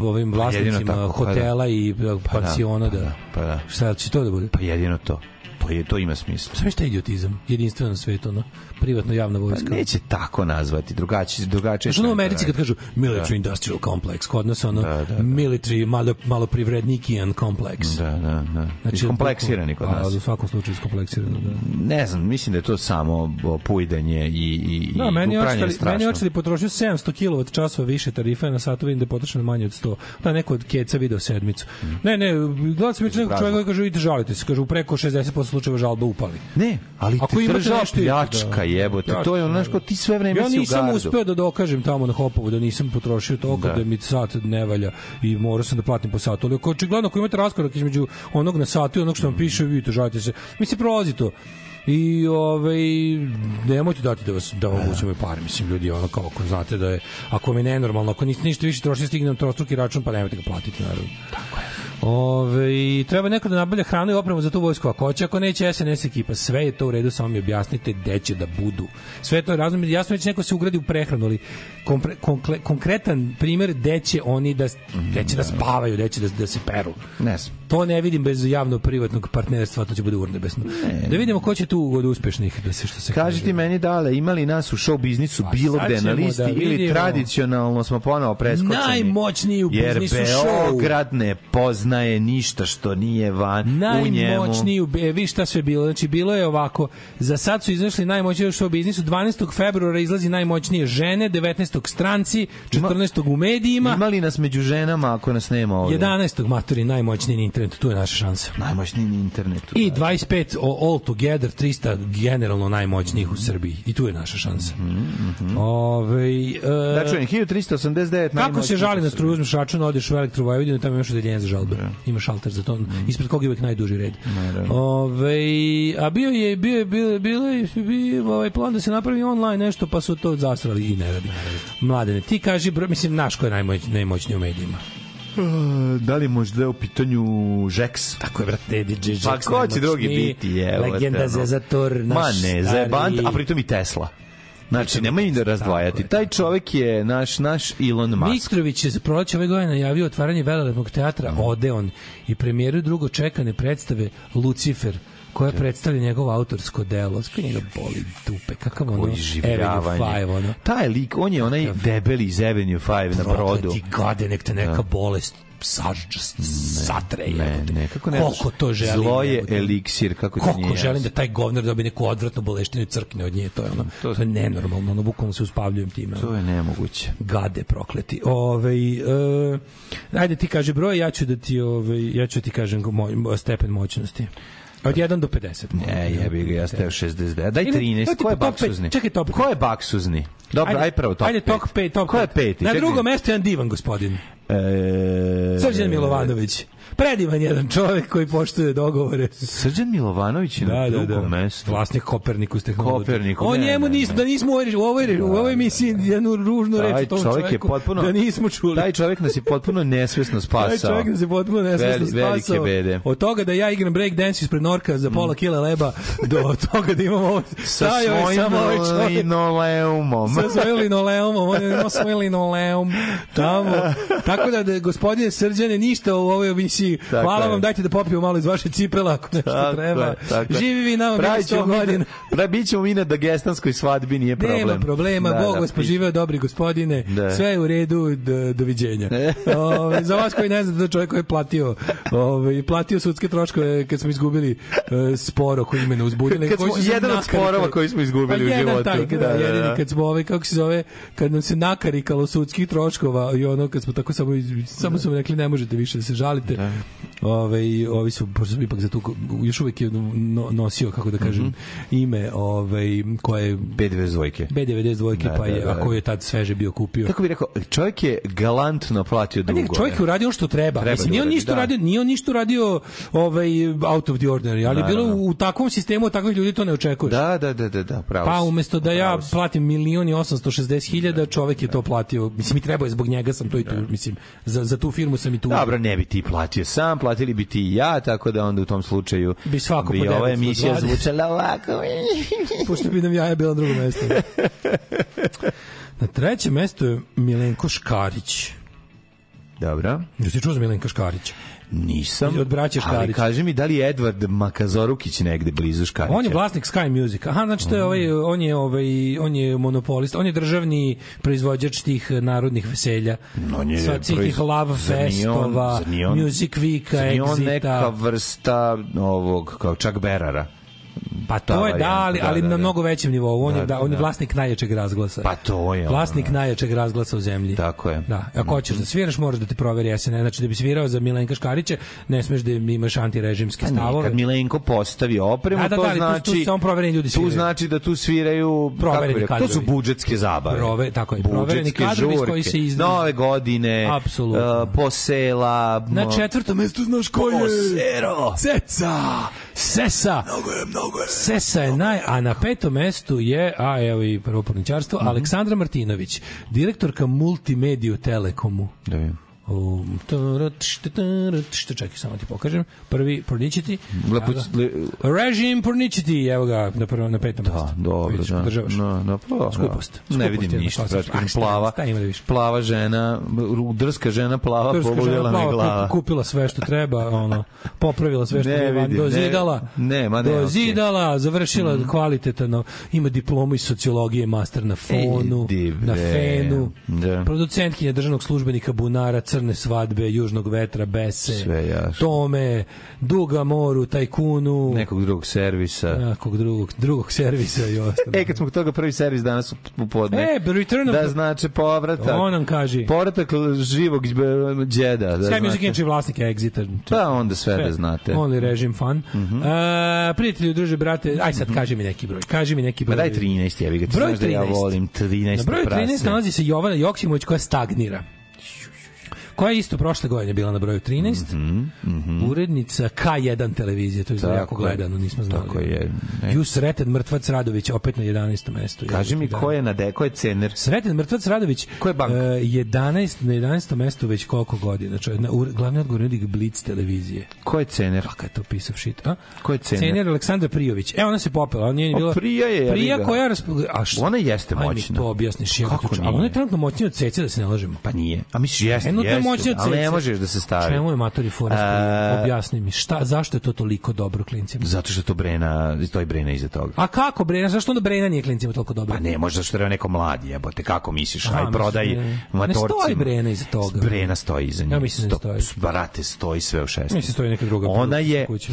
Speaker 10: ovim vlasnicima
Speaker 9: Pa tako, pa da.
Speaker 10: hotela i e,
Speaker 9: Pa da,
Speaker 10: pansiona
Speaker 9: pa
Speaker 10: da,
Speaker 9: da, pa da.
Speaker 10: Šta će to da bude?
Speaker 9: Pa jedino to. To, je, to ima smisla.
Speaker 10: Sve šta je idiotizam, jedinstveno na svetu, ono, privatno javna vojska.
Speaker 9: Pa neće tako nazvati, drugačije, drugačije.
Speaker 10: Znaš, ono u Americi kad kažu military
Speaker 9: Da.
Speaker 10: industrial complex, kod nas ono military, malo, malo privrednikian complex.
Speaker 9: Da, da, da.
Speaker 10: Znači,
Speaker 9: Iskompleksirani kod
Speaker 10: a,
Speaker 9: nas.
Speaker 10: U svakom slučaju iskompleksirani, da.
Speaker 9: Ne znam, mislim da je to samo o, pujdanje i, i,
Speaker 10: Da,
Speaker 9: i
Speaker 10: meni je
Speaker 9: upranje
Speaker 10: očitali,
Speaker 9: strašno.
Speaker 10: meni je očitali potrošio 700 kWh časova više tarife na satu, vidim da je potrošeno manje od 100. Da, neko od keca video sedmicu.
Speaker 9: Mm.
Speaker 10: Ne, ne, gledam sam već nekog čovjeka koji kaže, idite žalite se, kaže, u preko 60% slučajeva žalba upali.
Speaker 9: Ne, ali
Speaker 10: Ako
Speaker 9: te
Speaker 10: imate
Speaker 9: država
Speaker 10: nešto-
Speaker 9: pljačka,
Speaker 10: da.
Speaker 9: jebote, to je ono, znaš, kao ti sve vreme
Speaker 10: ja
Speaker 9: si u
Speaker 10: nisam
Speaker 9: gardu.
Speaker 10: uspeo da dokažem tamo na Hopovu da nisam potrošio toliko
Speaker 9: Da.
Speaker 10: da, mi sat ne valja i morao sam da platim po satu. Ali ako očigledno ako imate raskorak između onog na satu i onog što vam piše, vidite, žalite se. Mislim, prolazi to. I ovaj nemojte dati da vas da vam uzimaju pare, mislim ljudi ono kao ako znate da je ako mi je nenormalno, ako niste ništa više trošili stigne vam trostruki račun, pa nemojte ga platiti naravno. Ove, i treba neko da nabavlja hranu i opremu za tu vojsku. Ako hoće, ako neće SNS ekipa, sve je to u redu, samo mi objasnite gde će da budu. Sve to je razumno, jasno je da će neko se ugradi u prehranu, ali kompre, konkle, konkretan primer gde će oni da, gde će da spavaju, gde će da, da se peru.
Speaker 9: Ne znam.
Speaker 10: To ne vidim bez javno-privatnog partnerstva, to će bude urnebesno. Da vidimo ko će tu od uspešnih, da se što se
Speaker 9: Kaži ti meni dale, ima li nas u show biznisu bilo
Speaker 10: Pa sad
Speaker 9: gde na
Speaker 10: ćemo da
Speaker 9: listi ili
Speaker 10: vidimo.
Speaker 9: tradicionalno smo ponovo preskočeni?
Speaker 10: Najmoćniji u
Speaker 9: Jer
Speaker 10: biznisu show.
Speaker 9: Beograd ne poznaje ništa što nije van u njemu.
Speaker 10: najmoćniji u, e, vi šta sve bilo znači bilo je ovako za sad su izašli najmoćniji u show biznisu 12. februara izlazi najmoćnije žene 19. stranci 14. u medijima
Speaker 9: Ima li nas među ženama ako nas nema ovde?
Speaker 10: 11. maturi najmoćniji na internetu tu je naša šansa
Speaker 9: Najmoćniji na internetu.
Speaker 10: i 25 o- all together 300 generalno najmoćnijih u Srbiji i tu je naša šansa
Speaker 9: Mhm,
Speaker 10: Ovaj, e,
Speaker 9: Da čujem, 1389
Speaker 10: Kako se
Speaker 9: najmoćniji
Speaker 10: žali
Speaker 9: u Srbiji.
Speaker 10: na struju, uzmeš račun, odeš u elektro Vojvodinu, tamo imaš odeljenje za žalbe. Ima šalter za to, ispred koga je uvek najduži red. Ove, a bio je, bio je, bio je, bilo je, bio je ovaj plan da se napravi online nešto, pa su to zasrali i ne radi. Mladene, ti kaži, bro, mislim, naš ko je najmoć, najmoćniji u medijima.
Speaker 9: E, Da li možda je u pitanju Žeks?
Speaker 10: Tako je, brate, DJ Žeks.
Speaker 9: Pa ko će
Speaker 10: najmoćniji,
Speaker 9: drugi biti? Je, ono?
Speaker 10: Legenda za zator, naš
Speaker 9: Ma ne, za jebant,
Speaker 10: stari-
Speaker 9: a pritom i Tesla. Znači, nema im da razdvajati. Taj čovek je naš, naš Elon Musk.
Speaker 10: Mitrović je za proleće ove godine najavio otvaranje velelepnog teatra Odeon i premijeru drugo čekane predstave Lucifer koja predstavlja njegovo autorsko delo. Sve njega boli dupe, kakav ono
Speaker 9: Koji
Speaker 10: Avenue
Speaker 9: življavanje.
Speaker 10: Five, ono.
Speaker 9: Taj lik, on je onaj debeli iz Avenue 5 na brodu.
Speaker 10: Prokleti gade, nek te neka
Speaker 9: Da.
Speaker 10: bolest saž, satre,
Speaker 9: Ne,
Speaker 10: jebote.
Speaker 9: ne, kako ne
Speaker 10: Koliko
Speaker 9: znaš?
Speaker 10: to želim,
Speaker 9: Zlo je
Speaker 10: jebote.
Speaker 9: eliksir, kako ti nije
Speaker 10: Koliko
Speaker 9: jasno.
Speaker 10: želim da taj govnar dobije neku odvratnu boleštinu i crkne od nje, to je ono, to, je nenormalno, ono bukvalno se uspavljujem time. ono.
Speaker 9: To je nemoguće.
Speaker 10: gade prokleti. Ovaj e, ajde ti kaže broj, ja ću da ti ovaj ja ću ti kažem moj, moj stepen moćnosti. Od 1 do 50.
Speaker 9: E, jebi ga, ja stavio 69. Daj
Speaker 10: Ili- to
Speaker 9: 13,
Speaker 10: ti
Speaker 9: ko je
Speaker 10: po top pet,
Speaker 9: baksuzni?
Speaker 10: čekaj, top
Speaker 9: Ko je baksuzni? Dobro, aj prvo top
Speaker 10: Ajde, top
Speaker 9: 5.
Speaker 10: 5, top
Speaker 9: Ko je
Speaker 10: pet.
Speaker 9: peti?
Speaker 10: Na
Speaker 9: Čekaj.
Speaker 10: drugom mestu je jedan divan gospodin.
Speaker 9: E,
Speaker 10: Srđan Milovanović. Predivan jedan čovjek koji poštuje dogovore.
Speaker 9: Srđan Milovanović je na
Speaker 10: Da, da,
Speaker 9: drugom
Speaker 10: da.
Speaker 9: mestu.
Speaker 10: Vlasnik Kopernikus tehnologije.
Speaker 9: Koperniku,
Speaker 10: O
Speaker 9: ne,
Speaker 10: njemu
Speaker 9: ne,
Speaker 10: nis, da nismo u ovoj, u ovoj, u ovoj emisiji jednu ružnu reč
Speaker 9: Taj
Speaker 10: o tom
Speaker 9: čovjek je
Speaker 10: čoveku,
Speaker 9: potpuno...
Speaker 10: da nismo čuli.
Speaker 9: Taj čovjek nas je potpuno nesvesno spasao.
Speaker 10: Taj čovjek nas je potpuno nesvesno
Speaker 9: Veli- velike
Speaker 10: spasao.
Speaker 9: bede. Mm.
Speaker 10: Od toga da ja igram break dance ispred Norka za pola kila leba do toga da imam ovo.
Speaker 9: Sa
Speaker 10: Stajao je
Speaker 9: svojim
Speaker 10: samo ovaj čovjek.
Speaker 9: linoleumom.
Speaker 10: sa svojim linoleumom, on je imao svoj linoleum tamo. Tako da, da gospodine Srđane, ništa u ovoj emisiji.
Speaker 9: Tako
Speaker 10: Hvala
Speaker 9: je.
Speaker 10: vam, dajte da popijemo malo iz vaše cipela ako nešto
Speaker 9: Tako
Speaker 10: treba.
Speaker 9: je, tako je.
Speaker 10: Živi vi nama
Speaker 9: Pravit
Speaker 10: bilo
Speaker 9: ćemo
Speaker 10: 100
Speaker 9: mi na-
Speaker 10: godina.
Speaker 9: Pra, bit ćemo mi na dagestanskoj svadbi, nije problem.
Speaker 10: Nema problema,
Speaker 9: Da,
Speaker 10: Bog
Speaker 9: da,
Speaker 10: vas
Speaker 9: pi-
Speaker 10: poživeo, dobri gospodine,
Speaker 9: Da. E.
Speaker 10: sve je u redu, d- doviđenja. Ove, za vas koji ne znate, to je čovjek koji je platio, ove, platio sudske troškove kad smo izgubili e, spor oko imena uzbudili.
Speaker 9: Kad smo- jedan od sporova koji smo izgubili u životu.
Speaker 10: Pa Taj, da,
Speaker 9: Da, da,
Speaker 10: jedini,
Speaker 9: da.
Speaker 10: kad smo ovaj, kako se zove, kad nam se nakarikalo sudskih troškova i ono kad smo tako samo, iz- samo su mi rekli ne možete više da se žalite. Ove, i ovi su, pošto sam ipak za tu, još uvijek je no, nosio, kako da
Speaker 9: Mhm.
Speaker 10: kažem, ime ove, koje
Speaker 9: B92.
Speaker 10: B92
Speaker 9: Da,
Speaker 10: pa je,
Speaker 9: da, da.
Speaker 10: a koji je tad sveže bio kupio.
Speaker 9: Kako bih rekao, čovjek je galantno platio
Speaker 10: A
Speaker 9: dugove.
Speaker 10: ne, čovjek je uradio ono što treba.
Speaker 9: Treba
Speaker 10: Mislim,
Speaker 9: da
Speaker 10: nije on
Speaker 9: uradi,
Speaker 10: ništa
Speaker 9: da.
Speaker 10: uradio, nije on ništa uradio ovaj, out of the ordinary, ali
Speaker 9: Naravno.
Speaker 10: bilo u, u takvom sistemu od takvih ljudi to ne očekuješ.
Speaker 9: Da, da, da, da, da, pravo.
Speaker 10: Pa
Speaker 9: si.
Speaker 10: umesto da ja platim milion i 860 hiljada, čovek je to platio. Mislim, i trebao je, zbog njega sam to i tu. Mislim, za, za tu firmu sam i tu.
Speaker 9: Dobro, ne bi ti platio sam, platili bi ti i ja, tako da onda u tom slučaju
Speaker 10: Bi svako po
Speaker 9: bi ova
Speaker 10: 920.
Speaker 9: emisija zvučala ovako.
Speaker 10: Pošto bi nam jaja bila na drugom mestu. Na trećem mestu je Milenko Škarić.
Speaker 9: Dobro.
Speaker 10: Jesi čuo za Milenka Škarića?
Speaker 9: Nisam.
Speaker 10: Od braće
Speaker 9: Ali
Speaker 10: Škarića.
Speaker 9: kaži mi, da li je Edvard Makazorukić negde blizu Škarića?
Speaker 10: Pa On je vlasnik Sky Music. Aha, znači to je ovaj on je ovaj on je monopolist, on je državni proizvođač tih narodnih veselja.
Speaker 9: On je
Speaker 10: Sa svih tih
Speaker 9: proiz-
Speaker 10: love
Speaker 9: Zar nije on-
Speaker 10: festova,
Speaker 9: zar nije on-
Speaker 10: music weeka,
Speaker 9: zar nije on
Speaker 10: exita.
Speaker 9: neka vrsta ovog, kao čak Berara.
Speaker 10: Pa To je da, ali, ali na mnogo većem nivou. On
Speaker 9: Da,
Speaker 10: je da, on je
Speaker 9: da.
Speaker 10: vlasnik najjačeg razglasa.
Speaker 9: Pa to je. ono,
Speaker 10: Vlasnik najjačeg razglasa u zemlji.
Speaker 9: Tako je. Mhm.
Speaker 10: Da, ako hoćeš da sviraš, moraš da te proveri SNN. Znači, da bi svirao za Milenka Škarića, ne smeš da imaš antirežimske
Speaker 9: Pa ne,
Speaker 10: stavove.
Speaker 9: Kad Milenko postavi opremu,
Speaker 10: Da, da,
Speaker 9: to
Speaker 10: da, ali tu-
Speaker 9: znači...
Speaker 10: tu su samo provereni ljudi
Speaker 9: Tu
Speaker 10: sviraju.
Speaker 9: znači da tu sviraju... kako
Speaker 10: Provereni
Speaker 9: bih rekao, To su
Speaker 10: kadrovi.
Speaker 9: budžetske zabave.
Speaker 10: Prove- tako je, provereni
Speaker 9: Budžetske
Speaker 10: kadrovi iz
Speaker 9: žurke,
Speaker 10: kojih se izdvaja.
Speaker 9: Nove godine,
Speaker 10: Apsolutno.
Speaker 9: uh, posela...
Speaker 10: Na
Speaker 9: mo-
Speaker 10: četvrtom mestu znaš ko je?
Speaker 9: Posero.
Speaker 10: Ceca! Sesa! Mnogo je, mnogo je. Sesa je naj... A na petom mestu je, a evo i prvo porničarstvo, Aleksandra Martinović, direktorka Multimediju Telekomu.
Speaker 9: Da vidim.
Speaker 10: Um, tara, tšt, tara, tšt, čekaj, samo ti pokažem. Prvi porničiti.
Speaker 9: Lepuć- le-
Speaker 10: Režim porničiti, evo ga, na, prvo, na petom mestu. Da,
Speaker 9: pa, Dobro, da.
Speaker 10: Podržavaš.
Speaker 9: No, no, pa, dobro.
Speaker 10: Skupost.
Speaker 9: Ne
Speaker 10: Skupost ono,
Speaker 9: vidim
Speaker 10: jedna
Speaker 9: ništa.
Speaker 10: klasična.
Speaker 9: Praktično
Speaker 10: A, šta-
Speaker 9: plava,
Speaker 10: šta ima da više?
Speaker 9: plava žena, ru- drska žena plava,
Speaker 10: Turska žena
Speaker 9: Pa, pobudila mi
Speaker 10: plava,
Speaker 9: glava.
Speaker 10: kup- kupila sve što treba, ono, popravila sve što
Speaker 9: Ne
Speaker 10: treba,
Speaker 9: vidim, ne-
Speaker 10: dozidala,
Speaker 9: ne, ma ne, Mm.
Speaker 10: dozidala, završila kvalitetno, ima diplomu iz sociologije, master na fonu,
Speaker 9: Idi, bre.
Speaker 10: na fenu,
Speaker 9: Da.
Speaker 10: producentkinja državnog službenika Bunara, Crne svadbe, Južnog vetra, Bese,
Speaker 9: Sve jasno.
Speaker 10: Tome, Duga moru, Tajkunu,
Speaker 9: Nekog drugog servisa.
Speaker 10: nekog drugog, drugog servisa i ostalo.
Speaker 9: E, kad smo kod toga prvi servis danas u u podne.
Speaker 10: E, the return of
Speaker 9: da
Speaker 10: the-
Speaker 9: znači povratak.
Speaker 10: On nam kaže.
Speaker 9: Povratak živog dž- džeda. Da
Speaker 10: Sky Music
Speaker 9: znate.
Speaker 10: Inc. je vlasnik Exita.
Speaker 9: Pa onda sve da znate. Mhm.
Speaker 10: Only režim fan. E, prijatelju, druže, brate, aj sad kaži mi neki broj. Kaži mi neki
Speaker 9: Pa
Speaker 10: broj.
Speaker 9: daj 13, ja bih ga ti
Speaker 10: Broj
Speaker 9: znaš da ja
Speaker 10: 13.
Speaker 9: volim 13
Speaker 10: Na broju 13
Speaker 9: prasne.
Speaker 10: nalazi se Jovana Joksimović koja stagnira. Koja je isto prošle godine bila na broju 13. Urednica K1 televizije, to je
Speaker 9: Mhm, Tako
Speaker 10: jako
Speaker 9: je.
Speaker 10: gledano, nismo znali.
Speaker 9: Tako je. E,
Speaker 10: Ju Sreten Mrtvac Radović opet na 11. mestu.
Speaker 9: Kaži mi
Speaker 10: Da.
Speaker 9: ko je na de, ko je cener?
Speaker 10: Sreten Mrtvac Radović
Speaker 9: Ko je bank?
Speaker 10: e, 11 na 11. mestu već koliko godina, čovjek, na ur- glavni odgovornik Blitz televizije.
Speaker 9: Ko je cener?
Speaker 10: Kakav je to piece of shit, a?
Speaker 9: Ko je cener?
Speaker 10: Cener Aleksandra Prijović. E, ona se popela, on je
Speaker 9: O,
Speaker 10: bila...
Speaker 9: Prija je,
Speaker 10: Prija
Speaker 9: jebi ga.
Speaker 10: koja... rasp- A šta?
Speaker 9: Ona jeste
Speaker 10: Aj mi
Speaker 9: moćna.
Speaker 10: to objasniš. jebote,
Speaker 9: Kako
Speaker 10: čo-
Speaker 9: nije?
Speaker 10: Ali ona je trenutno moćnija od Cece, da se ne lažemo.
Speaker 9: Pa nije. A misliš jeste,
Speaker 10: Eno to je moćnija
Speaker 9: jeste.
Speaker 10: od
Speaker 9: Ali ne
Speaker 10: Cece.
Speaker 9: možeš da se stavi.
Speaker 10: Čemu je matori fora? s
Speaker 9: E,
Speaker 10: Prijom? Objasni mi, šta, zašto je to toliko dobro klincima?
Speaker 9: Zato što to Brena, to je Brena iza toga.
Speaker 10: A kako Brena, zašto onda Brena nije klincima toliko dobro?
Speaker 9: Pa ne, možda što treba neko mladi, jebote, kako misliš?
Speaker 10: Aha,
Speaker 9: Aj, prodaj
Speaker 10: misliš da je- Ne
Speaker 9: matorcima.
Speaker 10: stoji Brena iza toga.
Speaker 9: Brena stoji iza nje.
Speaker 10: Ja mislim da
Speaker 9: Sto-
Speaker 10: stoji.
Speaker 9: s- Brate, stoji sve u šest.
Speaker 10: Mislim, stoji neka druga
Speaker 9: Ona
Speaker 10: produkcija
Speaker 9: je,
Speaker 10: kuća.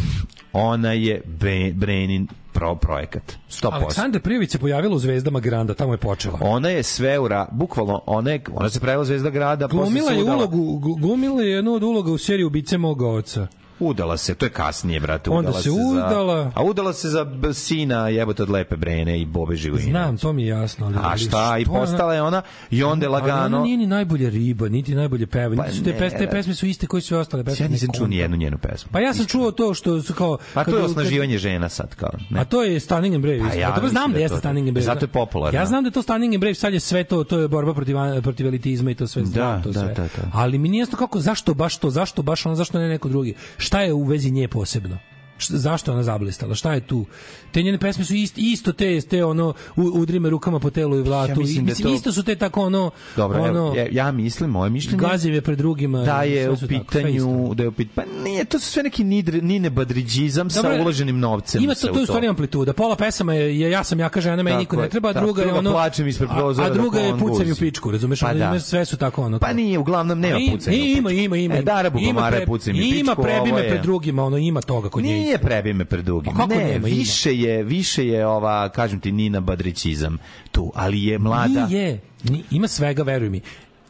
Speaker 9: ona je Bre- Brenin pro projekat. 100%.
Speaker 10: Aleksandra Prijović se pojavila u Zvezdama Granda, tamo je počela.
Speaker 9: Ona je sve u ra... bukvalno, ona, je, ona se pravila zvezda grada. posle
Speaker 10: Glumila
Speaker 9: se
Speaker 10: je
Speaker 9: udala.
Speaker 10: ulogu, gl- glumila je jednu od uloga u seriji Ubice moga oca.
Speaker 9: Udala se, to je kasnije, brate.
Speaker 10: Onda
Speaker 9: udala
Speaker 10: se udala.
Speaker 9: Za, a udala se za b- sina jebote od Lepe Brene i Bobe Živine.
Speaker 10: Znam, to mi je jasno. Ali,
Speaker 9: A
Speaker 10: ali
Speaker 9: šta, i
Speaker 10: što ona-
Speaker 9: postala je ona i onda je
Speaker 10: Ali ona
Speaker 9: lagano...
Speaker 10: nije ni najbolja riba, niti najbolje peva.
Speaker 9: Pa
Speaker 10: niti su te,
Speaker 9: ne.
Speaker 10: pesme, te pesme su iste koji su i ostale pesme.
Speaker 9: Ja nisam
Speaker 10: Ne
Speaker 9: čuo
Speaker 10: kontam.
Speaker 9: ni jednu njenu pesmu.
Speaker 10: Pa ja sam čuo to što su kao...
Speaker 9: A Pa to
Speaker 10: kad-
Speaker 9: je osnaživanje žena sad kao.
Speaker 10: kad- A
Speaker 9: Ne.
Speaker 10: to je Stunning and Brave.
Speaker 9: Pa
Speaker 10: isto.
Speaker 9: ja
Speaker 10: Dobro,
Speaker 9: mislim
Speaker 10: znam
Speaker 9: da
Speaker 10: da
Speaker 9: je
Speaker 10: jeste
Speaker 9: to-
Speaker 10: Stunning and Brave.
Speaker 9: Zato je popularna.
Speaker 10: Ja znam da je to Stunning and Brave, sad je sve to, to je borba protiv, protiv elitizma i to sve. znam
Speaker 9: Da,
Speaker 10: to
Speaker 9: da,
Speaker 10: sve.
Speaker 9: da, da.
Speaker 10: Ali mi nije jasno kako, zašto baš to, zašto baš ono, zašto ne neko drugi. Šta je u vezi nje posebno? š- zašto je ona zablistala, šta je tu. Te njene pesme su ist, isto te, te ono, u, udri me rukama po telu i vlatu.
Speaker 9: Ja mislim
Speaker 10: I,
Speaker 9: da
Speaker 10: mislim,
Speaker 9: to-
Speaker 10: isto su te tako ono,
Speaker 9: Dobro,
Speaker 10: ono,
Speaker 9: evo, ja, ja mislim, moje mišljenje...
Speaker 10: gazim je pred drugima.
Speaker 9: da
Speaker 10: i
Speaker 9: je
Speaker 10: sve
Speaker 9: u
Speaker 10: su tako,
Speaker 9: pitanju da je u pitanju pa nije to su sve neki nidre, nine badridžizam sa
Speaker 10: Dobro,
Speaker 9: uloženim novcem
Speaker 10: Ima
Speaker 9: se
Speaker 10: to,
Speaker 9: u
Speaker 10: to je u stvari ono- amplituda. Pola pesama je, je ja sam jaka žena, meni
Speaker 9: Tako
Speaker 10: niko ne
Speaker 9: je,
Speaker 10: treba, a
Speaker 9: tako.
Speaker 10: druga je
Speaker 9: Druga
Speaker 10: ono...
Speaker 9: plačem ispred prozora
Speaker 10: A, a
Speaker 9: dok
Speaker 10: druga je
Speaker 9: on
Speaker 10: pucem u
Speaker 9: guzi.
Speaker 10: pičku, razumeš?
Speaker 9: Pa
Speaker 10: Ono,
Speaker 9: da.
Speaker 10: ima- sve su tako ono.
Speaker 9: Pa nije, uglavnom nema
Speaker 10: I-
Speaker 9: pucanja u
Speaker 10: i- Ima, ima, ima.
Speaker 9: E, Darabu
Speaker 10: Ima
Speaker 9: Gomara je
Speaker 10: pre-
Speaker 9: pucem u pičku,
Speaker 10: Ima
Speaker 9: ovo
Speaker 10: prebime
Speaker 9: je-
Speaker 10: pred drugima, ono, ima toga kod nje.
Speaker 9: Nije prebime pred drugim.
Speaker 10: A kako
Speaker 9: ne,
Speaker 10: nema, ima.
Speaker 9: više je, više je ova, kažem ti, Nina Badrićizam tu, ali je mlada.
Speaker 10: Nije. Ni- ima svega, veruj mi.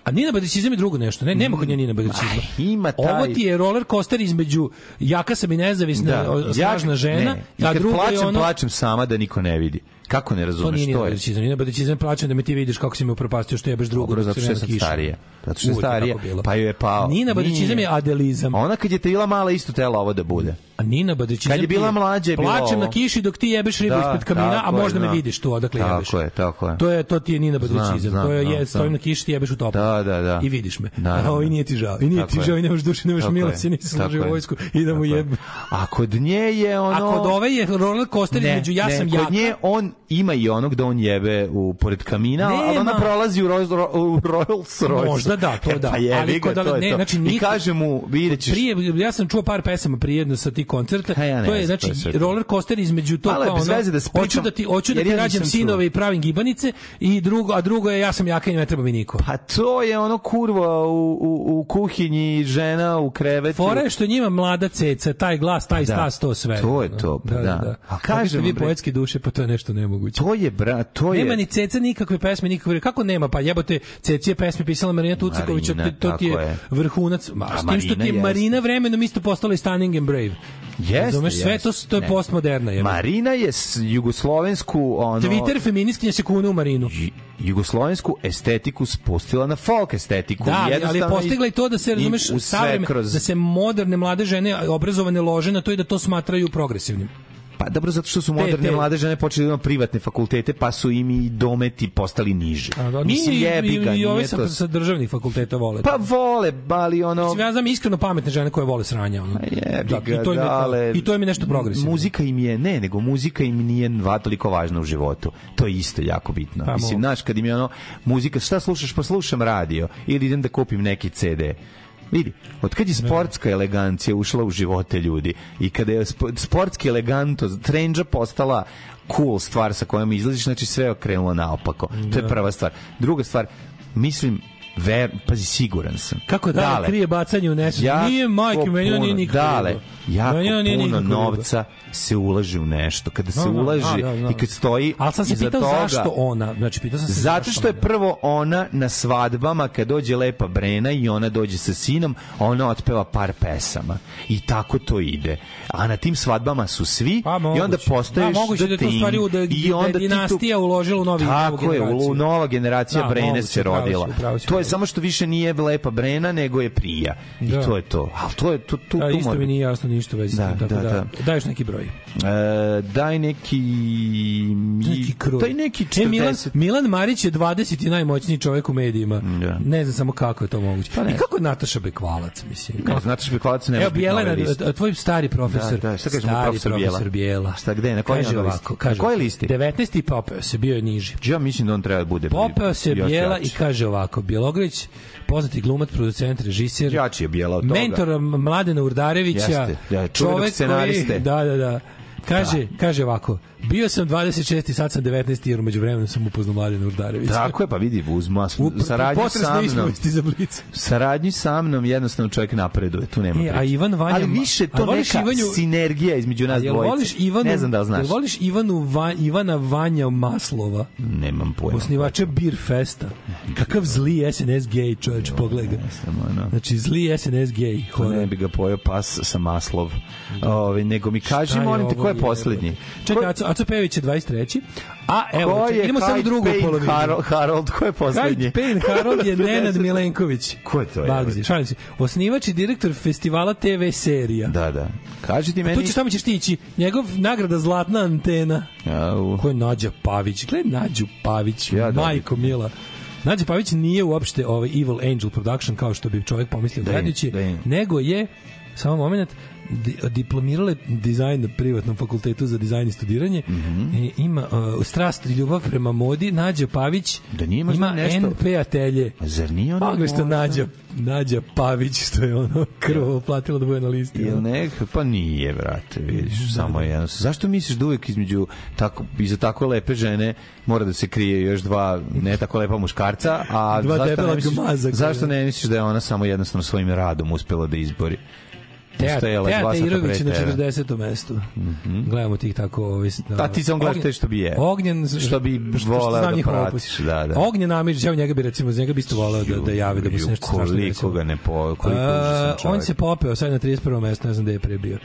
Speaker 10: A Nina Badrićizam je drugo nešto, ne? Nema kod nje Nina Badrićizam.
Speaker 9: Ima taj...
Speaker 10: Ovo ti je roller coaster između jaka sam i nezavisna, o- snažna žena,
Speaker 9: ne.
Speaker 10: a
Speaker 9: I kad
Speaker 10: druga je
Speaker 9: plačem,
Speaker 10: ono...
Speaker 9: plačem sama da niko ne vidi. Kako ne
Speaker 10: To
Speaker 9: razumeš
Speaker 10: nije
Speaker 9: to je?
Speaker 10: neobadrićizam. Neobadrićizam plaćam da me ti vidiš kako si me upropastio što jebeš drugu.
Speaker 9: Dobro,
Speaker 10: dok
Speaker 9: zato
Speaker 10: se
Speaker 9: što je
Speaker 10: nema
Speaker 9: sad
Speaker 10: kiše.
Speaker 9: starija. Zato što je
Speaker 10: Uvek tako
Speaker 9: starija,
Speaker 10: bilo.
Speaker 9: pa joj je pao.
Speaker 10: Nina Badrićizam
Speaker 9: Nije.
Speaker 10: je adelizam.
Speaker 9: A ona kad je tila mala, isto tela ovo da bude.
Speaker 10: A Nina Badrićizam
Speaker 9: Kad je bila
Speaker 10: ti
Speaker 9: mlađa je bilo
Speaker 10: Plačem
Speaker 9: ovo.
Speaker 10: na kiši dok ti jebeš ribu
Speaker 9: Da,
Speaker 10: ispred kamina, a
Speaker 9: tako je,
Speaker 10: možda me
Speaker 9: da.
Speaker 10: vidiš tu odakle
Speaker 9: Tako
Speaker 10: jebeš.
Speaker 9: je, tako je.
Speaker 10: To je to ti je Nina Badrićizam.
Speaker 9: Znam,
Speaker 10: To je,
Speaker 9: znam,
Speaker 10: je
Speaker 9: znam,
Speaker 10: stojim
Speaker 9: znam.
Speaker 10: na kiši ti jebeš u topu.
Speaker 9: Da, da, da.
Speaker 10: I vidiš me.
Speaker 9: Da, da,
Speaker 10: a ovo i
Speaker 9: da.
Speaker 10: nije ti žao. I nije ti
Speaker 9: Tako je.
Speaker 10: žao, i nemaš duše, nemaš
Speaker 9: Tako je,
Speaker 10: milosti, nisi
Speaker 9: tako
Speaker 10: služio
Speaker 9: je.
Speaker 10: vojsku i da mu
Speaker 9: Tako je.
Speaker 10: jebe.
Speaker 9: A kod nje je ono...
Speaker 10: A kod ove je roller coaster između ja
Speaker 9: ne,
Speaker 10: sam
Speaker 9: kod
Speaker 10: jaka.
Speaker 9: nje on ima i onog da on jebe u pored kamina, ali
Speaker 10: Nema.
Speaker 9: ona prolazi u, Rolls, u Rolls Royce.
Speaker 10: Možda da, to da.
Speaker 9: E, pa jebi
Speaker 10: Ali
Speaker 9: ga,
Speaker 10: kod
Speaker 9: to
Speaker 10: ove-
Speaker 9: je
Speaker 10: ne,
Speaker 9: to.
Speaker 10: znači
Speaker 9: I
Speaker 10: niko-
Speaker 9: kaže mu, vidjet ćeš,
Speaker 10: Prije, ja sam čuo par pesama prijedno sa ti koncerta.
Speaker 9: ja ne
Speaker 10: to je
Speaker 9: znam, to
Speaker 10: znači
Speaker 9: je sve to.
Speaker 10: roller coaster između to
Speaker 9: Malo je
Speaker 10: kao
Speaker 9: bez
Speaker 10: ono,
Speaker 9: veze da se pričam,
Speaker 10: hoću da ti hoću da
Speaker 9: jer
Speaker 10: ti
Speaker 9: ja
Speaker 10: rađam
Speaker 9: nisam
Speaker 10: sinove
Speaker 9: čuo.
Speaker 10: i pravim gibanice i drugo a drugo je ja sam jaka i ne treba mi niko.
Speaker 9: Pa to je ono kurva u, u, u kuhinji, žena u krevetu.
Speaker 10: Fora je što njima mlada ceca, taj glas, taj
Speaker 9: Pa Da.
Speaker 10: stas, to sve. ono.
Speaker 9: To je to, pa da.
Speaker 10: A
Speaker 9: A
Speaker 10: kažem
Speaker 9: kažem
Speaker 10: vi
Speaker 9: vam, bre-
Speaker 10: poetske duše, pa to je nešto nemoguće.
Speaker 9: To je, bra, to je...
Speaker 10: Nema ni Ceca nikakve pesme, nikakve. Kako nema? Pa jebote, Ceca je pesme pisala Marina Tucaković,
Speaker 9: Marina,
Speaker 10: to, to ti
Speaker 9: tako
Speaker 10: je
Speaker 9: je.
Speaker 10: vrhunac. Ma,
Speaker 9: A
Speaker 10: s tim što
Speaker 9: Marina
Speaker 10: ti je
Speaker 9: jeste.
Speaker 10: Marina vremenom isto postala i Stunning and Brave.
Speaker 9: Jeste,
Speaker 10: Razumeš, sve
Speaker 9: jeste.
Speaker 10: to, s- to je
Speaker 9: Ne.
Speaker 10: postmoderna. Je.
Speaker 9: Marina je s- jugoslovensku ono
Speaker 10: Twitter feminiskinja se kune u Marinu.
Speaker 9: ju- jugoslovensku estetiku spustila na folk estetiku.
Speaker 10: Da, ali, ali je
Speaker 9: Jednostavno
Speaker 10: postigla i to da se,
Speaker 9: i
Speaker 10: razumeš,
Speaker 9: u sve
Speaker 10: savremene-
Speaker 9: kroz-
Speaker 10: da se moderne mlade žene obrazovane lože na to i da to smatraju progresivnim.
Speaker 9: Pa dobro, zato što su moderne
Speaker 10: te-
Speaker 9: mlade žene počeli da imaju privatne fakultete, pa su im i dometi postali niži.
Speaker 10: A, da,
Speaker 9: Mislim,
Speaker 10: nije-
Speaker 9: jebi ga,
Speaker 10: i, i ove
Speaker 9: nije
Speaker 10: sa,
Speaker 9: to...
Speaker 10: sa državnih fakulteta vole.
Speaker 9: Pa vole, ali ono...
Speaker 10: Mislim, ja znam iskreno pametne žene koje vole sranja. Ono.
Speaker 9: Jebi
Speaker 10: Da,
Speaker 9: ga,
Speaker 10: i, to im je,
Speaker 9: dale.
Speaker 10: I to im je nešto progresivno.
Speaker 9: Muzika im je, ne, nego muzika im nije va toliko važna u životu. To je isto jako bitno.
Speaker 10: Pa,
Speaker 9: Mislim,
Speaker 10: mo-
Speaker 9: znaš, kad im je ono, muzika, šta slušaš? Pa slušam radio. Ili idem da kupim neki CD. Vidi, od kad je sportska elegancija ušla u živote ljudi i kada je spo- sportski eleganto, trendža postala cool stvar sa kojom izlaziš, znači sve je okrenulo naopako. To je prva stvar. Druga stvar, mislim, ver, pazi, siguran sam.
Speaker 10: Kako da
Speaker 9: Dale,
Speaker 10: krije bacanje u nesvest? Znači, Nije majke,
Speaker 9: jako
Speaker 10: meni ona nije
Speaker 9: puno,
Speaker 10: nikako.
Speaker 9: Dale,
Speaker 10: riba.
Speaker 9: jako
Speaker 10: Meni ona nije
Speaker 9: puno
Speaker 10: nikako riba.
Speaker 9: novca se ulaže u nešto. Kada se
Speaker 10: No, no,
Speaker 9: ulaže
Speaker 10: a, da, znam.
Speaker 9: i kad stoji
Speaker 10: Ali sam se
Speaker 9: iza
Speaker 10: pitao
Speaker 9: toga,
Speaker 10: zašto ona. Znači, pitao sam se
Speaker 9: Zato
Speaker 10: zašto
Speaker 9: što je
Speaker 10: ona.
Speaker 9: prvo ona na svadbama kad dođe lepa Brena i ona dođe sa sinom, ona otpeva par pesama. I tako to ide. A na tim svadbama su svi
Speaker 10: Pa,
Speaker 9: i onda
Speaker 10: moguće.
Speaker 9: postaješ
Speaker 10: Da, moguće
Speaker 9: the
Speaker 10: da je to u
Speaker 9: thing.
Speaker 10: stvari u- da- da je
Speaker 9: onda ti tu-
Speaker 10: dinastija uložila u novi- novu
Speaker 9: Tako je,
Speaker 10: generaciju.
Speaker 9: u nova generacija
Speaker 10: Da,
Speaker 9: Brene
Speaker 10: moguće,
Speaker 9: se
Speaker 10: pravo si,
Speaker 9: rodila.
Speaker 10: pravo si,
Speaker 9: to
Speaker 10: pravo
Speaker 9: je
Speaker 10: si.
Speaker 9: samo što više nije lepa Brena, nego je Prija. I
Speaker 10: Da.
Speaker 9: to je to. Ali to je to, tu,
Speaker 10: Da,
Speaker 9: tu
Speaker 10: isto
Speaker 9: mora
Speaker 10: mi
Speaker 9: biti.
Speaker 10: nije jasno ništa u vezi s
Speaker 9: Da,
Speaker 10: tim, tako
Speaker 9: da,
Speaker 10: da,
Speaker 9: da.
Speaker 10: Daješ neki broj.
Speaker 9: E, daj neki...
Speaker 10: Neki kroj.
Speaker 9: Daj neki 40.
Speaker 10: E, Milan, Milan Marić je 20. najmoćniji čovjek u medijima.
Speaker 9: Da. Pa
Speaker 10: Ne znam samo kako je to moguće. I kako je Nataša Bekvalac, mislim. Kako...
Speaker 9: Ne, znate što bi kvalac ne
Speaker 10: Evo,
Speaker 9: može biti na
Speaker 10: Bjelena,
Speaker 9: ovoj listi.
Speaker 10: a tvoj stari profesor.
Speaker 9: Da, da, šta kažemo
Speaker 10: stari
Speaker 9: profesor Bijela?
Speaker 10: Bijela.
Speaker 9: Šta, gde, na kojoj
Speaker 10: Kaže
Speaker 9: na listi?
Speaker 10: ovako,
Speaker 9: Na
Speaker 10: kaže,
Speaker 9: kojoj listi?
Speaker 10: 19. i popeo se, bio je niži.
Speaker 9: Ja mislim da on treba da bude
Speaker 10: Popeo se
Speaker 9: još
Speaker 10: Bijela
Speaker 9: jači.
Speaker 10: i kaže ovako, Bjelogrlić, poznati glumac, producent, režiser,
Speaker 9: jači je Bijela od toga.
Speaker 10: mentor Mladena Urdarevića,
Speaker 9: Jeste, da, čuvenog
Speaker 10: čovek koji,
Speaker 9: scenariste.
Speaker 10: da, da, da, kaže, kaže ovako, bio sam 26. sad sam 19. jer umeđu vremenu sam upoznao Mladena Urdarevića.
Speaker 9: Tako je, pa vidi, uz mas,
Speaker 10: U-
Speaker 9: saradnju
Speaker 10: potresne
Speaker 9: sa mnom.
Speaker 10: ispovesti za Blic.
Speaker 9: Saradnju sa mnom jednostavno čovjek napreduje, tu nema
Speaker 10: E,
Speaker 9: priče.
Speaker 10: a Ivan Vanja...
Speaker 9: Ali više
Speaker 10: a
Speaker 9: to
Speaker 10: voliš
Speaker 9: neka
Speaker 10: Ivanju-
Speaker 9: sinergija između nas
Speaker 10: Jel
Speaker 9: dvojice.
Speaker 10: voliš Ivanu,
Speaker 9: ne znam da li znaš.
Speaker 10: Jel voliš Ivanu Va, Ivana Vanja Maslova?
Speaker 9: Nemam pojma.
Speaker 10: Osnivača Beer Festa. Kakav zli SNS gej, čoveč, pogledaj ga.
Speaker 9: Samo, ono.
Speaker 10: Znači, zli SNS gej.
Speaker 9: Pa
Speaker 10: horor.
Speaker 9: ne bi ga pojeo pas sa maslov. Ove, nego mi
Speaker 10: Šta
Speaker 9: kaži,
Speaker 10: je
Speaker 9: molim te,
Speaker 10: ovo
Speaker 9: ko je
Speaker 10: jebote?
Speaker 9: posljednji?
Speaker 10: Čekaj, Aco, Aco Pejević je 23. A, evo,
Speaker 9: Ko
Speaker 10: čekaj,
Speaker 9: je
Speaker 10: idemo samo
Speaker 9: Hyde
Speaker 10: drugu
Speaker 9: Payne
Speaker 10: polovinu.
Speaker 9: Harold, Harold, ko je
Speaker 10: Hyde
Speaker 9: poslednji?
Speaker 10: Payne Harold je Nenad
Speaker 9: 50.
Speaker 10: Milenković.
Speaker 9: Ko je to?
Speaker 10: Bagzi, šalim se. Osnivač i direktor festivala TV serija.
Speaker 9: Da, da. Kaži ti
Speaker 10: A Tu
Speaker 9: meni...
Speaker 10: ćeš tamo ćeš ti ići. Njegov nagrada Zlatna antena.
Speaker 9: Au.
Speaker 10: Ko je Nađa Pavić? Gle Nađu Pavić,
Speaker 9: Ja da
Speaker 10: majko mila. Nađa Pavić nije uopšte ovaj Evil Angel Production kao što bi čovjek pomislio
Speaker 9: Da im-
Speaker 10: gledajući,
Speaker 9: da im.
Speaker 10: nego je samo moment, di, diplomirala je dizajn na privatnom fakultetu za dizajn i studiranje
Speaker 9: Mhm.
Speaker 10: i ima uh, strast i ljubav prema modi Nađa Pavić da nije
Speaker 9: možda
Speaker 10: ima
Speaker 9: nešto-
Speaker 10: NP atelje
Speaker 9: zar nije ona
Speaker 10: Pogledaj što
Speaker 9: možda-
Speaker 10: Nađa, Nađa Pavić što je ono krvo platila da bude na listi ono.
Speaker 9: Jel nek, pa nije, brate, vidiš, samo je jedno. Zašto misliš da uvek između tako, iza tako lepe žene mora da se krije još dva ne tako lepa muškarca, a
Speaker 10: Dva
Speaker 9: zašto,
Speaker 10: debela
Speaker 9: ne misliš,
Speaker 10: gmaza koja-
Speaker 9: zašto ne misliš da je ona samo jednostavno svojim radom uspela da izbori?
Speaker 10: Teja
Speaker 9: Postojala je
Speaker 10: Teja
Speaker 9: dva sata
Speaker 10: Teirović je
Speaker 9: pre
Speaker 10: na
Speaker 9: tebe.
Speaker 10: 40. mestu. Gledamo tih tako... Ovi,
Speaker 9: A Mhm. Pa ti samo gledaš te što bi je.
Speaker 10: Ognjen,
Speaker 9: Što bi voleo
Speaker 10: znam
Speaker 9: da
Speaker 10: njihov
Speaker 9: pratiš,
Speaker 10: opus.
Speaker 9: da, da.
Speaker 10: Ognjen Amidžić, evo njega bi recimo, za njega bi isto volao da, da javi da mu se nešto strašno
Speaker 9: Koliko
Speaker 10: desilo.
Speaker 9: ga ne po... Koliko užasan
Speaker 10: A,
Speaker 9: čovjek.
Speaker 10: On se popeo sad na 31. mesto, ne znam gde je prebio.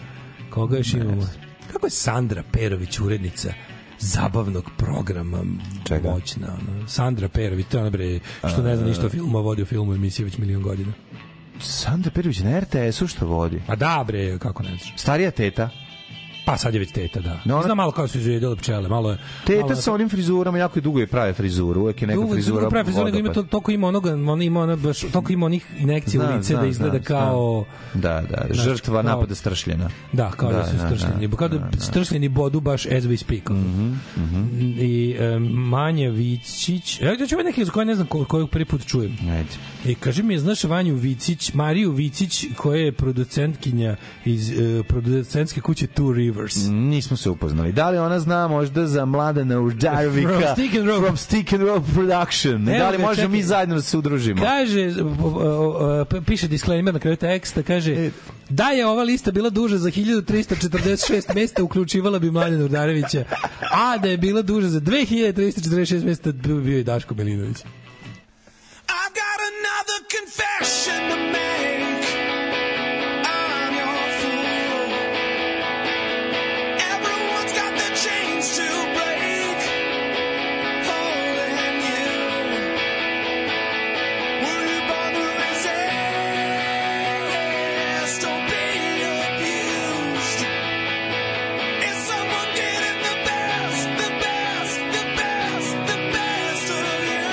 Speaker 10: Koga još imamo? Kako je Sandra Perović, urednica zabavnog programa Čega? moćna. Ono. Sandra Perović, to je ona bre, što ne zna ništa o filmu, a vodi o filmu emisije već milion godina.
Speaker 9: Sandra Perović na RTS-u što vodi?
Speaker 10: A da bre, kako ne znaš.
Speaker 9: Starija teta?
Speaker 10: Pa sad je već teta, da. No, Znam malo kao su izjedele pčele, malo je... malo
Speaker 9: Teta
Speaker 10: je-
Speaker 9: sa onim frizurama, jako je dugo je prave frizuru, uvek je neka
Speaker 10: Dugo-
Speaker 9: frizura.
Speaker 10: dugo pravi frizura, nego ima
Speaker 9: vodopad.
Speaker 10: to, toliko ima onoga, ona ima ona baš, toliko ima onih injekcija u
Speaker 9: Znam,
Speaker 10: lice da
Speaker 9: znam,
Speaker 10: izgleda
Speaker 9: znam,
Speaker 10: kao
Speaker 9: znam. Da, da,
Speaker 10: Znači,
Speaker 9: žrtva
Speaker 10: kao-
Speaker 9: napada stršljena.
Speaker 10: Da, kao da, su stršljeni. kao da, stršljeni bodu baš as we speak. ono. I um, Manja Vicić... Ja ću ovaj neki za koje ne znam ko, koju prvi put čujem. I kaži mi, znaš Vanju Vicić, Mariju Vicić, koja je producentkinja iz e, producentske kuće Two Rivers.
Speaker 9: Nismo se upoznali. Da li ona zna možda za Mladena Urdarvika
Speaker 10: From Stick and Rope.
Speaker 9: From Stick and Rope Production?
Speaker 10: Evo
Speaker 9: da li
Speaker 10: ga,
Speaker 9: možemo
Speaker 10: čekaj.
Speaker 9: mi zajedno da se udružimo?
Speaker 10: Kaže, o, o, o, p- piše disclaimer na kraju teksta, kaže da je ova lista bila duža za 1346 mesta, uključivala bi Mladena Urdarevića, a da je bila duža za 2346 mesta, bio bio i Daško Milinović.
Speaker 11: I've got another confession to make. I'm your fool. Everyone's got their chains to break. Holding you. Were you born to resist or be abused? Is someone getting the best, the best, the best, the best of you?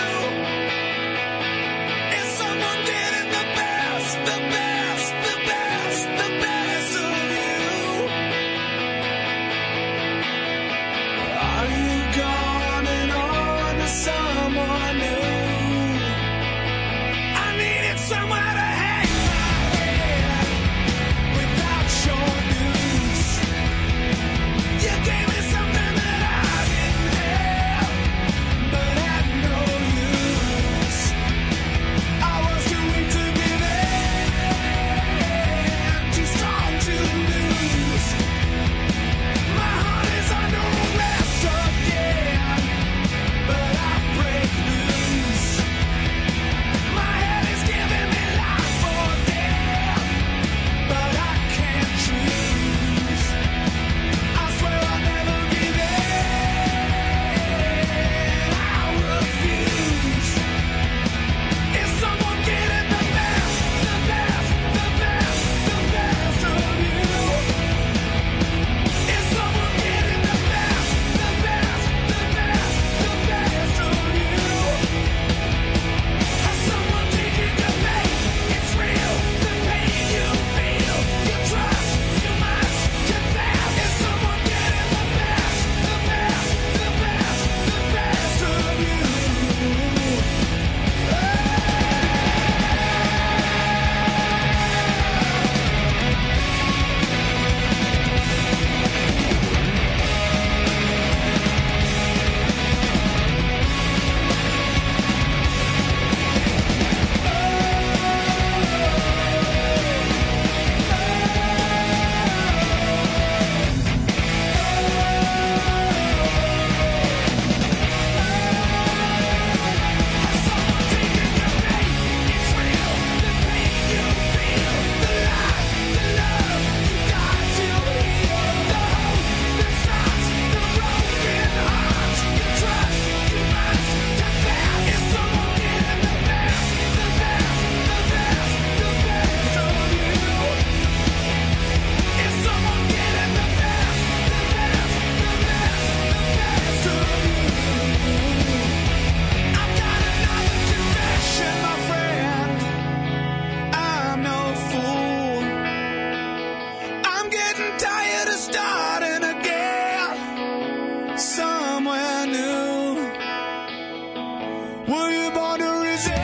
Speaker 11: Were you born to resist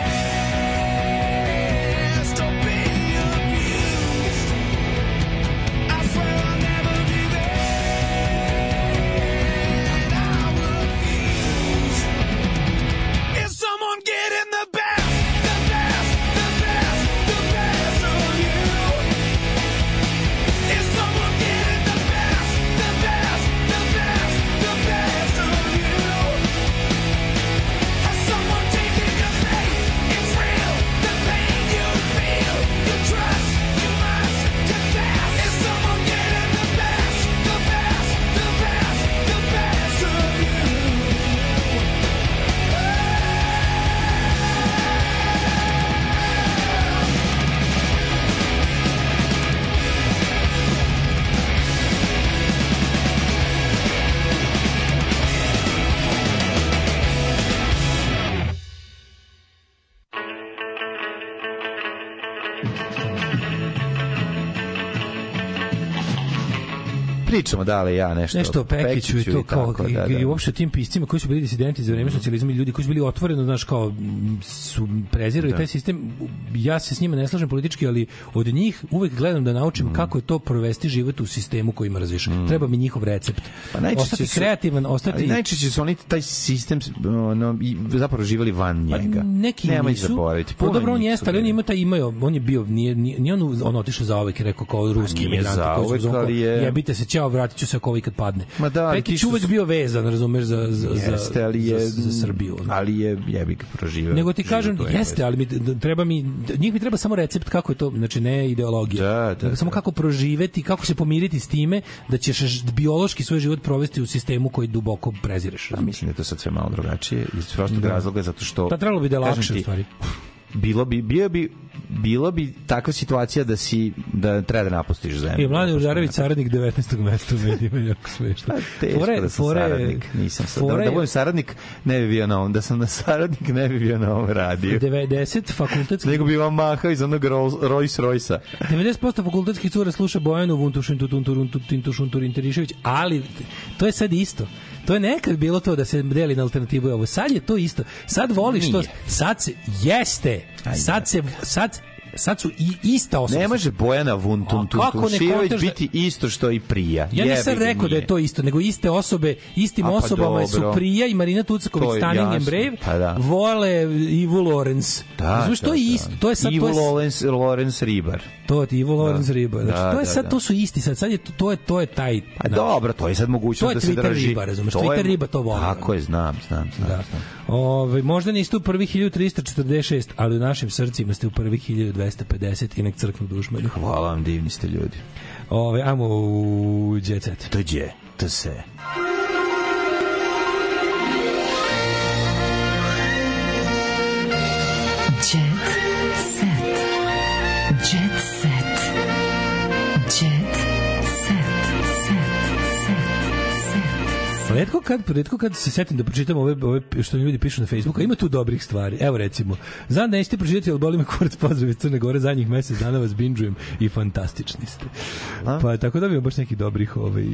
Speaker 11: or be abused? I swear I'll never give in. I refuse. If someone getting the best, the best, the best, the best of you. If someone getting the best, the best, the best, the best of you. Someone taking your faith, it's real. The pain you feel, you trust, you must confess. Is someone getting the best, the best, the best, the best of you?
Speaker 9: Pričamo dale ja nešto.
Speaker 10: Nešto o Pekiću i to kao i, i uopšte o tim piscima koji su bili disidenti za vreme socijalizma i ljudi koji su bili otvoreno znaš kao m, su prezirali
Speaker 9: Da.
Speaker 10: da. taj sistem ja se s njima ne slažem politički ali od njih uvek gledam da naučim mm. kako je to provesti život u sistemu koji mrziš treba mi njihov recept
Speaker 9: Pa najčešće
Speaker 10: ostati
Speaker 9: su-
Speaker 10: kreativan
Speaker 9: Ali
Speaker 10: ostati
Speaker 9: najčešće su oni taj sistem ono, i zapravo živeli van njega.
Speaker 10: Pa Mm, neki
Speaker 9: Nemoj
Speaker 10: nisu.
Speaker 9: zaboraviti.
Speaker 10: Pa
Speaker 9: Puno
Speaker 10: dobro, on
Speaker 9: njih
Speaker 10: jeste,
Speaker 9: su
Speaker 10: ali on ima taj imao, on je bio, nije, nije, nije on, on otišao za ovek, rekao kao ruski
Speaker 9: Pa nije
Speaker 10: imigranti.
Speaker 9: za
Speaker 10: koji su u
Speaker 9: uvek,
Speaker 10: zonu kao,
Speaker 9: ali je-
Speaker 10: Jebite se, ćao, vratit ću se ako ovaj kad padne.
Speaker 9: Ma da, ali ti
Speaker 10: Pekić
Speaker 9: što
Speaker 10: uvek
Speaker 9: su-
Speaker 10: bio vezan, razumeš, za, za,
Speaker 9: Jeste,
Speaker 10: za,
Speaker 9: ali je,
Speaker 10: za, za Srbiju. ono.
Speaker 9: Ali je jebi ga proživio.
Speaker 10: Nego ti
Speaker 9: Živio
Speaker 10: kažem,
Speaker 9: to je
Speaker 10: jeste, ali mi d- treba mi njih mi treba samo recept kako je to, znači ne ideologija. Da, da, samo kako proživeti, kako se pomiriti s time da ćeš ž- biološki svoj život provesti u sistemu koji duboko prezireš.
Speaker 9: Pa mislim da je to sad sve malo drugačije iz prostog
Speaker 10: Da.
Speaker 9: razloga zato što
Speaker 10: Pa trebalo bi da je
Speaker 9: kažem
Speaker 10: lakše, u
Speaker 9: ti,
Speaker 10: stvari.
Speaker 9: Bilo bi bio bi bilo bi takva situacija da si da treba da napustiš zemlju.
Speaker 10: I Mladen Užarević, saradnik 19. mesta u medijima, jako smešno.
Speaker 9: Pa Teško da sam saradnik, nisam sad. Da, da budem saradnik, ne bi bio na ovom. Da sam na saradnik, ne bi bio na ovom radiju.
Speaker 10: 90 fakultetskih
Speaker 9: Nego bi vam mahao iz onog Rolls- Rolls Royce-a.
Speaker 10: 90% fakultetskih cura sluša Bojanu Vuntušin Tutun Turun Tutin Tušun Turin Tirišević, ali to je sad isto. To je nekad bilo to da se deli na alternativu i ovo. Sad je to isto. Sad voliš to.
Speaker 9: Nije.
Speaker 10: Sad se jeste. Sad se sad sad su i ista osoba.
Speaker 9: Ne može Bojana Vuntun
Speaker 10: A kako ne
Speaker 9: Tuntuširović
Speaker 10: kontaš da-
Speaker 9: biti isto što i prija.
Speaker 10: Ja nisam
Speaker 9: Jebi ga,
Speaker 10: rekao da je
Speaker 9: nije.
Speaker 10: to isto, nego iste osobe, istim
Speaker 9: A, pa
Speaker 10: osobama su
Speaker 9: dobro.
Speaker 10: Prija i Marina
Speaker 9: To
Speaker 10: Tucaković,
Speaker 9: je
Speaker 10: Stunning and
Speaker 9: jasno,
Speaker 10: Brave,
Speaker 9: pa da.
Speaker 10: vole Ivo Lorenz.
Speaker 9: Da,
Speaker 10: Razumeš, to je isto, to je sad
Speaker 9: Ivo
Speaker 10: to je,
Speaker 9: Lorenz, Lorenz Ribar.
Speaker 10: To je Ivo Lorenz
Speaker 9: Da.
Speaker 10: riba. Znači,
Speaker 9: Da,
Speaker 10: to je
Speaker 9: da,
Speaker 10: sad,
Speaker 9: da.
Speaker 10: to su isti sad. Sad je to, to je, to je taj...
Speaker 9: Pa dobro, to je sad mogućnost
Speaker 10: Znači, To je
Speaker 9: da se
Speaker 10: Twitter
Speaker 9: drži.
Speaker 10: riba, razumeš,
Speaker 9: je-
Speaker 10: Twitter riba to voli.
Speaker 9: Tako je, znam, znam, znam.
Speaker 10: Da.
Speaker 9: znam.
Speaker 10: Ove, možda niste u prvih 1346, ali u našim srcima ste u prvih 1250 i nek crknu dušmelju.
Speaker 9: Hvala vam, divni ste ljudi.
Speaker 10: Ove, ajmo u Jet Set.
Speaker 9: To je, to se.
Speaker 8: Jet set. Jet set. Jet set.
Speaker 10: Pa Redko kad, redko kad se setim da pročitam ove, ove što mi ljudi pišu na Facebooku, a ima tu dobrih stvari. Evo recimo, znam da nećete pročitati, ali boli me kurac pozdrav iz Crne Gore, zadnjih mesec dana vas binđujem i fantastični ste. Pa tako da bi baš nekih dobrih ovaj,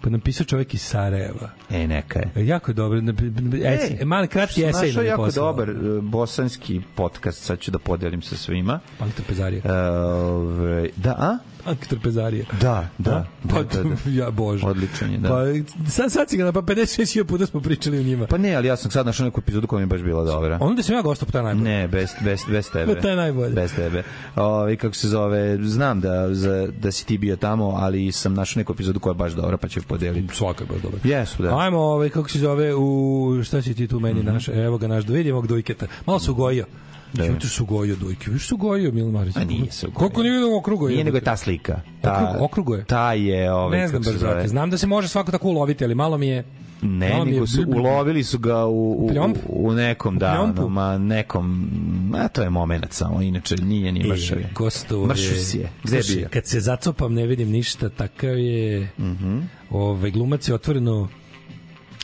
Speaker 10: pa napisao čovjek iz Sarajeva.
Speaker 9: E, neka je.
Speaker 10: Jako je dobro. Ej, e, mali kratki
Speaker 9: što sam
Speaker 10: esej
Speaker 9: našao
Speaker 10: nam je
Speaker 9: jako
Speaker 10: poslao.
Speaker 9: dobar e, bosanski podcast, sad ću da podelim sa svima.
Speaker 10: Ali trpezarija.
Speaker 9: E, ove, da, a?
Speaker 10: Ak trpezarija.
Speaker 9: Da, da. da,
Speaker 10: Pa,
Speaker 9: da, da.
Speaker 10: ja bože.
Speaker 9: Odličan je, da.
Speaker 10: Pa, sad, sad si ga, pa 56 puta smo pričali o njima.
Speaker 9: Pa ne, ali ja sam sad našao neku epizodu koja mi je baš bila dobra.
Speaker 10: Onda sam ja gostao, pa to je najbolje.
Speaker 9: Ne, bez, bez, bez tebe.
Speaker 10: To je najbolje.
Speaker 9: Bez tebe. Ovi, kako se zove, znam da, za, da si ti bio tamo, ali sam našao neku epizodu koja je baš dobra, pa ću je podeliti.
Speaker 10: Svaka je baš dobra.
Speaker 9: Jesu, da. Mhm.
Speaker 10: Ajmo, ovaj, kako se zove, u, šta si ti tu meni mm -hmm. naš, evo ga naš, da vidimo ovog dojketa. Malo se ugojio. Da. Juče su gojio dojke. Viš su gojio Mil Marić.
Speaker 9: A nije se
Speaker 10: Koliko nije vidimo okrugo je.
Speaker 9: Nije nego je ta slika. Ta,
Speaker 10: Okrugo- okrugo je.
Speaker 9: Ta je, ovaj,
Speaker 10: ne znam
Speaker 9: kako se
Speaker 10: baš,
Speaker 9: zove.
Speaker 10: brate. Znam da se može svako tako uloviti, ali malo mi je...
Speaker 9: Ne,
Speaker 10: malo mi je-
Speaker 9: nego su, ulovili su ga u, u,
Speaker 10: Pljomp?
Speaker 9: u, u nekom, da,
Speaker 10: pljompu?
Speaker 9: ono, ma, nekom, a to je moment samo, inače nije ni mršav je.
Speaker 10: E, Gostovo
Speaker 9: Mršav si je. Gde
Speaker 10: Gde
Speaker 9: je bio?
Speaker 10: Kad se
Speaker 9: Mhm.
Speaker 10: zacopam ne vidim ništa, takav je... Mm -hmm. Ovaj glumac je otvoreno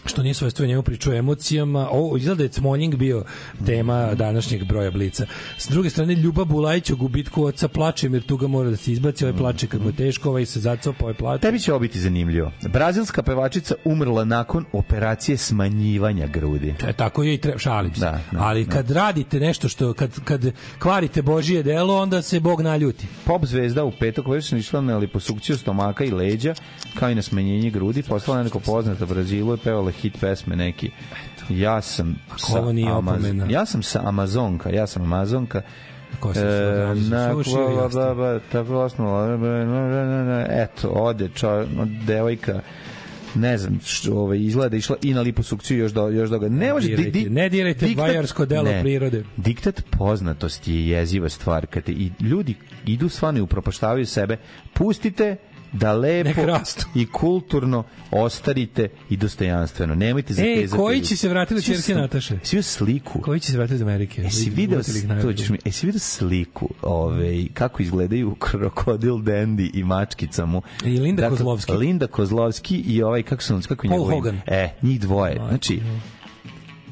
Speaker 10: što nije svojstvo njemu priču o emocijama. O, izgleda da je Cmoljing bio tema današnjeg broja Blica. S druge strane, Ljuba Bulajić o gubitku oca plače, jer tuga mora da se izbaci, ovaj plače kad mu je teško, ovaj se zacopa, ovaj plače.
Speaker 9: Tebi će ovo biti zanimljivo. Brazilska pevačica umrla nakon operacije smanjivanja grudi.
Speaker 10: E, tako je i treba, šalim se.
Speaker 9: Da, da,
Speaker 10: Ali kad radite nešto što, kad, kad kvarite Božije delo, onda se Bog naljuti.
Speaker 9: Pop zvezda u petak već išla na liposukciju stomaka i leđa, kao i na smanjenje grudi. Poslala neko poznata Brazilu i pevala hit pesme neki. Ja sam
Speaker 10: Ako ovo nije opomena.
Speaker 9: Ja sam sa Amazonka, ja sam Amazonka.
Speaker 10: Ko sam slušao, nisam
Speaker 9: E, na-
Speaker 10: slušao,
Speaker 9: ba-
Speaker 10: jasno.
Speaker 9: ba- ba- tako osnula, ba- ba- ba- ba- ba- eto, ode čo, devojka ne znam što ovaj izgleda da je išla i na liposukciju još do još do ga ne može
Speaker 10: dirajte, ne dirajte vajarsko delo prirode.
Speaker 9: diktat poznatosti je jeziva stvar kad te, i ljudi idu stvarno i upropaštavaju sebe pustite da lepo i kulturno ostarite i dostojanstveno nemojte
Speaker 10: E,
Speaker 9: zatezati
Speaker 10: koji
Speaker 9: ruke.
Speaker 10: će se vratiti do
Speaker 9: Svi
Speaker 10: čerke
Speaker 9: su-
Speaker 10: Nataše?
Speaker 9: Svi u sliku.
Speaker 10: Koji će se vratiti iz Amerike?
Speaker 9: Jesi video,
Speaker 10: Vratili ih na
Speaker 9: to
Speaker 10: aerodrom.
Speaker 9: ćeš mi, jesi video sliku ove, kako izgledaju krokodil Dandy i mačkica mu? Dakle,
Speaker 10: I Linda Kozlovski.
Speaker 9: Linda Kozlovski i ovaj, kako se on, kako je
Speaker 10: Paul
Speaker 9: njegov ime?
Speaker 10: Hogan.
Speaker 9: E, njih dvoje. Znači,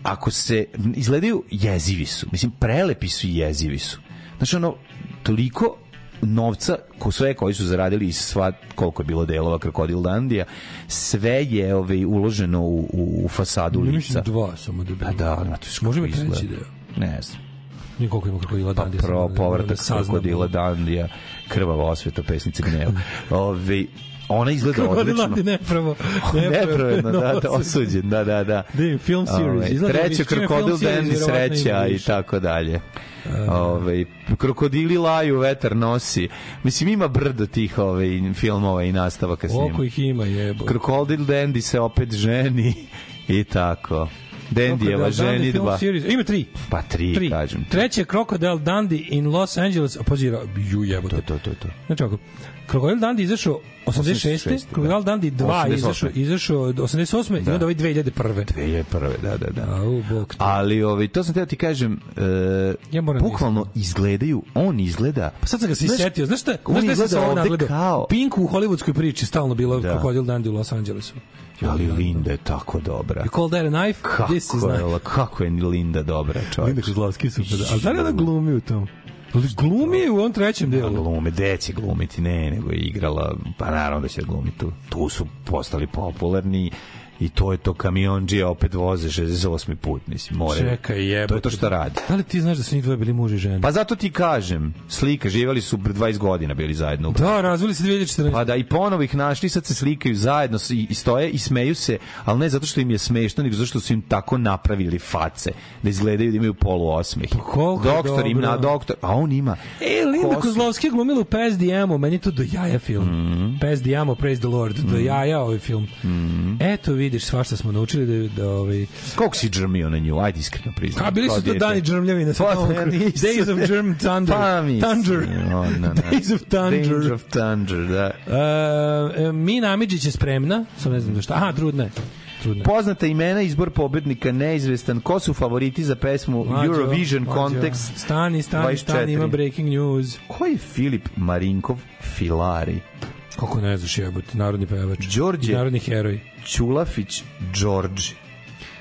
Speaker 9: ako se, izgledaju jezivi su, mislim, prelepi su i jezivi su. Znači, ono, toliko novca ko sve koji su zaradili iz sva koliko je bilo delova Krokodil Dandija sve je ovaj uloženo u, u, u fasadu
Speaker 10: Ne,
Speaker 9: lica.
Speaker 10: mislim dva samo da bi.
Speaker 9: Pa da, znate što
Speaker 10: Možemo i
Speaker 9: izgleda.
Speaker 10: treći deo.
Speaker 9: Ne znam.
Speaker 10: Nije koliko ima krokodila
Speaker 9: Pa
Speaker 10: Dandija.
Speaker 9: pro,
Speaker 10: samo da- da
Speaker 9: povratak
Speaker 10: saznamo.
Speaker 9: krokodila Dandija, krvava osveta pesnice gneva. Ove, ona izgleda
Speaker 10: Krokodil
Speaker 9: odlično.
Speaker 10: Dandi nepravo.
Speaker 9: Nepravedno, da, da,
Speaker 10: novost.
Speaker 9: osuđen, da, da, da.
Speaker 10: Dim, film series.
Speaker 9: Ovaj,
Speaker 10: Izgleda da
Speaker 9: treće,
Speaker 10: mi- čim je
Speaker 9: krokodil
Speaker 10: film series,
Speaker 9: Dandy
Speaker 10: verovatno ima
Speaker 9: sreća i
Speaker 10: više.
Speaker 9: tako dalje. Ove, krokodili laju, vetar nosi. Mislim, ima brdo tih ove, filmova i nastavaka s njim.
Speaker 10: Oko ih ima, jebo.
Speaker 9: Krokodil Dandy se opet ženi i tako. Dandijeva ženidba.
Speaker 10: Ima tri.
Speaker 9: Pa tri,
Speaker 10: Tri.
Speaker 9: kažem.
Speaker 10: Treće je Crocodile Dundee in Los Angeles. A pazi, ra- ju jebote.
Speaker 9: To, to, to, to.
Speaker 10: Znači ovako, Crocodile Dundee izašao
Speaker 9: 86.,
Speaker 10: 86.
Speaker 9: da.
Speaker 10: Crocodile Dundee 2
Speaker 9: 88..
Speaker 10: izašao, izašao od 88. Da. I onda ovaj 2001.
Speaker 9: 2001. Da, da, da.
Speaker 10: Au, bog.
Speaker 9: Ali ovaj, to sam teo ti kažem, e, ja bukvalno izgledaju, on izgleda...
Speaker 10: Pa sad sam ga se
Speaker 9: Znaš,
Speaker 10: setio. Znaš šta,
Speaker 9: on
Speaker 10: znaš šta sam
Speaker 9: izgleda
Speaker 10: se ovo
Speaker 9: ovde
Speaker 10: nagledao?
Speaker 9: kao-
Speaker 10: Pink u hollywoodskoj priči stalno bilo
Speaker 9: Da.
Speaker 10: Crocodile Dundee u Los Angelesu.
Speaker 9: Ali Linda je tako dobra.
Speaker 10: You call that a knife?
Speaker 9: Kako
Speaker 10: This is
Speaker 9: je,
Speaker 10: knife.
Speaker 9: la- kako je Linda dobra, čovjek.
Speaker 10: Linda Kozlovski super. Ali da li ona glumi u tom? Ali glumi je u ovom trećem
Speaker 9: Pa
Speaker 10: delu.
Speaker 9: glume, gde će glumiti, ne, nego je igrala, pa naravno da će glumiti tu. Tu su postali popularni i to je to kamionđija opet voze 68. put, mislim, more.
Speaker 10: Čekaj, jebote.
Speaker 9: To je to što radi.
Speaker 10: Da li ti znaš da su njih dvoje bili muž i žena?
Speaker 9: Pa zato ti kažem, slika, živjeli su pre 20 godina bili zajedno.
Speaker 10: Da, razvili se 2014.
Speaker 9: Pa da, i ponovo ih našli, sad se slikaju zajedno s- i, i stoje i smeju se, ali ne zato što im je smešno, nego zato što su im tako napravili face, da izgledaju da imaju polu osmeh.
Speaker 10: koliko je
Speaker 9: doktor im
Speaker 10: Pa dobro.
Speaker 9: na doktor, a on ima
Speaker 10: E, Linda
Speaker 9: kosu.
Speaker 10: Kozlovski je glumila u Pes Diamo, meni je to do jaja film.
Speaker 9: Mhm.
Speaker 10: Pes Diamo, Praise the Lord, do jaja ovaj film. Eto, vidiš, svašta smo naučili da, da ovaj...
Speaker 9: Koliko si džrmio na nju, ajde iskreno priznam.
Speaker 10: A bili
Speaker 9: Kao
Speaker 10: su to
Speaker 9: dijete.
Speaker 10: dani džrmljavine. sa
Speaker 9: Pa,
Speaker 10: Tomom
Speaker 9: ne,
Speaker 10: Cruise.
Speaker 9: nisam.
Speaker 10: Days of Germ Thunder.
Speaker 9: Pa, mislim,
Speaker 10: Thunder.
Speaker 9: ono, na.
Speaker 10: Days of Thunder.
Speaker 9: Days of Thunder, da.
Speaker 10: E, Mina Amidžić je spremna, sam ne znam da šta. Aha, trudna je. Trudna je.
Speaker 9: Poznata imena, izbor pobednika neizvestan. Ko su favoriti za pesmu
Speaker 10: Mlađo,
Speaker 9: Eurovision
Speaker 10: mlađo.
Speaker 9: Context?
Speaker 10: Stani, stani, stani,
Speaker 9: 24?
Speaker 10: ima breaking news.
Speaker 9: Ko je Filip Marinkov Filari?
Speaker 10: Kako ne znaš jebote, narodni pevač.
Speaker 9: Đorđe.
Speaker 10: I Narodni heroj.
Speaker 9: Ćulafić Đorđe.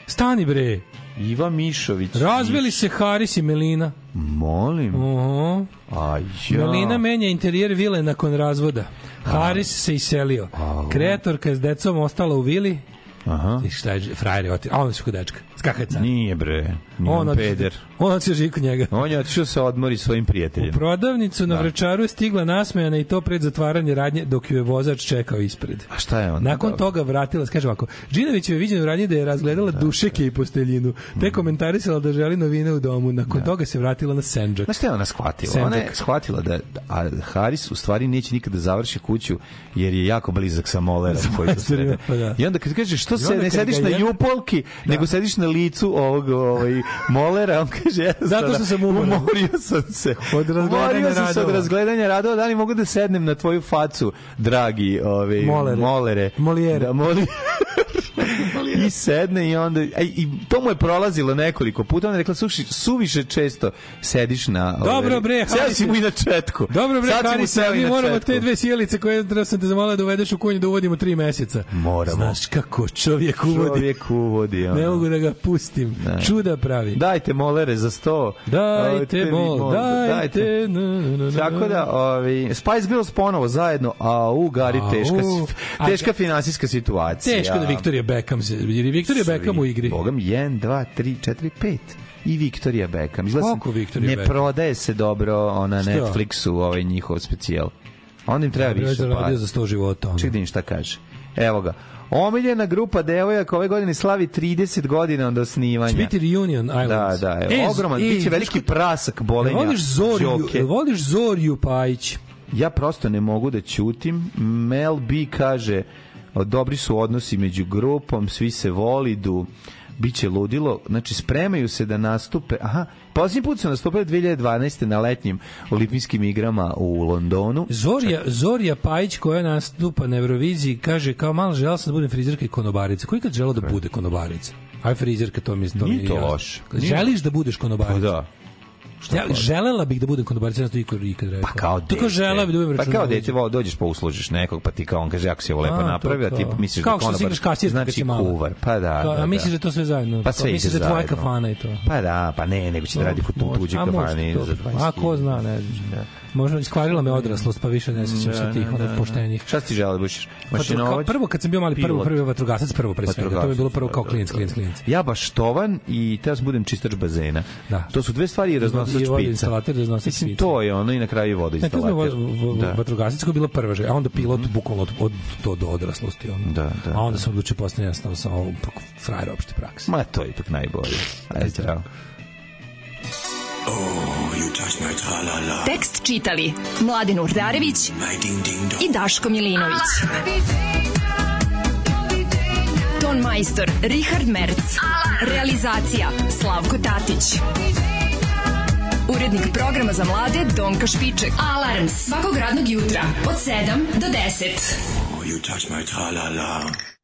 Speaker 10: Stani bre.
Speaker 9: Iva Mišović.
Speaker 10: Razveli se Haris i Melina.
Speaker 9: Molim.
Speaker 10: Oho.
Speaker 9: Aj, ja.
Speaker 10: Melina menja interijer vile nakon razvoda. Haris se iselio. Kreatorka je s decom ostala u vili.
Speaker 9: Aha.
Speaker 10: I šta je, frajer je otišao. A on je kod dečka. Skakaca.
Speaker 9: Nije bre, nije on,
Speaker 10: On otišao-
Speaker 9: peder.
Speaker 10: On otišao živi kod njega.
Speaker 9: On je otišao se odmori svojim
Speaker 10: U
Speaker 9: prijateljem.
Speaker 10: prodavnicu na Vračaru je stigla nasmejana i to pred zatvaranje radnje dok ju je vozač čekao ispred.
Speaker 9: A šta je on?
Speaker 10: Nakon toga vratila, se, kaže ovako, Džinović je viđen u radnji da je razgledala dušeke i posteljinu,
Speaker 9: Mm.
Speaker 10: te komentarisala da želi novine u domu, nakon toga se vratila na Sendžak.
Speaker 9: Znaš šta je ona shvatila? Ona je
Speaker 10: Sendžak.
Speaker 9: shvatila da a Haris u stvari neće nikada da završi kuću jer je jako blizak sa molerom koji se
Speaker 10: majstorima,
Speaker 9: srede.
Speaker 10: pa da.
Speaker 9: I onda kad kaže što
Speaker 10: I
Speaker 9: se
Speaker 10: onda
Speaker 9: ne
Speaker 10: kad
Speaker 9: sediš
Speaker 10: ga
Speaker 9: na
Speaker 10: jebe-
Speaker 9: jupolki, nego sediš na licu ovog ovaj, molera, on kaže jednostavno,
Speaker 10: Zato što sam umoran.
Speaker 9: umorio sam se.
Speaker 10: Od razgledanja
Speaker 9: umorio sam se od
Speaker 10: radova.
Speaker 9: razgledanja radova, da li mogu da sednem na tvoju facu, dragi ovaj,
Speaker 10: Molere.
Speaker 9: molere.
Speaker 10: Molijere.
Speaker 9: Da, moli... I sedne i onda... a I, i to mu je prolazilo nekoliko puta. Ona je rekla, slušaj, suviše često sediš na... ovaj,
Speaker 10: Dobro bre,
Speaker 9: Seo
Speaker 10: Harice.
Speaker 9: si mu i na četku.
Speaker 10: Dobro bre,
Speaker 9: Sad si mu
Speaker 10: Harice,
Speaker 9: seo i
Speaker 10: mi
Speaker 9: na
Speaker 10: moramo
Speaker 9: četku.
Speaker 10: te dve sjelice koje treba sam te zamolila da uvedeš u konju da uvodimo tri meseca.
Speaker 9: Moramo.
Speaker 10: Znaš kako čovjek uvodi.
Speaker 9: Čovjek uvodi. ono.
Speaker 10: Ne mogu da ga pustim.
Speaker 9: Da.
Speaker 10: Čuda pravi.
Speaker 9: Dajte molere za sto.
Speaker 10: Dajte
Speaker 9: Dajte mi
Speaker 10: mol,
Speaker 9: mol,
Speaker 10: dajte, na, na, na, na.
Speaker 9: Tako da, ovi, Spice Girls ponovo zajedno, a u Gari
Speaker 10: Au.
Speaker 9: teška, s-
Speaker 10: A-
Speaker 9: teška finansijska situacija.
Speaker 10: Teško da Victoria Beckham se, jer je Victoria
Speaker 9: Svi.
Speaker 10: Beckham u igri.
Speaker 9: Boga mi, 1, 2, 3, 4, 5. I Victoria Beckham. Izgleda
Speaker 10: Koliko Victoria
Speaker 9: ne
Speaker 10: Beckham?
Speaker 9: prodaje se dobro ona
Speaker 10: Što?
Speaker 9: Netflixu ovaj njihov specijal. Onda im treba
Speaker 10: Dobro je
Speaker 9: više
Speaker 10: zaradio
Speaker 9: para.
Speaker 10: za 100 života. ono.
Speaker 9: Čekaj da im šta kaže. Evo ga. Omiljena grupa devojaka ove godine slavi 30 godina od osnivanja.
Speaker 10: Će biti reunion
Speaker 9: Da,
Speaker 10: Islands.
Speaker 9: da, evo,
Speaker 10: E,
Speaker 9: ogroman,
Speaker 10: e,
Speaker 9: biće
Speaker 10: znaš
Speaker 9: veliki
Speaker 10: kako-
Speaker 9: prasak bolenja.
Speaker 10: Voliš Zoriju,
Speaker 9: Đoke.
Speaker 10: voliš Zoriju Pajić.
Speaker 9: Ja prosto ne mogu da ćutim. Mel B kaže, dobri su odnosi među grupom, svi se volidu, biće ludilo, znači spremaju se da nastupe, aha, posljednji put su nastupili 2012. na letnjim olimpijskim igrama u Londonu.
Speaker 10: Zorija, Zorija Pajić koja nastupa na Euroviziji kaže kao malo žela sam da budem frizerka i konobarica. Koji kad žela da bude konobarica? Aj frizerka, to mi je to mi
Speaker 9: Nije
Speaker 10: je
Speaker 9: to
Speaker 10: jasno.
Speaker 9: loše. Nije-
Speaker 10: Želiš da budeš konobarica?
Speaker 9: Pa da.
Speaker 10: Ja, želela bih da budem konobarica, ja sam to ikad, ikad rekao.
Speaker 9: Pa kao dete.
Speaker 10: Tako žela bih da budem
Speaker 9: Pa
Speaker 10: računovođa.
Speaker 9: kao dete, vo, dođeš pa uslužiš nekog, pa ti kao on kaže, ako si ovo lepo
Speaker 10: A, to
Speaker 9: napravio, a ti
Speaker 10: kao-
Speaker 9: misliš
Speaker 10: kao
Speaker 9: da
Speaker 10: što si igraš kasir kad
Speaker 9: znači
Speaker 10: si mala.
Speaker 9: kuvar. Pa da,
Speaker 10: Kao,
Speaker 9: da,
Speaker 10: a
Speaker 9: da.
Speaker 10: misliš da to sve zajedno?
Speaker 9: Pa
Speaker 10: Pa
Speaker 9: sve
Speaker 10: misliš
Speaker 9: ide
Speaker 10: da je tvoja
Speaker 9: zajedno.
Speaker 10: kafana i to?
Speaker 9: Pa da, pa ne, nego će da radi kod tu tuđe
Speaker 10: A možda
Speaker 9: kafane.
Speaker 10: to,
Speaker 9: za
Speaker 10: A ko zna, ne znam. Možda iskvarila me odraslost, pa više ne sećam se tih onih poštenih.
Speaker 9: Šta si želeo da budeš?
Speaker 10: Pa Kao
Speaker 9: Mašinovac?
Speaker 10: prvo kad sam bio mali,
Speaker 9: Pa
Speaker 10: prvo,
Speaker 9: Pilot.
Speaker 10: prvo je vatrogasac, prvo pre svega. To mi je bilo prvo kao klijent, klijent, klijent.
Speaker 9: Ja baš tovan i teo sam budem čistač bazena.
Speaker 10: Da.
Speaker 9: To su dve stvari i
Speaker 10: I
Speaker 9: raznosilač pica.
Speaker 10: vodoinstalater, raznosilač
Speaker 9: Mislim,
Speaker 10: pica.
Speaker 9: to je ono i na kraju i
Speaker 10: Ne, to je
Speaker 9: vodoinstalater.
Speaker 10: da.
Speaker 9: Da. Mhm.
Speaker 10: vatrogasac koja je bila prva želja, a onda pilot bukvalno od, od to do odraslosti. Ono.
Speaker 9: Da, da,
Speaker 10: a onda se odlučio postane jednostavno sa ovom pa, frajer opšte prakse.
Speaker 9: Ma to je ipak najbolje. Ajde, zdravo.
Speaker 8: Tekst čitali Mladin Urdarević i Daško Milinović. Ton majstor Richard Merc. Realizacija Slavko Tatić. Urednik programa za mlade Donka Špiček. Alarms svakog radnog jutra od 7 do 10.
Speaker 18: Oh, you touch my tra-la-la.